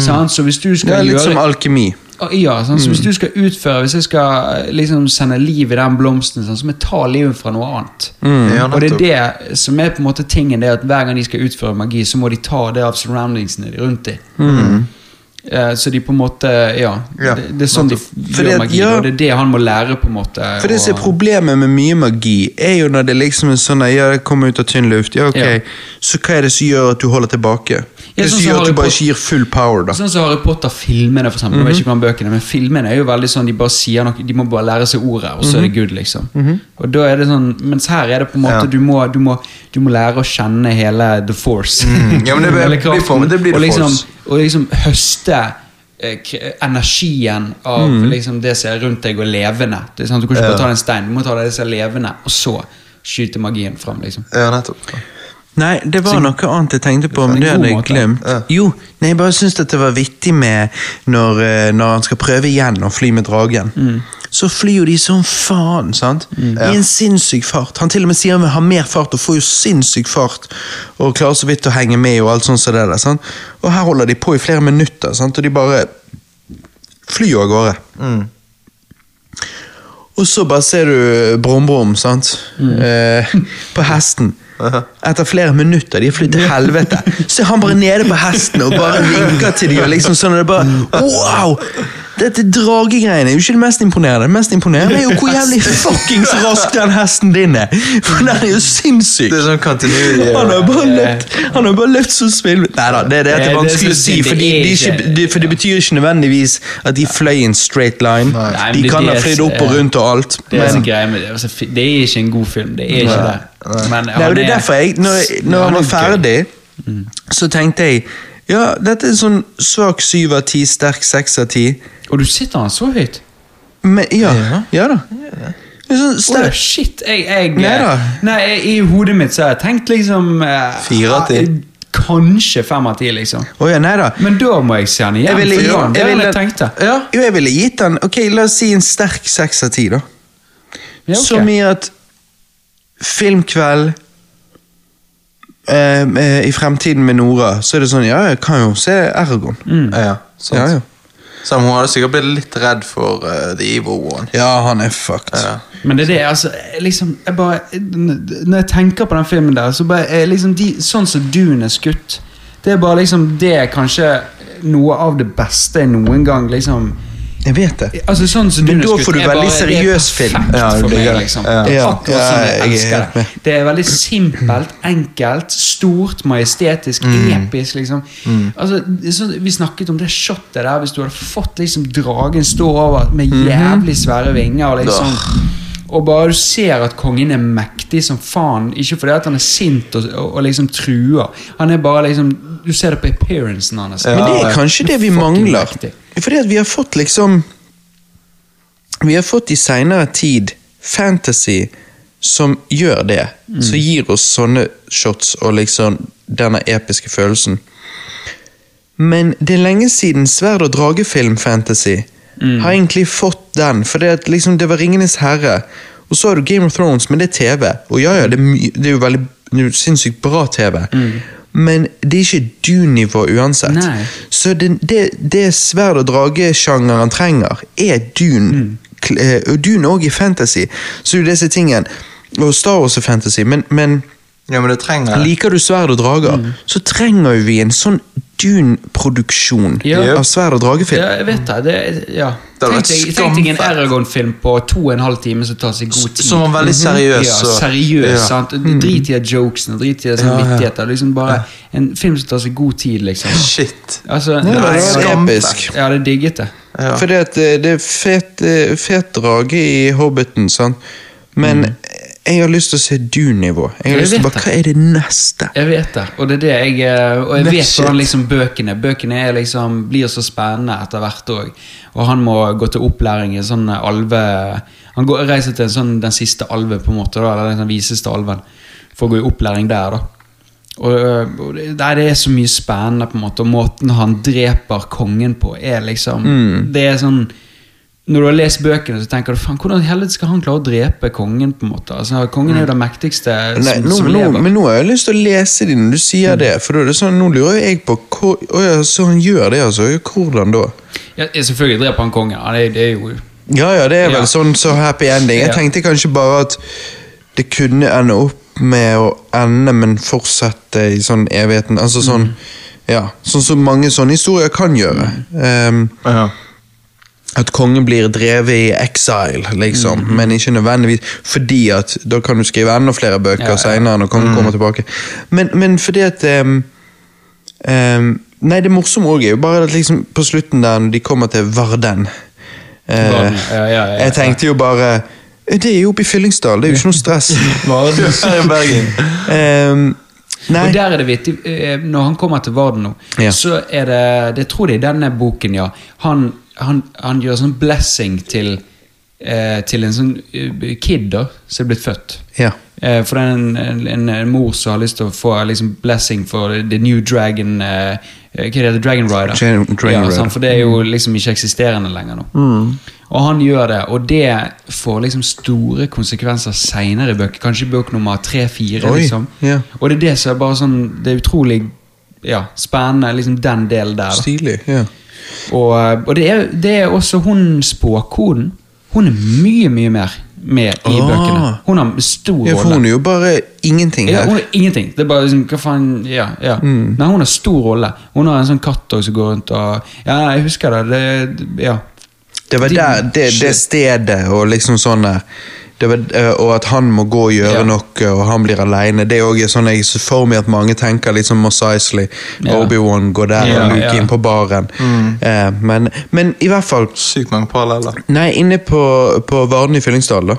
Speaker 3: Sant? Så hvis du
Speaker 1: Det
Speaker 3: skal
Speaker 1: er Mm. litt
Speaker 3: gjøre
Speaker 1: som alkemi.
Speaker 3: Ah, Ja, sånn, så hvis du skal utføre Hvis jeg skal eh, liksom sende liv i den blomsten sånn, Så må jeg ta livet fra noe annet
Speaker 2: Ja,
Speaker 3: Og det er det som er på en måte tingen Det er at hver gang de skal utføre magi Så må de ta det av surroundingsene de er rundt i
Speaker 1: Mm.
Speaker 3: Eh, Så de på en måte Ja,
Speaker 2: Ja,
Speaker 3: det, det er sånn de f-
Speaker 1: For
Speaker 3: gjør
Speaker 1: det-
Speaker 3: magi
Speaker 1: ja.
Speaker 3: Og det er det han må lære på en måte
Speaker 1: For det som er
Speaker 3: Eh, og-
Speaker 1: problemet med mye magi, er jo når det liksom er sånn at, ja, det kommer ut av tynn luft, ja, ok,
Speaker 3: Ja.
Speaker 1: så hva er det som gjør at du holder tilbake?
Speaker 3: Ja,
Speaker 1: det
Speaker 3: sånn
Speaker 1: som
Speaker 3: som
Speaker 1: gjør at
Speaker 3: Harry
Speaker 1: du bare
Speaker 3: Potter-
Speaker 1: ikke gir full power, da.
Speaker 3: Sånn som Harry Potter-filmene, for eksempel.
Speaker 2: Mhm.
Speaker 3: Jeg vet ikke om bøkene, men filmene er jo veldig sånn, de bare sier noe, de må bare lære seg ordet, og så er det good, liksom. Og da er det sånn, Mens her er det på en måte,
Speaker 2: Mhm. Ja.
Speaker 3: du, må, du, må, du må lære å kjenne hele the force.
Speaker 2: Mhm. Ja, men det blir-
Speaker 3: Hele
Speaker 2: blir
Speaker 3: kraften,
Speaker 2: for- det blir
Speaker 3: og
Speaker 2: the
Speaker 3: liksom,
Speaker 2: force.
Speaker 3: Og liksom høste eh, k- energien av
Speaker 2: Mhm.
Speaker 3: liksom, det som er rundt deg, og levende. Det er sant, Du kan ikke bare ta en stein, du må ta det som er levende, og så skyte magien fram, liksom.
Speaker 2: Ja, nettopp.
Speaker 1: Nei, det var noe annet jeg tenkte på, men
Speaker 3: en
Speaker 1: det
Speaker 3: god
Speaker 1: hadde jeg
Speaker 3: måte.
Speaker 1: glemt.
Speaker 2: Ja.
Speaker 1: Jo, nei, jeg bare syns at det var vittig med når, eh, når han skal prøve igjen å fly med dragen.
Speaker 3: Mm.
Speaker 1: Så flyr jo de som faen, sant? I en sinnssyk fart. Han til og med sier han vil ha mer fart, og får jo sinnssyk fart. Og klarer så vidt å henge med og alt sånt som det der. sant? Og her holder de på i flere minutter, sant? og de bare flyr av gårde. Og så bare ser du Brum-Brum, sant? Eh, på hesten. Etter flere minutter, de har flyttet til helvete, så er han bare nede på hesten og bare vinker til dem. Og liksom sånn, og det er bare Wow! Dette dragegreiene er jo ikke det mest imponerende. Det mest imponerende er jo hvor jævlig fuckings rask den hesten din er! For den er jo sinnssyk!
Speaker 2: Det er sånn kontinuerlig.
Speaker 1: Han har bare
Speaker 3: Ja.
Speaker 1: løpt Han har bare løpt så spill... Nei da, det, det er at
Speaker 3: Ja, det
Speaker 1: det
Speaker 3: er
Speaker 1: er vanskelig å
Speaker 3: så-
Speaker 1: si,
Speaker 3: det
Speaker 1: for det,
Speaker 3: er
Speaker 1: det, er
Speaker 3: ikke-
Speaker 1: ikke, det, for det betyr ikke nødvendigvis at de fløy i en straight line.
Speaker 2: Nei.
Speaker 3: Nei, men
Speaker 1: De
Speaker 3: det-
Speaker 1: kan
Speaker 3: det
Speaker 1: ha
Speaker 3: er-
Speaker 1: flydd opp og rundt og alt.
Speaker 3: Det er,
Speaker 1: Men
Speaker 3: så greie med det. Altså, fi- det er ikke en god film. Det er ikke det. Men
Speaker 1: Nei,
Speaker 3: han
Speaker 1: og det er derfor jeg, når, når han var
Speaker 3: er gøy.
Speaker 1: ferdig, så tenkte jeg ja, dette er sånn svak syv av ti, sterk seks av ti.
Speaker 3: Og du sitter han så høyt?
Speaker 1: Men ja, ja da. Det er Sånn
Speaker 3: Åh,
Speaker 1: sterk
Speaker 3: shit, jeg, jeg
Speaker 1: Nei da.
Speaker 3: Nei, jeg, I hodet mitt så har jeg tenkt liksom eh,
Speaker 2: Fire av ti.
Speaker 3: Kanskje fem av ti, liksom.
Speaker 1: Å ja, nei da.
Speaker 3: Men da må jeg se han igjen.
Speaker 1: Jeg ville-
Speaker 3: for det var
Speaker 1: jeg
Speaker 3: det han
Speaker 1: ville-
Speaker 3: jeg tenkte.
Speaker 2: Ja.
Speaker 1: Jo, jeg ville gitt den Ok, la oss si en sterk seks av ti, da.
Speaker 3: Ja, ok.
Speaker 1: Som i at filmkveld eh, eh, I fremtiden med Nora, så er det sånn Ja, jeg kan jo se Ergon.
Speaker 3: Mm,
Speaker 2: Ja, ja, sant.
Speaker 1: Ja, ja.
Speaker 2: Så hun hadde sikkert blitt litt redd for eh, The Evil One.
Speaker 1: ja, han er fucked.
Speaker 2: Ja.
Speaker 3: Men det er det, altså jeg liksom, jeg bare, Når jeg tenker på den filmen der, så bare eh, liksom de, Sånn som Dune er skutt Det er bare liksom Det er kanskje noe av det beste jeg noen gang liksom
Speaker 1: Jeg vet det.
Speaker 3: Altså sånn som
Speaker 1: Men
Speaker 3: Dune
Speaker 1: da
Speaker 3: er skutt,
Speaker 1: får du
Speaker 3: er bare-
Speaker 1: veldig
Speaker 3: det er
Speaker 1: seriøs film.
Speaker 3: perfekt
Speaker 2: Ja, det
Speaker 3: for meg,
Speaker 2: ligger det.
Speaker 3: liksom.
Speaker 2: Ja.
Speaker 1: Ja.
Speaker 3: Akkurat sånn
Speaker 1: Ja, jeg
Speaker 3: jeg
Speaker 1: er
Speaker 3: elsker
Speaker 1: helt
Speaker 3: det.
Speaker 1: med.
Speaker 3: Det er veldig simpelt, enkelt, stort, majestetisk,
Speaker 1: Mm.
Speaker 3: episk, liksom. Altså, så, vi snakket om det shotet der, hvis du hadde fått liksom dragen stå over med
Speaker 1: Mhm.
Speaker 3: jævlig svære vinger, liksom. Og bare du ser at kongen er mektig som faen, ikke fordi at han er sint og, og, og liksom truer. Han er bare liksom Du ser det på appearancen hans.
Speaker 2: Ja.
Speaker 1: Men det er kanskje det vi
Speaker 3: Fucking
Speaker 1: mangler.
Speaker 3: mektig.
Speaker 1: Fordi at vi har fått liksom Vi har fått i seinere tid fantasy som gjør det. Som gir oss sånne shots og liksom denne episke følelsen. Men det er lenge siden sverd- og dragefilm-fantasy har egentlig fått den. For det, at liksom, det var Ringenes herre, og så har du Game of Thrones, men det er TV. Og ja, ja, det er, my det er jo veldig det er jo sinnssykt bra TV, men det er ikke du-nivå uansett.
Speaker 3: Nei.
Speaker 1: Så det, det, det sverd- og dragesjangeren trenger, er dun. Kl- eh, Og dun òg i fantasy. Så det er jo disse tingene. Og Star Wars er fantasy, men, men
Speaker 2: Ja, men det trenger
Speaker 1: Liker du sverd og drager, så trenger jo vi en sånn Dune-produksjon
Speaker 3: Ja.
Speaker 1: av sverd- og dragefilm.
Speaker 3: Ja, jeg vet det. det ja.
Speaker 2: Det hadde vært
Speaker 3: Tenk deg- tenk deg en
Speaker 2: skamfett.
Speaker 3: Eragon-film på to og en halv time som tar seg god tid. Mhm.
Speaker 2: Som var veldig seriøs.
Speaker 3: ja,
Speaker 2: og-
Speaker 3: seriøs,
Speaker 2: Ja. Mm.
Speaker 3: sant? Drit i at jokesene, drit i at sånne
Speaker 2: Ja, ja.
Speaker 3: vittigheter. Liksom bare en film som tar seg god tid, liksom.
Speaker 2: Shit.
Speaker 3: Altså,
Speaker 1: Det
Speaker 3: nei,
Speaker 1: var
Speaker 2: Nei,
Speaker 1: jo
Speaker 2: skamfett.
Speaker 1: episk.
Speaker 3: jeg hadde digget det.
Speaker 2: Ja.
Speaker 1: Fordi at eh, det er fet, eh, fet drage i Hobbiten, sant? men jeg har lyst til å se Dune-nivå. Jeg
Speaker 3: Jeg
Speaker 1: har lyst til
Speaker 3: vet
Speaker 1: å bare, Hva er det neste?
Speaker 3: Jeg vet det, og det er det jeg eh, Og jeg
Speaker 2: Next
Speaker 3: vet
Speaker 2: shit.
Speaker 3: hvordan liksom bøkene Bøkene er liksom, blir så spennende etter hvert òg. Og han må gå til opplæring i sånn alve Han går, reiser til en sånn, den siste alven, på en måte, da, eller den viseste alven, for å gå i opplæring der. da og, eh, og det, nei, det er så mye spennende, på en måte. Og måten han dreper kongen på, er liksom
Speaker 1: Mm.
Speaker 3: Det er sånn Når du har lest bøkene, så tenker du faen, hvordan i helvete skal han klare å drepe kongen? på en måte altså, Kongen er jo den mektigste
Speaker 1: Mm. Nei,
Speaker 3: som,
Speaker 1: nå,
Speaker 3: som
Speaker 1: nå,
Speaker 3: lever. Mm.
Speaker 1: men nå har jeg lyst til å lese de når du sier det. For da er det sånn, nå lurer jeg på hvor, å ja, Så han gjør det, altså? Hvordan da?
Speaker 3: Ja, ja, selvfølgelig dreper han kongen. Han er, det er jo
Speaker 1: Ja, ja, det er vel
Speaker 3: Ja.
Speaker 1: sånn så happy ending. Jeg
Speaker 3: Ja.
Speaker 1: tenkte kanskje bare at det kunne ende opp med å ende, men fortsette i sånn evigheten. Altså
Speaker 3: Mm.
Speaker 1: sånn Ja, sånn som mange sånne historier kan gjøre.
Speaker 3: Mm.
Speaker 1: Ehm,
Speaker 2: Ja.
Speaker 1: at kongen blir drevet i exile, liksom.
Speaker 3: Mhm.
Speaker 1: Men ikke nødvendigvis fordi at Da kan du skrive enda flere bøker
Speaker 3: Ja, Mhm. ja.
Speaker 1: senere når kongen kommer tilbake. Men, men fordi at ehm, ehm, Nei, det morsomme òg er jo bare at liksom på slutten der når de kommer til Varden eh,
Speaker 3: Varden, ja, ja, ja,
Speaker 1: Jeg tenkte jo bare Det er jo oppe i Fyllingsdal, det er jo ikke noe stress.
Speaker 2: Her i Bergen.
Speaker 1: Ehm, nei.
Speaker 3: Og der er det vittig, eh, når han kommer til Varden nå,
Speaker 1: Ja.
Speaker 3: så er det Det tror jeg i denne boken, ja. Han, han, han gjør sånn blessing til eh, Til en sånn eh, kid da, som er blitt født.
Speaker 1: Ja.
Speaker 3: Eh, for det er en, en, en, en mor som har lyst til å få liksom, blessing for The New Dragon eh, Hva heter det? Dragon Rider.
Speaker 1: Dragon- Dragon
Speaker 3: ja,
Speaker 1: Rider. Mm.
Speaker 3: sant, for det er jo liksom ikke eksisterende lenger nå. Og han gjør det, og det får liksom store konsekvenser seinere i bøker. Kanskje i bøk nummer tre-fire.
Speaker 1: Oi,
Speaker 3: Liksom.
Speaker 1: ja.
Speaker 3: Og det er det som er bare sånn Det er utrolig ja, spennende, liksom den delen der. da.
Speaker 1: Stilig. ja.
Speaker 3: Og, eh, og det, er, det er også hun spåkoden. Hun er mye, mye mer med i
Speaker 1: Ah.
Speaker 3: bøkene. Hun har stor
Speaker 1: ja. For
Speaker 3: rolle.
Speaker 1: hun er jo bare ingenting
Speaker 3: Ja,
Speaker 1: her.
Speaker 3: hun er ingenting. Det er bare liksom, hva faen, ja, ja.
Speaker 1: Mm.
Speaker 3: Nei, hun har stor rolle. Hun har en sånn katt også som går rundt og Ja, jeg husker det. det ja.
Speaker 1: Det var
Speaker 3: Din
Speaker 1: der, det, det
Speaker 3: shit.
Speaker 1: stedet og liksom sånn der. det var, eh, Og at han må gå og gjøre
Speaker 3: Ja.
Speaker 1: noe, og han blir aleine. Det er også sånn jeg ser for meg at mange tenker liksom Mos Eisley.
Speaker 3: Ja.
Speaker 1: Obi-Wan går der,
Speaker 3: Ja,
Speaker 1: og Luke
Speaker 3: ja. Mm.
Speaker 1: inn på baren. Eh, men, men i hvert fall
Speaker 2: Sykt mange paralleller.
Speaker 1: Nei, inne på, på Varden i Fyllingsdal, da.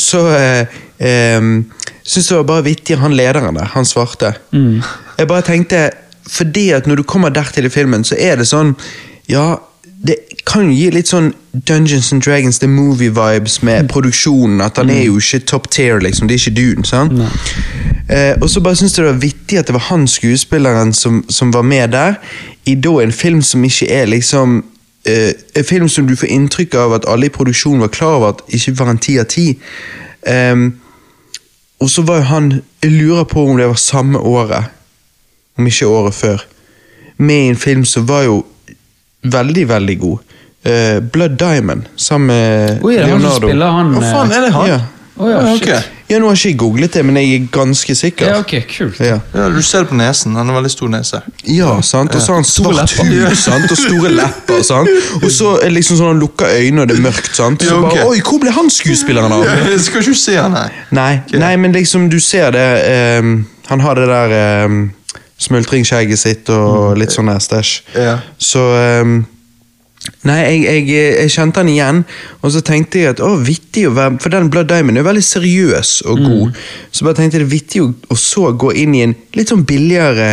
Speaker 1: Så eh, eh, syns jeg det var bare vittig, han lederen der, han svarte. Jeg bare tenkte Fordi at når du kommer dertil i filmen, så er det sånn Ja, det kan jo gi litt sånn Dungeons and Dragons, the movie-vibes med produksjonen. At han er jo ikke top tier, liksom. Det er ikke Dune. sant? Eh, og så bare syns jeg det var vittig at det var han skuespilleren som, som var med der, i da en film som ikke er liksom eh, en film som du får inntrykk av at alle i produksjonen var klar over at ikke var en ti av ti. Ehm, og så var jo han Jeg lurer på om det var samme året, om ikke året før, med i en film som var jo veldig, veldig god. Eh, Blood Diamond, sammen med
Speaker 3: Oi, er det han som
Speaker 1: Leonardo.
Speaker 3: spiller han
Speaker 2: Hva faen, er det han?
Speaker 1: Ja.
Speaker 3: Å ja, shit.
Speaker 2: ok.
Speaker 1: Ja, Nå har ikke jeg googlet det, men jeg er ganske sikker.
Speaker 3: Ja, ok, kult.
Speaker 1: Ja.
Speaker 2: Ja, du ser det på nesen. Han har veldig stor nese.
Speaker 1: Ja, sant? og så har han
Speaker 3: Store
Speaker 1: svart
Speaker 3: lepper.
Speaker 1: hud sant? og store lepper. Sant? Og så er det liksom sånn han lukker øynene, og det er mørkt. Sant? Så
Speaker 2: Ja, ok.
Speaker 1: bare, Oi, hvor ble han skuespilleren av?
Speaker 2: Jeg skal ikke se han, nei.
Speaker 1: Nei, nei, men liksom, du ser det ehm, Han har det der ehm, smultringskjegget sitt og litt sånn der stæsj.
Speaker 2: Ja.
Speaker 1: Så ehm, Nei, jeg, jeg, jeg kjente han igjen, og så tenkte jeg at å, vittig å være For den Blood Diamond er jo veldig seriøs og god. Så bare tenkte jeg det er vittig å og så gå inn i en litt sånn billigere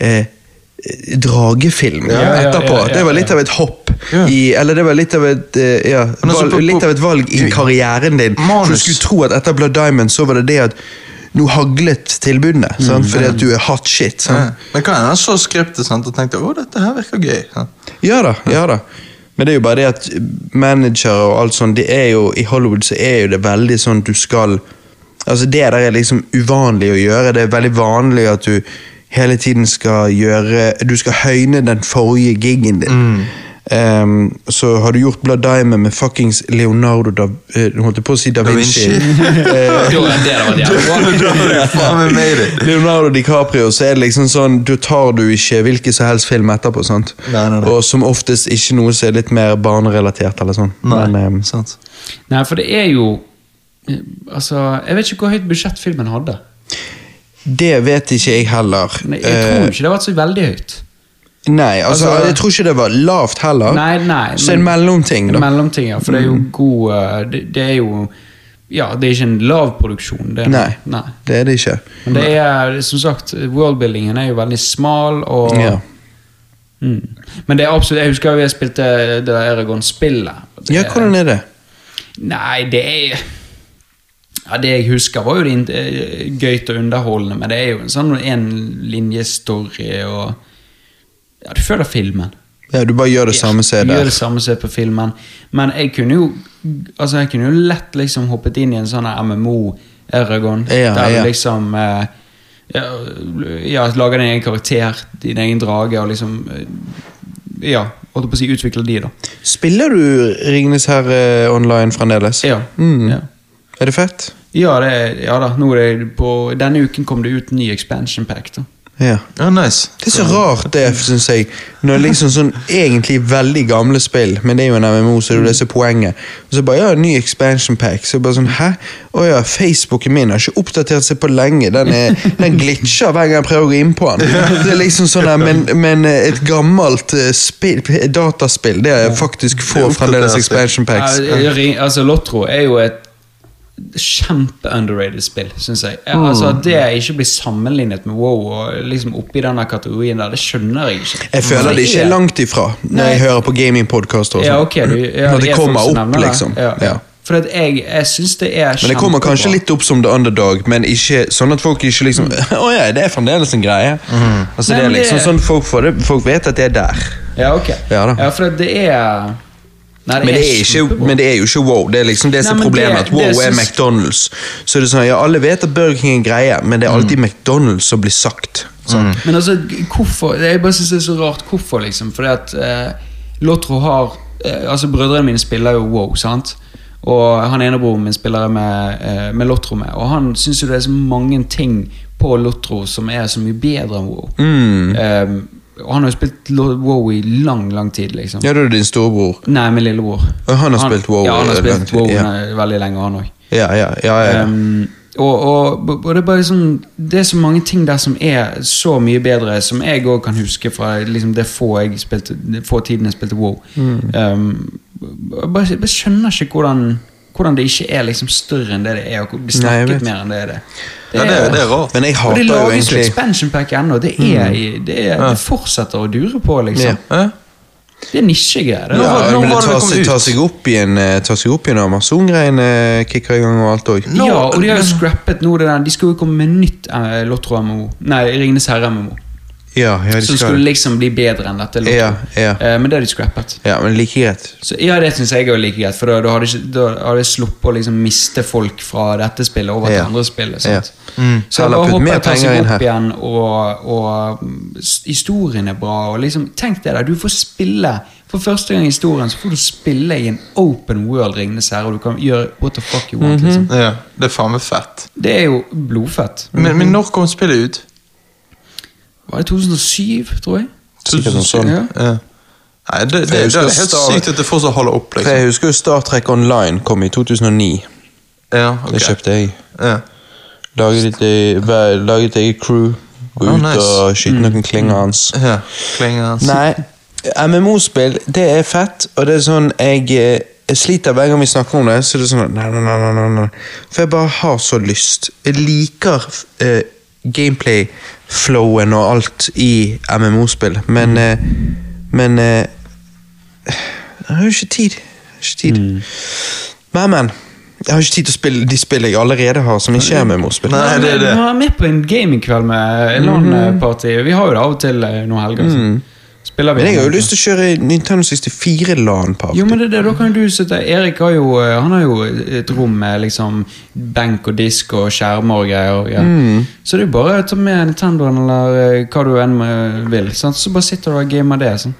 Speaker 1: eh, eh, dragefilm
Speaker 3: ja, ja,
Speaker 1: etterpå.
Speaker 3: ja, ja,
Speaker 1: Det var litt
Speaker 3: ja.
Speaker 1: av et hopp
Speaker 2: Ja.
Speaker 1: i Eller det var litt av et eh, ja,
Speaker 2: Men altså,
Speaker 1: valg,
Speaker 2: på- på-
Speaker 1: litt av et valg i karrieren din.
Speaker 2: Manus.
Speaker 1: Så du skulle tro at etter Blood Diamond så var det det at nå haglet tilbudene, sant? fordi at du er hot shit.
Speaker 2: Mm, Ja.
Speaker 1: Sant?
Speaker 2: Men hva er det han så skriptet sant, og tenkte å, dette her virker gøy? Ja.
Speaker 1: Ja da, ja da. Men det er jo bare det at managere og alt sånt, det er jo, i Hollywood så er jo det veldig sånn at du skal Altså det der er liksom uvanlig å gjøre, det er veldig vanlig at du hele tiden skal gjøre Du skal høyne den forrige gigen din.
Speaker 2: Mm.
Speaker 1: Ehm, så har du gjort Blood Diamond med fuckings Leonardo da, eh, Nå holdt jeg på å si Da Vinci.
Speaker 2: Vinci.
Speaker 3: Jo, det der var jævlig bra.
Speaker 2: Da har du faen meg made it.
Speaker 1: Leonardo DiCaprio, så er det liksom sånn Du tar du ikke hvilken som helst film etterpå, sant?
Speaker 2: Nei, nei, nei.
Speaker 1: Og som oftest ikke noe som er litt mer barnerelatert, eller sånn.
Speaker 2: Nei,
Speaker 1: Men, eh,
Speaker 2: sant.
Speaker 3: Nei, for det er jo eh, Altså, jeg vet ikke hvor høyt budsjett filmen hadde.
Speaker 1: det vet ikke jeg heller.
Speaker 3: Men Jeg jeg tror ikke det har vært så veldig høyt.
Speaker 1: Eh, nei, altså,
Speaker 3: Altså-
Speaker 1: jeg tror ikke det var lavt heller.
Speaker 3: Nei, nei.
Speaker 1: så en
Speaker 3: men-
Speaker 1: mellomting, da. Mm.
Speaker 3: En mellomting, ja. For det er jo god eh, det, det er jo Ja, det er ikke en lav produksjon. Det er,
Speaker 1: nei, det er det ikke.
Speaker 3: Men det er, som sagt, worldbuildingen er jo veldig smal, og
Speaker 1: Ja.
Speaker 3: mm. Men det er absolutt Jeg husker jo jeg spilte det der Eragon-spillet. Det
Speaker 1: Ja,
Speaker 3: er-
Speaker 1: hvordan er det?
Speaker 3: Nei, det er ja, Det jeg husker, var jo det in- eh, gøyt og underholdende, men det er jo en sånn enlinjestory og Ja, du føler filmen.
Speaker 1: Ja, du bare gjør det samme som er
Speaker 3: Gjør
Speaker 1: der.
Speaker 3: det samme som er på filmen. Men jeg kunne jo Altså jeg kunne jo lett liksom hoppet inn i en sånn her MMO Eragon.
Speaker 1: Ja,
Speaker 3: der
Speaker 1: ja.
Speaker 3: du liksom eh, ja, ja, lager din egen karakter, din egen drage, og liksom eh, Ja, holdt jeg på å si utvikler de, da.
Speaker 1: Spiller du Ringenes herre eh, online fremdeles?
Speaker 3: Ja.
Speaker 1: Mm.
Speaker 3: ja.
Speaker 1: Er det fett?
Speaker 3: Ja, det, er- ja da. Nå er det på, denne uken kom det ut en ny expansion pack. da.
Speaker 1: Ja.
Speaker 2: Ja, nice.
Speaker 1: Det er så rart det, synes jeg. Når liksom sånn egentlig veldig gamle spill, men det er jo en MMO, så det er jo det som er poenget. Og så bare ja, ny expansion pack. Så bare sånn, hæ? Å ja, Facebooken min har ikke oppdatert seg på lenge. Den, er, den glitcher hver gang jeg prøver å gå inn på den. Det er liksom sånn der, men, men eh, et gammelt eh, spill, dataspill, det er faktisk få
Speaker 2: Det oppdaterer
Speaker 1: fremdeles
Speaker 2: seg.
Speaker 1: expansion packs.
Speaker 3: Ja, ring- altså, Lotro er jo et kjempe-underrated spill, syns jeg. Ja, Altså
Speaker 1: Mm.
Speaker 3: At det ikke blir sammenlignet med Wow og liksom oppi denne kategorien der, det skjønner jeg ikke.
Speaker 1: Jeg føler det ikke er langt ifra når jeg
Speaker 3: Nei.
Speaker 1: hører på gamingpodkaster og
Speaker 3: Ja,
Speaker 1: sånn.
Speaker 3: ok, du, ja,
Speaker 1: Når det
Speaker 3: er folk
Speaker 1: kommer opp,
Speaker 3: som nevner det.
Speaker 1: liksom.
Speaker 3: Ja.
Speaker 1: Ja.
Speaker 3: For at jeg, jeg syns det er
Speaker 1: Men det kommer kanskje
Speaker 3: kjempebra. Mm.
Speaker 1: litt opp som the underdog, men ikke sånn at folk ikke liksom Å ja, det er fremdeles en greie. Altså det
Speaker 3: Nei,
Speaker 1: er
Speaker 3: men det-
Speaker 1: liksom sånn folk, får det, folk vet at det er der.
Speaker 3: Ja, ok.
Speaker 1: Ja da.
Speaker 3: ja for at det er Nei,
Speaker 1: Men det, er ikke,
Speaker 3: kjempebra.
Speaker 1: men det er jo ikke wow. Det er liksom det som
Speaker 3: Nei,
Speaker 1: er
Speaker 3: men
Speaker 1: problemet.
Speaker 3: det-
Speaker 1: At wow
Speaker 3: det
Speaker 1: er
Speaker 3: syns-
Speaker 1: McDonald's. Så det er sånn, ja, Alle vet at Burger King er en greie, men det er alltid
Speaker 3: Mm.
Speaker 1: McDonald's som blir sagt. Sånn.
Speaker 3: Men altså, g- hvorfor Jeg bare synes det er så rart hvorfor, liksom. Fordi at eh, Lotro har eh, Altså, brødrene mine spiller jo wow, sant? Og han enebroren min spiller jeg med, eh, med Lotro med, og han syns
Speaker 1: Mm.
Speaker 3: jo det er så mange ting på Lotro som er så mye bedre enn wow. Eh, Og han har jo spilt lo- WoW i lang, lang tid, liksom.
Speaker 1: Ja, da er det din storebror.
Speaker 3: Nei, min lillebror.
Speaker 1: Og han har spilt WoW
Speaker 3: Ja, han har
Speaker 1: i lang
Speaker 3: spilt
Speaker 1: tid,
Speaker 3: WoW
Speaker 1: ja.
Speaker 3: ne- veldig lenge, han òg.
Speaker 1: Ja, ja, ja. ja, ja.
Speaker 3: Um, og, og, og det er bare sånn Det er så mange ting der som er så mye bedre, som jeg òg kan huske fra liksom, det få jeg spilte det få tiden jeg spilte WoW.
Speaker 1: Mm.
Speaker 3: Um, jeg bare, jeg bare skjønner ikke hvordan hvordan det ikke er liksom større enn det det er, og blir
Speaker 1: Nei, jeg
Speaker 3: snakket
Speaker 1: vet.
Speaker 3: mer enn det er det.
Speaker 2: Ja, det er- det er rart.
Speaker 1: Men jeg
Speaker 3: Og
Speaker 1: hater
Speaker 3: det
Speaker 1: jo
Speaker 3: lages liksom jo
Speaker 1: egentlig- Mm.
Speaker 3: expansion pack ennå. Det, er, i- det, er, det fortsetter å dure på, liksom.
Speaker 2: Hæ?
Speaker 3: Det er nisjegreier. det.
Speaker 2: Nå var-
Speaker 1: Ja,
Speaker 2: nå
Speaker 1: men
Speaker 2: var
Speaker 1: det
Speaker 2: det
Speaker 1: tar
Speaker 2: kommet
Speaker 1: seg,
Speaker 2: ut.
Speaker 1: tar seg opp igjen eh, Tar seg opp igjen når Amazon-greiene eh, kicker i gang og alt òg.
Speaker 2: Nå-
Speaker 3: ja, og de har jo scrappet nå det der. De skulle jo komme med nytt eh, Lotro MMO. Nei, Ringenes herre-MMO.
Speaker 1: Ja, ja, de
Speaker 3: Som
Speaker 1: skal.
Speaker 3: skulle liksom bli bedre enn dette Lotro.
Speaker 1: Ja, ja.
Speaker 3: Eh, men det har de scrappet.
Speaker 1: ja, men like greit.
Speaker 3: Så, ja, det syns jeg er like greit, for da, da hadde ikke- da hadde jeg sluppet å liksom miste folk fra dette spillet over til
Speaker 1: Ja.
Speaker 3: andre spillet. Sant?
Speaker 1: Ja. Mm.
Speaker 3: Så jeg
Speaker 1: Heller
Speaker 3: bare
Speaker 1: putt
Speaker 3: håper
Speaker 1: mer
Speaker 3: jeg tar
Speaker 1: penger
Speaker 3: seg
Speaker 1: inn
Speaker 3: opp
Speaker 1: her.
Speaker 3: igjen, og, og mm, s- historien er bra. Og liksom, tenk det der, du får spille for første gang i historien så får du spille i en open world Ringnes herre, og du kan gjøre what the fuck you want. liksom.
Speaker 2: Ja, det er faen meg fett.
Speaker 3: Det er jo blodfett.
Speaker 2: Men, men når kom spillet ut?
Speaker 3: Var det 2007, tror jeg?
Speaker 1: Sikkert noe sånt.
Speaker 3: Ja.
Speaker 2: Ja. Nei, det, det,
Speaker 1: For
Speaker 2: det,
Speaker 1: jeg
Speaker 2: er
Speaker 1: husker
Speaker 2: helt
Speaker 1: Star-
Speaker 2: sykt at det fortsatt holder opp,
Speaker 1: For
Speaker 2: liksom.
Speaker 1: jeg husker jo Star Trek Online kom i 2009.
Speaker 2: Ja, ok.
Speaker 1: Det kjøpte jeg.
Speaker 2: Ja.
Speaker 1: Laget et, e- vær- laget eget crew. Gå
Speaker 2: Ah,
Speaker 1: ut
Speaker 2: nice.
Speaker 1: og skyte noen klinger hans.
Speaker 2: Ja. Klinger hans.
Speaker 1: Nei, MMO-spill, det er fett, og det er sånn jeg, eh, jeg sliter hver gang vi snakker om det, så er det sånn nei, nei, nei, nei, nei, nei. For jeg bare har så lyst. Jeg liker eh, gameplay-flowen og alt i MMO-spill, men eh, Men eh, jeg har jo ikke tid. Jeg har ikke tid. Men, men. Jeg har ikke tid til å spille de spillene jeg allerede har, som ikke er MMO-spill.
Speaker 2: Nei, det er det.
Speaker 3: Vi var med på en gamingkveld med LAN-party. Vi har jo det av og til eh, noen helger. Spiller vi
Speaker 1: Men jeg har jo lyst til å kjøre Nintendo 64-LAN-party.
Speaker 3: Jo, men det er det, da kan jo du sitte Erik har jo, eh, han har jo et rom med liksom benk og disk og skjermer og greier. og greier. Så det er jo bare å ta med Nintendoen eller eh, hva du enn eh, vil. Sant? Så bare sitter du og gamer det. Sånn.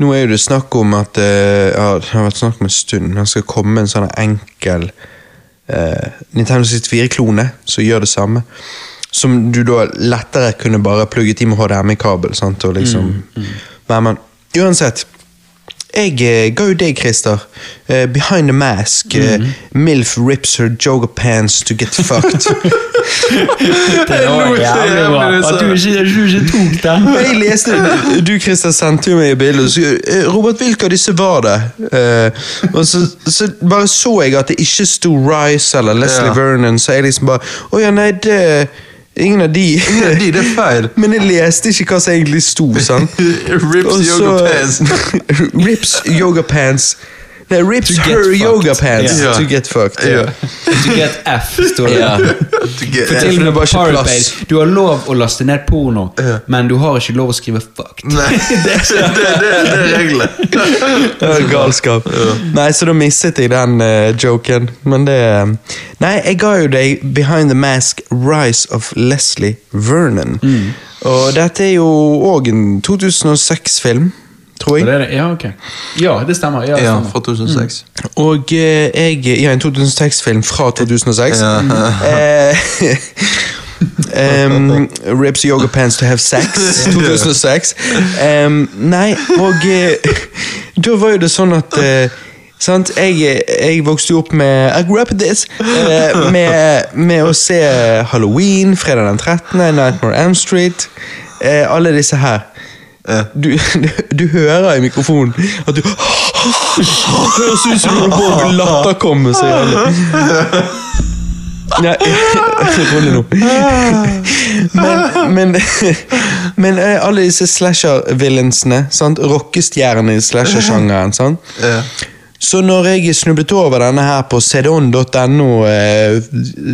Speaker 1: Nå er jo det snakk om at eh, ja, Det har vært snakk om en stund, men det skal komme en sånn enkel eh, Nintendo 64-klone som gjør det samme. Som du da lettere kunne bare plugget i med HDMI-kabel. sant, og liksom... Nei, men uansett Jeg eh, ga jo deg, Christer, eh, Behind the Mask. eh, Milf rips her joga pants to get fucked.
Speaker 3: Det var jævlig bra. At du ikke, at du ikke tok den.
Speaker 1: Jeg leste Du, Christian, sendte jo meg et bilde. og så- eh, Robert, hvilke av disse var det? Eh, og så, så bare så jeg at det ikke sto Rice eller Leslie
Speaker 2: Ja.
Speaker 1: Vernon, så jeg liksom bare Å ja, nei, det Ingen av de.
Speaker 2: Ja, de, det er feil.
Speaker 1: Men jeg leste ikke hva som egentlig sto, sant?
Speaker 2: Rips
Speaker 1: Og så-
Speaker 2: yoga pants.
Speaker 1: rips yoga pants. Nei, rips
Speaker 3: To get
Speaker 1: her
Speaker 3: fucked.
Speaker 1: yoga pants
Speaker 2: Ja.
Speaker 1: to get fucked.
Speaker 2: Ja.
Speaker 3: To get F, står det. For
Speaker 2: Ja.
Speaker 3: til og
Speaker 1: det
Speaker 3: med
Speaker 1: er bare
Speaker 3: på
Speaker 1: ikke
Speaker 3: Pirate
Speaker 1: plass.
Speaker 3: Bay, du har lov å laste ned porno, men du har ikke lov å skrive 'fuck'.
Speaker 2: Nei, det, det, det, det er reglene.
Speaker 1: Det var galskap. Nei, så da mistet jeg den eh, joken. Men det eh, Nei, jeg ga jo deg Behind the Mask Rise of Leslie Vernon. Og dette er jo òg en 2006-film, tror
Speaker 3: Og
Speaker 1: jeg.
Speaker 3: Det er det. Ja, ok. Ja, det stemmer. Ja, det
Speaker 2: Ja,
Speaker 3: stemmer.
Speaker 2: fra 2006.
Speaker 1: Og eh, jeg Ja, en 2006-film fra 2006.
Speaker 2: Ja.
Speaker 1: Eh, em, rips yoga pants to have sex 2006 Em, Nei, og eh, Da var jo det sånn at eh, Sant, jeg, eh, jeg vokste jo opp med I grew up with this eh, med, med å se Halloween Fredag den 13. Nightmare on Elm Street eh, Alle disse her du, du hører i mikrofonen at du Høres ut som du får latter komme så jævlig Nei, rolig nå. Men, men, men eh, alle disse slasher-villainsene, sant? rockestjernene i slasher-sjangeren sant?
Speaker 2: Ja.
Speaker 1: Så når jeg snublet over denne her på cdon.no eh,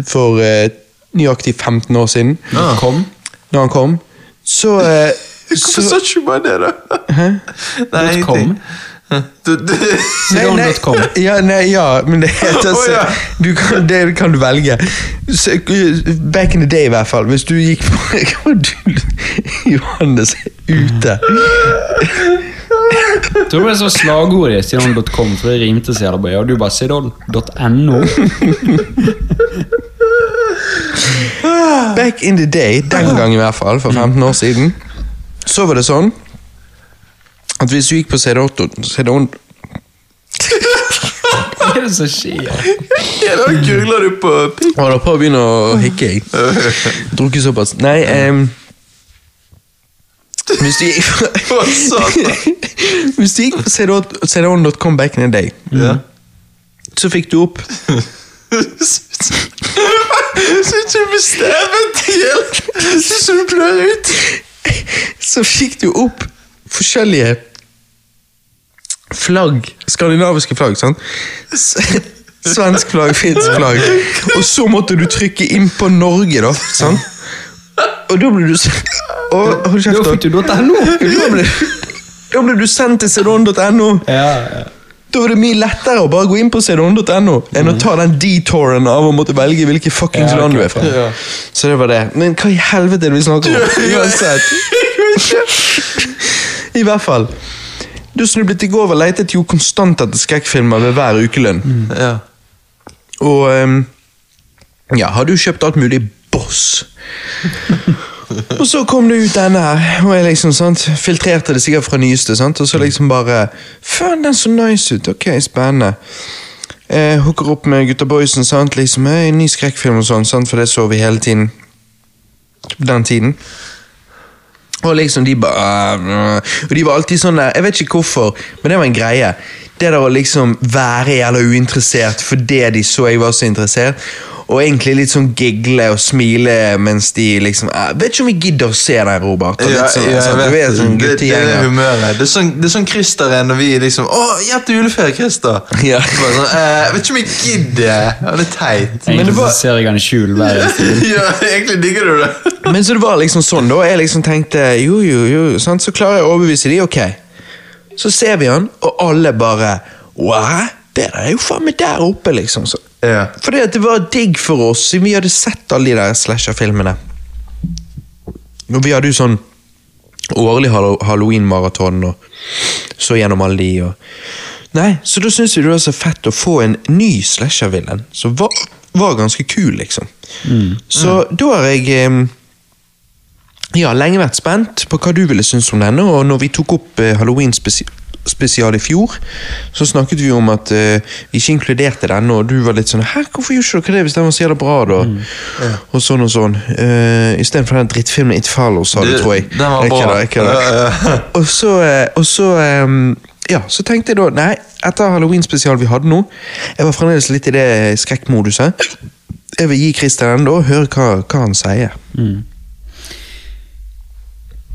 Speaker 1: for eh, nøyaktig 15 år siden,
Speaker 2: Ah.
Speaker 3: Kom.
Speaker 1: når han kom, så, eh,
Speaker 2: Hvorfor
Speaker 1: så
Speaker 2: sa ikke du bare det, da? Nei,
Speaker 3: Dot com.
Speaker 2: ingenting. Du, du,
Speaker 3: Cdon.com.
Speaker 1: ja, nei, ja, men det heter
Speaker 2: Å, ja.
Speaker 1: du kan, Det kan du velge. Så, eh, back in the day, i hvert fall. Hvis du gikk på Hva var det du Johannes er ute.
Speaker 3: Tror du det er så slagordet Sidon.com, for det rimte så jævla bra. Ja, du bare Sidon.no.
Speaker 1: Back in the day, den gang i hvert fall, for 15 år siden, Så var det sånn at hvis du gikk på CD8 CD8
Speaker 3: Hva er det som skjer?
Speaker 2: Ja, da gurgler du på pikk.
Speaker 1: Jeg holder på å begynne å hikke, jeg. Drukket såpass. Nei ehm, Hvis du gikk
Speaker 2: Å, satan.
Speaker 1: Hvis du gikk på CD8.com back in the day,
Speaker 2: Ja.
Speaker 1: Mhm. så fikk du opp
Speaker 2: Så ikke du bestemmer til Så du blør ut.
Speaker 1: Så fikk du opp forskjellige flagg. Skandinaviske flagg, sant? S- Svensk flagg, finsk flagg. Og så måtte du trykke inn på Norge, da. sant? Og da ble du s- Å, Hold
Speaker 3: Da
Speaker 1: kjeft, da.
Speaker 3: fikk du dott ennå.
Speaker 1: Da ble, da ble du sendt til cdon.no.
Speaker 3: Ja, ja.
Speaker 1: Da var det mye lettere å bare gå inn på cdon.no enn å ta den detouren av å måtte velge hvilket fuckings
Speaker 3: Ja,
Speaker 1: land du er fra.
Speaker 3: klart det.
Speaker 2: Ja.
Speaker 1: Så det var det. Men hva i helvete er det vi snakker om? Uansett. I hvert fall. Du snublet i går og letet jo konstant etter skrekkfilmer ved hver ukelønn.
Speaker 2: Ja.
Speaker 1: Og ehm, ja, har du kjøpt alt mulig boss? og så kom det ut denne her, og jeg liksom sant, filtrerte det sikkert fra nyeste. sant, Og så liksom bare Faen, den så nice ut! Ok, spennende. Eh, hooker opp med gutta boysen, sant, liksom, «Hei, ny skrekkfilm og sånn, sant, for det så vi hele tiden. På den tiden. Og liksom de bare Og de var alltid sånn der Jeg vet ikke hvorfor, men det var en greie. Det der å liksom være jævla uinteressert fordi de så jeg var så interessert. Og egentlig litt sånn gigle og smile mens de liksom «Eh, Vet ikke om vi gidder å se deg, Robert. Og litt sånn, sånn, du er sånn
Speaker 2: det, det er det
Speaker 1: guttegjenger.
Speaker 2: humøret. Det er sånn, det er sånn Christer er når vi liksom Å, gjett juleferie, Christer!
Speaker 1: Ja.
Speaker 2: Bare sånn, eh, vet ikke om jeg gidder. Ja, det er teit.
Speaker 3: Egentlig
Speaker 1: var-
Speaker 3: så ser jeg han i skjul hver eneste
Speaker 2: ja, egentlig digger du det.
Speaker 1: Men så det var liksom sånn, da. og Jeg liksom tenkte jo, jo, jo. Sant? Så klarer jeg å overbevise de, ok. Så ser vi han, og alle bare Wow, det der er jo faen meg der oppe, liksom. Så.
Speaker 2: Ja.
Speaker 1: Fordi at det var digg for oss, siden vi hadde sett alle de der slasher-filmene. Og vi hadde jo sånn årlig hallo- halloween-maraton, og så gjennom alle de, og Nei, så da syntes vi det var så fett å få en ny slasher-villain, som var, var ganske kul, liksom. Så da har jeg eh, ja, lenge vært spent på hva du ville synes om denne, og når vi tok opp eh, Halloween spesi spesial i fjor, så snakket vi om at eh, vi ikke inkluderte denne, og du var litt sånn Hæ, hvorfor gjør ikke dere det hvis den var så jævla bra, da? Og sånn og sånn. Uh, Istedenfor den drittfilmen It Follows, sa du,
Speaker 2: Det-
Speaker 1: tror jeg.
Speaker 2: den var
Speaker 1: Jeg
Speaker 2: bra.
Speaker 1: kødder, jeg kødder.
Speaker 2: Ja, ja.
Speaker 1: Og så, eh, og så ehm, ja, så tenkte jeg da Nei, etter Halloween-spesial vi hadde nå Jeg var fremdeles litt i det skrekkmoduset. Jeg vil gi Christian den da, og høre hva, hva han sier.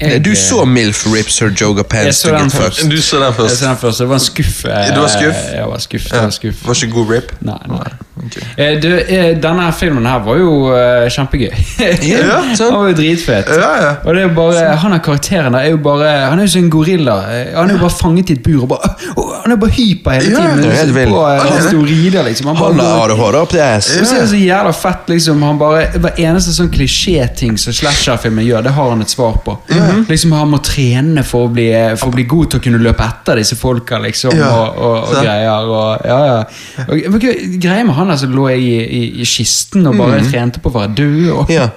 Speaker 3: Jeg-
Speaker 1: du så Milf Rips Her Joga
Speaker 3: Jeg
Speaker 1: Pants
Speaker 3: så
Speaker 1: to
Speaker 3: den
Speaker 1: Get
Speaker 3: først.
Speaker 1: First.
Speaker 2: Du så den
Speaker 3: Jeg
Speaker 2: først.
Speaker 3: så den først, det var en skuff. eh,
Speaker 2: Det var skuff?
Speaker 3: Jeg var skuff, det
Speaker 2: Ja.
Speaker 3: var skuff.
Speaker 2: Var ikke god rip?
Speaker 3: Nei, nei.
Speaker 2: ok.
Speaker 3: Eh, Du, eh, denne her filmen her var jo eh, kjempegøy.
Speaker 1: Ja, sant.
Speaker 3: Han var jo dritfet.
Speaker 2: Ja, ja.
Speaker 3: Og det er jo bare, Han her karakteren der er jo bare Han er jo som en gorilla. Eh, Han er jo bare fanget i et bur. Og bare, og han er bare hyper hele
Speaker 2: Ja,
Speaker 3: tiden.
Speaker 2: det
Speaker 1: er helt vild.
Speaker 3: På, eh, steroider, liksom. Han, bare
Speaker 1: Han
Speaker 3: går-
Speaker 1: har ADHD opp til ass.
Speaker 3: Og så er det så jævla fett liksom han bare, Hver eneste sånn klisjéting som slasher-filmen gjør, det har han et svar på. Liksom Han må trene for å, bli, for å bli god til å kunne løpe etter disse folka, liksom.
Speaker 2: Ja,
Speaker 3: Og, og, og
Speaker 2: sant.
Speaker 3: greier. Og, ja, ja. Og, men hva- greia med han der som lå i, i, i kisten og bare
Speaker 2: Mm-hmm.
Speaker 3: trente på å være død. Og,
Speaker 1: Ja.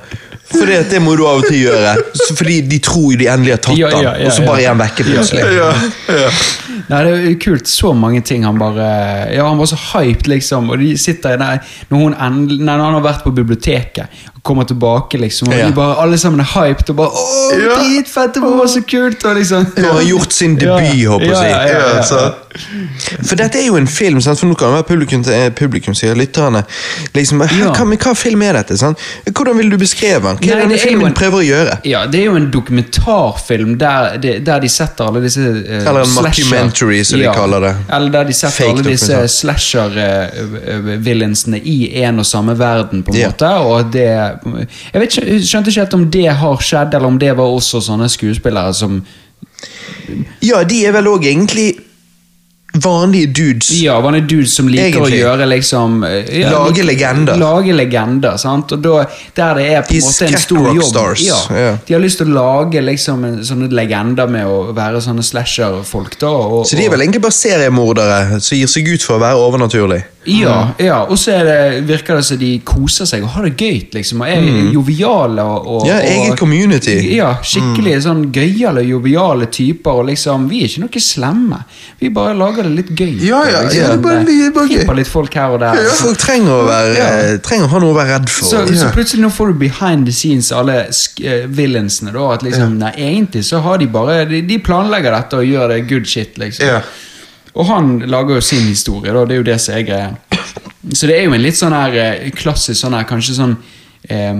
Speaker 1: For det, det må du av og til gjøre. Så fordi de tror jo de endelig har tatt
Speaker 3: Ja, ja, ja,
Speaker 1: han, og så
Speaker 3: ja.
Speaker 1: bare er han vekke plutselig.
Speaker 2: Ja, ja.
Speaker 3: Nei, Det er jo kult. Så mange ting han bare Ja, han var så hyped, liksom. Og de sitter i der Når hun endelig Nei, når han har vært på biblioteket og kommer tilbake, liksom. Og
Speaker 1: Ja.
Speaker 3: de bare, alle sammen er hyped og bare Å,
Speaker 2: Ja.
Speaker 3: dritfett! Det var så kult! Og liksom
Speaker 1: Når han har gjort sin debut,
Speaker 3: Ja.
Speaker 1: håper jeg å si.
Speaker 3: Ja, ja,
Speaker 2: Ja, så.
Speaker 1: For dette er jo en film, sant? for nå kan det være publikum, eh, publikum sier lytterne liksom, «Hæ,
Speaker 3: Ja.
Speaker 1: hva, men hva film er dette? Sant? Hvordan vil du beskreve den? Hva
Speaker 3: Nei,
Speaker 1: er det denne
Speaker 3: det er jo
Speaker 1: filmen
Speaker 3: en-
Speaker 1: prøver å gjøre?
Speaker 3: Ja, det er jo en dokumentarfilm der, det- der de setter alle disse eh,
Speaker 1: Eller en mockumentary, som de kaller det.
Speaker 3: Eller der de setter
Speaker 1: Fake
Speaker 3: alle disse
Speaker 1: dokumentar.
Speaker 3: slasher-villainsene i en og samme verden, på en
Speaker 1: Ja.
Speaker 3: måte. Og det Jeg vet ikke, skjønte ikke helt om det har skjedd, eller om det var også sånne skuespillere som
Speaker 1: Ja, de er vel òg egentlig vanlige dudes.
Speaker 3: Ja, var det en dude som liker
Speaker 1: Egentlig.
Speaker 3: å gjøre liksom eh, ja,
Speaker 1: Lage
Speaker 3: lik-
Speaker 1: legender.
Speaker 3: Lage legender, sant? Og da, der det er på
Speaker 1: De
Speaker 3: en måte en stor jobb.
Speaker 1: skrekk-rockstars, ja.
Speaker 3: De har lyst til å lage liksom en- sånne legender med å være sånne slasher-folk. da og,
Speaker 1: Så de er vel egentlig bare seriemordere som gir seg ut for å være overnaturlig.
Speaker 3: Ja, ja. og så er det, virker det som de koser seg og har det gøy. Liksom, og er joviale. Og, og,
Speaker 1: Mm. Ja, eget community. Mm.
Speaker 3: Ja, Skikkelig sånn gøyale, joviale typer. Og liksom, Vi er ikke noe slemme. Vi bare lager det litt gøy.
Speaker 2: Ja, ja, ja, det er bare- det er bare gøy.
Speaker 3: Kipper litt folk her og der. altså.
Speaker 1: Ja, folk trenger å, være,
Speaker 3: Ja.
Speaker 1: trenger å ha noe å være redd for.
Speaker 3: Så, så plutselig nå får du behind the scenes alle sk eh, villainsene. da, at liksom, nei, Egentlig så har de bare de, de planlegger dette og gjør det good shit, liksom.
Speaker 2: Ja.
Speaker 3: Og han lager jo sin historie, da. Det er jo det som er greia. Så det er jo en litt sånn her eh, klassisk sånn her, kanskje sånn Eh,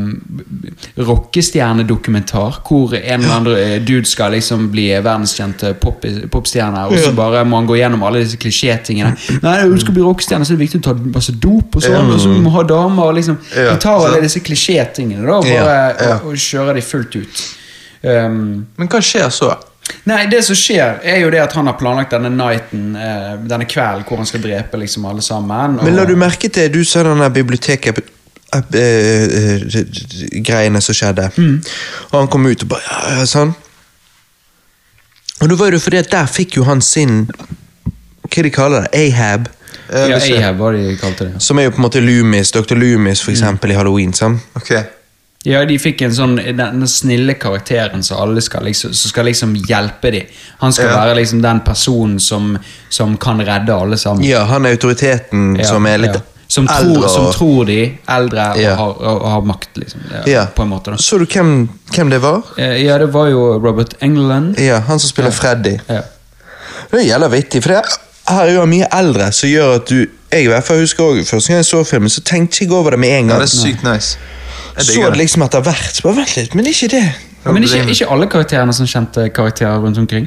Speaker 3: Rockestjernedokumentar hvor en eller annen eh, dude skal liksom bli verdenskjent eh, pop, popstjerne, og så bare må han gå gjennom alle disse klisjétingene. Nei, du skal bli rockestjerne, så er det viktig å ta masse dop, og sånn, og så må du ha damer og liksom
Speaker 2: Ja,
Speaker 3: De tar alle
Speaker 2: sant.
Speaker 3: disse klisjétingene da, og
Speaker 1: Ja,
Speaker 3: bare
Speaker 2: ja.
Speaker 3: Og, og kjører de fullt ut. Um,
Speaker 2: Men hva skjer så?
Speaker 3: Nei, det som skjer er jo det at han har planlagt denne nighten, eh, denne kvelden, hvor han skal drepe liksom alle sammen. Og,
Speaker 1: Men la du merke til Du sa den der biblioteket app- eh, eh, greiene som skjedde. Og han kom ut og bare ja, ja, sånn. Og det var jo fordi at der fikk jo han sin Hva de kaller det? Ahab.
Speaker 2: Eh,
Speaker 3: ja,
Speaker 2: hvis jeg-
Speaker 3: Ahab, hva de kalte det.
Speaker 1: Som er jo på en måte Loomis, Dr. Loomis for eksempel i Halloween. sant?
Speaker 2: Ok.
Speaker 3: Ja, de fikk en sånn, denne snille karakteren som alle skal liksom, som skal liksom hjelpe dem. Han skal
Speaker 2: Ja.
Speaker 3: være liksom den personen som, som kan redde alle sammen.
Speaker 1: Ja, han er autoriteten
Speaker 3: Ja,
Speaker 1: som er litt
Speaker 3: ja. som tror,
Speaker 1: eldre.
Speaker 3: Som
Speaker 1: og-
Speaker 3: tror de eldre og,
Speaker 1: Ja.
Speaker 3: har, og, og har makt, liksom. Ja,
Speaker 1: ja.
Speaker 3: På en måte, da.
Speaker 1: Så du hvem, hvem det var?
Speaker 3: Eh, Ja, det var jo Robert England.
Speaker 1: Ja, Han som spiller
Speaker 3: Ja.
Speaker 1: Freddy.
Speaker 3: Ja.
Speaker 1: Det gjelder vittig, for det her er jo mye eldre som gjør at du Jeg i hvert fall husker også, Første gang jeg så filmen, så tenkte jeg ikke over det med en
Speaker 2: Ja,
Speaker 1: gang.
Speaker 2: det er sykt nice. Jeg
Speaker 1: så
Speaker 2: digger
Speaker 1: det
Speaker 2: det.
Speaker 1: liksom etter hvert. Bare vent litt, men ikke det.
Speaker 3: Men ikke, ikke alle karakterene som kjente karakterer rundt omkring?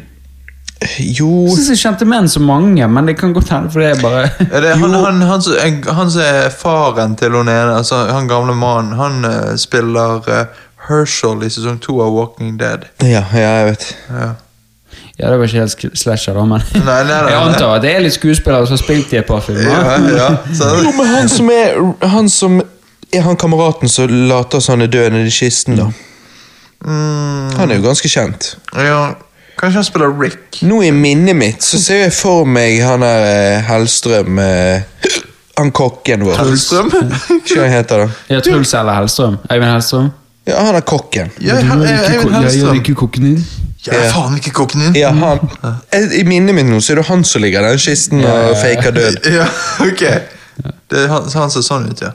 Speaker 1: Jo
Speaker 3: Jeg synes jeg kjente menn så mange, men det kan godt hende, for det er bare
Speaker 2: Er det han, han, han, som- eh, han som er faren til hun ene, altså han gamle mannen, han eh, spiller eh, Herschel i sesong to av Walking Dead.
Speaker 1: Ja, ja jeg vet.
Speaker 3: Ah.
Speaker 2: Ja.
Speaker 3: Ja, det var ikke helt sk- slasher, da, men
Speaker 2: Nei, nei, nei, nei.
Speaker 3: Jeg antar at det er litt skuespillere som har spilt i et par
Speaker 2: Ja,
Speaker 3: filmer.
Speaker 2: ja,
Speaker 1: Jo,
Speaker 2: så,
Speaker 1: men han som er Han som er han kameraten som later som han er død nedi kisten, da.
Speaker 2: mm,
Speaker 1: Han er jo ganske kjent.
Speaker 2: ja. Kanskje han spiller Rick?
Speaker 1: Nå i minnet mitt så ser jeg for meg han der eh, Hellstrøm eh, Han kokken vår.
Speaker 2: Hellstrøm?
Speaker 1: Hva han heter han?
Speaker 3: Ja, Truls eller Hellstrøm. Eivind Hellstrøm.
Speaker 1: Ja, han er kokken.
Speaker 2: Ja, han- eh, Eivind Hellstrøm.
Speaker 3: kokken din.
Speaker 2: Ja, faen ikke kokken din.
Speaker 1: Ja, han, Eh, I minnet mitt nå så er det han som ligger i den kisten og faker død.
Speaker 2: Ja, ok. Det er han, han ser sånn ut, ja.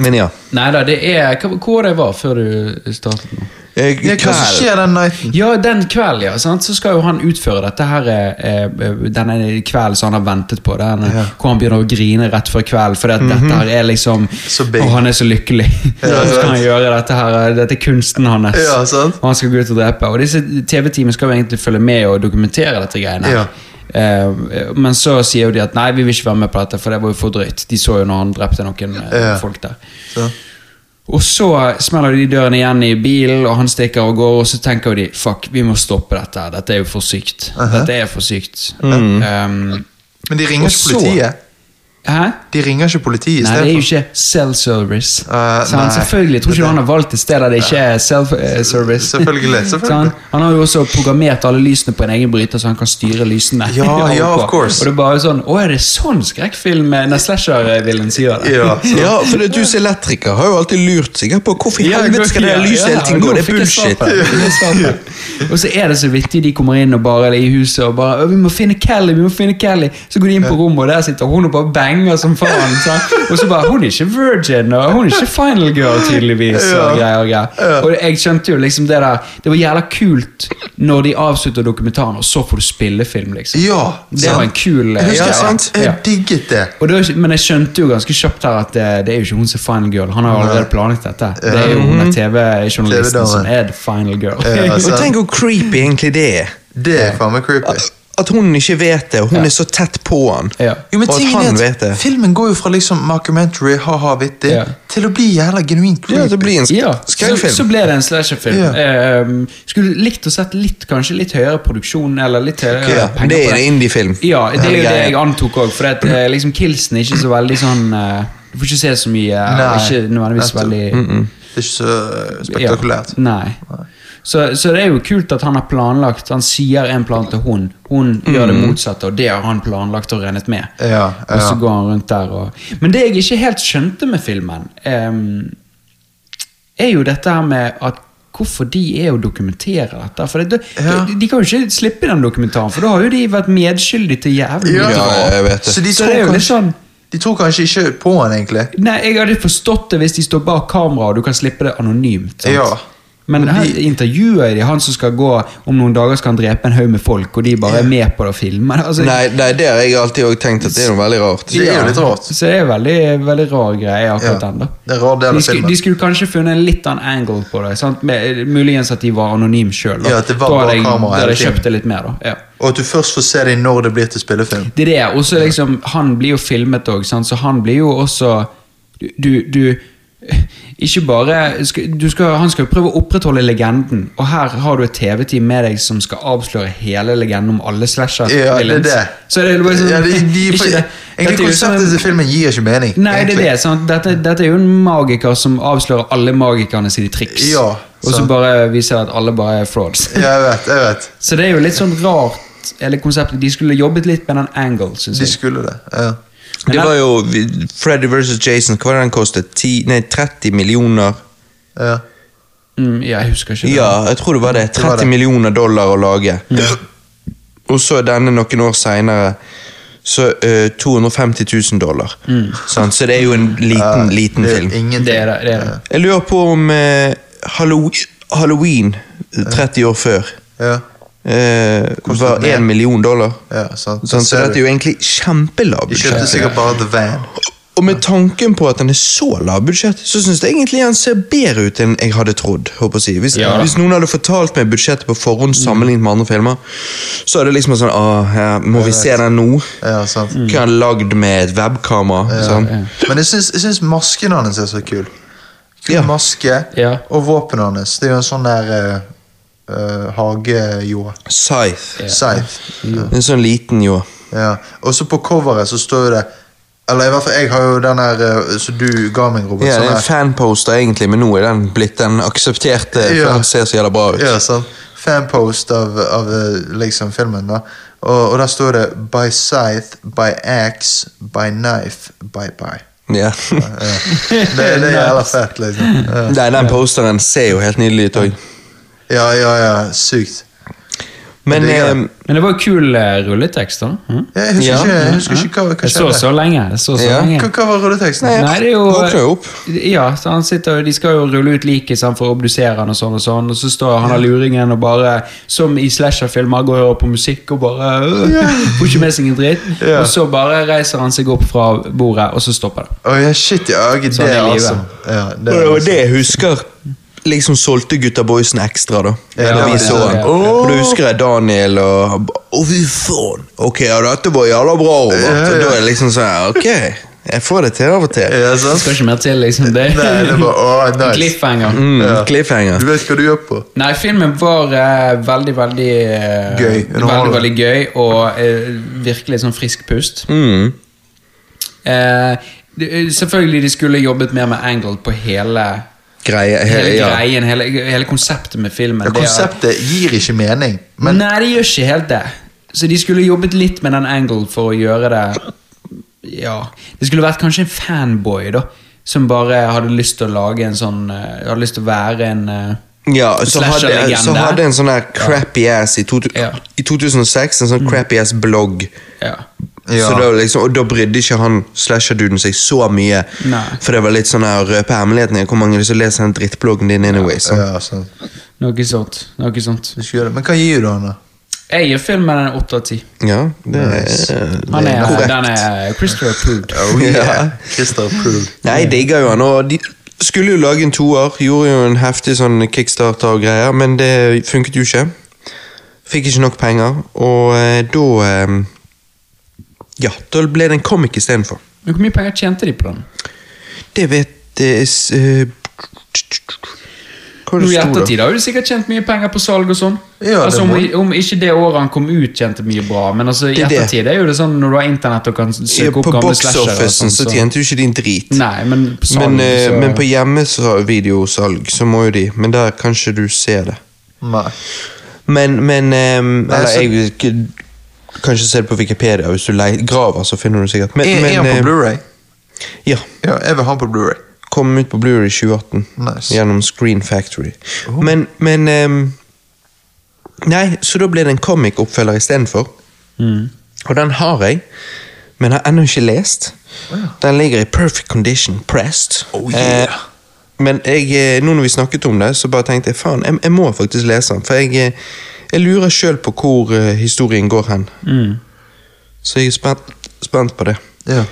Speaker 1: Men ja.
Speaker 3: Nei da, det er hva- Hvor det var før du startet nå?
Speaker 1: Eh,
Speaker 2: Ja, Hva som
Speaker 1: Kveld.
Speaker 2: skjer den nighten?
Speaker 3: Ja, den kvelden, ja. Sant? Så skal jo han utføre dette her eh, eh, denne kvelden som han har ventet på. Den,
Speaker 2: Ja. Mhm.
Speaker 3: Hvor han begynner å grine rett før kvelden, fordi at dette her er liksom
Speaker 2: Så big.
Speaker 3: Og han er så lykkelig.
Speaker 2: Ja,
Speaker 3: så skal
Speaker 2: sant.
Speaker 3: han gjøre dette her eh, Dette er kunsten hans.
Speaker 2: Ja, sant.
Speaker 3: Og han skal gå ut og drepe. Og disse TV-teamene skal jo egentlig følge med og dokumentere dette greiene. her.
Speaker 2: Ja.
Speaker 3: Eh, men så sier jo de at nei, vi vil ikke være med på dette, for det var jo for drøyt. De så jo når han drepte noen eh,
Speaker 2: Ja.
Speaker 3: folk der.
Speaker 2: Så.
Speaker 3: Og så smeller de døren igjen i bilen, og han stikker og går, og så tenker jo de fuck, vi må stoppe dette. her, Dette er jo for sykt. Dette er for sykt.
Speaker 2: Mm.
Speaker 3: Um,
Speaker 2: Men de ringer
Speaker 3: Og
Speaker 2: ikke
Speaker 3: så-
Speaker 2: politiet.
Speaker 3: hæ?
Speaker 2: De ringer ikke politiet i
Speaker 3: Nei, det er jo
Speaker 2: stedet.
Speaker 3: ikke self-service.
Speaker 2: Eh,
Speaker 3: Så han
Speaker 2: nei.
Speaker 3: selvfølgelig tror ikke han har valgt et sted der det ikke er self-service.
Speaker 2: Selvfølgelig, selvfølgelig.
Speaker 3: han, han har jo også programmert alle lysene på en egen bryter, så han kan styre lysene.
Speaker 2: Ja, ja,
Speaker 3: ovenpå.
Speaker 2: of course.
Speaker 3: Og det er bare sånn Å, er det sånn skrekkfilm Nei, slasher-villen sier det?
Speaker 2: Ja, så.
Speaker 1: Ja, for det, du som er elektriker har jo alltid lurt sikkert på hvorfor i
Speaker 3: Ja,
Speaker 1: helvete skal det
Speaker 3: ja,
Speaker 1: der lyset hele tiden
Speaker 3: ja,
Speaker 1: gå?
Speaker 3: nå
Speaker 1: Det er
Speaker 3: fikk jeg svar
Speaker 1: bullshit.
Speaker 3: på det. Nå fikk jeg svar på det. Og så er det så vittig de kommer inn og bare eller i huset og bare «Å, 'Vi må finne Kelly', vi må finne Kelly. Så går de inn på rommet, og der sitter hun og bare banger som faen. sant? Og så bare 'Hun er ikke virgin', og 'Hun er ikke final girl', tydeligvis. Og greier og greier. Og jeg skjønte jo liksom det der Det var jævla kult når de avslutter dokumentaren, og så får du spillefilm, liksom.
Speaker 2: Ja,
Speaker 3: Det var en kul eh,
Speaker 2: Jeg husker
Speaker 1: Ja,
Speaker 2: det.
Speaker 1: sant.
Speaker 2: Jeg digget det.
Speaker 3: og da, men jeg skjønte jo ganske kjapt her at det, det er jo ikke hun som er final girl. Han har jo allerede planlagt dette. Det er jo hun der TV-journalisten
Speaker 2: TV-dame.
Speaker 3: som er the final girl.
Speaker 2: Ja,
Speaker 1: Og
Speaker 2: sant.
Speaker 1: tenk hvor creepy egentlig det er.
Speaker 2: Det er faen meg creepy.
Speaker 1: At hun ikke vet det, og hun
Speaker 3: Ja.
Speaker 1: er så tett på han.
Speaker 3: Ja.
Speaker 2: Jo, men
Speaker 1: Og at
Speaker 2: tingen
Speaker 1: han
Speaker 2: er
Speaker 1: vet det.
Speaker 2: at Filmen går jo fra liksom mockumentary, ha-ha, vittig,
Speaker 3: Ja.
Speaker 2: til å bli jævla genuint
Speaker 1: Ja, det
Speaker 2: creepy.
Speaker 1: blir en sk-
Speaker 3: Ja, så,
Speaker 1: skrekkfilm.
Speaker 3: så ble det en slasherfilm.
Speaker 2: Ja.
Speaker 3: Eh, um, skulle likt å sett litt, kanskje litt høyere produksjon eller litt høyere
Speaker 1: Ja,
Speaker 3: penger
Speaker 1: det
Speaker 3: på
Speaker 1: er en indiefilm.
Speaker 3: Ja, det er
Speaker 1: Hele
Speaker 3: jo det
Speaker 1: greia.
Speaker 3: jeg antok òg, for at, eh, liksom Kilsen er ikke så veldig sånn eh, Du får ikke se så mye. eh,
Speaker 2: Nei,
Speaker 3: ikke nødvendigvis
Speaker 2: nettopp.
Speaker 3: veldig
Speaker 2: Det er ikke så eh, spektakulært.
Speaker 3: Ja, nei. Så, så det er jo kult at han har planlagt Han sier en plan til hun, hun gjør det motsatte, og det har han planlagt og regnet med.
Speaker 2: Ja,
Speaker 3: Og så
Speaker 2: ja.
Speaker 3: går han rundt der og Men det jeg ikke helt skjønte med filmen, ehm, er jo dette her med at Hvorfor de er å dokumentere dette? For det,
Speaker 2: Ja.
Speaker 3: de, de kan jo ikke slippe den dokumentaren, for da har jo de vært medskyldige til jævlig
Speaker 2: Ja,
Speaker 3: mye.
Speaker 1: Ja, jeg vet det.
Speaker 2: Så de
Speaker 3: Så
Speaker 2: tror,
Speaker 3: det er jo litt
Speaker 2: kanskje,
Speaker 3: sånn-
Speaker 2: de tror kanskje ikke på han, egentlig.
Speaker 3: Nei, jeg hadde forstått det hvis de står bak kamera og du kan slippe det anonymt. Sant?
Speaker 2: Ja.
Speaker 3: Men
Speaker 2: Men
Speaker 3: her
Speaker 2: de-
Speaker 3: intervjuer de han som skal gå om noen dager skal han drepe en haug med folk, og de bare er med på det og filmer. det. Altså,
Speaker 1: Nei, nei, det har jeg alltid også tenkt at det er noe veldig rart.
Speaker 2: Det er jo litt rart.
Speaker 3: Så det er veldig, veldig rar greie akkurat
Speaker 2: Ja,
Speaker 3: den. da
Speaker 2: det er en rar del av
Speaker 3: de, skulle-
Speaker 2: filmen.
Speaker 3: de skulle kanskje funnet en litt annen angle på det. Sant? Med, muligens at de var anonyme sjøl.
Speaker 2: Ja, at det var
Speaker 3: da
Speaker 2: bare
Speaker 3: hadde jeg,
Speaker 2: kamera
Speaker 3: da hadde jeg
Speaker 2: hele tiden.
Speaker 3: kjøpt det litt mer. da ja.
Speaker 2: Og at du først får se dem når det blir til spillefilm.
Speaker 3: Det er det, og så liksom, han blir jo filmet òg, så han blir jo også Du, du, du ikke bare skal- du skal, Han skal jo prøve å opprettholde legenden, og her har du et TV-team med deg som skal avsløre hele legenden om alle slasher.
Speaker 2: Ja, det er det.
Speaker 3: Altså, Så det er bare sånn,
Speaker 2: Ja, de, de,
Speaker 3: ikke det. Dette
Speaker 2: egentlig
Speaker 3: er jo som en-
Speaker 2: Konseptet til filmen gir ikke mening.
Speaker 3: Nei,
Speaker 2: egentlig.
Speaker 3: det er det. Sant? Dette, dette er jo en magiker som avslører alle magikerne sine triks.
Speaker 2: Ja,
Speaker 3: og så
Speaker 2: sant.
Speaker 3: bare viser at alle bare er frauds.
Speaker 2: Ja, jeg vet, jeg vet.
Speaker 3: Så det er jo litt sånn rart, hele konseptet. De skulle jobbet litt med den angle, syns
Speaker 2: De
Speaker 3: jeg.
Speaker 2: skulle det. Ja.
Speaker 3: Men
Speaker 1: Det
Speaker 3: den-
Speaker 1: var jo vi- Freddy vs. Jason. Hva var det den kostet? 10, nei, 30 millioner?
Speaker 2: Ja.
Speaker 3: Mm, ja, jeg husker ikke. det.
Speaker 1: Ja, jeg tror det var det.
Speaker 2: Det var
Speaker 1: 30
Speaker 2: det.
Speaker 1: millioner dollar å lage. Og så denne noen år seinere så eh, 250 000 dollar. Sant? Så det er jo en liten, liten
Speaker 2: Mm. det er
Speaker 1: film.
Speaker 2: Ingenting.
Speaker 3: Det er det. det, er det.
Speaker 1: Jeg lurer på om eh, Hallow- Halloween, 30 år før,
Speaker 2: Ja,
Speaker 1: eh, var
Speaker 2: mer.
Speaker 1: 1 million dollar.
Speaker 2: ja, sant.
Speaker 1: Sånn, så dette er jo egentlig kjempelav
Speaker 2: De kjøpte
Speaker 1: budsjett.
Speaker 2: sikkert bare The Van.
Speaker 1: Og med tanken på at den er så lav budsjett, så syns jeg egentlig han ser bedre ut enn jeg hadde trodd. håper jeg å si. Hvis,
Speaker 3: Ja da.
Speaker 1: hvis noen hadde fortalt meg budsjettet på
Speaker 2: Mm.
Speaker 1: forhånd sammenlignet med andre filmer, så hadde det liksom vært sånn Åh, ja, Må vi se den nå?
Speaker 2: Ja, Mm. sant.
Speaker 3: Mm.
Speaker 1: Hva er han lagd med et webkamera? sånn.
Speaker 2: Men jeg syns, jeg syns masken hans er så kul. Kul
Speaker 1: Ja.
Speaker 2: maske
Speaker 3: Ja.
Speaker 2: og våpenet hans. Det er jo en sånn der uh, hagejord.
Speaker 1: Scythe.
Speaker 2: Scythe.
Speaker 3: Mm.
Speaker 1: En sånn liten, jo.
Speaker 2: Ja. Og så på coveret så står det Eller i hvert fall, jeg har jo den her eh, som du ga meg, Robert.
Speaker 1: Ja, det er
Speaker 2: sånn
Speaker 1: en
Speaker 2: her.
Speaker 1: fanposter, egentlig, men nå er den blitt den aksepterte. For
Speaker 2: Ja.
Speaker 1: han ser så jævla bra ut.
Speaker 2: Ja, sant. Fanpost av, av eh, liksom filmen, da. Og, og der står det By scythe, by axe, by knife, bye bye.
Speaker 1: Ja.
Speaker 2: Ja. Det, det er jævla fett, liksom. Ja,
Speaker 1: Nei, den posteren ser jo helt nydelig ut òg.
Speaker 2: ja, ja. ja sykt.
Speaker 1: Men
Speaker 2: Det er
Speaker 1: eh,
Speaker 2: det.
Speaker 3: Men det var jo kul eh, rulletekst, da. Mm.
Speaker 2: Ja, Jeg husker,
Speaker 1: Ja.
Speaker 2: ikke, jeg husker ikke hva, hva
Speaker 3: Jeg så
Speaker 2: skjedde.
Speaker 3: så lenge. Jeg så så
Speaker 1: Ja.
Speaker 3: lenge.
Speaker 2: Hva, hva var rulleteksten?
Speaker 1: Nei,
Speaker 3: Nei, det er jo
Speaker 1: våkner jo opp.
Speaker 3: Ja, så han sitter, og- De skal jo rulle ut liket sant, for å obdusere han og sånn, og sånn Og så står han av luringen og bare, som i slasherfilmer, går og hører på musikk og bare øh, Får ikke med seg en dritt.
Speaker 2: Ja.
Speaker 3: Og så bare reiser han seg opp fra bordet, og så stopper det.
Speaker 2: Å, ja, shit, ja. jeg- Det
Speaker 3: Sånn
Speaker 2: er
Speaker 3: er livet.
Speaker 2: awesome.
Speaker 1: Og
Speaker 2: Ja, det er
Speaker 1: det
Speaker 2: altså-
Speaker 1: var det
Speaker 2: awesome.
Speaker 1: jeg husker. Liksom solgte gutta boysen ekstra, da.
Speaker 2: Ja,
Speaker 1: da
Speaker 2: det
Speaker 1: vi
Speaker 2: var
Speaker 1: så
Speaker 2: det.
Speaker 1: han.
Speaker 3: Ja.
Speaker 1: Og da husker jeg Daniel og han ba, Å, fy faen! Ok, ja, dette var jævla bra, Robert.
Speaker 2: Ja, ja.
Speaker 1: Og da er det liksom sånn her, Ok, jeg får det til av og til.
Speaker 2: Ja,
Speaker 3: Det
Speaker 2: sant?
Speaker 3: skal ikke mer til, liksom. Det,
Speaker 2: Nei, det var å, nice.
Speaker 3: Cliffhanger.
Speaker 1: Mm,
Speaker 2: Ja. Du
Speaker 1: Cliffhanger.
Speaker 2: vet hva du gjør på.
Speaker 3: Nei, filmen var eh, veldig, veldig eh, Veldig,
Speaker 2: Gøy, underholdende.
Speaker 3: veldig gøy, og eh, virkelig sånn frisk pust.
Speaker 1: Mm.
Speaker 3: Eh, det- selvfølgelig de skulle jobbet mer med angle på hele,
Speaker 1: Greie,
Speaker 3: hele
Speaker 1: he, ja.
Speaker 3: greien, hele, hele konseptet med filmen.
Speaker 2: Ja,
Speaker 3: Det er-
Speaker 2: konseptet gir ikke mening, men
Speaker 3: Nei, det gjør ikke helt det. Så de skulle jobbet litt med den angle for å gjøre det Ja. Det skulle vært kanskje en fanboy, da. Som bare hadde lyst til å lage en sånn eh, Hadde lyst til å være en eh,
Speaker 1: Ja, så hadde,
Speaker 3: slasher-legende.
Speaker 1: så hadde en sånn her crappy ass i, to,
Speaker 3: Ja. Mm.
Speaker 1: i 2006, en sånn crappy ass blogg.
Speaker 3: ja.
Speaker 2: Ja.
Speaker 1: Så da liksom, og da brydde ikke han slasher-duden seg så mye.
Speaker 3: Nei.
Speaker 1: For det var litt sånn her røpe hemmeligheten. Hvor mange som leser den drittbloggen din anyway?
Speaker 3: sånn.
Speaker 1: sant?
Speaker 2: ja, sant.
Speaker 3: Noe sånt. Noe sånt.
Speaker 2: Du skal gjøre det. Men hva gir du han, da?
Speaker 3: Jeg gir filmen en 8 av 10.
Speaker 1: Ja, det
Speaker 2: Nice.
Speaker 1: er,
Speaker 3: Han er,
Speaker 1: korrekt.
Speaker 3: den er Christopher approved.
Speaker 2: Oh,
Speaker 1: Ja.
Speaker 2: Christer approved.
Speaker 1: Nei, jeg digger jo han. Og de skulle jo lage en toer, gjorde jo en heftig sånn kickstarter og greier, men det funket jo ikke. Fikk ikke nok penger, og eh, da eh, Ja, da ble det en comic istedenfor.
Speaker 3: Men Hvor mye penger tjente de på den?
Speaker 1: Det vet eh, s- eh, Hva er det
Speaker 3: Nå I
Speaker 1: sto, da?
Speaker 3: ettertid har jo de sikkert tjent mye penger på salg og sånn.
Speaker 2: Ja, det
Speaker 3: altså, om,
Speaker 2: må-
Speaker 3: om ikke det året han kom ut, tjente mye bra, men altså, i
Speaker 1: Det er det.
Speaker 3: ettertid er jo det sånn når du har internett og kan
Speaker 1: Ja,
Speaker 3: søke
Speaker 1: Eh, På
Speaker 3: opp gamle
Speaker 1: box
Speaker 3: slasher og
Speaker 1: officen
Speaker 3: sånn.
Speaker 1: så tjente jo ikke de en drit.
Speaker 3: Nei, men på salg
Speaker 1: Men, eh,
Speaker 3: så
Speaker 1: men på hjemmevideosalg så må jo de Men der kan ikke du se det.
Speaker 2: Nei.
Speaker 1: Men, men ehm,
Speaker 2: Nei,
Speaker 1: Eller
Speaker 2: så-
Speaker 1: jeg vil ikke- Kanskje se det på Wikipedia. Hvis du le- graver, så finner du det sikkert. Men,
Speaker 2: Er
Speaker 1: men,
Speaker 2: er han
Speaker 1: eh,
Speaker 2: på Blu-ray?
Speaker 1: ja.
Speaker 2: Ja, jeg vil ha han på Blu-ray.
Speaker 1: Kom ut på Blu-ray i 2018
Speaker 2: Nice.
Speaker 1: gjennom Screen Factory. Men, men ehm, Nei, så da blir det en comic-oppfølger istedenfor.
Speaker 3: Mm.
Speaker 1: Og den har jeg, men har ennå ikke lest. Den ligger i perfect condition, pressed.
Speaker 2: Oh, yeah.
Speaker 1: Eh, men jeg, eh, nå når vi snakket om det, så bare tenkte jeg faen, jeg, jeg må faktisk lese den. For jeg, eh, jeg lurer sjøl på hvor eh, historien går hen.
Speaker 3: Mm.
Speaker 1: Så jeg er spent, spent på det.
Speaker 2: Ja,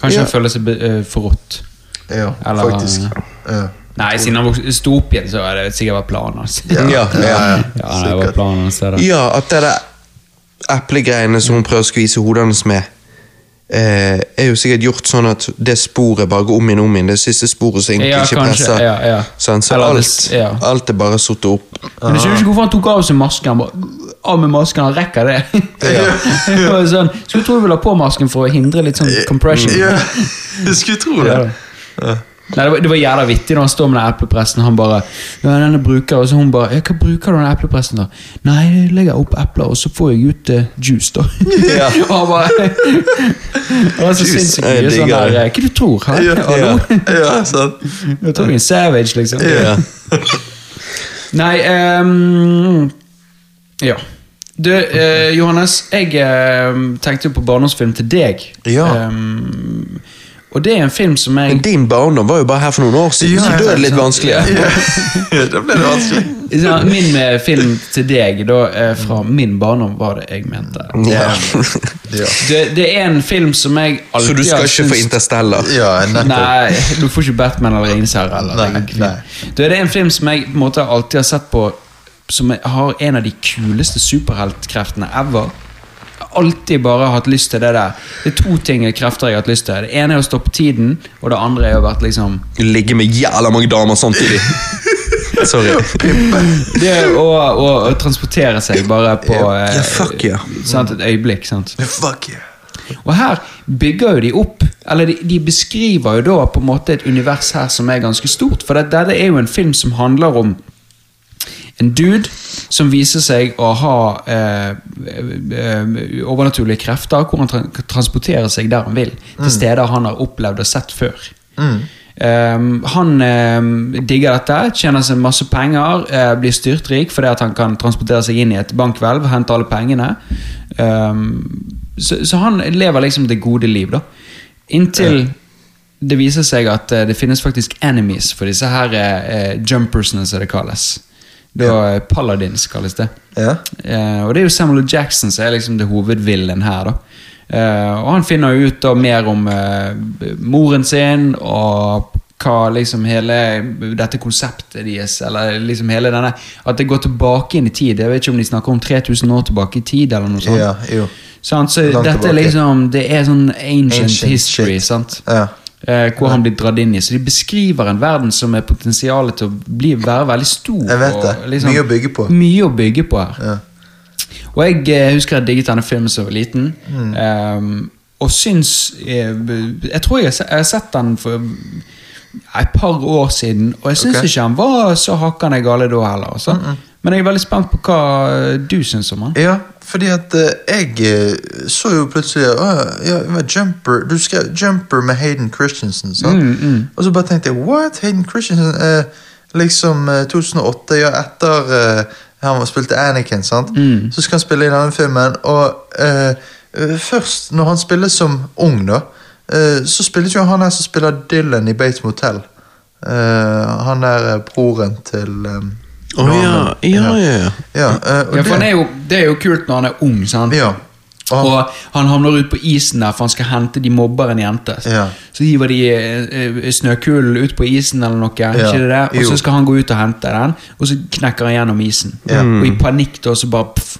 Speaker 3: Kanskje
Speaker 1: Ja.
Speaker 3: han føler seg be- eh, forrådt.
Speaker 2: ja
Speaker 3: Eller-
Speaker 2: faktisk. Ja.
Speaker 3: Nei, siden han vokste- sto opp igjen, så har det sikkert vært planen hans.
Speaker 2: Ja,
Speaker 1: Ja, ja.
Speaker 3: Ja, det var planen hans det der.
Speaker 1: Ja, at det der eplegreiene som hun prøver å skvise hodet hans med, eh, er jo sikkert gjort sånn at det sporet bare går om igjen og om igjen. Det siste sporet som egentlig
Speaker 3: Ja,
Speaker 1: ikke
Speaker 3: kanskje,
Speaker 1: presser.
Speaker 3: ja, ja.
Speaker 1: Sånn, så
Speaker 3: Eller
Speaker 1: alt,
Speaker 3: hvis- ja.
Speaker 1: alt er bare satt opp.
Speaker 3: Men jeg
Speaker 2: Ah.
Speaker 3: skjønner ikke hvorfor han tok av seg masken. Han bare, av med masken, han rekker det. Det var sånn, Skulle tro du ville ha på masken for å hindre litt sånn compression.
Speaker 2: ja. Jeg skulle tro
Speaker 3: Ja.
Speaker 2: det.
Speaker 3: Nei, det var, det var jævla vittig når han står med den eplepressen. Han bare ja, denne bruker, og så hun bare ja, 'Hva bruker du den eplepressen, da?' 'Nei, jeg legger opp epler, og så får jeg ut eh, juice, da'.
Speaker 1: Ja.
Speaker 3: og han bare Det var så
Speaker 2: Juice,
Speaker 3: sinnssykt
Speaker 1: jeg
Speaker 3: mye sånn
Speaker 1: digger
Speaker 3: der eh, 'Hva du tror hæ?
Speaker 2: Ja,
Speaker 3: Hallo?
Speaker 2: Ja, sant.
Speaker 3: Jeg tror du er en savage, liksom.
Speaker 2: Ja.
Speaker 3: Nei ehm, Ja. Du, eh, Johannes, jeg ehm, tenkte jo på barndomsfilm til deg.
Speaker 2: Ja.
Speaker 3: Ehm, og det er en film som jeg
Speaker 1: Men din barndom var jo bare her for noen år siden,
Speaker 2: Ja,
Speaker 1: så
Speaker 2: ja,
Speaker 1: da er det litt
Speaker 3: sant.
Speaker 1: vanskeligere.
Speaker 2: Ja. Da ble det vanskelig.
Speaker 3: Ja, Min eh, film til deg da, eh, fra min barndom var det jeg mente.
Speaker 1: Ja.
Speaker 2: Ja,
Speaker 3: Det, det er en film som jeg alltid
Speaker 1: Så du skal
Speaker 3: har
Speaker 1: ikke få
Speaker 3: syntes-
Speaker 1: interstellar?
Speaker 2: ja nettopp.
Speaker 3: Nei, du får ikke Batman eller Ringenes herre. eller-
Speaker 2: Nei,
Speaker 3: det er ikke-
Speaker 2: nei.
Speaker 3: Du, Det er en film som jeg på en måte alltid har sett på som jeg har en av de kuleste superheltkreftene ever. Jeg har Alltid bare hatt lyst til det der. Det er to ting krefter jeg har hatt lyst til. Det ene er å stoppe tiden, og det andre er å være liksom
Speaker 1: Ligge med jævla mange damer samtidig. Sorry.
Speaker 3: Det å, å, å transportere seg bare på eh,
Speaker 1: Ja, fuck ja.
Speaker 3: sant, et øyeblikk. sant?
Speaker 2: Fuck yeah.
Speaker 3: Og her bygger jo de opp, eller de, de beskriver jo da på en måte et univers her som er ganske stort, for det- dette er jo en film som handler om en dude som viser seg å ha eh, eh, overnaturlige krefter, hvor han tra transporterer seg der han vil, til steder han har opplevd og sett før. Um, han eh, digger dette, tjener seg masse penger, eh, blir styrtrik fordi at han kan transportere seg inn i et bankhvelv, hente alle pengene. Um, så, så han lever liksom det gode liv, da. Inntil det viser seg at eh, det finnes faktisk enemies for disse her eh, eh, jumpersene, som det kalles. Da eh, Paladins kalles det.
Speaker 2: Ja.
Speaker 3: Eh, og det er jo Samuel L. Jackson som er liksom det hovedvillen her, da. Eh, og han finner jo ut da mer om eh, moren sin og hva liksom hele dette konseptet deres, eller liksom hele denne At det går tilbake inn i tid. Jeg vet ikke om de snakker om 3000 år tilbake i tid, eller noe sånt.
Speaker 2: Ja, jo.
Speaker 3: Sant, så
Speaker 2: Langt
Speaker 3: dette er
Speaker 2: tilbake.
Speaker 3: liksom Det er sånn ancient,
Speaker 2: Ancient
Speaker 3: history,
Speaker 2: shit.
Speaker 3: sant?
Speaker 2: Ja.
Speaker 3: Eh, hvor han blir dratt inn i. Så de beskriver en verden som er potensialet til å bli, være veldig stor.
Speaker 2: Jeg vet det.
Speaker 3: og liksom
Speaker 2: Mye å bygge på.
Speaker 3: Mye å bygge på her.
Speaker 2: Ja.
Speaker 3: Og jeg eh, husker jeg digget denne filmen som jeg var liten.
Speaker 2: Mm.
Speaker 3: ehm, og syns eh, Jeg tror jeg har se- jeg har sett den for et par år siden, og jeg syns
Speaker 2: Ok.
Speaker 3: ikke han var så hakkande gale da heller. Altså. Men jeg er veldig spent på hva eh, du syns om han.
Speaker 2: Ja, fordi at eh, jeg eh, så jo plutselig «Å, ja, det var Jumper Du skrev Jumper med Hayden Christensen, sant? Og så bare tenkte jeg What? Hayden Christensen? eh, liksom eh, 2008, ja, etter eh, han spilte Anakin, sant? Så skal han spille i denne filmen, og eh, eh, først når han spiller som ung, da, eh, så spilles jo han her som spiller Dylan i Bates Motel. Eh, han er eh, broren til eh,
Speaker 1: Å ja,
Speaker 2: Norman.
Speaker 1: ja, ja. ja.
Speaker 2: Ja, eh, og
Speaker 3: Ja, for han
Speaker 2: det-
Speaker 3: er jo, det er jo kult når han er ung, sant?
Speaker 2: Ja. Og han-
Speaker 3: Og han havner ut på isen der, for han skal hente de mobber en jente.
Speaker 2: Ja.
Speaker 3: Så hiver de eh, eh, snøkulen ut på isen eller noe, ikke det der? og
Speaker 2: Jo.
Speaker 3: så skal han gå ut og hente den, og så knekker han gjennom isen.
Speaker 2: Ja.
Speaker 3: Og i panikk da, så bare, pff,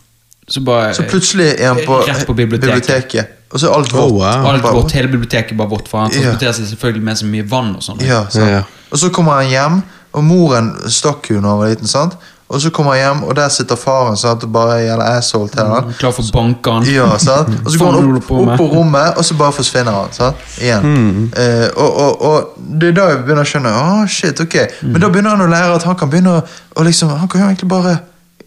Speaker 3: så bare
Speaker 2: Så plutselig er han på,
Speaker 3: eh, Rett på biblioteket.
Speaker 2: Og så er alt
Speaker 1: Oh,
Speaker 2: vått.
Speaker 1: wow.
Speaker 3: Alt
Speaker 2: Bare-
Speaker 3: vårt, hele biblioteket er bare vått, for han
Speaker 2: Ja.
Speaker 3: transporterer seg selvfølgelig med så mye vann og sånn.
Speaker 2: Ja, sant.
Speaker 1: Ja.
Speaker 2: Og så kommer han hjem, og moren stakk jo når han var liten. sant? Og så kommer han hjem, og der sitter faren sant? og bare gjelder asshole til han.
Speaker 3: Klar for å banke han.
Speaker 2: Ja, sant? Og så går
Speaker 3: Faen,
Speaker 2: han
Speaker 3: holder
Speaker 2: opp,
Speaker 3: du på med? Mm.
Speaker 2: opp på rommet, og så bare forsvinner han. sant? Igjen. Eh, og, og, og det er da jeg
Speaker 3: Mm.
Speaker 2: begynner å skjønne Å, shit, ok. Men da begynner han å lære at han kan begynne å og liksom, Han kan jo egentlig bare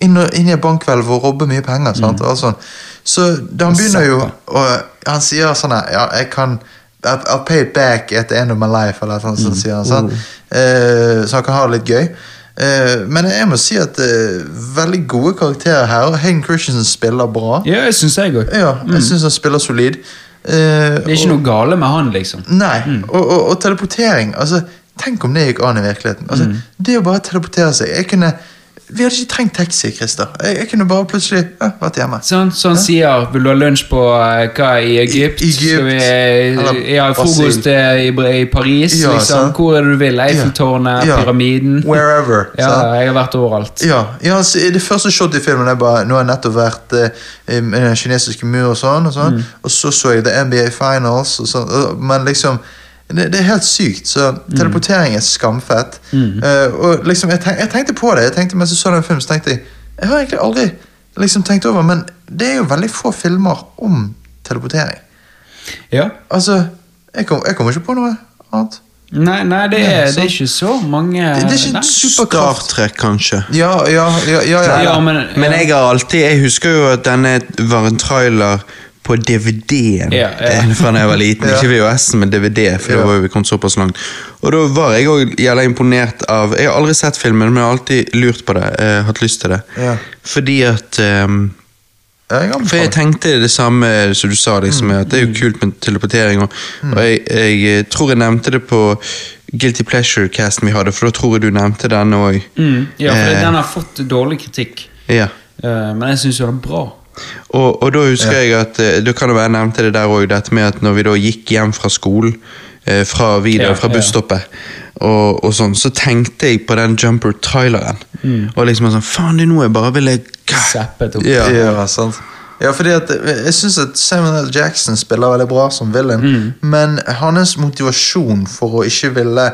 Speaker 2: inn, og- inn i en bankhvelv og robbe mye penger.
Speaker 3: Mm.
Speaker 2: Sant? Og alt sånn. Så da han begynner jo og Han sier sånn her ja, jeg kan I'll, I'll pay it back at the end of my life, eller noe
Speaker 3: Mm.
Speaker 2: sånt, sier han. Sant? Eh, så han kan ha det litt gøy. Eh, men jeg må si at eh, veldig gode karakterer her. Hayden Christensen spiller bra.
Speaker 3: Ja, jeg syns jeg òg.
Speaker 2: Ja, jeg syns han spiller solid. Eh,
Speaker 3: Mm. Det er ikke noe gale med han, liksom.
Speaker 2: Nei, og, og, og teleportering altså, Tenk om det gikk an i virkeligheten. Altså,
Speaker 3: Mm.
Speaker 2: Det å bare teleportere seg jeg kunne, Vi hadde ikke trengt taxi, Christer. Jeg, jeg kunne bare plutselig ja, vært hjemme.
Speaker 3: Sånn, så han sier 'vil du ha lunsj på eh, hva i Egypt'?
Speaker 2: I- Egypt.
Speaker 3: Skal vi,
Speaker 2: Eller
Speaker 3: eh, ja, frokost
Speaker 2: Brasil.
Speaker 3: eh, i, Br- i Paris?
Speaker 2: Ja,
Speaker 3: liksom.
Speaker 2: sant.
Speaker 3: Hvor er det du vil? Eiffeltårnet?
Speaker 2: Ja. sånn.
Speaker 3: Pyramiden?
Speaker 2: Wherever.
Speaker 3: Ja,
Speaker 2: sant?
Speaker 3: jeg har vært overalt.
Speaker 2: Ja, ja så i Det første shot i filmen er bare Nå har jeg nettopp vært eh, i den kinesiske mur og sånn, og sånn Og så så jeg The NBA Finals, og sånn, og, men liksom det, det er helt sykt. så Teleportering er skamfett. Eh, og liksom, jeg, tenk, jeg tenkte på det jeg tenkte mens jeg så den filmen, så tenkte jeg Jeg har egentlig aldri liksom tenkt over, men det er jo veldig få filmer om teleportering.
Speaker 3: Ja.
Speaker 2: Altså, jeg, kom, jeg kommer ikke på noe annet.
Speaker 3: Nei, nei det,
Speaker 2: Ja,
Speaker 3: er,
Speaker 2: sant.
Speaker 3: det er ikke så mange
Speaker 2: det er ikke
Speaker 3: nei.
Speaker 4: Star Trek, kanskje.
Speaker 2: Ja, ja, ja, ja, ja.
Speaker 3: Ja, men,
Speaker 4: Men jeg har alltid Jeg husker jo at denne var en trailer på DVD-en
Speaker 3: Ja, ja.
Speaker 4: eh, fra da jeg var liten.
Speaker 2: Ja.
Speaker 4: Ikke VHS-en, men DVD. For
Speaker 2: Ja.
Speaker 4: da var jo vi kommet såpass langt. Og da var jeg òg jævla imponert av Jeg har aldri sett filmen, men jeg har alltid lurt på det. Eh, hatt lyst til det.
Speaker 2: Ja.
Speaker 4: Fordi at ehm,
Speaker 2: Ja, jeg
Speaker 4: for jeg
Speaker 2: anbefaler.
Speaker 4: tenkte det samme som du sa, liksom,
Speaker 3: Mm.
Speaker 4: at det er jo kult med teleportering. Og, og jeg, jeg eh, tror jeg nevnte det på Guilty Pleasure-casten vi hadde, for da tror jeg du nevnte den òg.
Speaker 3: Mm, ja, for det,
Speaker 4: Eh.
Speaker 3: den har fått dårlig kritikk,
Speaker 4: Ja.
Speaker 3: Eh, men jeg syns jo den er bra.
Speaker 4: Og, og da husker jeg at eh, Da kan det være jeg nevnte det der òg, dette med at når vi da gikk hjem fra skolen eh, fra videre,
Speaker 3: Ja,
Speaker 4: fra
Speaker 3: ja.
Speaker 4: busstoppet, og, og sånn, så tenkte jeg på den Jumper Tyleren. Og liksom sånn Faen, det er nå jeg bare ville
Speaker 3: Zappet Mm. opp.
Speaker 4: Ja.
Speaker 2: Ja, sant. Ja, fordi at eh, Jeg syns at Samuel L. Jackson spiller veldig bra som Willem,
Speaker 3: Mm.
Speaker 2: men hans motivasjon for å ikke ville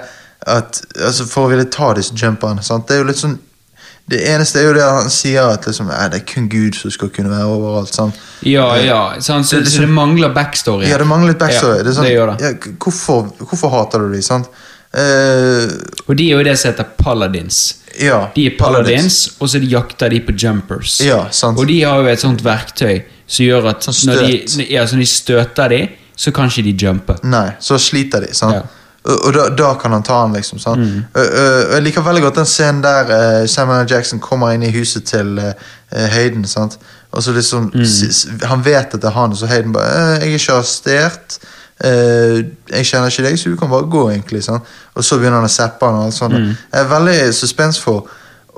Speaker 2: at, altså For å ville ta disse jumperne sant? Det er jo litt sånn Det eneste er jo det han sier, at liksom, nei, det er kun Gud som skal kunne være overalt. Sant?
Speaker 3: Ja, ja. sant, så,
Speaker 2: Det er
Speaker 3: så
Speaker 2: liksom-
Speaker 3: det mangler backstory.
Speaker 2: Ja, det mangler litt backstory.
Speaker 3: Ja,
Speaker 2: det er sånn,
Speaker 3: det gjør det.
Speaker 2: Ja, k- hvorfor, hvorfor hater du dem, sant? Eh,
Speaker 3: Og de er jo det som heter paladins.
Speaker 2: ja.
Speaker 3: De er paladins, og så de jakter de på jumpers.
Speaker 2: Ja, sant.
Speaker 3: Og de har jo et sånt verktøy som gjør at
Speaker 2: Sånn
Speaker 3: når de,
Speaker 2: støt.
Speaker 3: ja, så når de støter de, så kan ikke de jumpe.
Speaker 2: Nei, så sliter de, sant?
Speaker 3: Ja. Mm.
Speaker 2: Og, og da, da kan han ta han, liksom. sant? Ø, ø, og jeg liker veldig godt den scenen der eh, Samuel L. Jackson kommer inn i huset til eh, eh, Hayden. sant? Og så liksom,
Speaker 3: Mm.
Speaker 2: s- s- Han vet at det er han, og så Hayden bare «Eh, 'Jeg er ikke arrestert. eh, jeg kjenner ikke deg, så du kan bare gå', egentlig. sant? Og så begynner han å zappe han. og alt sånt.
Speaker 3: Mm.
Speaker 2: Jeg er veldig suspensfull.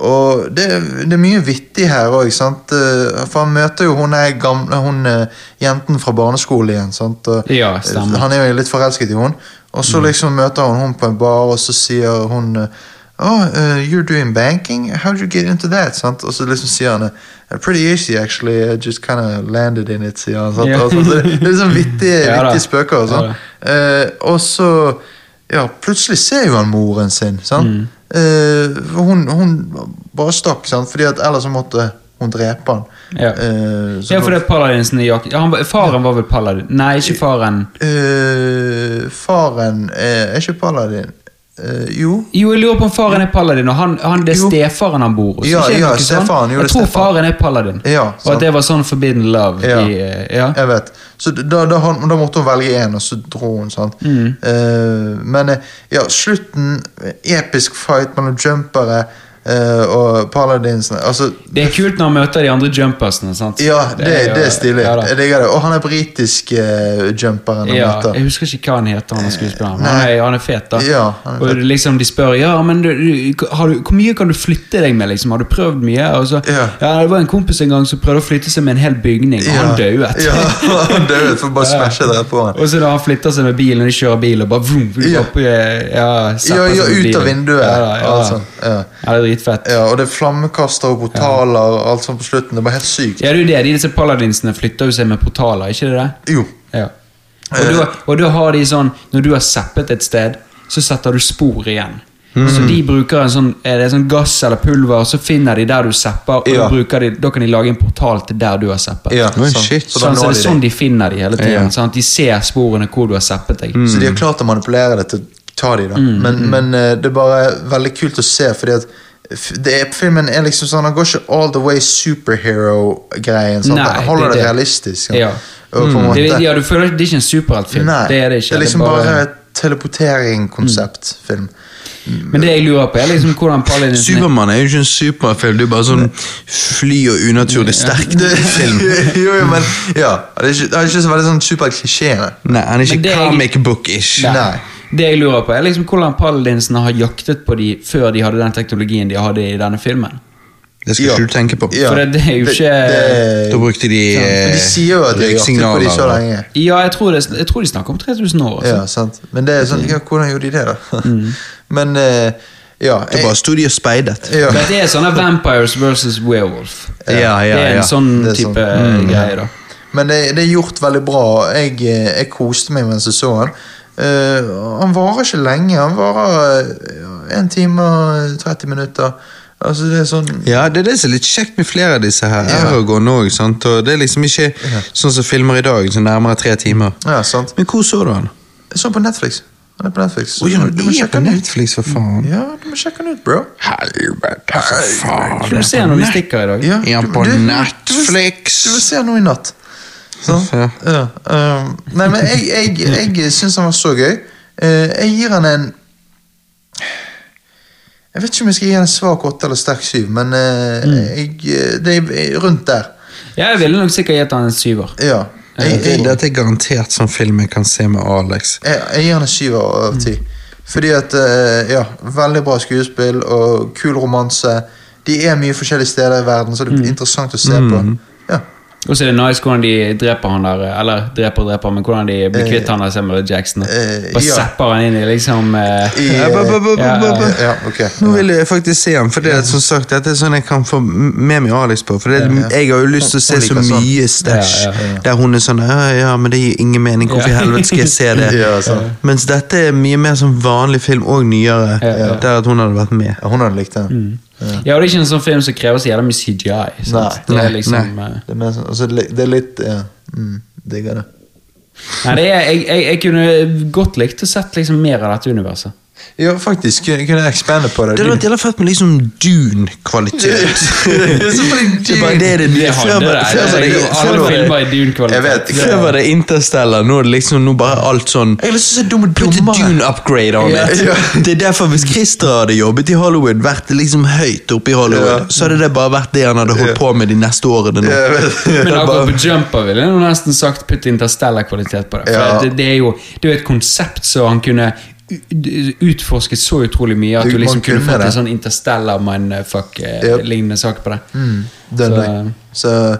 Speaker 2: Og det, det er mye vittig her òg, sant. Eh, For han møter jo hun, er gamle, hun eh, jenten fra barneskolen igjen. sant? Og,
Speaker 3: Ja, stemmer.
Speaker 2: han er jo litt forelsket i hun Og
Speaker 3: Mm.
Speaker 2: så liksom møter hun hun på en bar, og så sier hun eh, Oh, eh, you're doing banking? How did you get into that? Sant? Og så liksom sier han eh, Pretty easy, actually. I just kind of landed in it, sier han. Sant?
Speaker 3: Ja.
Speaker 2: Og sånn, så det det er liksom vittige,
Speaker 3: Ja da.
Speaker 2: vittige spøker og
Speaker 3: Ja
Speaker 2: sånn. Eh, og så Ja, plutselig ser jo han moren sin, sant?
Speaker 3: Mm.
Speaker 2: Eh, for hun, hun bare stakk, sant? Fordi at ellers så måtte hun drepe han.
Speaker 3: Ja.
Speaker 2: Eh, så
Speaker 3: Ja, for det er paladinsen i jakt... Ja, han var- faren var vel paladin? Nei, ikke faren.
Speaker 2: Eh, faren eh, er ikke paladin. Eh, jo.
Speaker 3: Jo, jeg lurer på om faren er paladin, og han, han, det er
Speaker 2: Jo.
Speaker 3: stefaren han bor hos.
Speaker 2: Ja,
Speaker 3: ikke det
Speaker 2: ja,
Speaker 3: noe sånn?
Speaker 2: stefaren, jo, det
Speaker 3: Jeg
Speaker 2: er
Speaker 3: tror
Speaker 2: stefaren.
Speaker 3: faren er paladin,
Speaker 2: Ja,
Speaker 3: og
Speaker 2: sant.
Speaker 3: at det var sånn forbidden love.
Speaker 2: Ja.
Speaker 3: I, eh, ja.
Speaker 2: Jeg vet. Så da, da, han, da måtte hun velge én, og så dro hun. sant?
Speaker 3: Mm.
Speaker 2: Eh, men eh, ja, slutten Episk fight mellom jumpere eh, og paladinsene. Altså,
Speaker 3: Det er kult når han møter de andre jumpersene. sant?
Speaker 2: ja, det, det,
Speaker 3: jo-
Speaker 2: er stilig.
Speaker 3: ja da.
Speaker 2: jeg digger det. Og han er britisk eh, jumperen. han
Speaker 3: Ja,
Speaker 2: møter.
Speaker 3: jeg husker ikke hva han heter, han er skuespilleren. men Han er, han er fet, da.
Speaker 2: Ja, han er
Speaker 3: og
Speaker 2: fet.
Speaker 3: liksom de spør ja, men du, du, har du, hvor mye kan du flytte deg med, liksom? Har du prøvd mye? Og så,
Speaker 2: Ja.
Speaker 3: Det var en kompis en gang som prøvde å flytte seg med en hel bygning, og
Speaker 2: ja.
Speaker 3: han døde.
Speaker 2: Ja, han døde, for bare smashet rett på han.
Speaker 3: Og så da han flytter seg med bilen, og de kjører bil, og bare vroom, vroom,
Speaker 2: Ja.
Speaker 3: opp i- ja,
Speaker 2: Ja,
Speaker 3: setter
Speaker 2: ja,
Speaker 3: seg med
Speaker 2: ut av
Speaker 3: bilen.
Speaker 2: vinduet.
Speaker 3: Ja, da, ja,
Speaker 2: og alt
Speaker 3: da.
Speaker 2: sånt. Ja.
Speaker 3: ja, det er dritfett.
Speaker 2: Ja, og det er flammekaster og portaler og alt sånt på slutten. Det er bare helt sykt.
Speaker 3: Ja, det er jo det. De disse paladinsene flytter jo seg med portaler, ikke det det?
Speaker 2: Jo.
Speaker 3: Ja.
Speaker 2: Eh.
Speaker 3: Og da, og da har de sånn Når du har zappet et sted, så setter du spor igjen.
Speaker 2: Mm.
Speaker 3: Så de bruker en sånn, er det sånn gass eller pulver, så finner de der du zapper, og
Speaker 2: Ja.
Speaker 3: da, bruker de, da kan de lage en portal til der du har zappet.
Speaker 2: Ja,
Speaker 4: Oi,
Speaker 2: sant.
Speaker 4: shit.
Speaker 2: Så, da
Speaker 3: sånn, så det
Speaker 2: når de
Speaker 3: er
Speaker 2: det.
Speaker 3: sånn de finner de hele tiden.
Speaker 4: Ja.
Speaker 3: Sant? De ser sporene hvor du har zappet deg.
Speaker 2: Mm. Så de
Speaker 3: Mm,
Speaker 2: har klart å manipulere det til å ta de da. Men, men eh, det er bare veldig kult å se, fordi at f- det er, Filmen er liksom sånn Han går ikke all the way superhero-greien. sant?
Speaker 3: Nei,
Speaker 2: Han holder
Speaker 3: det er
Speaker 2: det,
Speaker 3: det.
Speaker 2: realistisk. sant?
Speaker 3: Ja. Mm.
Speaker 2: Og på en måte,
Speaker 3: Det, ja, du føler det er ikke en superheltfilm.
Speaker 2: Nei,
Speaker 3: Det er det ikke.
Speaker 2: Det er liksom
Speaker 3: det er Mm.
Speaker 2: bare, teleportering-konseptfilm.
Speaker 3: Men det jeg lurer på, er liksom hvordan Paladin
Speaker 1: Supermann er jo ikke en superfilm, du er bare sånn fly og unaturlig sterk film.
Speaker 2: jo, jo, men ja. Det er ikke, det er ikke så veldig sånn superklisjé. nei.
Speaker 1: Nei, han er
Speaker 3: Men det
Speaker 1: ikke
Speaker 3: er-
Speaker 1: comic book-ish.
Speaker 3: Nei.
Speaker 2: Nei.
Speaker 3: Det jeg lurer på, er liksom hvordan paladinsene har jaktet på de før de hadde den teknologien de hadde i denne filmen.
Speaker 1: Det skal
Speaker 2: Ja.
Speaker 1: ikke du tenke på.
Speaker 2: Ja.
Speaker 3: For det- det er jo
Speaker 2: Det-
Speaker 3: ikke-
Speaker 2: det-
Speaker 1: Da brukte de eh,
Speaker 2: Men De sier jo at de har jaktet på de så lenge.
Speaker 3: Ja, jeg tror, det, jeg tror de snakker om 3000 år. Altså.
Speaker 2: Ja, sant. Men det er sånn,
Speaker 1: Mm.
Speaker 2: ja, hvordan gjorde de det, da? Men eh, ja,
Speaker 1: Da
Speaker 2: jeg,
Speaker 1: Mm. bare sto de og speidet.
Speaker 2: ja.
Speaker 3: Men det er sånne vampires versus werewolf.
Speaker 1: Ja, ja,
Speaker 3: det er en
Speaker 1: ja.
Speaker 3: sånn
Speaker 2: Det er
Speaker 3: type
Speaker 2: sånn.
Speaker 3: greie, da.
Speaker 2: Men det, det er gjort veldig bra. og Jeg, eh, jeg koste meg mens jeg så han. Eh, han varer ikke lenge. Han varer eh, 1 time og 30 minutter. Altså, det er sånn
Speaker 1: Ja, det er det som er litt kjekt med flere av disse her.
Speaker 2: Ja.
Speaker 1: Aragorn òg, sant. Og det er liksom ikke sånn som filmer i dag, som nærmere tre timer.
Speaker 2: Ja, sant.
Speaker 1: Men hvor så du han?
Speaker 2: Jeg så på Netflix. Han er på Netflix.
Speaker 1: Å ja,
Speaker 2: du, må
Speaker 1: det er
Speaker 2: sjekke
Speaker 1: på
Speaker 2: han ut.
Speaker 1: Netflix, for faen.
Speaker 2: Ja, du må sjekke han ut, bro.
Speaker 1: Helvete, for faen.
Speaker 3: Skal du se når vi
Speaker 1: sånn.
Speaker 3: stikker i dag?
Speaker 2: Ja,
Speaker 1: Er han på
Speaker 2: du- du-
Speaker 1: Netflix?
Speaker 2: Du vil se noe i natt. Sånn?
Speaker 1: Ja.
Speaker 2: Ja, ehm, nei, men jeg, jeg, jeg syns han var så gøy. Eh, jeg gir han en Jeg vet ikke om jeg skal gi han en svak åtte eller sterk syv, men eh,
Speaker 1: Mm.
Speaker 2: jeg, eh, det er rundt der.
Speaker 3: Ja, jeg ville nok sikkert gitt han en syver.
Speaker 2: Ja. Jeg, jeg,
Speaker 1: Dette
Speaker 2: jeg,
Speaker 1: dette er garantert sånn film jeg kan se med Alex.
Speaker 2: jeg gir han en syv av
Speaker 1: Mm.
Speaker 2: ti. Fordi at eh, Ja, veldig bra skuespill og kul romanse. De er mye forskjellige steder i verden, så det
Speaker 1: Mm.
Speaker 2: blir interessant å se på. Ja.
Speaker 3: Og så er det nice hvordan de dreper han der Eller dreper og dreper, men hvordan de blir kvitt han der Samuel L. Jackson.
Speaker 2: eh,
Speaker 3: Bare
Speaker 2: ja.
Speaker 3: zapper han inn i liksom eh,
Speaker 2: I, eh,
Speaker 1: Ja, ba, ba, ba,
Speaker 3: Ja,
Speaker 1: ba, ba.
Speaker 2: ja, ok.
Speaker 1: Nå vil jeg faktisk se den, for det er som sagt Dette er sånn jeg kan få med meg Alex på. For det, jeg har jo lyst til å se
Speaker 2: Hun
Speaker 1: så
Speaker 2: liker sånn.
Speaker 1: mye stæsj
Speaker 3: Ja, ja,
Speaker 1: der hun er sånn Ja, ja, men det gir ingen mening. Hvorfor i
Speaker 3: Ja.
Speaker 1: helvete skal jeg se det?
Speaker 2: Ja, sant.
Speaker 1: Mens dette er mye mer sånn vanlig film, og nyere,
Speaker 3: Ja, ja.
Speaker 1: der at hun hadde vært med.
Speaker 2: Ja, hun hadde likt den.
Speaker 1: Mm.
Speaker 3: Ja, og det er ikke en sånn film som krever så jævla mye CGI. Sant?
Speaker 2: Nei,
Speaker 3: det
Speaker 1: nei,
Speaker 3: er liksom eh,
Speaker 2: Det er, mer sånn, altså, det det er litt ja. mm, Digger det.
Speaker 3: Nei, det er, jeg, jeg, jeg kunne godt likt å sett liksom mer av dette universet.
Speaker 2: Ja, faktisk. Kunne kunne jeg expande på det?
Speaker 1: Det hadde vært jævla fett med liksom Dune-kvalitet. Det er bare det det
Speaker 3: Det
Speaker 1: blir.
Speaker 3: hadde
Speaker 1: Før
Speaker 3: det.
Speaker 1: var- før var
Speaker 3: det,
Speaker 1: det-
Speaker 3: alle
Speaker 1: før var det-
Speaker 3: filmer i
Speaker 2: Jeg
Speaker 3: Dune-kvalitet.
Speaker 2: vet ikke.
Speaker 1: Før var det Interstellar, nå er det liksom nå bare alt sånn
Speaker 2: Jeg har lyst til å se Dumme
Speaker 1: Put a
Speaker 2: dummere.
Speaker 1: dune upgrade on
Speaker 2: Ja.
Speaker 1: it.
Speaker 2: Ja.
Speaker 1: Det er derfor Hvis Christer hadde jobbet i Hollywood, vært liksom høyt oppe i Hollywood,
Speaker 2: Ja.
Speaker 1: så hadde det bare vært det han hadde holdt på med de neste årene. nå.
Speaker 2: Jeg vet.
Speaker 3: Men akkurat på Jumper ville jeg nå nesten sagt putt interstellar-kvalitet på det. For
Speaker 2: Ja.
Speaker 3: det, det, er jo, det er jo et konsept som han kunne u- utforsket så utrolig mye at
Speaker 2: Du,
Speaker 3: du liksom
Speaker 2: man
Speaker 3: kunne
Speaker 2: kunne
Speaker 3: fått
Speaker 2: det.
Speaker 3: en sånn interstellar-mindfuck-lignende
Speaker 2: Yep.
Speaker 3: eh, lignende sak på det.
Speaker 2: Mm. Den
Speaker 3: Så-
Speaker 2: der. Så,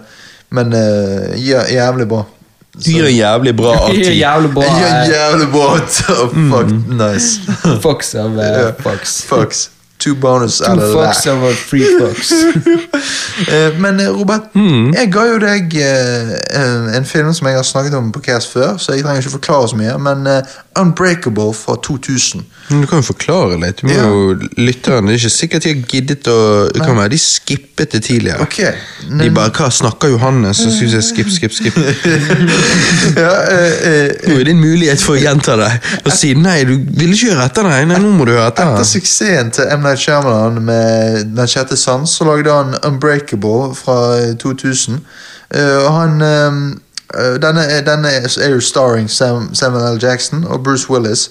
Speaker 2: men eh, ja, jævlig bra.
Speaker 1: Du gir en jævlig bra av
Speaker 3: Det er
Speaker 1: ti.
Speaker 3: Jævlig bra
Speaker 2: Ja,
Speaker 3: eh,
Speaker 2: jævlig bra! Fuck, nice.
Speaker 3: fox av eh,
Speaker 2: Ja.
Speaker 3: fox.
Speaker 2: Fucks. Two bonus out
Speaker 3: To
Speaker 2: of that.
Speaker 3: fox av a free fox.
Speaker 2: Eh, Men eh, Robert, jeg ga jo deg eh, eh, en film som jeg har snakket om på Cast før, så jeg trenger ikke forklare så mye, men eh, Unbreakable fra 2000.
Speaker 1: Men Du kan jo forklare litt. Du må
Speaker 2: Ja.
Speaker 1: jo lytterne, Det er ikke sikkert de har giddet å Det kan være de skippet det tidligere.
Speaker 2: Ok.
Speaker 1: De bare 'Hva snakker Johannes?' Så skulle jeg si skip, skip, skip.
Speaker 2: Ja, eh, eh,
Speaker 1: Nå er det en mulighet for å gjenta det. Og si 'nei, du ville ikke høre etter', nei. nei nå må du høre
Speaker 2: etter
Speaker 1: etter.
Speaker 2: suksessen til M. Night Shyamalan med Den sjette sans, så lagde han Unbreakable fra eh, 2000. Eh, og han eh, eh, denne, er- denne er jo starring Sam, Samuel L. Jackson og Bruce Willis.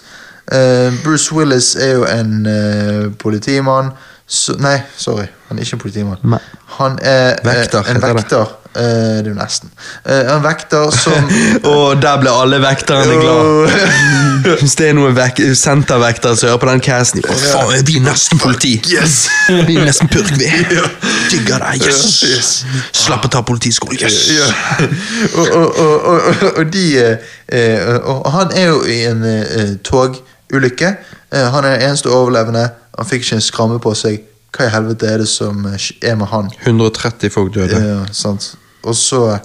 Speaker 2: Eh, Bruce Willis er jo en eh, politimann så, Nei, sorry. Han er ikke en politimann.
Speaker 1: Nei.
Speaker 2: Han er eh,
Speaker 1: Vekter,
Speaker 2: en
Speaker 1: heter det.
Speaker 2: vekter. Eh, det er jo nesten. Eh, en vekter som
Speaker 1: Og der ble alle vekterne glad. Hvis det er noen vek sentervektere som hører på den casten Å, faen, vi er nesten politi!
Speaker 2: Yes!
Speaker 1: Vi er nesten purk, vi. Digger deg, yes! Slapp å ta politiskole, yes!
Speaker 2: og, og, og, og, og- og de eh, eh, og Han er jo i en eh, togulykke. Eh, han er den eneste overlevende. Han fikk ikke en skramme på seg. Hva i helvete er det som eh, er med han?
Speaker 1: 130 folk døde.
Speaker 2: Ja, sant. Og så,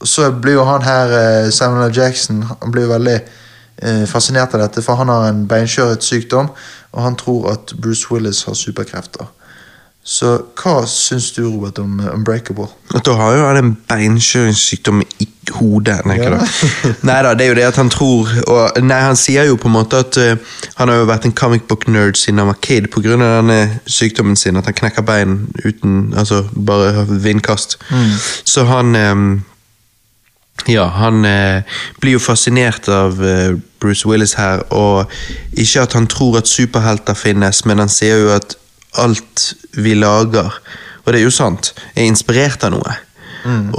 Speaker 2: og så blir jo han her, eh, Samuel L. Jackson, han blir jo veldig eh, fascinert av dette, for han har en beinskjøret sykdom, og han tror at Bruce Willis har superkrefter. Så hva syns du, Robert, om eh, Unbreakable?
Speaker 1: At da har jo han en beinkjøringssykdom i hodet. Nei,
Speaker 2: Ja.
Speaker 1: ja. nei da, det er jo det at han tror og, Nei, han sier jo på en måte at eh, han har jo vært en comic book nerd siden han var kid pga. denne sykdommen sin, at han knekker bein uten Altså bare har vindkast. Så han eh, Ja, han eh, blir jo fascinert av eh, Bruce Willis her, og ikke at han tror at superhelter finnes, men han ser jo at alt vi lager, og det er jo sant, er inspirert av noe.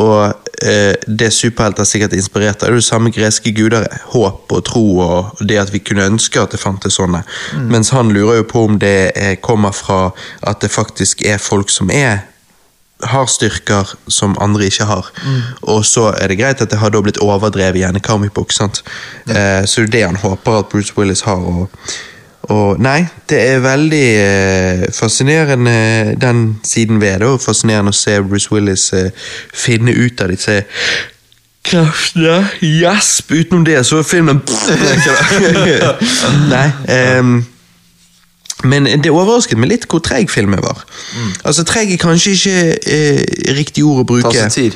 Speaker 1: Og eh, det superhelter sikkert er inspirert av, det er jo det samme greske guder, er. håp og tro og det at vi kunne ønske at det fantes sånne. Mens han lurer jo på om det eh, kommer fra at det faktisk er folk som er har styrker som andre ikke har. Og så er det greit at det har da blitt overdrevet i en comic book. Sant? Eh, så det er det han håper at Bruce Willis har. Og, og nei, det er veldig eh, fascinerende den siden ved det. Og fascinerende å se Bruce Willis eh, finne ut av disse kraftene. Gjesp! Utenom det, så er filmen Nei. ehm, men det overrasket meg litt hvor treig filmen var. Altså, Treig er kanskje ikke eh, riktig ord å bruke.
Speaker 2: Mm. Ta seg tid.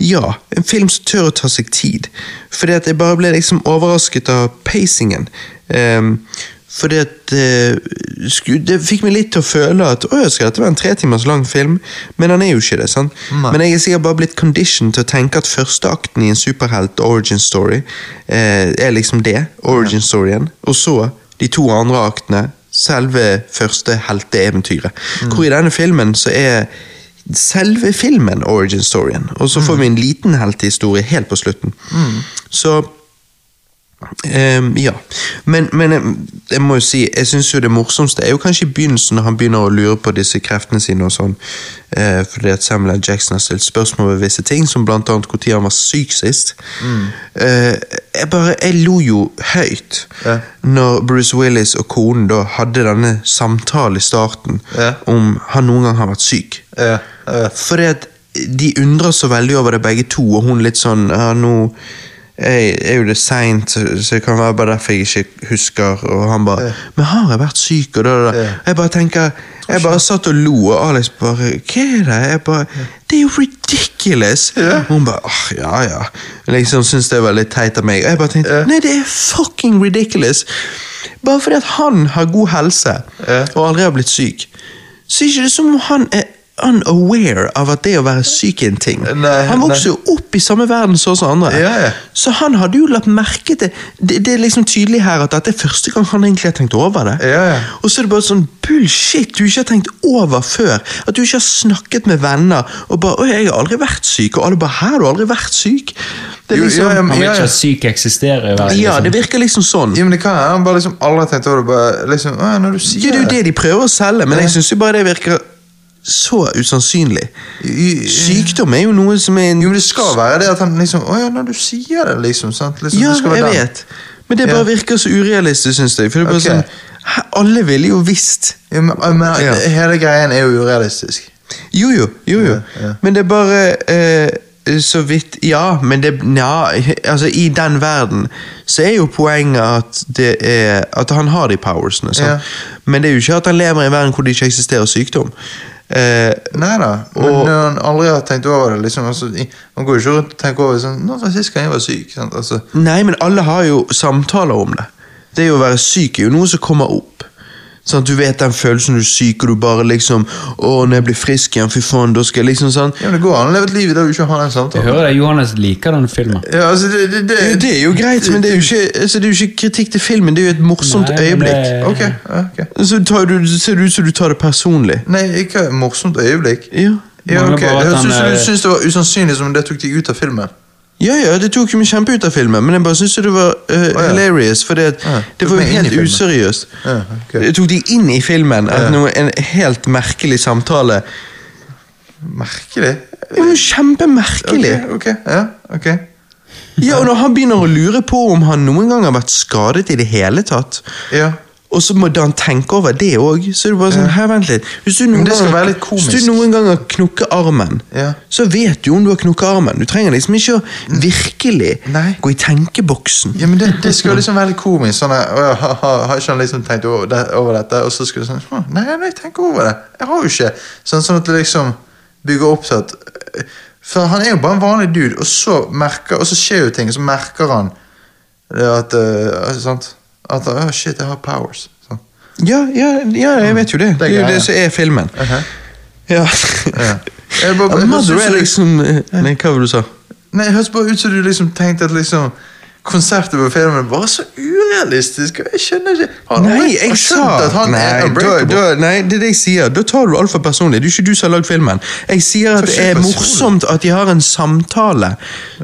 Speaker 1: Ja, en film som tør å ta seg tid. Fordi at jeg bare ble liksom overrasket av pacingen. Ehm, fordi at eh, sku, Det fikk meg litt til å føle at å, skal dette være en tre timers lang film? Men han er jo ikke det. sant?
Speaker 2: Nei.
Speaker 1: Men jeg er sikkert bare blitt conditioned til å tenke at førsteakten i en superhelt-origin story eh, er liksom det. Origin storyen. Og så de to andre aktene. Selve første helteeventyret. Hvor i denne filmen så er selve filmen origin storyen, og så får vi en liten heltehistorie helt på slutten. Så ehm, ja. Men, men jeg, jeg må jo si, jeg syns jo det morsomste er jo kanskje i begynnelsen, når han begynner å lure på disse kreftene sine og sånn, eh, fordi at Samuel L. Jackson har stilt spørsmål ved visse ting, som blant annet når han var syk sist.
Speaker 2: Mm.
Speaker 1: Eh, jeg bare Jeg lo jo høyt
Speaker 2: Ja.
Speaker 1: når Bruce Willis og konen da hadde denne samtalen i starten
Speaker 2: Ja.
Speaker 1: om han noen gang har vært syk.
Speaker 2: Ja, jeg vet.
Speaker 1: Fordi at de undrer så veldig over det begge to, og hun litt sånn ja, nå jeg er jo det seint, så det kan være bare derfor jeg ikke husker. Og han bare
Speaker 2: Ja.
Speaker 1: 'Men har jeg vært syk?' og da, da, da.
Speaker 2: Ja.
Speaker 1: Jeg bare tenker Jeg bare satt og lo, og Alex bare 'Hva er det?' Jeg bare 'Det er jo ridiculous!' Og Hun bare åh, ja, ja'. Liksom syntes det var litt teit av meg. Og jeg bare tenkte
Speaker 2: Ja.
Speaker 1: 'Nei, det er fucking ridiculous'. Bare fordi at han har god helse,
Speaker 2: Ja.
Speaker 1: og aldri har blitt syk, så er ikke det som om han er unaware av at det å være syk er en ting.
Speaker 2: Nei,
Speaker 1: han
Speaker 2: nei.
Speaker 1: vokser jo opp i samme verden som oss andre.
Speaker 2: Ja, ja.
Speaker 1: Så han hadde jo lagt merke til det, det er liksom tydelig her at dette er første gang han egentlig har tenkt over det.
Speaker 2: Ja, ja.
Speaker 1: Og så er det bare sånn bullshit du ikke har tenkt over før. At du ikke har snakket med venner og bare 'Å, jeg har aldri vært syk', og alle bare 'Hæ, du har aldri vært syk'? Det er
Speaker 2: Jo,
Speaker 1: liksom,
Speaker 2: ja, ja,
Speaker 3: Han vil
Speaker 2: ja,
Speaker 3: ikke
Speaker 2: ja.
Speaker 3: at syk eksisterer i verden.
Speaker 1: ja,
Speaker 3: liksom.
Speaker 1: det virker liksom sånn.
Speaker 2: Ja, men det kan jeg. Han bare liksom aldri har tenkt over det. Bare liksom, «Å, når du sier
Speaker 1: Ja, det er jo det de prøver å selge, men
Speaker 2: Ja.
Speaker 1: jeg syns jo bare det virker så usannsynlig.
Speaker 2: I- i-
Speaker 1: Sykdom er jo noe som er en
Speaker 2: Jo, men det skal være det at han liksom Å ja, når du sier det, liksom. sant? Liksom,
Speaker 1: Ja,
Speaker 2: det skal være
Speaker 1: jeg
Speaker 2: den.
Speaker 1: vet. Men det
Speaker 2: Ja.
Speaker 1: bare virker så urealistisk, syns jeg. For det er bare
Speaker 2: Ok.
Speaker 1: sånn, hæ, Alle ville jo visst.
Speaker 2: Ja, men, men
Speaker 1: Ja.
Speaker 2: hele greien er jo urealistisk.
Speaker 1: Jo, jo. jo, jo.
Speaker 2: Ja, ja.
Speaker 1: Men det er bare eh, så vidt Ja, men det Nja, altså, i den verden så er jo poenget at det er At han har de powersene, sant?
Speaker 2: Ja.
Speaker 1: Men det er jo ikke at han lever i en verden hvor det ikke eksisterer sykdom. Eh,
Speaker 2: Nei da, men
Speaker 1: Og-
Speaker 2: når han aldri har tenkt over det liksom, altså, i- Man går jo ikke rundt og tenker over sånn Nå var sist gang jeg var syk. Sant? Altså,
Speaker 1: Nei, men alle har jo samtaler om det. Det å være syk er jo noe som kommer opp. Sånn, at du vet den følelsen du er syk, og du bare liksom Å, når jeg blir frisk igjen, fy faen, da skal jeg liksom sånn
Speaker 2: ja, men det går an å leve et liv der du ikke har den
Speaker 3: Jeg
Speaker 2: samtalen.
Speaker 3: hører det, Johannes liker denne filmen.
Speaker 2: Ja, altså, det, det, det,
Speaker 1: Jo, Det er jo greit, men det er jo ikke, altså, det er jo ikke kritikk til filmen. Det er jo et morsomt
Speaker 3: Nei, men
Speaker 1: øyeblikk.
Speaker 3: det-
Speaker 2: Ok, ja, ok.
Speaker 1: eh, Så tar du, ser det ut som du tar det personlig.
Speaker 2: Nei, ikke et morsomt øyeblikk.
Speaker 1: Ja.
Speaker 2: Ja,
Speaker 3: Mangler
Speaker 2: ok.
Speaker 3: bare at
Speaker 2: Det høres
Speaker 3: han
Speaker 2: ut som
Speaker 3: er-
Speaker 2: du syns det var usannsynlig som det tok deg ut av filmen.
Speaker 1: Ja, ja, det tok jo meg kjempe ut av filmen, men jeg bare syntes jo det var eh,
Speaker 2: ja.
Speaker 1: hilarious, for det,
Speaker 2: Ja,
Speaker 1: det
Speaker 2: tok
Speaker 1: var
Speaker 2: meg
Speaker 1: jo
Speaker 2: inn
Speaker 1: helt
Speaker 2: i filmen.
Speaker 1: useriøst.
Speaker 2: Ja, ok.
Speaker 1: Det tok de inn i filmen, at noe, en helt merkelig samtale.
Speaker 2: Merkelig.
Speaker 1: Det var jo kjempemerkelig.
Speaker 2: Ok, ok, ja, ok.
Speaker 1: Ja, og når han begynner å lure på om han noen gang har vært skadet i det hele tatt,
Speaker 2: Ja.
Speaker 1: Og så må Dan tenke over det òg. Så er det bare sånn, her, vent litt. Hvis du, noen
Speaker 2: det skal
Speaker 1: ganger-
Speaker 2: være litt komisk.
Speaker 1: hvis du noen ganger knukker armen,
Speaker 2: Ja.
Speaker 1: så vet du om du har knukket armen. Du trenger liksom ikke å virkelig
Speaker 2: Nei.
Speaker 1: gå i tenkeboksen.
Speaker 2: Ja, men det, det skulle liksom være litt komisk. Sånn der, «Å, har, har- har ikke han liksom tenkt over, det, over dette? Og så skulle det sånn «Å, Nei, nei, jeg tenker over det. Jeg har jo ikke Sånn, sånn at det liksom bygger opp til at eh, For han er jo bare en vanlig dude, og så merker Og så skjer jo ting, og så merker han det at eh, Sant? At Å, shit, jeg har powers. Sånn.
Speaker 1: Ja, ja, ja, jeg vet jo Mm. det. Det er jo
Speaker 2: greia.
Speaker 1: det som er filmen.
Speaker 2: Mhm.
Speaker 1: Ja.
Speaker 2: Ja. Jeg bare-
Speaker 1: Ja,
Speaker 2: jeg
Speaker 1: Mother
Speaker 2: synes
Speaker 1: er
Speaker 2: jo-
Speaker 1: liksom eh, Nei, hva var det du sa?
Speaker 2: Nei, det høres bare ut som du liksom tenkte at liksom Konseptet på filmen var så urealistisk. og Jeg skjønner ikke Har noen
Speaker 1: Nei, jeg
Speaker 2: skjønt
Speaker 1: sa
Speaker 2: at han er
Speaker 1: nei, da,
Speaker 2: unbreakable?
Speaker 1: da, nei, det er det jeg sier. Da tar du det altfor personlig. Det er ikke du som har lagd filmen. Jeg sier at
Speaker 2: Tar
Speaker 1: det
Speaker 2: ikke
Speaker 1: er
Speaker 2: personlig.
Speaker 1: morsomt at de har en samtale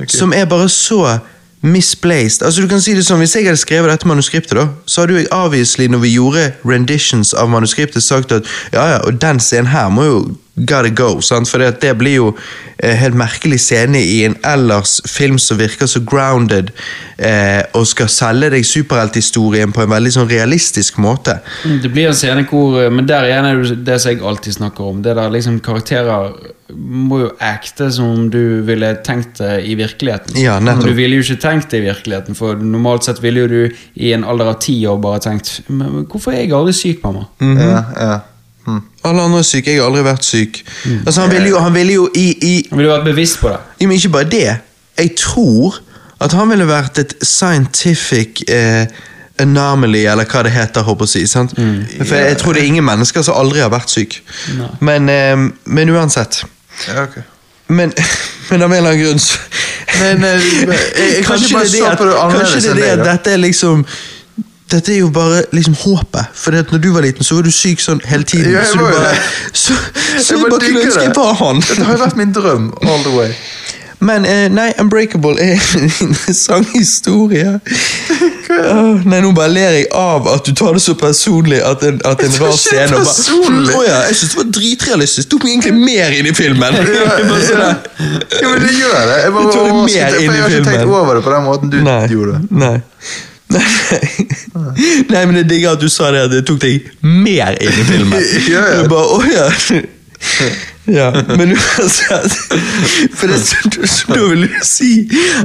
Speaker 1: som er bare så misplaced. Altså du kan si det sånn, Hvis jeg hadde skrevet dette manuskriptet, da, så hadde jo jeg obviously når vi gjorde renditions av manuskriptet, sagt at ja, ja, og den scenen her må jo gotta go. sant? For det blir jo eh, helt merkelig scene i en ellers film som virker så grounded, eh, og skal selge deg superhelthistorien på en veldig sånn realistisk måte.
Speaker 3: Mm, Det blir en scene hvor eh, Men der igjen er det jo det som jeg alltid snakker om. Det der liksom Karakterer må jo acte som om du ville tenkt det i virkeligheten.
Speaker 1: Ja, nettopp.
Speaker 3: Men Du ville jo ikke tenkt det i virkeligheten, for normalt sett ville jo du i en alder av ti år bare tenkt Men men hvorfor er jeg aldri syk, mamma?
Speaker 1: Mhm.
Speaker 2: Ja, ja. Mm.
Speaker 1: Alle andre er syke, jeg har aldri vært syk. Altså, han ville jo, han ville jo i, i
Speaker 3: Jeg ville vært bevisst på det.
Speaker 1: Ja, men ikke bare det. Jeg tror at han ville vært et scientific eh, anomaly, eller hva det heter. håper jeg å si, sant? For jeg tror det er ingen mennesker som aldri har vært syk.
Speaker 3: Nei.
Speaker 1: Men, eh, men uansett.
Speaker 2: Ja, ok.
Speaker 1: Men, men av en eller annen grunn så
Speaker 2: Nei, nei, eh, jeg- jeg kan ikke
Speaker 1: det
Speaker 2: bare
Speaker 1: er
Speaker 2: se
Speaker 1: at-
Speaker 2: på det annerledes
Speaker 1: Kanskje det er
Speaker 2: enn
Speaker 1: det
Speaker 2: deg,
Speaker 1: at
Speaker 2: da.
Speaker 1: dette er liksom dette er jo bare liksom håpet. For når du var liten, så var du syk sånn hele tiden.
Speaker 2: Ja, jeg
Speaker 1: så du
Speaker 2: var jo
Speaker 1: bare,
Speaker 2: det.
Speaker 1: så, så
Speaker 2: Jeg
Speaker 1: jeg bare kunne
Speaker 2: digger
Speaker 1: ønske
Speaker 2: det.
Speaker 1: jeg var han.
Speaker 2: Dette har jo vært min drøm all the way.
Speaker 1: Men eh, nei, Unbreakable er en interessant historie. Åh, nei, nå bare ler jeg av at du tar det så personlig at en, at en
Speaker 2: Jeg tar
Speaker 1: rar
Speaker 2: ikke det
Speaker 1: scene og bare
Speaker 2: personlig.
Speaker 1: Å ja, jeg synes det var dritrealistisk. Tok meg egentlig mer inn i filmen.
Speaker 2: Ja,
Speaker 1: Bare sånn
Speaker 2: ja.
Speaker 1: der.
Speaker 2: Jo, men det gjør det. Jeg bare
Speaker 1: Du tar det mer
Speaker 2: overrasket, for
Speaker 1: inn i
Speaker 2: jeg har ikke tenkt
Speaker 1: filmen.
Speaker 2: over det på den måten du
Speaker 1: Nei.
Speaker 2: gjorde det.
Speaker 1: Nei. Nei, nei. nei, men det digger at du sa det, at det tok deg mer inn i filmen.
Speaker 2: Ja, ja.
Speaker 1: Du bare, å ja. Ja, men uansett For det som du, som du vil jo si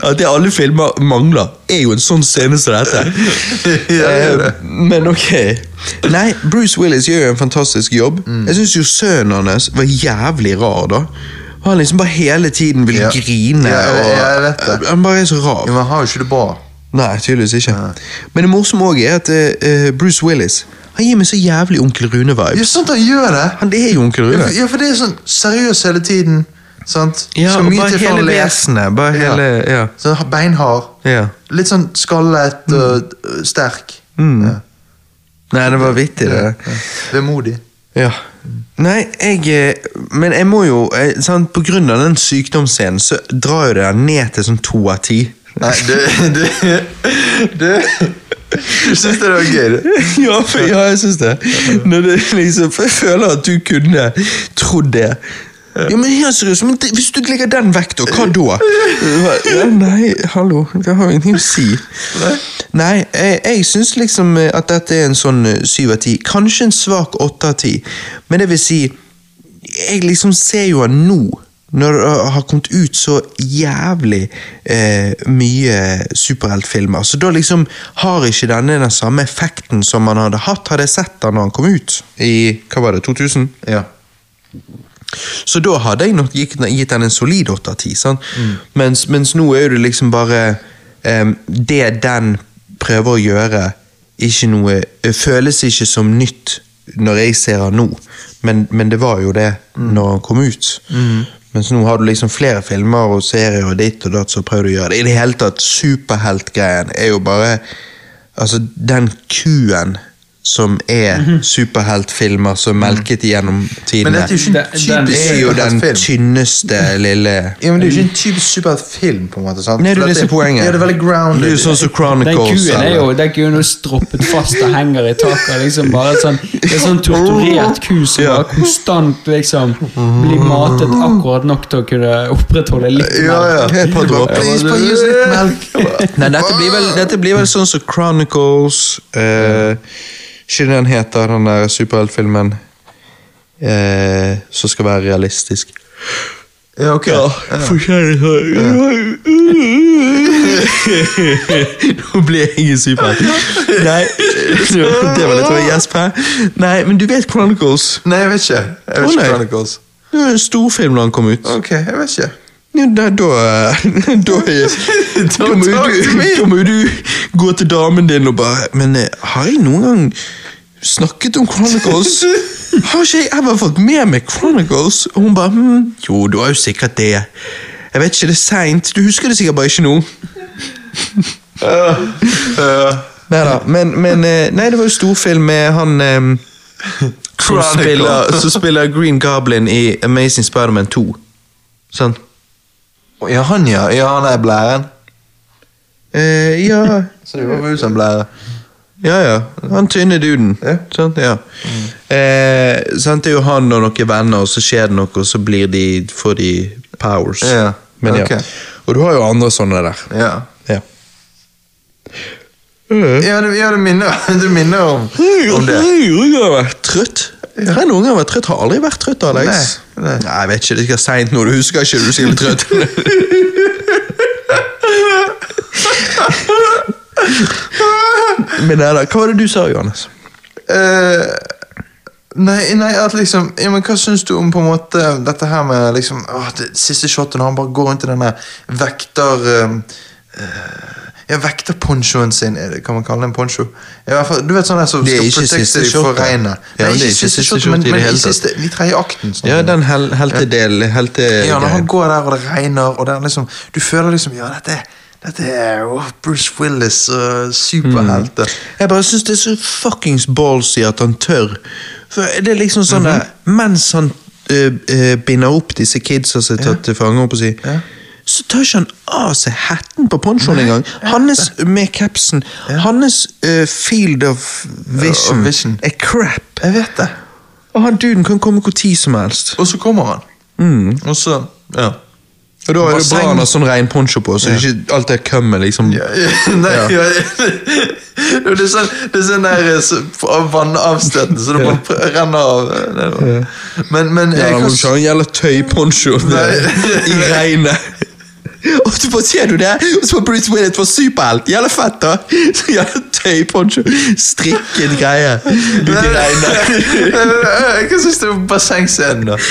Speaker 1: at det alle filmer mangler, er jo en sånn scene som dette.
Speaker 2: Ja, det er det.
Speaker 1: Eh, Men ok. Nei, Bruce Willis gjør jo en fantastisk jobb.
Speaker 2: Mm.
Speaker 1: Jeg syns jo sønnen hans var jævlig rar, da. Han liksom bare hele tiden vil
Speaker 2: Ja.
Speaker 1: grine.
Speaker 2: Ja, ja, jeg vet
Speaker 1: og,
Speaker 2: det.
Speaker 1: han bare er så rar.
Speaker 2: Jo, men han har jo ikke det bra.
Speaker 1: Nei, tydeligvis ikke. Men det morsomme også er at eh, eh, Bruce Willis Han gir meg så jævlig Onkel
Speaker 2: Ja,
Speaker 1: Rune-vibes.
Speaker 2: sant han gjør det!
Speaker 1: Han er jo Onkel
Speaker 2: Ja,
Speaker 1: Rune.
Speaker 2: for- Ja, for det er sånn seriøs hele tiden. Sant?
Speaker 1: Ja,
Speaker 2: Skal
Speaker 1: og
Speaker 2: mye
Speaker 1: bare
Speaker 2: til for han
Speaker 1: hele
Speaker 2: ler.
Speaker 1: vesenet. Bare
Speaker 2: Ja.
Speaker 1: hele Ja.
Speaker 2: Så han har beinhard.
Speaker 1: ja. Mm.
Speaker 2: Litt sånn skallet og øh, sterk. Ja.
Speaker 1: Nei, det var vittig, det.
Speaker 2: Vemodig.
Speaker 1: Ja. Nei, jeg eh, Men jeg må jo eh, sant, På grunn av den sykdomsscenen så drar jo det der ned til sånn to av ti.
Speaker 2: Nei, du Du, du, du syns det var gøy, du?
Speaker 1: ja, for, ja, jeg syns det. Når det liksom, for jeg føler at du kunne trodd det. Ja, men helt seriøst, men det, Hvis du legger den vekk, da, hva da? Ja, nei, hallo, det har jo ingenting å si. Nei, jeg, jeg syns liksom eh, at dette er en sånn eh, syv av ti. Kanskje en svak åtte av ti. Men det vil si, jeg liksom ser jo han nå. Når det har kommet ut så jævlig eh, mye superheltfilmer. Så da liksom har ikke denne den samme effekten som man hadde hatt hadde jeg sett den når han kom ut i hva var det, 2000.
Speaker 2: Ja.
Speaker 1: Så da hadde jeg nok gitt, gitt den en solid 8 av 10. Sant?
Speaker 2: Mm.
Speaker 1: Mens, mens nå er jo det liksom bare em, Det den prøver å gjøre, ikke noe, eh, føles ikke som nytt når jeg ser han nå, men, men det var jo det
Speaker 2: Mm.
Speaker 1: når han kom ut. Mens nå har du liksom flere filmer og serier og ditt og datt som prøver å gjøre det. I det hele tatt, superheltgreien er jo bare Altså, den kuen som er superheltfilmer som er melket gjennom tidene
Speaker 2: Mhm. Mm. Men dette er jo ikke en
Speaker 3: Den- den
Speaker 2: typisk
Speaker 1: det er jo den
Speaker 2: superheltfilm.
Speaker 1: tynneste lille
Speaker 2: Ja, men det er jo ikke en typisk superheltfilm, på en måte. sant?
Speaker 1: Nei, du,
Speaker 2: For
Speaker 1: det
Speaker 2: at
Speaker 1: Mm. er poenget.
Speaker 2: Ja, det er veldig grounded.
Speaker 1: Det er jo sånn som
Speaker 3: Den
Speaker 1: Chronicles.
Speaker 3: kuen er
Speaker 1: eller-
Speaker 3: jo den kuen er jo stroppet fast og henger i taket. Liksom bare et sånn, det er sånn torturert ku som bare konstant liksom blir matet akkurat nok til å kunne opprettholde litt
Speaker 2: ja, ja.
Speaker 1: Et par
Speaker 2: Det er bare,
Speaker 1: dråper.
Speaker 2: Please, bare gi oss litt melk.
Speaker 1: Nei, dette blir vel, dette blir vel sånn som Chronicles eh, Ikke den heter den der superheltfilmen eh, som skal være realistisk.
Speaker 2: Ja, ok.
Speaker 1: Ja, for Nå ble jeg en superhelt. Nei, det var litt av en gjesp her. Nei, men du vet Chronicles.
Speaker 2: Nei, jeg vet ikke. Jeg vet
Speaker 1: Å,
Speaker 2: ikke
Speaker 1: nei.
Speaker 2: Chronicles.
Speaker 1: Det var en storfilm da den kom ut.
Speaker 2: Ok, jeg vet ikke.
Speaker 1: Ja, da, da, da, da, må jo du, da må jo du gå til damen din og bare Men eh, har jeg noen gang snakket om Chronicles? Har ikke jeg ever fått med meg Chronicles? Og hun bare hm, Jo, du har jo sikkert det. Jeg vet ikke, det er seint. Du husker det sikkert bare ikke nå. Neida, men, men eh, Nei, det var jo storfilm med han eh, som,
Speaker 2: Chronicle.
Speaker 1: spiller, som spiller Green Goblin i Amazing Spiderman 2. Sant?
Speaker 2: Å, Sånn. Ja, han ja. Ja, han er blæren.
Speaker 1: Eh, ja.
Speaker 2: Så det var jo som blære.
Speaker 1: ja, ja. Han tynne duden.
Speaker 2: Ja. Mm.
Speaker 1: Sant? Ja. Eh, sant? Det er jo han og noen venner, og så skjer det noe, og så blir de, får de powers.
Speaker 2: Ja,
Speaker 1: Men ja.
Speaker 2: ok.
Speaker 1: Og du har jo andre sånne der.
Speaker 2: Ja.
Speaker 1: Ja.
Speaker 2: Ja, det, ja, det minner, det minner om, Eh, om det.
Speaker 1: Eh, Jeg har vært trøtt. Har jeg noen gang vært trøtt? Har aldri vært trøtt, Alex.
Speaker 2: Nei, nei.
Speaker 1: jeg vet ikke. Det er sikkert seint nå. Du husker ikke du er sikkert trøtt. Men nei da. Hva var det du sa, Johannes?
Speaker 2: Eh, nei, nei, at liksom ja, men Hva syns du om på en måte dette her med liksom åh, det siste shotet når han bare går rundt i denne vekter... eh, eh, ja, vekterponchoen sin, er det, kan man kalle det en poncho? I hvert fall, du vet sånn der som
Speaker 1: Det er
Speaker 2: skal
Speaker 1: ikke siste
Speaker 2: protekte deg
Speaker 1: shotet.
Speaker 2: for regnet.
Speaker 1: Ja,
Speaker 2: Nei,
Speaker 1: men det er ikke siste
Speaker 2: shotet,
Speaker 1: shotet
Speaker 2: men,
Speaker 1: i det
Speaker 2: men
Speaker 1: hele
Speaker 2: i
Speaker 1: tatt.
Speaker 2: siste, i tredje akten. Sånn.
Speaker 1: Ja, den hel heltedelen helte
Speaker 2: Ja, når han går der, og det regner, og det er liksom, du føler liksom Ja, dette, er- dette er åh, Bruce Willis, uh, superhelter.
Speaker 1: Jeg bare syns det er så fuckings ballsy at han tør. For det er liksom sånn der, Mens han eh, eh, binder opp disse kidsa som er tatt til fange, holdt på å si,
Speaker 2: Ja.
Speaker 1: så tar ikke han av seg hetten på ponchoen engang. Hans med capsen. Hans eh, field of vision,
Speaker 2: of vision.
Speaker 1: er crap.
Speaker 2: Jeg vet det.
Speaker 1: Og han duden kan komme hvor tid som helst.
Speaker 2: Og så kommer han.
Speaker 1: Mm.
Speaker 2: Og så Ja.
Speaker 1: Og da er det bra
Speaker 2: Basseng.
Speaker 1: han har sånn rein poncho på, så det ikke alt det kømmet liksom
Speaker 2: Nei, ja. Jo, det er sånn, det er sånn der eh, så, av vannavstøtende, så det bare pr- renner av. eh, nedover. Men, men
Speaker 1: Ja,
Speaker 2: jeg
Speaker 1: han
Speaker 2: kan
Speaker 1: må ikke ha en jævla tøyponcho i regnet. Og så bare ser du det, og så var Bruce Willis var superhelt. Jævla fett, da. Så Jævla tøyponcho. Strikket greie. Ut i regnet.
Speaker 2: Hva syns du om bassengscenen, da?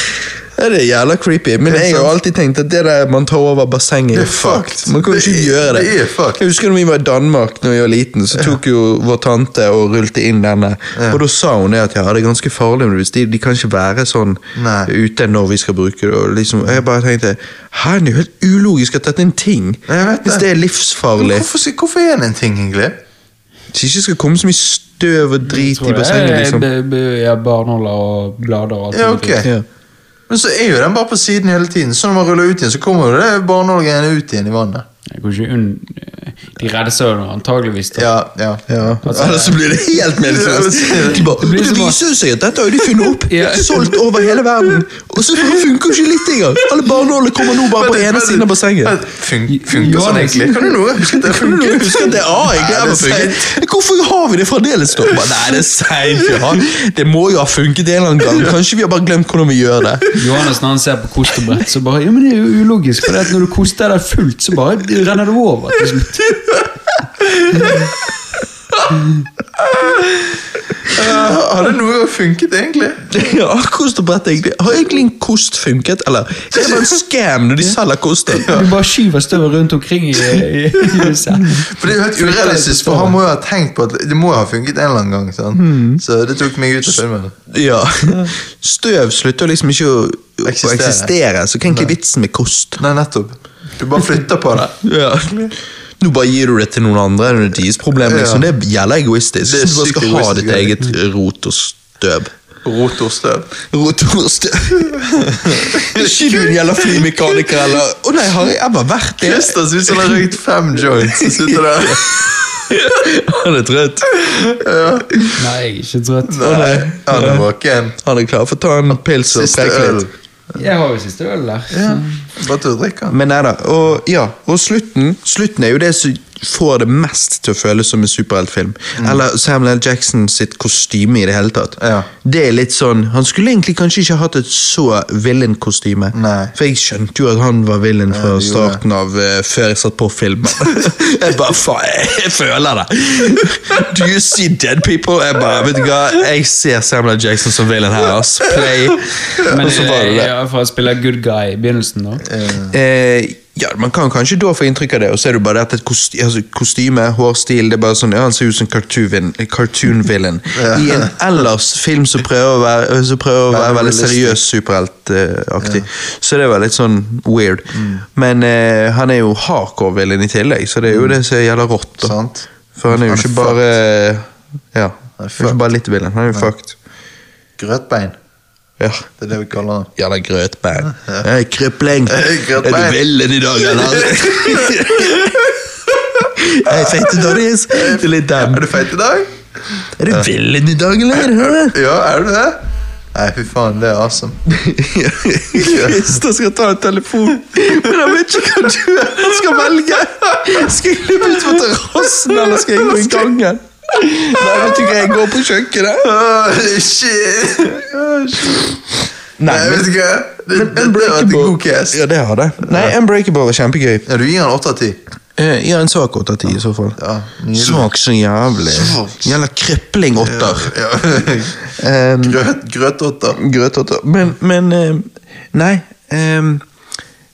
Speaker 1: Ja, det er jævla creepy, men jeg har jo alltid tenkt at det der man tar over bassenget, er fucked. Man kan jo
Speaker 2: Det
Speaker 1: ikke
Speaker 2: er-
Speaker 1: gjøre det.
Speaker 2: det er fucked.
Speaker 1: Jeg husker da vi var i Danmark når jeg var liten, så tok jo vår tante og rullte inn denne. Og da sa hun det at ja, det er ganske farlig, men hvis de, de kan ikke være sånn
Speaker 2: Nei.
Speaker 1: ute når vi skal bruke det. Og liksom, jeg bare tenkte Hæ, det er jo helt ulogisk at dette er en ting.
Speaker 2: Jeg vet det.
Speaker 1: Hvis det er livsfarlig.
Speaker 2: Hvorfor, hvorfor er det en ting, egentlig?
Speaker 1: Hvis det ikke skal komme så mye støv og drit
Speaker 3: Tror
Speaker 1: i
Speaker 3: jeg.
Speaker 1: bassenget, liksom.
Speaker 3: B- b- Ja, barnåler og blader og alt
Speaker 2: Ja,
Speaker 3: sånt.
Speaker 2: ok. Men så er jo den bare på siden hele tiden. Så når man ruller ut igjen, så kommer jo det barnehagegreiene ut igjen i vannet.
Speaker 3: Jeg går ikke unn... De redder seg jo antageligvis. da.
Speaker 2: Ja, ja.
Speaker 1: Ja.
Speaker 3: Altså,
Speaker 1: Ellers så blir det helt meningsløst. De bare,
Speaker 3: blir
Speaker 1: det
Speaker 3: så bra.
Speaker 1: viser jo seg at dette har jo de funnet opp.
Speaker 3: Ja.
Speaker 1: Solgt over hele verden. Og så funker ikke litt engang. Alle barnålene kommer nå bare på
Speaker 2: Men-
Speaker 1: ene
Speaker 2: men-
Speaker 1: siden av bassenget.
Speaker 2: men Fun funker
Speaker 3: Johannes.
Speaker 2: sånn, egentlig? Kan du noe? Husker at det
Speaker 1: Kan du
Speaker 2: funker?
Speaker 1: huske at det er A, egentlig?
Speaker 2: Nei, det er
Speaker 1: har funket? Hvorfor har vi det fremdeles, da? Bare, Nei, det er seint. Johan. Det må jo ha funket en eller annen gang. Kanskje vi har bare glemt hvordan vi gjør det.
Speaker 3: Johannes når han ser på kostebrett, så bare Ja, men det er jo ulogisk, for det at når du koster deg fullt, så bare renner det over Liksom, til slutt.
Speaker 2: Ja, Har det noe gang funket, egentlig?
Speaker 1: Ja, kost og brett, egentlig. Har egentlig en kost funket, eller? Er det bare en scam når de selger kosten?
Speaker 3: Du bare skyver støvet rundt omkring i, i, i huset.
Speaker 2: For det er jo helt urealistisk, for han må jo ha tenkt på at det må jo ha funket en eller annen gang. sant?
Speaker 1: Hmm.
Speaker 2: Så det tok meg ut av filmen.
Speaker 1: Ja. Støv slutter liksom ikke å, å
Speaker 2: Eksistere.
Speaker 1: eksistere. så hva er egentlig vitsen med kost?
Speaker 2: Nei, nettopp. Du bare flytter på det.
Speaker 1: Ja. Nå bare gir du det til noen andre, det er deres problem. Liksom.
Speaker 2: Ja.
Speaker 1: Det er jævla egoistisk.
Speaker 2: Det
Speaker 1: Så
Speaker 2: er
Speaker 1: du bare
Speaker 2: sykt
Speaker 1: skal ha
Speaker 2: egoistisk,
Speaker 1: ditt eget rot og støv.
Speaker 2: Rotorstøv.
Speaker 1: Rot og støv. ikke du en jævla flymekaniker, eller? Å nei, har jeg ever vært det?
Speaker 2: Christer ser ut som han har røykt fem joints. og sitter der.
Speaker 1: Han er trøtt.
Speaker 3: Nei, jeg er ikke trøtt.
Speaker 2: Nei, Han er våken.
Speaker 1: Han er klar for å ta en pils og
Speaker 2: Siste
Speaker 1: preke
Speaker 2: øl.
Speaker 1: litt.
Speaker 3: Jeg har jo siste øl der.
Speaker 2: Bare til å drikke den.
Speaker 1: Men nei da. Og, ja, og slutten Slutten er jo det som får det mest til å føles som en superheltfilm. Eller Samuel L. Jackson sitt kostyme i det hele tatt.
Speaker 2: Mm. Ja.
Speaker 1: Det er litt sånn, Han skulle egentlig kanskje ikke hatt et så villain-kostyme.
Speaker 2: Nei.
Speaker 1: For jeg skjønte jo at han var villain fra
Speaker 2: Ja, du gjorde det.
Speaker 1: starten av eh, før jeg satt på filmen. jeg bare faen, jeg, jeg føler det! Do you see dead people? Jeg bare, vet du hva, jeg ser Samuel L. Jackson som villain her, ass. Play.
Speaker 3: Men eh,
Speaker 1: Og så var det det.
Speaker 3: ja, for å spille good guy i begynnelsen, da.
Speaker 1: Eh, ja, Man kan kanskje da få inntrykk av det, og så er det bare det at et kosti altså, kostyme, hårstil det er bare sånn, ja, Han ser ut som cartoon, cartoon villain. I en ellers film som prøver å være, som prøver å være veldig
Speaker 2: realistisk.
Speaker 1: seriøs superheltaktig. Så det var litt sånn weird.
Speaker 2: Mm.
Speaker 1: Men eh, han er jo hardcore villain i tillegg, så det er jo det som gjelder rått. da.
Speaker 2: Mm. Sant.
Speaker 1: For han er
Speaker 2: Han
Speaker 1: jo
Speaker 2: er
Speaker 1: ikke bare eh, Ja, han
Speaker 2: er
Speaker 1: er ikke bare litt villain, han er jo fucked.
Speaker 2: Grøtbein.
Speaker 1: Ja.
Speaker 2: Det er det vi kaller den.
Speaker 1: Jævla grøtbein. Hey, krøpling.
Speaker 2: Krøpling.
Speaker 1: Er du villen i dag, eller? Hei, feite Doris. Det er litt dem.
Speaker 2: Er du feit i dag?
Speaker 1: Er du villen i dag, eller? Hæ?
Speaker 2: Ja, er du det? Nei, fy faen, det er awesome.
Speaker 1: Christer skal ta en telefon, men han vet ikke hva du er. Han skal velge. Skal jeg løpe ut på terrassen, eller skal jeg gå i gangen? Nei, vet du hva, jeg går på kjøkkenet.
Speaker 2: Åh, shit! Åh, shit.
Speaker 1: Nei,
Speaker 2: Jeg
Speaker 1: men
Speaker 2: vet ikke. Det, det, det var et god cast.
Speaker 1: Ja, det har det. Nei, Unbreakable er kjempegøy.
Speaker 2: Ja, du gir den 8 av 10.
Speaker 1: Eh, Ja, en svak åtte av ti, i så fall.
Speaker 2: Ja, nydelig.
Speaker 1: Svak så jævlig.
Speaker 2: Svak.
Speaker 1: Gjelder krøpling åtter.
Speaker 2: Ja.
Speaker 1: Um,
Speaker 2: Grøt, grøtåtter.
Speaker 1: Grøtåtter. Men, men ehm, Nei. ehm,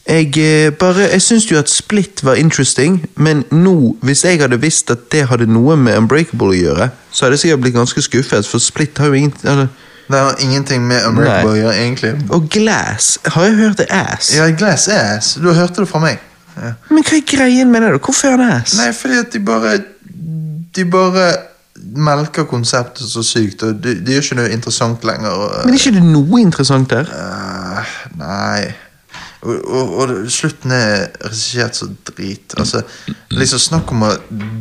Speaker 1: jeg eh, bare Jeg syns jo at Split var interesting, men nå, hvis jeg hadde visst at det hadde noe med Unbreakable å gjøre, så hadde jeg sikkert blitt ganske skuffet, for Split har jo ingen altså, eller-
Speaker 2: Det har ingenting med Unbreakable å gjøre, egentlig.
Speaker 1: Og Glass har jeg hørt er ass.
Speaker 2: Ja, Glass Ass. Du hørte det fra meg. Ja.
Speaker 1: Men hva er greien med det? da? Hvorfor er han ass?
Speaker 2: Nei, fordi at de bare De bare melker konseptet så sykt, og det det gjør ikke noe interessant lenger. Og,
Speaker 1: Men er ikke det noe interessant der?
Speaker 2: Eh, nei og, og, og slutten er regissert så drit. Altså, liksom Snakk om å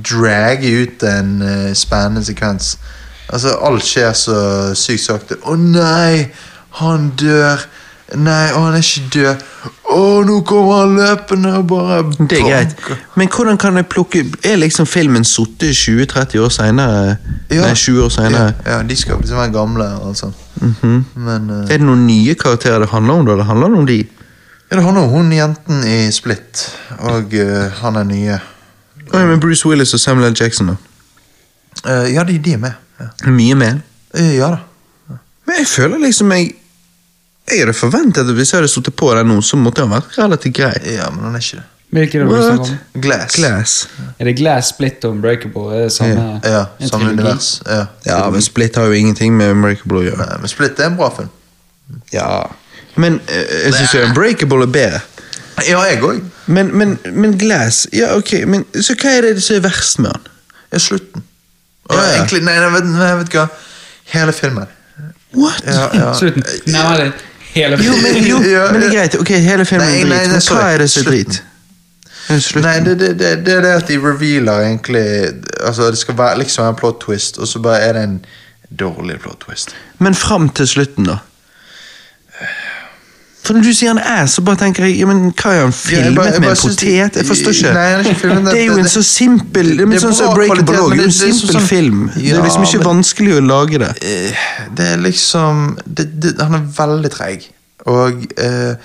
Speaker 2: dragge ut en eh, spennende sekvens. Altså, alt skjer så sykt sakte. Å nei, han dør. Nei, å, han er ikke død. Å, nå kommer han løpende og bare
Speaker 1: Det er greit. Men hvordan kan jeg plukke Er liksom filmen sittet 20-30 år senere?
Speaker 2: Ja.
Speaker 1: Nei, 20 år
Speaker 2: Ja,
Speaker 1: senere. Mhm.
Speaker 2: ja, de skal liksom være gamle og alt sånt. Men eh,
Speaker 1: Er det noen nye karakterer det handler om, da? Det handler om de.
Speaker 2: ja, det handler om hun jenten i Split, og eh, han er nye.
Speaker 1: Oi, men Bruce Willis og Samuel L. Jackson, da.
Speaker 2: Eh, ja, de, de er med. Ja,
Speaker 1: Mye med.
Speaker 2: Eh, ja da.
Speaker 1: Men jeg føler liksom jeg Jeg hadde forventet at hvis jeg hadde sittet på den nå, så måtte den vært relativt grei.
Speaker 2: Ja, men han er ikke det.
Speaker 3: Hvilken er det du
Speaker 1: What?
Speaker 3: snakker om?
Speaker 2: Glass.
Speaker 1: Glass.
Speaker 3: Er det Glass, Split og Unbreakable? Er det samme,
Speaker 2: Ja,
Speaker 3: en
Speaker 2: samme
Speaker 3: trilogi?
Speaker 2: univers. Ja.
Speaker 1: Ja, men Split har jo ingenting med Unbreakable å gjøre.
Speaker 2: Nei, men Split er en bra film.
Speaker 1: Ja. Men eh, jeg syns Unbreakable er bedre.
Speaker 2: Ja, jeg òg.
Speaker 1: Men, men, men Glass Ja, ok, men så hva er det som er verst med han?
Speaker 2: Ja, slutten. Og
Speaker 1: Ja, ja.
Speaker 2: egentlig, nei, nei, vet, nei, vet du hva. Hele filmen.
Speaker 1: What?
Speaker 2: Ja, ja.
Speaker 3: Slutten. Nei, det er hele
Speaker 1: Jo, men, jo,
Speaker 2: Ja,
Speaker 1: men det er
Speaker 2: ja.
Speaker 1: greit. Ok, hele filmen
Speaker 2: Nei,
Speaker 1: er
Speaker 2: nei,
Speaker 1: drit, men hva
Speaker 2: sorry.
Speaker 1: er det som er drit? Eh, Slutten.
Speaker 2: Nei, det, det, det, det er det at de revealer egentlig Altså, det skal være, liksom være en plot twist, og så bare er det en dårlig plot twist.
Speaker 1: Men fram til slutten, da? For når du sier han er, så bare tenker jeg ja, men Hva er han filmet
Speaker 2: jeg bare- jeg
Speaker 1: med?
Speaker 2: bare
Speaker 1: En
Speaker 2: synes-
Speaker 1: potet? Jeg forstår ikke.
Speaker 2: Nei, han er ikke filmet med-
Speaker 1: det er jo en
Speaker 2: det-
Speaker 1: så simpel det, er
Speaker 2: det er
Speaker 1: sånn som
Speaker 2: bra
Speaker 1: Breakable
Speaker 2: kvalitet,
Speaker 1: også,
Speaker 2: men
Speaker 1: det er jo
Speaker 2: det- det er
Speaker 1: en
Speaker 2: så
Speaker 1: simpel
Speaker 2: sånn-
Speaker 1: film. det
Speaker 2: Ja,
Speaker 1: er liksom ikke
Speaker 2: men-
Speaker 1: vanskelig å lage det.
Speaker 2: Eh, Det er liksom det, det, Han er veldig treig. Og eh,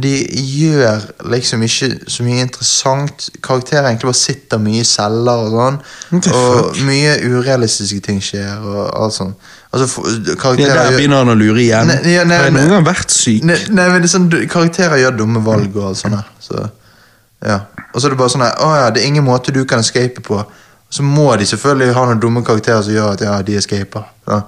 Speaker 2: de gjør liksom ikke så mye interessant. Karakterer egentlig bare sitter mye i celler og sånn.
Speaker 1: the
Speaker 2: Og mye urealistiske ting skjer og alt sånn. Altså, for,
Speaker 1: Ja,
Speaker 2: karakterer
Speaker 1: der
Speaker 2: gjør-
Speaker 1: begynner han å lure igjen.
Speaker 2: Nei, ja, nei,
Speaker 1: Har jeg
Speaker 2: men-
Speaker 1: noen gang vært syk?
Speaker 2: Nei, nei, men det er sånn, du- karakterer gjør dumme valg og alt sånt. her, Så, ja. Og så er det bare sånn her, Å ja, det er ingen måte du kan escape på. Så må de selvfølgelig ha noen dumme karakterer som gjør at ja, de escaper. Ja.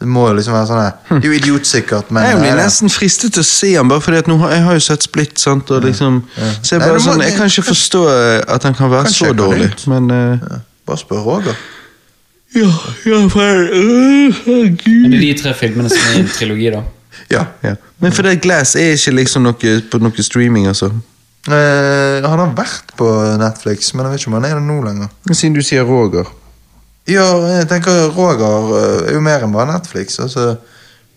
Speaker 2: Det må jo liksom være sånn her. Det er jo idiotsikkert, men eh,
Speaker 1: Jeg blir
Speaker 2: ja, ja.
Speaker 1: nesten fristet til å se han bare fordi at nå har, jeg har jo sett Splitt. sant? Og liksom, så jeg,
Speaker 2: Nei,
Speaker 1: bare,
Speaker 2: du må-
Speaker 1: sånn, jeg kan ikke forstå eh, at han kan være
Speaker 2: Kanskje
Speaker 1: så
Speaker 2: jeg kan
Speaker 1: dårlig.
Speaker 2: ut.
Speaker 1: Men eh,
Speaker 2: Ja. Bare spør Roger.
Speaker 1: ja, ja, for, øh, Gud.
Speaker 3: Men det er de tre filmene som er i en trilogi, da.
Speaker 2: Ja.
Speaker 1: Ja. Men for det Glass er ikke liksom noe på noe streaming, altså.
Speaker 2: Eh, han har vært på Netflix, men jeg vet ikke om han er det nå lenger.
Speaker 1: Siden du sier Roger.
Speaker 2: Ja, jeg tenker Roger eh, er jo mer enn bare Netflix. Altså,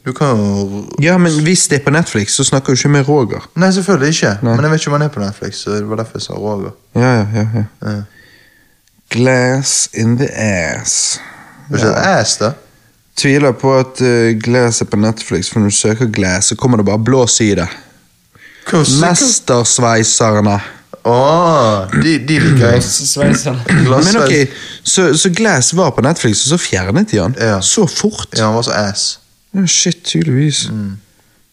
Speaker 2: du kan jo
Speaker 1: Ja, men hvis det er på Netflix, så snakker du ikke med Roger.
Speaker 2: Nei, selvfølgelig ikke.
Speaker 1: Nei.
Speaker 2: Men jeg vet ikke om han er på Netflix, så det var derfor jeg sa Roger.
Speaker 1: Ja, ja, ja, ja.
Speaker 2: Ja.
Speaker 1: Glass in the ass.
Speaker 2: Var ikke det ass, da?
Speaker 1: Tviler på at eh, Glass er på Netflix, for når du søker Glass, så kommer det bare blå side.
Speaker 2: Hva-
Speaker 1: Mestersveiserne.
Speaker 2: Åh, de, de liker jeg.
Speaker 3: Sveiserne.
Speaker 2: Glass-
Speaker 1: Men ok, så, så Glass var på Netflix, og så fjernet de han.
Speaker 2: Ja.
Speaker 1: Så fort.
Speaker 2: Ja, han var så ass.
Speaker 1: Ja, shit, tydeligvis.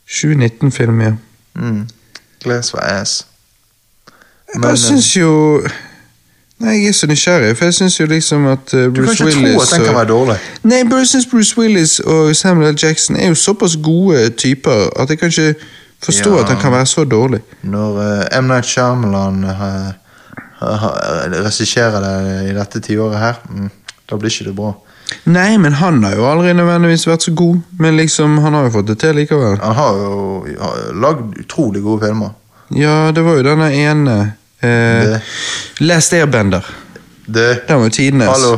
Speaker 1: 2019-film, ja.
Speaker 2: Mm. Glass var ass.
Speaker 1: Jeg
Speaker 2: Men, eh,
Speaker 1: bare syns jo Nei, jeg er så nysgjerrig, for jeg syns jo liksom at eh,
Speaker 2: Du kan
Speaker 1: Bruce
Speaker 2: ikke
Speaker 1: Willis
Speaker 2: tro at den kan
Speaker 1: og-
Speaker 2: være dårlig.
Speaker 1: Nei, bare jeg synes Bruce Willis og Samuel L. Jackson er jo såpass gode typer at jeg kan ikke forstå
Speaker 2: Ja.
Speaker 1: at han kan være så dårlig.
Speaker 2: Når eh, M. Night Shyamalan eh, ha- ha- regisserer det i dette tiåret her, mm, da blir ikke det bra.
Speaker 1: Nei, men han har jo aldri nødvendigvis vært så god, men liksom, han har jo fått det til likevel.
Speaker 2: Han har jo har jo lagd utrolig gode filmer.
Speaker 1: Ja, det var jo denne ene eh,
Speaker 2: Det.
Speaker 1: Last Airbender.
Speaker 2: Det
Speaker 1: Den var jo tidenes.
Speaker 2: Hallo.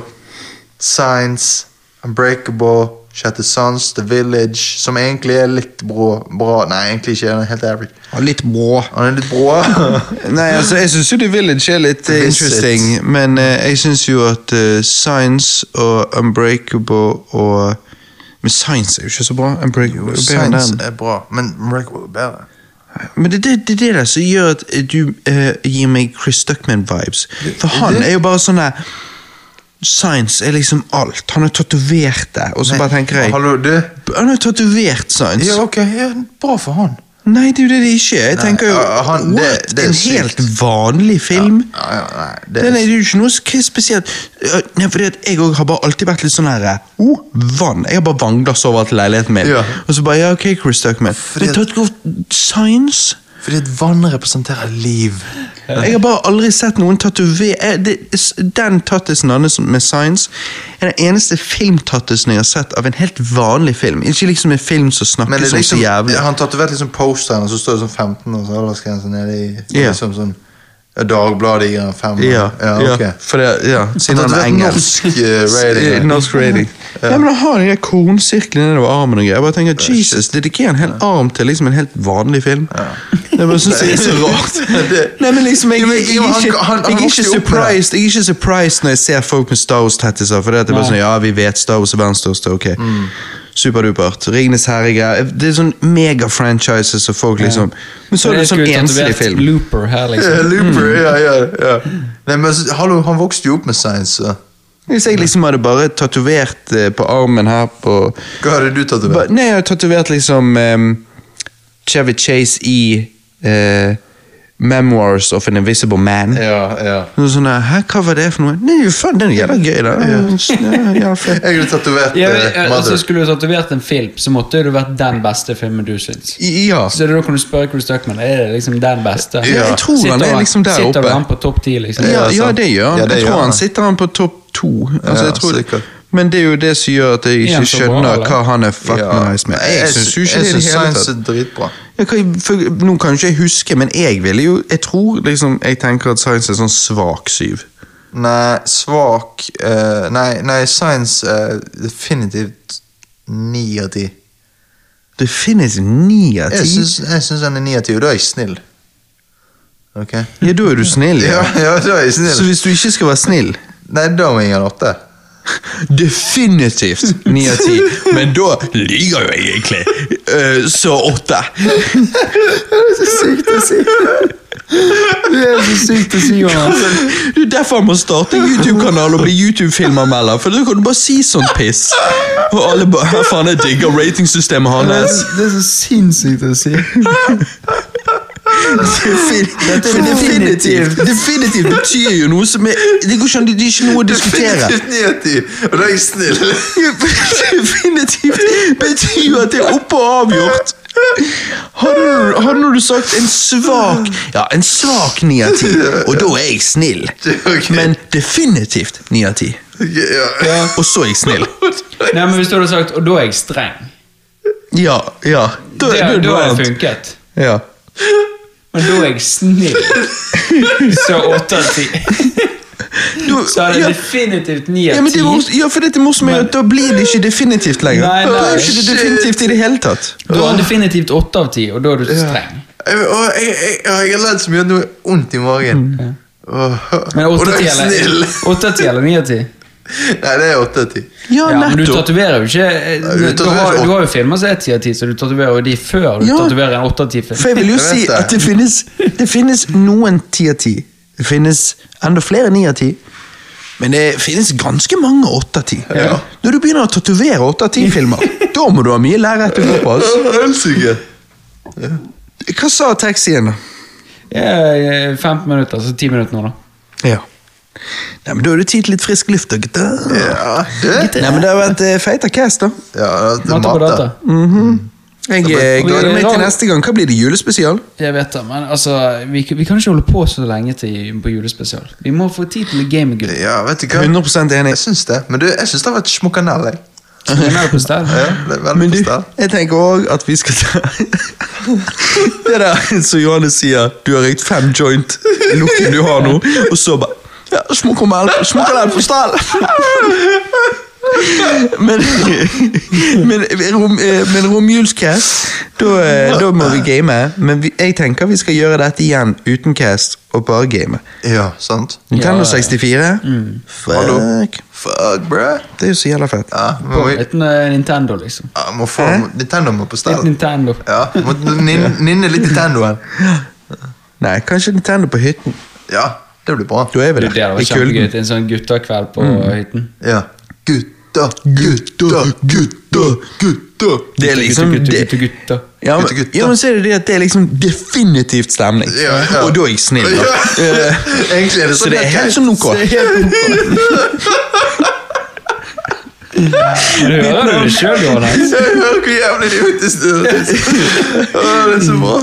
Speaker 2: Science, Unbreakable, Shatter Sons, The Village, som egentlig er litt brå. bra. Nei, egentlig ikke. Den er helt average.
Speaker 1: Ja, litt brå.
Speaker 2: Han er litt brå.
Speaker 1: Nei, altså, jeg syns jo The Village er litt eh,
Speaker 2: Visit.
Speaker 1: interesting, men eh, jeg syns jo at eh, Science og Unbreakable og Men Science er jo ikke så bra. Unbreakable er jo bedre enn den.
Speaker 2: Science er bra, men Unbreakable er bedre.
Speaker 1: Men det er det, det, er det der som gjør at eh, du eh, gir meg Chris Duckman-vibes. For han
Speaker 2: det-
Speaker 1: er jo bare sånn der Science er liksom alt. Han har tatovert det, og så bare tenker jeg
Speaker 2: Hallo, du.
Speaker 1: Han har jo tatovert Science.
Speaker 2: Ja, ok, ja, bra for han.
Speaker 1: Nei, det er jo det det ikke er. Jeg tenker jo
Speaker 2: ja, han- det-
Speaker 1: What?
Speaker 2: det er
Speaker 1: en
Speaker 2: sykt.
Speaker 1: helt vanlig film?
Speaker 2: Ja, ja, nei, det
Speaker 1: Den er
Speaker 2: er
Speaker 1: jo ikke noe sk- spesielt Ja, Nei, fordi at Jeg også har bare alltid vært litt sånn her eh, oh, Vann. Jeg har bare vannglass over til leiligheten min.
Speaker 2: Ja.
Speaker 1: Og så bare Ja, ok, Chris Duckman.
Speaker 2: Fordi
Speaker 1: Det er
Speaker 2: at-
Speaker 1: tatt godt science.
Speaker 2: Fordi at vann representerer liv.
Speaker 1: Jeg har bare aldri sett noen tatovere Den tattisen hans med science er den eneste filmtattisen jeg har sett av en helt vanlig film. Ikke liksom en film som
Speaker 2: Men
Speaker 1: snakkes
Speaker 2: det er
Speaker 1: om så
Speaker 2: liksom,
Speaker 1: jævlig.
Speaker 2: han tatoverte liksom posteren, og så står det sånn 15 og så aldersgrense nede i
Speaker 1: Ja.
Speaker 2: liksom sånn ja, Dagbladet gir han 5.
Speaker 1: Ja,
Speaker 2: ja, ok.
Speaker 1: for det, ja, siden
Speaker 2: Han
Speaker 1: han er
Speaker 2: tatoverte
Speaker 1: engelsk.
Speaker 2: norsk eh, rating.
Speaker 1: Eh, Norsk rating. Ja. men han har den der kornsirkelen nedover armen og greier. Jeg bare tenker, Jesus, dedikerer en hel arm til liksom en helt vanlig film? Det er bare synes jeg er så rart. Nei, men liksom, jeg,
Speaker 2: Jo,
Speaker 1: jeg,
Speaker 2: men-
Speaker 1: jeg,
Speaker 2: jo,
Speaker 1: er
Speaker 2: han-
Speaker 1: ikke-
Speaker 2: han- han
Speaker 1: jeg, er
Speaker 2: vokste
Speaker 1: ikke
Speaker 2: jo opp med det.
Speaker 1: surprised Jeg er ikke surprised når jeg ser folk med Star Wars-tattiser, for det er bare
Speaker 3: Nei.
Speaker 1: sånn, ja, vi vet Star Wars er verdens største, ok.
Speaker 2: Mm.
Speaker 1: Superdupert. Ringenes herre-greier. Det er sånn mega-franchises og folk liksom Men så er det
Speaker 3: Jeg
Speaker 1: sånn
Speaker 3: skulle
Speaker 1: enslig
Speaker 3: tatovert
Speaker 1: film.
Speaker 3: Looper her,
Speaker 2: Ja,
Speaker 3: liksom.
Speaker 2: Looper, ja, ja, ja. Nei, men så- hallo, han vokste jo opp med science. Så.
Speaker 1: Hvis jeg liksom hadde bare tatovert eh, på armen her på
Speaker 2: Hva hadde du
Speaker 1: Ba,
Speaker 2: tatovert?
Speaker 1: nei, jeg har tatovert liksom ehm, Chevy Chase i eh, Memoirs of an Invisible Man.
Speaker 2: Ja, ja.
Speaker 1: Noe sånn der, Hæ, hva var det for noe? Nei, faen, den er jævla gøy, da. Ja, jævla flott.
Speaker 2: Jeg hadde tatovert
Speaker 3: Ja,
Speaker 2: eh,
Speaker 3: men, altså,
Speaker 2: Mother.
Speaker 3: skulle du tatovert en film, så måtte det jo vært den beste filmen du syns.
Speaker 1: Ja.
Speaker 3: Så da kan du spørre Chris Duckman er det liksom den beste.
Speaker 1: Ja, jeg tror han
Speaker 3: Sitter
Speaker 1: er liksom der
Speaker 3: sitter
Speaker 1: oppe.
Speaker 3: han på topp ti, liksom?
Speaker 1: Ja,
Speaker 2: sant.
Speaker 1: ja, det gjør han.
Speaker 2: altså. Ja, det
Speaker 1: jeg
Speaker 2: gjør
Speaker 1: tror
Speaker 2: han.
Speaker 1: han sitter han på topp to. Altså,
Speaker 2: Ja,
Speaker 1: jeg tror
Speaker 2: sikkert.
Speaker 1: Men det er jo det som gjør at jeg
Speaker 3: Er
Speaker 1: ikke
Speaker 3: han så bra,
Speaker 1: skjønner
Speaker 3: eller?
Speaker 1: hva han er fucking
Speaker 2: Ja.
Speaker 1: nice med. Jeg syns jo ikke
Speaker 2: jeg
Speaker 1: det i
Speaker 2: syns
Speaker 1: det hele
Speaker 2: science
Speaker 1: tatt.
Speaker 2: er dritbra.
Speaker 1: Jeg kan, for, nå kan jo ikke jeg huske, men jeg ville jo Jeg tror liksom Jeg tenker at science er sånn svak syv.
Speaker 2: Nei, svak eh, Nei, nei science er definitivt ni av ti.
Speaker 1: Det finnes ni av
Speaker 2: Jeg
Speaker 1: ti.
Speaker 2: syns jeg syns han er ni av ti, og da er jeg snill. Ok?
Speaker 1: Ja, da er du snill,
Speaker 2: Ja,
Speaker 1: ja.
Speaker 2: ja, da er jeg
Speaker 1: Så
Speaker 2: snill.
Speaker 1: hvis du ikke skal være snill
Speaker 2: Nei, da må jeg gi han åtte.
Speaker 1: Definitivt ni av ti. Men da lyver jo jeg egentlig. Eh, så åtte.
Speaker 3: Det er så sykt å si, Jonas.
Speaker 1: Det er derfor han må starte en YouTube-kanal og bli YouTube-filmanmelder. For da kan du bare si sånn piss. Og alle bare "Hva Faen, jeg digger ratingsystemet hans.
Speaker 3: Det er så sinnssykt å si.
Speaker 1: Defin-
Speaker 3: Dette er
Speaker 1: for Definitivt
Speaker 3: definitivt.
Speaker 1: Definitivt betyr jo noe som er Det går ikke an, det er ikke noe å diskutere.
Speaker 2: Definitivt ni av ti, og da er jeg snill.
Speaker 1: Definitivt betyr jo at det er oppe og avgjort. Hadde du, hadde du sagt en svak Ja, en svak ni av ti, og da er jeg snill.
Speaker 2: Ok.
Speaker 1: Men definitivt ni av ti.
Speaker 2: Ja.
Speaker 1: Og så er jeg snill.
Speaker 3: Nei, men Hvis du hadde sagt 'og da er jeg streng',
Speaker 1: Ja, ja. Da, da
Speaker 3: det,
Speaker 1: er det
Speaker 3: da
Speaker 1: noe
Speaker 3: hadde det
Speaker 1: annet.
Speaker 3: funket.
Speaker 1: Ja.
Speaker 3: Men da er jeg snill. Så åtte av ti.
Speaker 1: Da,
Speaker 3: Så er det
Speaker 1: ja.
Speaker 3: definitivt ni
Speaker 1: Ja,
Speaker 3: av
Speaker 1: men
Speaker 3: ti.
Speaker 1: det mors- ja, for dette morsomme er jo at da blir det ikke definitivt lenger.
Speaker 3: Nei, nei.
Speaker 1: Da er jo ikke det definitivt i det hele tatt.
Speaker 3: Da er det definitivt åtte av ti, og da er du streng.
Speaker 2: Jeg, og jeg, jeg, jeg, jeg har ledd så mye at nå har jeg vondt i magen.
Speaker 3: Men
Speaker 2: Og
Speaker 3: åtte
Speaker 2: da er
Speaker 3: av ti
Speaker 2: jeg snill.
Speaker 3: eller- åtte av ti eller ni av ti?
Speaker 2: Nei, det er åtte av ti.
Speaker 1: Ja,
Speaker 3: Ja, men du
Speaker 1: nettopp.
Speaker 3: tatoverer jo ikke eh,
Speaker 2: du
Speaker 3: du,
Speaker 2: tatoverer
Speaker 3: har,
Speaker 2: ikke
Speaker 3: du har jo filmer som er ti av ti, så du tatoverer jo de før du
Speaker 1: Ja.
Speaker 3: tatoverer en åtte av ti
Speaker 1: For
Speaker 3: film.
Speaker 1: jeg vil jo
Speaker 2: Jeg
Speaker 1: si
Speaker 2: vet det.
Speaker 1: at det finnes, det finnes noen ti av ti. Det finnes enda flere ni av ti. Men det finnes ganske mange åtte av ti.
Speaker 2: Ja.
Speaker 1: Når du begynner å tatovere åtte av ti-filmer, da må du ha mye lære etterpå. Altså.
Speaker 2: Ølsuge.
Speaker 1: Hva sa taxien, da?
Speaker 3: Ja, 15 minutter, så 10 minutter nå, da.
Speaker 1: Ja. Nei, men Da er det tid til litt frisk luft, da, gutter.
Speaker 2: Ja, det
Speaker 1: Nei, men Det har vært eh, feita cast, da.
Speaker 2: ja, det er
Speaker 3: Matte på data.
Speaker 2: matte.
Speaker 1: Jeg eh,
Speaker 3: bra.
Speaker 1: gleder meg til neste gang. Hva blir det? Julespesial?
Speaker 3: Jeg vet det, men altså Vi, vi kan ikke holde på så lenge til på julespesial. Vi må få tid til gaming, gutter.
Speaker 2: Ja, vet du hva?
Speaker 1: 100 enig.
Speaker 2: Jeg syns det. Men du, jeg syns det har vært smokkanell, jeg.
Speaker 3: Så vi er på stell.
Speaker 2: Ja, det er veldig
Speaker 1: Men du,
Speaker 2: på stell.
Speaker 1: jeg tenker òg at vi skal ta Det der som Johannes sier, du har røykt fem joint, looken du har nå, og så bare ja, Smokk om elv, smokk om elv på stell! Men, men, rom, eh, men romjulscast, da, eh, da må vi game. Men vi, jeg tenker vi skal gjøre dette igjen uten cast, og bare game.
Speaker 2: Ja, sant?
Speaker 1: Nintendo
Speaker 3: Ja, Mm. ja.
Speaker 1: 64.
Speaker 2: Hallo.
Speaker 1: Fuck.
Speaker 2: Fuck, bruh.
Speaker 1: Det er jo så jævla fett.
Speaker 2: Ja, må vi
Speaker 3: Litt eh, Nintendo, liksom.
Speaker 2: ja, må få
Speaker 1: Hæ?
Speaker 2: Nintendo må på
Speaker 3: Litt
Speaker 2: stell.
Speaker 3: Nintendo.
Speaker 2: Ja, må nin- nynne litt Nintendoen.
Speaker 1: Nei, kanskje Nintendo på hytten.
Speaker 2: Ja, det blir bra.
Speaker 1: Da er
Speaker 3: Du,
Speaker 1: vi
Speaker 3: det hadde
Speaker 1: der. I
Speaker 3: vært
Speaker 1: kulden.
Speaker 3: kjempegøy til en sånn guttakveld på
Speaker 2: Mm.
Speaker 3: hytten.
Speaker 2: Ja. Gutta, gutta, gutta, gutta.
Speaker 1: Det er liksom
Speaker 3: Gutter,
Speaker 1: det-
Speaker 3: gutter, gutter, gutter.
Speaker 1: ja,
Speaker 2: Gutter,
Speaker 1: men,
Speaker 2: gutter.
Speaker 1: ja, men så er det det at det er liksom definitivt stemning.
Speaker 2: Ja, ja.
Speaker 1: Og da er jeg snill. Da. Eh,
Speaker 2: Ja. Egentlig er det
Speaker 1: Så
Speaker 2: sånn
Speaker 1: det er
Speaker 2: at-
Speaker 1: helt sånn ok.
Speaker 3: Du hører jo det sjøl, Johannes.
Speaker 2: Jeg hører hvor jævlig de faktisk er. Å, Det er så bra.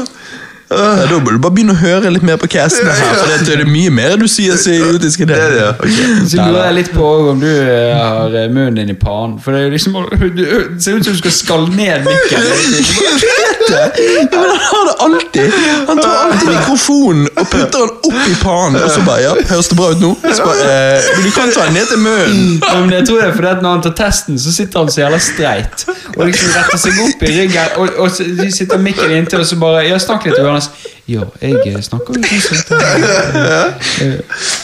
Speaker 1: Ja, da bør du bare begynne å høre litt mer på castene her, for det er det mye mer du sier som er idiotisk enn det.
Speaker 2: Det er det, ja. Ok.
Speaker 3: Så lurer jeg litt på om du eh, har eh, munnen din i panen. For det er liksom Det ser ut som du skal skalle ned mikken.
Speaker 1: Ja, men han har det alltid. Han tar alltid mikrofonen og putter den opp i pannen, og så bare ja, høres det bra ut nå? Så bare, eh, men du kan ta den ned til munnen.
Speaker 3: Ja, men jeg tror det er fordi at Når han tar testen, så sitter han så jævla streit. Og liksom retter seg opp i ryggen, og, og så sitter mikken inntil, og så bare Ja, snakk litt, Johannes. Ja, jeg eh, snakker jo ikke sånn. Eh,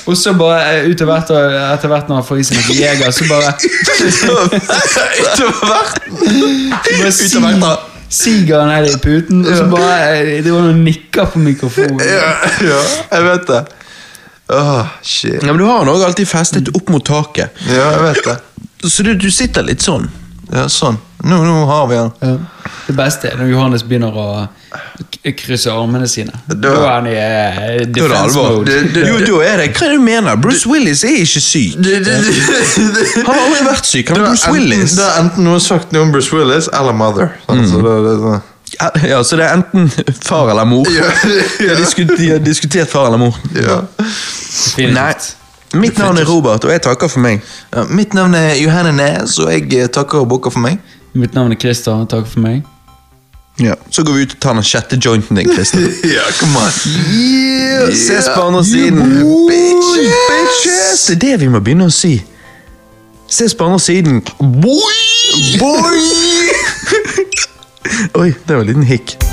Speaker 3: Og så bare eh, ut av hvert, og etter hvert når han får i seg noe Jeger, så bare bare
Speaker 1: Ut av
Speaker 3: sig,
Speaker 1: hvert, da.
Speaker 3: siger han her i puten, og så bare eh, Det var noen nikker på mikrofonen.
Speaker 2: Ja, ja, jeg vet det. Åh, shit.
Speaker 1: Ja, men du har den òg alltid festet opp mot taket,
Speaker 2: Ja, jeg vet det.
Speaker 1: så du, du sitter litt sånn.
Speaker 2: Ja, sånn. Nå, nå har vi den.
Speaker 3: Ja. Det beste er når Johannes begynner å k- krysse armene sine. Da, er han i eh,
Speaker 1: Da er det
Speaker 3: defense
Speaker 1: alvor.
Speaker 3: mode.
Speaker 1: Jo, da er det. Hva er det du mener? Bruce Willis er ikke syk.
Speaker 2: Du, du, du, du.
Speaker 1: Han har aldri vært syk. Han
Speaker 2: Det
Speaker 1: er
Speaker 2: er
Speaker 1: Bruce Willis.
Speaker 2: Enten, det er enten noen sagt noe om Bruce Willis eller Mother. Sånn, så det, det, det.
Speaker 1: Ja, så det er enten far eller mor.
Speaker 2: Ja,
Speaker 1: De har disku- de har diskutert far eller mor.
Speaker 2: Ja.
Speaker 3: Definitivt.
Speaker 1: Nei. Mitt navn er Robert, og jeg takker for meg.
Speaker 2: Ja, mitt navn er Johanne Næs, og jeg eh, takker og bukker for meg.
Speaker 3: Mitt navn er Christer. Takk for meg.
Speaker 1: Ja. Så går vi ut og tar den sjette jointen din, Christer.
Speaker 2: Ja, come on.
Speaker 1: Yeah, ses på andre siden.
Speaker 2: bitches.
Speaker 1: Bitches. Det er det vi må begynne å si. Ses på andre siden. Boy! Boy! Oi, det var en liten hikk.